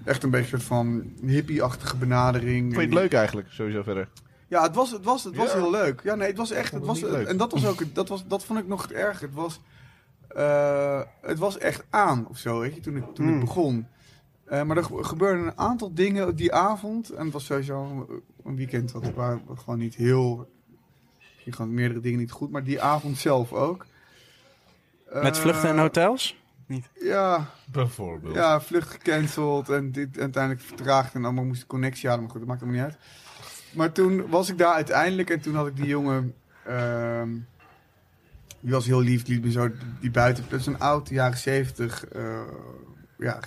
Speaker 4: Echt een beetje een soort van hippie-achtige benadering.
Speaker 3: Vond je het
Speaker 4: En-
Speaker 3: leuk eigenlijk, sowieso verder?
Speaker 4: ja, het was, het was, het was
Speaker 3: Ja.
Speaker 4: heel leuk. Ja, nee, het was echt.
Speaker 3: vond
Speaker 4: Het was,
Speaker 3: het niet leuk.
Speaker 4: en dat was ook. het- Dat, was, dat vond ik nog het erg. Het was. eh, het was echt aan of zo, weet je, toen ik, toen
Speaker 3: Hmm.
Speaker 4: ik begon. Eh, maar er ge- gebeurden een aantal dingen die avond. En het was sowieso een weekend wat waar we gewoon niet heel. Ging gewoon meerdere dingen niet goed, maar die avond zelf ook.
Speaker 1: Met
Speaker 4: Eh,
Speaker 1: vluchten en hotels?
Speaker 4: Ja,
Speaker 3: Bijvoorbeeld.
Speaker 4: ja, vlucht gecanceld en dit uiteindelijk vertraagd en allemaal moest de connectie halen. Maar goed, dat maakt helemaal niet uit. Maar toen was ik daar uiteindelijk en toen had ik die jongen... ehm, die was heel lief, die liet me zo die buiten... Dat is een oud, jaren zeventig... eh, ja,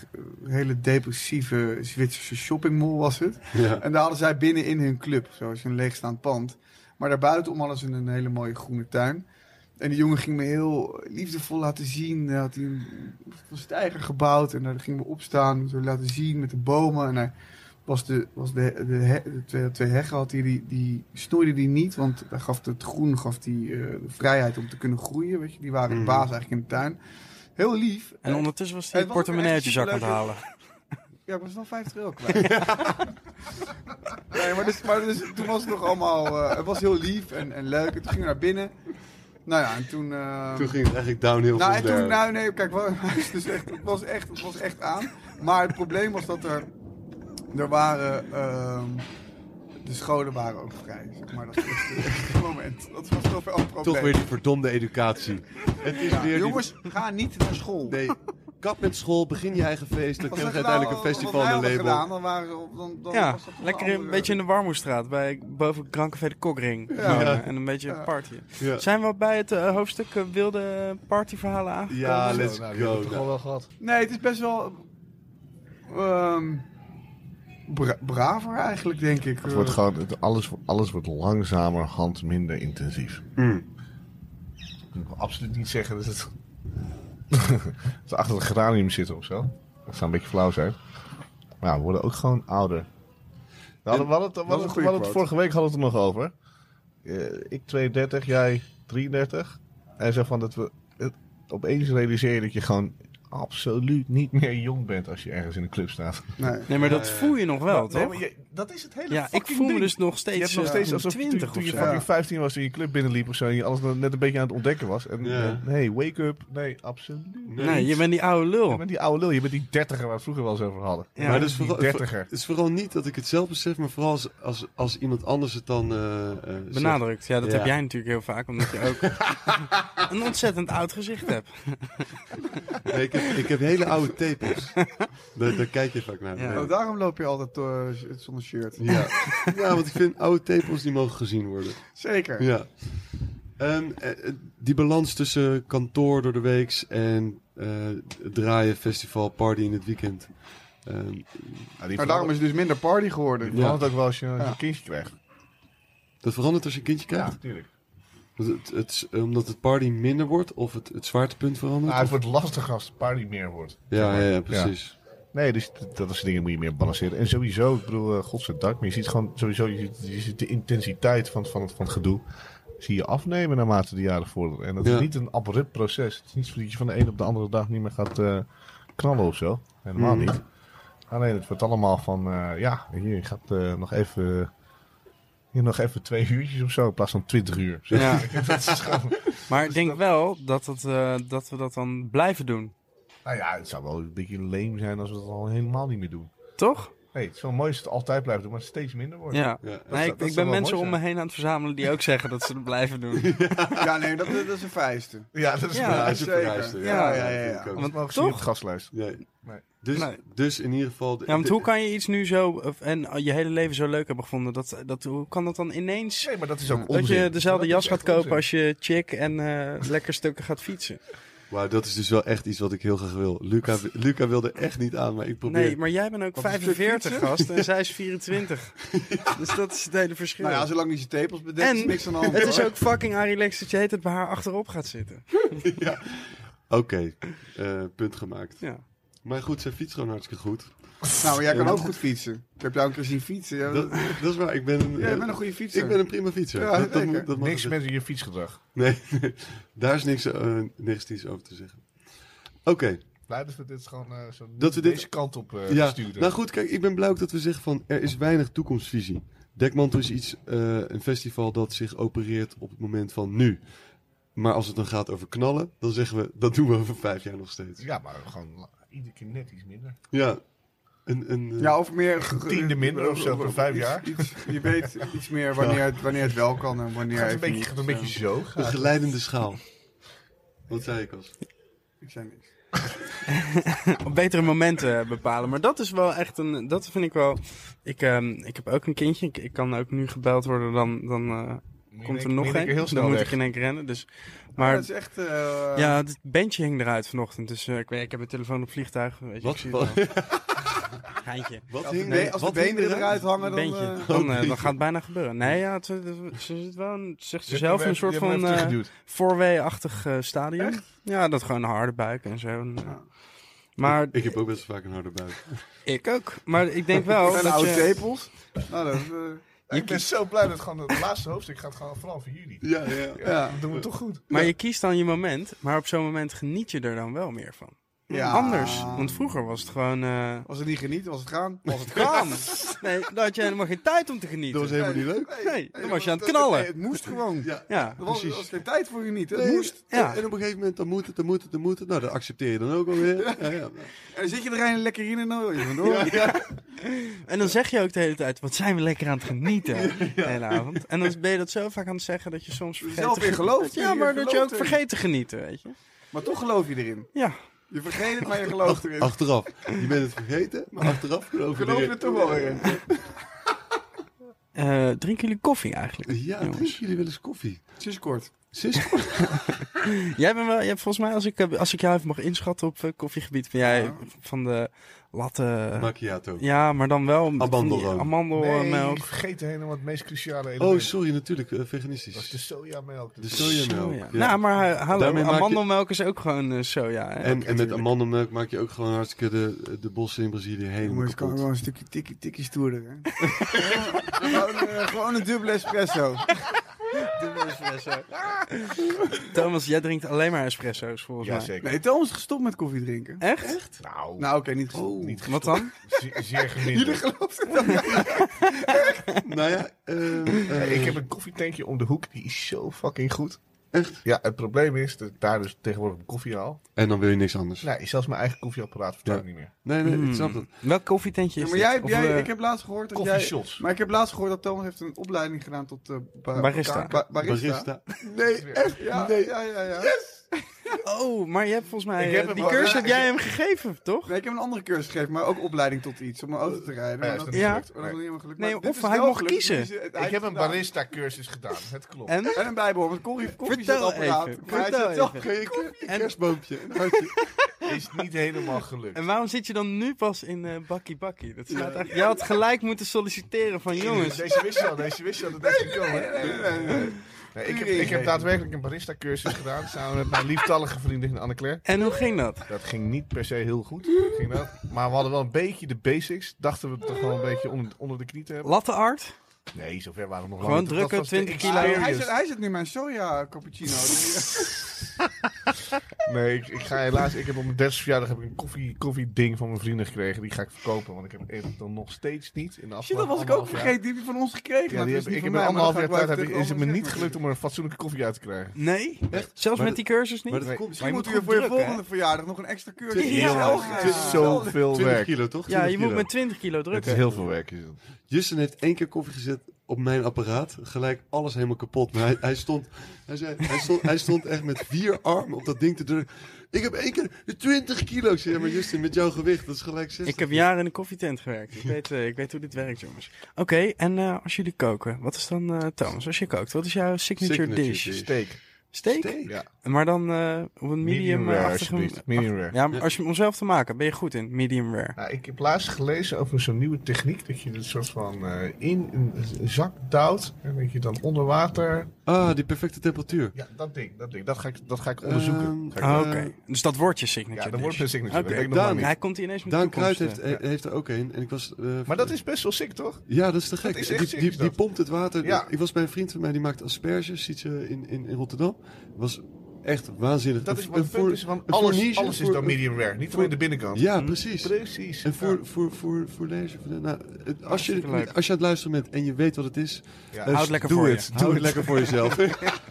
Speaker 4: een hele depressieve Zwitserse shoppingmall was het.
Speaker 2: Ja.
Speaker 4: En daar hadden zij binnen in hun club, zoals een leegstaand pand. Maar daarbuitenom hadden ze een hele mooie groene tuin. En die jongen ging me heel liefdevol laten zien. Hij had hij een, een steiger gebouwd en daar ging me opstaan, zo laten zien met de bomen. En hij was de, was de, de, he- de twee, twee heggen had hij, die, die snoeide die niet, want daar gaf het groen gaf die, eh, de vrijheid om te kunnen groeien. Weet je? Die waren de
Speaker 2: Mhm.
Speaker 4: baas eigenlijk in de tuin. Heel lief.
Speaker 1: En ondertussen was
Speaker 4: hij
Speaker 1: hij
Speaker 4: het
Speaker 1: het
Speaker 4: was ook
Speaker 1: portemonneetje zak
Speaker 4: echt
Speaker 1: aan het halen.
Speaker 4: Ja, maar het is wel 50 euro kwijt. nee, maar, dus, maar dus, toen was het nog allemaal... eh, het was heel lief en, en leuk. En toen gingen we naar binnen. Nou ja, en toen... eh,
Speaker 2: Toen ging het eigenlijk downhill
Speaker 4: nou,
Speaker 2: van
Speaker 4: en toen,
Speaker 2: daar.
Speaker 4: nou, nee, kijk, wel, het, is dus echt, het, was echt, het was echt aan. Maar het probleem was dat er, er waren, ehm, de scholen waren ook vrij. Zeg maar dat was het eerste moment. Dat was toch wel een probleem.
Speaker 2: Toch weer die verdomde educatie. Het is
Speaker 4: Ja,
Speaker 2: weer die-
Speaker 4: jongens, ga niet naar school.
Speaker 2: Nee, kap met school, begin je eigen feest. Dan
Speaker 4: Als
Speaker 2: krijg je
Speaker 4: ze gedaan-
Speaker 2: uiteindelijk een
Speaker 4: als we dat
Speaker 2: festival in
Speaker 4: hadden
Speaker 2: een
Speaker 4: gedaan,
Speaker 2: label.
Speaker 4: dan waren ze op- dan, dan
Speaker 1: Ja,
Speaker 4: was dat toch
Speaker 1: lekker een
Speaker 4: andere-
Speaker 1: beetje
Speaker 3: eh,
Speaker 1: in de Warmoestraat, bij, boven Krankevee de Kokring.
Speaker 4: Ja.
Speaker 1: wonen En een beetje een party.
Speaker 2: Ja.
Speaker 1: Zijn we bij het eh, hoofdstuk eh, wilde partyverhalen aangekomen?
Speaker 2: Ja,
Speaker 3: Zo,
Speaker 2: let's
Speaker 3: nou, die hebben
Speaker 2: go.
Speaker 3: we toch al
Speaker 2: Nou,
Speaker 3: wel gehad.
Speaker 4: Nee, het is best wel. ehm, bra- braver eigenlijk, denk ik. eh,
Speaker 3: Het wordt gewoon, het, alles, alles wordt langzamerhand minder intensief. Ik wil absoluut niet zeggen dat het... dat ze achter het geranium zitten of zo. Dat zou een beetje flauw zijn. Maar ja, we worden ook gewoon ouder. We hadden, we hadden, het- we hadden,
Speaker 4: een
Speaker 3: het-
Speaker 4: goede
Speaker 3: we hadden het
Speaker 4: quote.
Speaker 3: vorige week hadden we het er nog over. Eh, ik 32, jij 33. En zo van dat we het, opeens realiseer je dat je gewoon absoluut niet meer jong bent als je ergens in een club staat.
Speaker 4: Nee.
Speaker 1: Nee, maar dat voel je nog wel,
Speaker 3: Nee,
Speaker 1: toch?
Speaker 3: maar je- dat is het hele
Speaker 1: Ja, ik
Speaker 3: fucking
Speaker 1: voel me
Speaker 3: ding.
Speaker 1: dus nog
Speaker 3: Je hebt
Speaker 1: steeds,
Speaker 3: nog
Speaker 1: eh,
Speaker 3: steeds alsof je toen,
Speaker 1: 20
Speaker 3: toen
Speaker 1: of
Speaker 3: je
Speaker 1: zo.
Speaker 4: ja.
Speaker 3: fucking 15 was en je club binnenliep of zo en je alles nog net een beetje aan het ontdekken was. En
Speaker 2: Ja.
Speaker 3: eh, nee, wake up. Nee, absoluut. niet.
Speaker 1: Nee, je bent die oude
Speaker 3: Je
Speaker 1: lul.
Speaker 3: bent die oude lul, je bent die dertiger waar we het vroeger wel eens over hadden.
Speaker 1: Oh. Ja.
Speaker 2: maar dat is
Speaker 3: Die
Speaker 2: vooral,
Speaker 3: dertiger.
Speaker 2: het is vooral niet dat ik het zelf besef, maar vooral als, als, als iemand anders het dan eh, eh, zegt.
Speaker 1: Benadrukt. Ja, dat
Speaker 2: Ja.
Speaker 1: heb jij natuurlijk heel vaak, omdat je ook een ontzettend oud gezicht hebt.
Speaker 2: Nee, ik, heb, ik heb hele oude tepels. daar, daar kijk je vaak naar.
Speaker 1: Ja.
Speaker 2: Ja.
Speaker 4: Oh, daarom loop je altijd eh, z- zonder shirt.
Speaker 2: Ja. ja, want ik vind oude tepels die mogen gezien worden.
Speaker 4: Zeker.
Speaker 2: Ja. Ehm, eh, eh, die balans tussen kantoor door de weeks en eh, draaien, festival, party in het weekend. Ehm,
Speaker 3: Ja, Nou, die
Speaker 4: Maar daarom is het dus minder party
Speaker 3: het
Speaker 4: geworden.
Speaker 2: Ja.
Speaker 3: ook wel als je, als je
Speaker 4: Ja.
Speaker 3: een kindje krijgt.
Speaker 2: dat verandert als je een kindje krijgt?
Speaker 3: natuurlijk.
Speaker 2: Want Het, het is, omdat het party minder wordt of het, het zwaartepunt verandert?
Speaker 3: Maar Ah, het
Speaker 2: of-
Speaker 3: Nou, wordt lastiger als het party meer wordt.
Speaker 2: ja, ja, ja, precies.
Speaker 3: Nee, dus d- dat soort dingen moet je meer balanceren. En sowieso, ik bedoel, eh, godzijdank, maar je ziet gewoon sowieso je, ziet- je ziet de intensiteit van, van, het, van het gedoe. Zie je afnemen naarmate de jaren vorderen. En dat
Speaker 2: Ja.
Speaker 3: is niet een abrupt proces. Het is niet zo dat je van de ene op de andere dag niet meer gaat eh, knallen of zo. Helemaal
Speaker 2: Mhm.
Speaker 3: niet. Alleen het wordt allemaal van, eh, ja, hier je gaat eh, nog even. Hier nog even twee uurtjes of zo in plaats van twintig uur.
Speaker 1: Ja.
Speaker 3: dat is gewoon,
Speaker 1: Maar ik denk wel dat, het, eh, dat we dat dan blijven doen.
Speaker 3: nou ja, het zou wel een beetje leem zijn als we dat al helemaal niet meer doen.
Speaker 1: Toch?
Speaker 3: Nee, het is wel mooi als het altijd blijft doen, maar het steeds minder wordt.
Speaker 1: Ja.
Speaker 2: Ja.
Speaker 1: Nee,
Speaker 3: zou-
Speaker 1: ik,
Speaker 3: dat
Speaker 1: ik
Speaker 3: zou
Speaker 1: ben
Speaker 3: wel
Speaker 1: mensen
Speaker 3: mooi
Speaker 1: om me heen aan het verzamelen die ook zeggen dat ze het blijven doen.
Speaker 4: Ja, nee, dat, dat is een Nou vijfste.
Speaker 3: Ja, dat is
Speaker 1: Ja,
Speaker 3: waar.
Speaker 2: Ja, als je
Speaker 4: zeker.
Speaker 2: verhuist, ja,
Speaker 1: Ja,
Speaker 4: ja, ja,
Speaker 2: dat vind
Speaker 4: ja.
Speaker 2: ik ook.
Speaker 1: Want
Speaker 3: mogen ze niet op
Speaker 1: toch?
Speaker 3: het gaslijst.
Speaker 2: Nee.
Speaker 3: Nee.
Speaker 2: Dus,
Speaker 1: Nee.
Speaker 2: dus in ieder geval... de-
Speaker 1: Ja, want
Speaker 2: de-
Speaker 1: hoe kan je iets nu zo eh, en je hele leven zo leuk hebben gevonden? Dat, dat, hoe kan dat dan ineens
Speaker 3: Nee, maar dat is ook
Speaker 1: dat je dezelfde jas gaat kopen
Speaker 3: als
Speaker 1: als je chick en eh, lekker stukken gaat fietsen?
Speaker 2: Wauw, dat is dus wel echt iets wat ik heel graag wil. Luca, Luca wilde echt niet aan, maar ik probeer...
Speaker 1: Nee, maar jij bent ook 45 gast en zij is 24. Dus dat is het hele verschil.
Speaker 4: Nou ja, zolang niet je tepels bedekt,
Speaker 1: En
Speaker 4: is niks aan de hand.
Speaker 1: het is
Speaker 4: hoor.
Speaker 1: ook fucking Arilex dat je heet het bij haar achterop gaat zitten.
Speaker 2: Oké, eh, punt gemaakt.
Speaker 1: Ja.
Speaker 2: Maar goed, zijn fiets gewoon hartstikke goed.
Speaker 4: Nou, maar jij kan ook goed fietsen. Ik heb jou een keer zien fietsen. Ja,
Speaker 2: Dat,
Speaker 4: dat-
Speaker 2: dat is waar, ik ben een,
Speaker 4: ja,
Speaker 2: eh,
Speaker 4: jij bent een goede fietser.
Speaker 2: ik ben een prima fietser.
Speaker 4: Ja,
Speaker 2: dat, dat,
Speaker 4: zeker.
Speaker 2: moet- dat mag
Speaker 3: Niks
Speaker 2: gezegd-
Speaker 3: met je fietsgedrag.
Speaker 2: Nee, daar is niks eh, negatiefs over te zeggen. Oké,
Speaker 3: Blij dat we dit gewoon eh, zo
Speaker 2: Dat we dit-
Speaker 3: deze kant op eh
Speaker 2: ja.
Speaker 3: sturen.
Speaker 2: Nou goed, kijk, ik ben blij ook dat we zeggen van er is weinig toekomstvisie. Dekmantel is iets, eh, een festival dat zich opereert op het moment van nu. Maar als het dan gaat over knallen, dan zeggen we dat doen we over vijf jaar nog steeds.
Speaker 3: Ja, maar gewoon la- iedere keer net iets minder.
Speaker 2: Ja, een, een, eh,
Speaker 4: Ja, of meer...
Speaker 3: tiende minder of zo,
Speaker 4: Iets-
Speaker 3: voor vijf jaar.
Speaker 4: iets- je weet iets meer wanneer het, wanneer het wel kan en wanneer
Speaker 3: gaat een
Speaker 4: even
Speaker 3: beetje,
Speaker 4: niet.
Speaker 3: gaat een beetje zo.
Speaker 2: een geleidende schaal. Wat zei ik als?
Speaker 4: Ik zei niks.
Speaker 1: op betere momenten bepalen. Maar dat is wel echt een. Dat vind ik wel. Ik, ehm, ik heb ook een kindje. Ik, ik kan ook nu gebeld worden. Dan, dan eh, komt er nog een.
Speaker 3: heel
Speaker 1: dan
Speaker 3: snel
Speaker 1: moet
Speaker 3: weg.
Speaker 1: ik in één keer rennen. Dus,
Speaker 4: Maar
Speaker 1: maar
Speaker 4: dat is echt... eh,
Speaker 1: ja, het bandje hing eruit vanochtend. Dus eh, ik, weet, ik heb mijn telefoon op vliegtuig. Weet je,
Speaker 2: Wat,
Speaker 1: ik zie
Speaker 2: wat,
Speaker 1: het wel. Geintje.
Speaker 2: wat
Speaker 4: Als de,
Speaker 2: hing
Speaker 4: been- als de
Speaker 2: wat hing
Speaker 4: beenderen eruit hangen, dan...
Speaker 1: Bandje.
Speaker 4: eh,
Speaker 1: Dan, eh,
Speaker 2: Oh,
Speaker 1: dan
Speaker 2: bandje.
Speaker 1: gaat het bijna gebeuren. Nee, ja, het, het- ze zit wel in, zegt ze zelf in een soort van eh voorwee-achtig eh, stadium. Ja, dat gewoon een harde buik en zo. En, eh. Maar
Speaker 2: Ik, ik heb ook best vaak een harde buik.
Speaker 1: ik ook. Maar ik denk wel.
Speaker 4: zijn
Speaker 1: dat
Speaker 4: oude
Speaker 1: je-
Speaker 4: tepels. Nou, dat, eh,
Speaker 3: ik ben zo blij dat gewoon het laatste hoofdstuk gaat gewoon vooral voor jullie.
Speaker 2: Ja, ja.
Speaker 4: ja.
Speaker 3: Dat doen we toch goed.
Speaker 1: Maar je kiest dan je moment, maar op zo'n moment geniet je er dan wel meer van.
Speaker 4: Ja.
Speaker 1: Anders, want vroeger was het gewoon... eh
Speaker 4: Als het niet genieten, was het gaan.
Speaker 1: was het gaan. Nee, dan had je helemaal geen tijd om te
Speaker 2: Dat
Speaker 1: genieten.
Speaker 2: was helemaal niet leuk.
Speaker 1: Nee, dan was je aan het
Speaker 4: Nee,
Speaker 1: knallen.
Speaker 4: het moest gewoon.
Speaker 2: Ja,
Speaker 1: Ja,
Speaker 4: Er was, er
Speaker 2: precies.
Speaker 4: was geen tijd voor genieten. Het
Speaker 2: Nee,
Speaker 4: moest.
Speaker 1: ja.
Speaker 2: En op een gegeven moment, dan moet het, dan moet het, dan moet het. Nou, dat accepteer je dan ook alweer. Ja, ja.
Speaker 4: En dan zit je er een lekker in en dan wil je vandoor.
Speaker 1: En dan zeg je ook de hele tijd, wat zijn we lekker aan het genieten de hele avond. En dan ben je dat zo vaak aan het zeggen dat je soms vergeet...
Speaker 4: Zelf
Speaker 1: te
Speaker 4: weer
Speaker 1: genieten.
Speaker 4: gelooft.
Speaker 1: Ja, maar dat je ook
Speaker 4: gelooft erin.
Speaker 1: vergeet te genieten, weet je.
Speaker 4: Maar toch geloof je erin.
Speaker 1: Ja,
Speaker 4: Je vergeet het, maar je gelooft erin.
Speaker 2: Achteraf. Je bent het vergeten, maar achteraf geloof je
Speaker 4: geloof je
Speaker 2: erin.
Speaker 4: er toch wel weer in.
Speaker 1: Eh, drinken jullie koffie eigenlijk?
Speaker 2: Ja, drinken jullie wel eens koffie?
Speaker 4: Sinds kort.
Speaker 2: Sis?
Speaker 1: Jij bent wel, jij hebt volgens mij, als ik, eh, als ik jou even mag inschatten op eh, koffiegebied, ben jij van de latte...
Speaker 2: Macchiato.
Speaker 1: Ja, maar dan wel met van die
Speaker 2: Amandelroom.
Speaker 3: Nee,
Speaker 1: amandelmelk.
Speaker 3: ik vergeet helemaal het meest cruciale element.
Speaker 2: Oh, Dus- sorry, natuurlijk. eh,
Speaker 3: Dat is dus- de
Speaker 2: veganistisch.
Speaker 3: sojamelk.
Speaker 2: De
Speaker 1: Soja.
Speaker 2: sojamelk. ja.
Speaker 1: Nou, maar eh, hallo,
Speaker 2: Daarmee maak je-
Speaker 1: amandelmelk is ook gewoon eh, soja. Hè?
Speaker 2: en, en met amandelmelk maak je ook gewoon hartstikke de, de bossen in Brazilië helemaal
Speaker 4: Jongens, kan
Speaker 2: kapot.
Speaker 4: gewoon een stukje tikkie tikkie stoerder. Hè? gewoon, eh, gewoon een dubbele espresso.
Speaker 1: Thomas, jij drinkt alleen maar espresso's volgens mij.
Speaker 3: Jazeker.
Speaker 4: Nee, Thomas is gestopt met koffie drinken.
Speaker 1: Echt?
Speaker 3: Nou,
Speaker 4: Nou, oké, niet gestopt.
Speaker 3: niet
Speaker 1: Wat dan?
Speaker 3: Ze- zeer geminderd.
Speaker 2: Nou ja, eh, eh,
Speaker 3: Hey, ik heb een koffietankje om de hoek, die is zo fucking goed. Echt? Ja, het probleem is dat ik daar dus tegenwoordig mijn koffie haal.
Speaker 2: En dan wil je niks anders.
Speaker 3: Nee, zelfs mijn eigen koffieapparaat vertrouw ik niet meer.
Speaker 2: Nee, nee, ik snap
Speaker 1: Hmm.
Speaker 2: dat.
Speaker 1: Welk koffietentje
Speaker 4: Ja,
Speaker 1: is
Speaker 4: maar jij,
Speaker 1: dit?
Speaker 4: hebt-
Speaker 1: Of,
Speaker 4: jij,
Speaker 1: eh,
Speaker 4: ik heb laatst gehoord dat jij...
Speaker 3: Koffieshots.
Speaker 4: Maar ik heb laatst gehoord dat Thomas heeft een opleiding gedaan tot eh, ba-
Speaker 1: Barista.
Speaker 4: ba- barista.
Speaker 2: Barista.
Speaker 4: Nee, echt? Ja, nee. ja, ja. ja.
Speaker 1: Oh, maar je hebt volgens mij...
Speaker 3: Ik heb
Speaker 1: eh,
Speaker 3: hem
Speaker 1: die
Speaker 3: al-
Speaker 1: cursus
Speaker 3: ja,
Speaker 1: heb
Speaker 3: ik-
Speaker 1: jij hem gegeven, toch?
Speaker 4: Nee, ik heb een andere cursus gegeven, maar ook opleiding tot iets, om een auto te rijden.
Speaker 3: Nee,
Speaker 4: Maar
Speaker 3: is
Speaker 4: dat,
Speaker 3: dat niet
Speaker 1: Ja.
Speaker 3: gelukt?
Speaker 4: dat is niet
Speaker 3: Nee.
Speaker 4: helemaal gelukt.
Speaker 1: Nee,
Speaker 4: Maar
Speaker 1: of
Speaker 4: dit is
Speaker 1: hij
Speaker 4: wel
Speaker 1: mag
Speaker 4: gelukt, dus
Speaker 1: kiezen.
Speaker 4: het is het
Speaker 3: Ik heb een
Speaker 4: eindelijk gedaan.
Speaker 3: barista-cursus gedaan, het klopt.
Speaker 1: En?
Speaker 4: En een bijbehorend met koffie,
Speaker 1: Vertel even, vertel even.
Speaker 2: Kun je een
Speaker 1: En-
Speaker 2: kerstboompje? Een hartje.
Speaker 3: Is niet helemaal gelukt.
Speaker 1: En waarom zit je dan nu pas in eh bakkie bakkie? Dat slaat echt... Jij had gelijk moeten solliciteren van jongens.
Speaker 3: Deze wist je al, deze wist je al dat deze ging komen. hè? Nee, ik, heb, ik heb daadwerkelijk een barista-cursus gedaan samen met mijn lieftallige vriendin Anne-Claire.
Speaker 1: En hoe ging dat?
Speaker 3: Dat ging niet per se heel goed, ging dat. maar we hadden wel een beetje de basics. Dachten we toch wel een beetje onder, onder de knie te hebben.
Speaker 1: Latte art?
Speaker 3: Nee, zover waren we nog lang
Speaker 1: Gewoon
Speaker 3: niet. Dat
Speaker 1: drukken,
Speaker 3: was de
Speaker 1: 20 kilo.
Speaker 3: experience.
Speaker 4: Hij zit, hij zit nu mijn soja cappuccino.
Speaker 3: Nee, ik, ik ga helaas. Ik heb op mijn 30 verjaardag heb ik een koffie, koffieding van mijn vrienden gekregen. Die ga ik verkopen, want ik heb het dan nog steeds niet. In de
Speaker 4: Shit, dat
Speaker 3: afgelopen
Speaker 4: was ik ook
Speaker 3: anderhalf jaar-
Speaker 4: vergeten. Die heb je van ons gekregen.
Speaker 3: Ja,
Speaker 4: maar
Speaker 3: die
Speaker 4: het
Speaker 3: heb,
Speaker 4: is
Speaker 3: ik
Speaker 4: niet
Speaker 3: heb
Speaker 4: van
Speaker 3: in
Speaker 4: mij, maar
Speaker 3: anderhalf jaar
Speaker 4: dat ga
Speaker 3: tijd
Speaker 4: ik
Speaker 3: heb ik-
Speaker 4: wel even
Speaker 3: is het me
Speaker 4: tegen
Speaker 3: niet
Speaker 4: de
Speaker 3: gelukt
Speaker 4: andere
Speaker 3: om er een fatsoenlijke koffie uit te krijgen.
Speaker 1: Nee?
Speaker 2: Echt?
Speaker 1: Zelfs
Speaker 2: Maar
Speaker 1: met die cursus niet?
Speaker 2: Maar dat
Speaker 3: Nee.
Speaker 2: komt
Speaker 4: zeggen. Misschien moeten we voor
Speaker 1: Maar je
Speaker 4: je
Speaker 1: moet gewoon
Speaker 4: volgende verjaardag nog een extra keurtje.
Speaker 1: Ja.
Speaker 4: zelf
Speaker 1: Ja.
Speaker 3: Het
Speaker 4: gaan.
Speaker 3: is zoveel
Speaker 2: 20
Speaker 3: werk.
Speaker 2: kilo, toch?
Speaker 1: Ja, je
Speaker 2: 20
Speaker 1: moet
Speaker 2: kilo.
Speaker 1: met 20 kilo
Speaker 3: Het is
Speaker 1: drukken.
Speaker 3: heel veel werk. is het.
Speaker 2: Justin heeft één keer koffie gezet op mijn apparaat. Gelijk alles helemaal kapot. Maar hij, hij, stond, hij, zei, hij, stond, hij stond echt met vier armen op dat ding te drukken. Ik heb één keer 20 kilo. Ik zei, ja, maar Justin, met jouw gewicht, dat is gelijk 60.
Speaker 1: Ik heb jaren in een koffietent gewerkt. Ik weet, eh, ik weet hoe dit werkt, jongens. Oké, en eh, als jullie koken, wat is dan, eh Thomas, als je kookt, wat is jouw signature,
Speaker 2: Signature
Speaker 1: dish?
Speaker 2: dish.
Speaker 3: Steak.
Speaker 1: Steak?
Speaker 3: Ja.
Speaker 1: Maar dan eh, op een medium
Speaker 4: eh,
Speaker 3: rare,
Speaker 1: achtige-
Speaker 3: alsjeblieft. Medium rare.
Speaker 1: Ja, maar als je hem zelf te maken, ben je goed in medium rare.
Speaker 3: Nou, ik heb laatst gelezen over zo'n nieuwe techniek dat je het soort van eh, in een zak duwt en dat je dan onder water.
Speaker 2: Ah, die perfecte temperatuur.
Speaker 3: Ja, dat ding, dat ding. Dat ga ik, dat ga ik onderzoeken.
Speaker 2: Ehm,
Speaker 3: Ga ik-
Speaker 1: Ah, Oké,
Speaker 2: Eh,
Speaker 1: dus dat wordt je signature.
Speaker 3: ja, dan wordt
Speaker 1: dish.
Speaker 3: mijn signature.
Speaker 1: Oké.
Speaker 3: Dat weet ik nog lang
Speaker 2: Daan.
Speaker 3: niet.
Speaker 1: Hij komt hier ineens met
Speaker 2: Daan
Speaker 1: toekomst,
Speaker 2: Kruid heeft,
Speaker 1: eh.
Speaker 2: eh, heeft er ook een. En ik was, eh,
Speaker 3: Maar dat is best wel sick, toch?
Speaker 2: Ja, dat is te gek.
Speaker 3: Dat is echt
Speaker 2: die, die,
Speaker 3: serieus
Speaker 2: die
Speaker 3: dat.
Speaker 2: pompt het water.
Speaker 3: Ja.
Speaker 2: Ik was bij een vriend van mij, die maakt asperges, ziet ze in, in, in Rotterdam. Was echt waanzinnig.
Speaker 3: Dat
Speaker 2: Een-
Speaker 3: is wat het
Speaker 2: een
Speaker 3: punt
Speaker 2: voor-
Speaker 3: is, want
Speaker 2: een
Speaker 3: alles,
Speaker 2: fournage
Speaker 3: alles is Hm.
Speaker 2: voor-
Speaker 3: dan medium rare. Niet alleen de binnenkant.
Speaker 2: Ja, precies.
Speaker 3: Precies.
Speaker 2: En
Speaker 3: Ja.
Speaker 2: voor, voor, voor, voor lezer, voor de- nou, het- als, je,
Speaker 1: Hartstikke leuk.
Speaker 2: als je aan het luisteren bent en je weet wat het is,
Speaker 3: Ja.
Speaker 2: eh,
Speaker 1: Houd lekker
Speaker 2: doe
Speaker 1: voor
Speaker 2: het.
Speaker 1: je.
Speaker 2: Doe het lekker voor jezelf.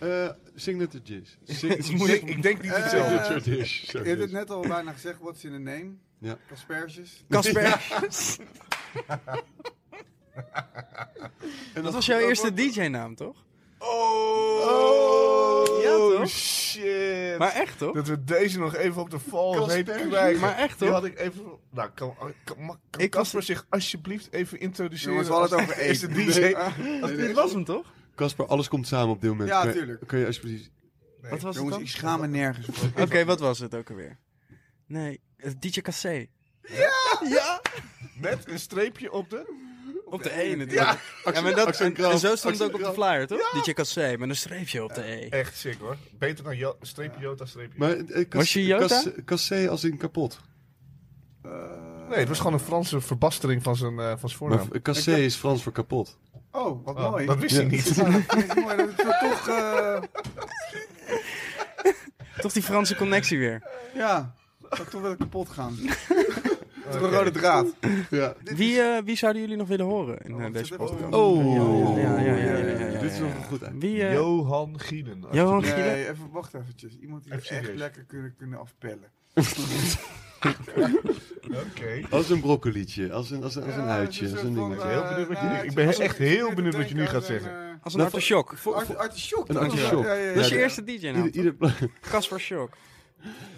Speaker 2: Eh signature dish. Sig-
Speaker 1: is moeilijk. Eh,
Speaker 3: Ik denk niet hetzelfde.
Speaker 2: signature dish.
Speaker 4: Je
Speaker 2: Sorry.
Speaker 4: hebt het net al bijna gezegd, what's in a name?
Speaker 2: Ja.
Speaker 4: Asperges.
Speaker 1: Casper,
Speaker 2: En
Speaker 1: dat was jouw eerste DJ-naam, toch?
Speaker 3: Oh,
Speaker 1: Ja, toch?
Speaker 3: shit.
Speaker 1: Maar echt, toch?
Speaker 3: dat we deze nog even op de val
Speaker 2: Casper.
Speaker 3: weten krijgen.
Speaker 1: Maar echt,
Speaker 3: Die
Speaker 1: hoor.
Speaker 3: had ik even... Nou, kan, kan, mag- kan
Speaker 1: Ik was-
Speaker 3: Casper zich alsjeblieft even introduceren?
Speaker 4: Jongens, we hadden het
Speaker 3: als
Speaker 4: over één.
Speaker 3: eerste DJ.
Speaker 4: ah.
Speaker 1: Dit was hem, toch?
Speaker 2: Casper, alles komt samen op dit moment.
Speaker 4: Ja,
Speaker 2: Kun je-
Speaker 4: tuurlijk.
Speaker 2: Kun je alsjeblieft...
Speaker 1: Wat was het
Speaker 4: Jongens,
Speaker 1: dan?
Speaker 4: ik schaam me nergens voor.
Speaker 1: Oké, wat was het ook alweer? Nee, eh, DJ Cassé.
Speaker 3: Met een streepje op de...
Speaker 1: Op de E natuurlijk. Ja, maar dat, en, en zo stond het ook op de flyer, toch? DJ Cassé, met een streepje op de E.
Speaker 3: Echt sick, hoor. Beter dan Jo- streepje Jota, streepje.
Speaker 2: Maar, eh, kas-
Speaker 1: Was je Jota?
Speaker 2: kas- Cassé als in kapot.
Speaker 4: Eh,
Speaker 3: nee, het was gewoon een Franse verbastering van zijn, eh, van zijn voornaam.
Speaker 2: Maar eh, Cassé is Frans voor kapot.
Speaker 4: Oh, wat
Speaker 3: Oh,
Speaker 4: mooi.
Speaker 3: dat wist hij
Speaker 2: Ja.
Speaker 3: niet.
Speaker 4: Ja, dat vind ik mooi. Dat is wel toch, eh,
Speaker 1: Toch die Franse connectie weer.
Speaker 4: ja, dat is toch wel kapot gaan. Toch een rode draad.
Speaker 2: Ja.
Speaker 1: Wie, eh, wie zouden jullie nog willen horen in eh, deze podcast?
Speaker 2: Oh.
Speaker 1: Ja, ja, ja, ja, ja, ja, ja, ja.
Speaker 2: Dit is nog een goed eind.
Speaker 1: Wie, eh,
Speaker 3: Johan Gielen.
Speaker 1: Johan
Speaker 4: Nee,
Speaker 1: Gielen?
Speaker 4: even wacht eventjes. Iemand die
Speaker 3: Even
Speaker 4: echt
Speaker 3: serieus.
Speaker 4: lekker kunnen, kunnen afpellen.
Speaker 3: Oké.
Speaker 2: Als een broccolietje, als een, als een, als een
Speaker 4: Ja,
Speaker 2: uitje,
Speaker 4: het
Speaker 2: als
Speaker 4: is
Speaker 2: een
Speaker 4: soort
Speaker 2: dingetje.
Speaker 4: van,
Speaker 3: heel
Speaker 4: eh,
Speaker 3: benieuwd wat je
Speaker 4: nou,
Speaker 3: nu- ik
Speaker 4: het
Speaker 3: ben
Speaker 4: is-
Speaker 3: echt
Speaker 4: ik zit
Speaker 3: heel
Speaker 4: te
Speaker 3: benieuwd wat je
Speaker 4: denken
Speaker 3: nu gaat
Speaker 4: aan een,
Speaker 3: zeggen.
Speaker 1: Als een artisjok.
Speaker 4: eh, Art- Artisjok.
Speaker 2: Een
Speaker 4: toch?
Speaker 2: artisjok.
Speaker 4: Ja, ja, ja.
Speaker 1: Dat is je
Speaker 2: Ja, de-
Speaker 1: eerste DJ-naam.
Speaker 4: eh,
Speaker 2: Ieder, ieder,
Speaker 1: Casper Shock.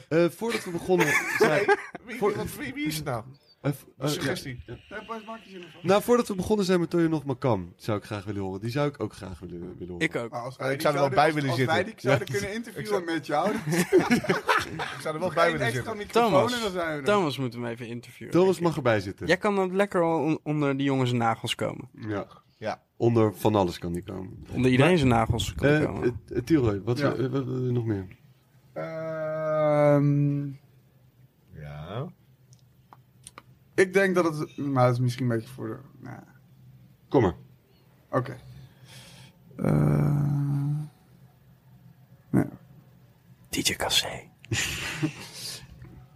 Speaker 2: Eh, voordat we begonnen. zei-
Speaker 3: Wie, wat- wie- wie is het nou?
Speaker 2: eh, v- eh,
Speaker 3: Suggestie.
Speaker 4: Ja, Bas, maak je zin ervan.
Speaker 2: ja. Nou, voordat we begonnen zijn met Toyo nog Makam, zou ik graag willen horen. Die zou ik ook graag willen, willen horen.
Speaker 1: Ik ook.
Speaker 4: Maar als
Speaker 3: Ja,
Speaker 4: wij
Speaker 3: ik
Speaker 4: die
Speaker 3: zou er wel
Speaker 4: zouden-
Speaker 3: bij
Speaker 4: als-
Speaker 3: willen
Speaker 4: als
Speaker 3: zitten.
Speaker 4: wij die zouden kunnen interviewen met jou, dan
Speaker 3: Ik zou er wel bij
Speaker 4: bij
Speaker 3: willen
Speaker 4: extra
Speaker 3: zitten.
Speaker 4: microfoon
Speaker 1: Thomas.
Speaker 4: en dan zijn we er.
Speaker 1: Thomas moeten we even interviewen.
Speaker 2: Thomas
Speaker 1: denk ik.
Speaker 2: mag erbij zitten.
Speaker 1: Jij kan dan lekker al on- onder die jongens nagels komen.
Speaker 2: Ja.
Speaker 3: Ja.
Speaker 2: Onder van alles kan die komen.
Speaker 1: Onder iedereen zijn nagels kan
Speaker 2: Eh
Speaker 1: komen.
Speaker 2: eh, eh, Tilroy, wat
Speaker 4: Ja.
Speaker 2: eh, wat- wat- wat- nog meer?
Speaker 4: Ehm,
Speaker 3: Ja.
Speaker 4: ik denk dat het... Maar dat is misschien een beetje voor de... nou,
Speaker 2: Kom maar.
Speaker 4: Oké. Eh, nee.
Speaker 1: DJ Cassé.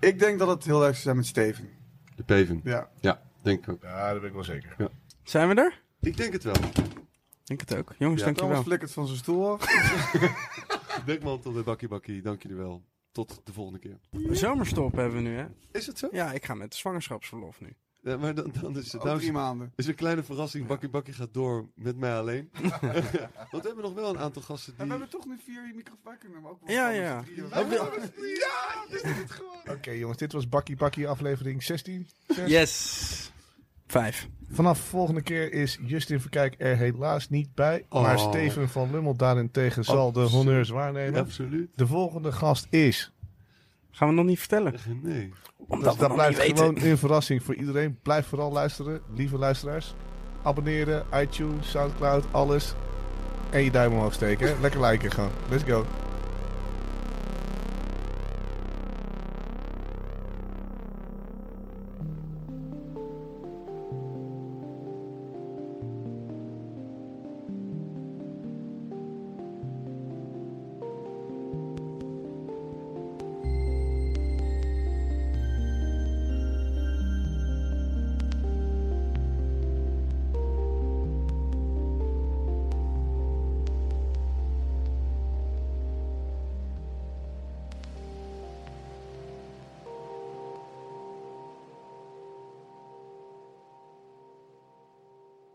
Speaker 4: Ik denk dat het heel leuk zou zijn met Steven.
Speaker 2: De Peven.
Speaker 4: Ja.
Speaker 2: Ja, denk ik ook.
Speaker 3: Ja, dat ben ik wel zeker.
Speaker 1: Zijn we er?
Speaker 2: Ik denk het wel.
Speaker 1: Denk het ook. Jongens,
Speaker 2: Ja.
Speaker 1: dankjewel.
Speaker 4: Thomas flikkert van zijn stoel af.
Speaker 2: Dekman tot de bakkie bakkie, dank jullie wel. Tot de volgende keer.
Speaker 1: Zomerstop hebben we nu, hè?
Speaker 2: Is het zo?
Speaker 1: Ja, ik ga met zwangerschapsverlof nu.
Speaker 2: Ja, maar dan, dan is het...
Speaker 4: Over
Speaker 2: dames-
Speaker 4: drie maanden.
Speaker 2: is een kleine verrassing. Bakkie Bakkie gaat door met mij alleen. Want we hebben nog wel een aantal gasten
Speaker 4: En we
Speaker 2: die... Oh,
Speaker 4: hebben toch nu vier microfoons. kunnen hem ook wel
Speaker 1: Ja,
Speaker 4: met
Speaker 1: ja.
Speaker 4: z'n drieën.
Speaker 3: Oké jongens, dit was Bakkie Bakkie aflevering 16.
Speaker 1: Yes. Vijf.
Speaker 3: Vanaf volgende keer is Justin Verkijk er helaas niet bij.
Speaker 2: Oh.
Speaker 3: Maar Steven van Lummel daarentegen zal de honneurs waarnemen.
Speaker 2: Absoluut.
Speaker 3: De volgende gast is.
Speaker 1: Gaan we nog niet vertellen.
Speaker 2: Nee.
Speaker 1: Omdat
Speaker 3: Dus
Speaker 1: we
Speaker 3: dat
Speaker 1: nog
Speaker 3: blijft
Speaker 1: niet weten.
Speaker 3: gewoon een verrassing voor iedereen. Blijf vooral luisteren, lieve luisteraars. Abonneren, iTunes, Soundcloud, alles. En je duim omhoog steken. hè. Lekker liken gewoon. Let's go.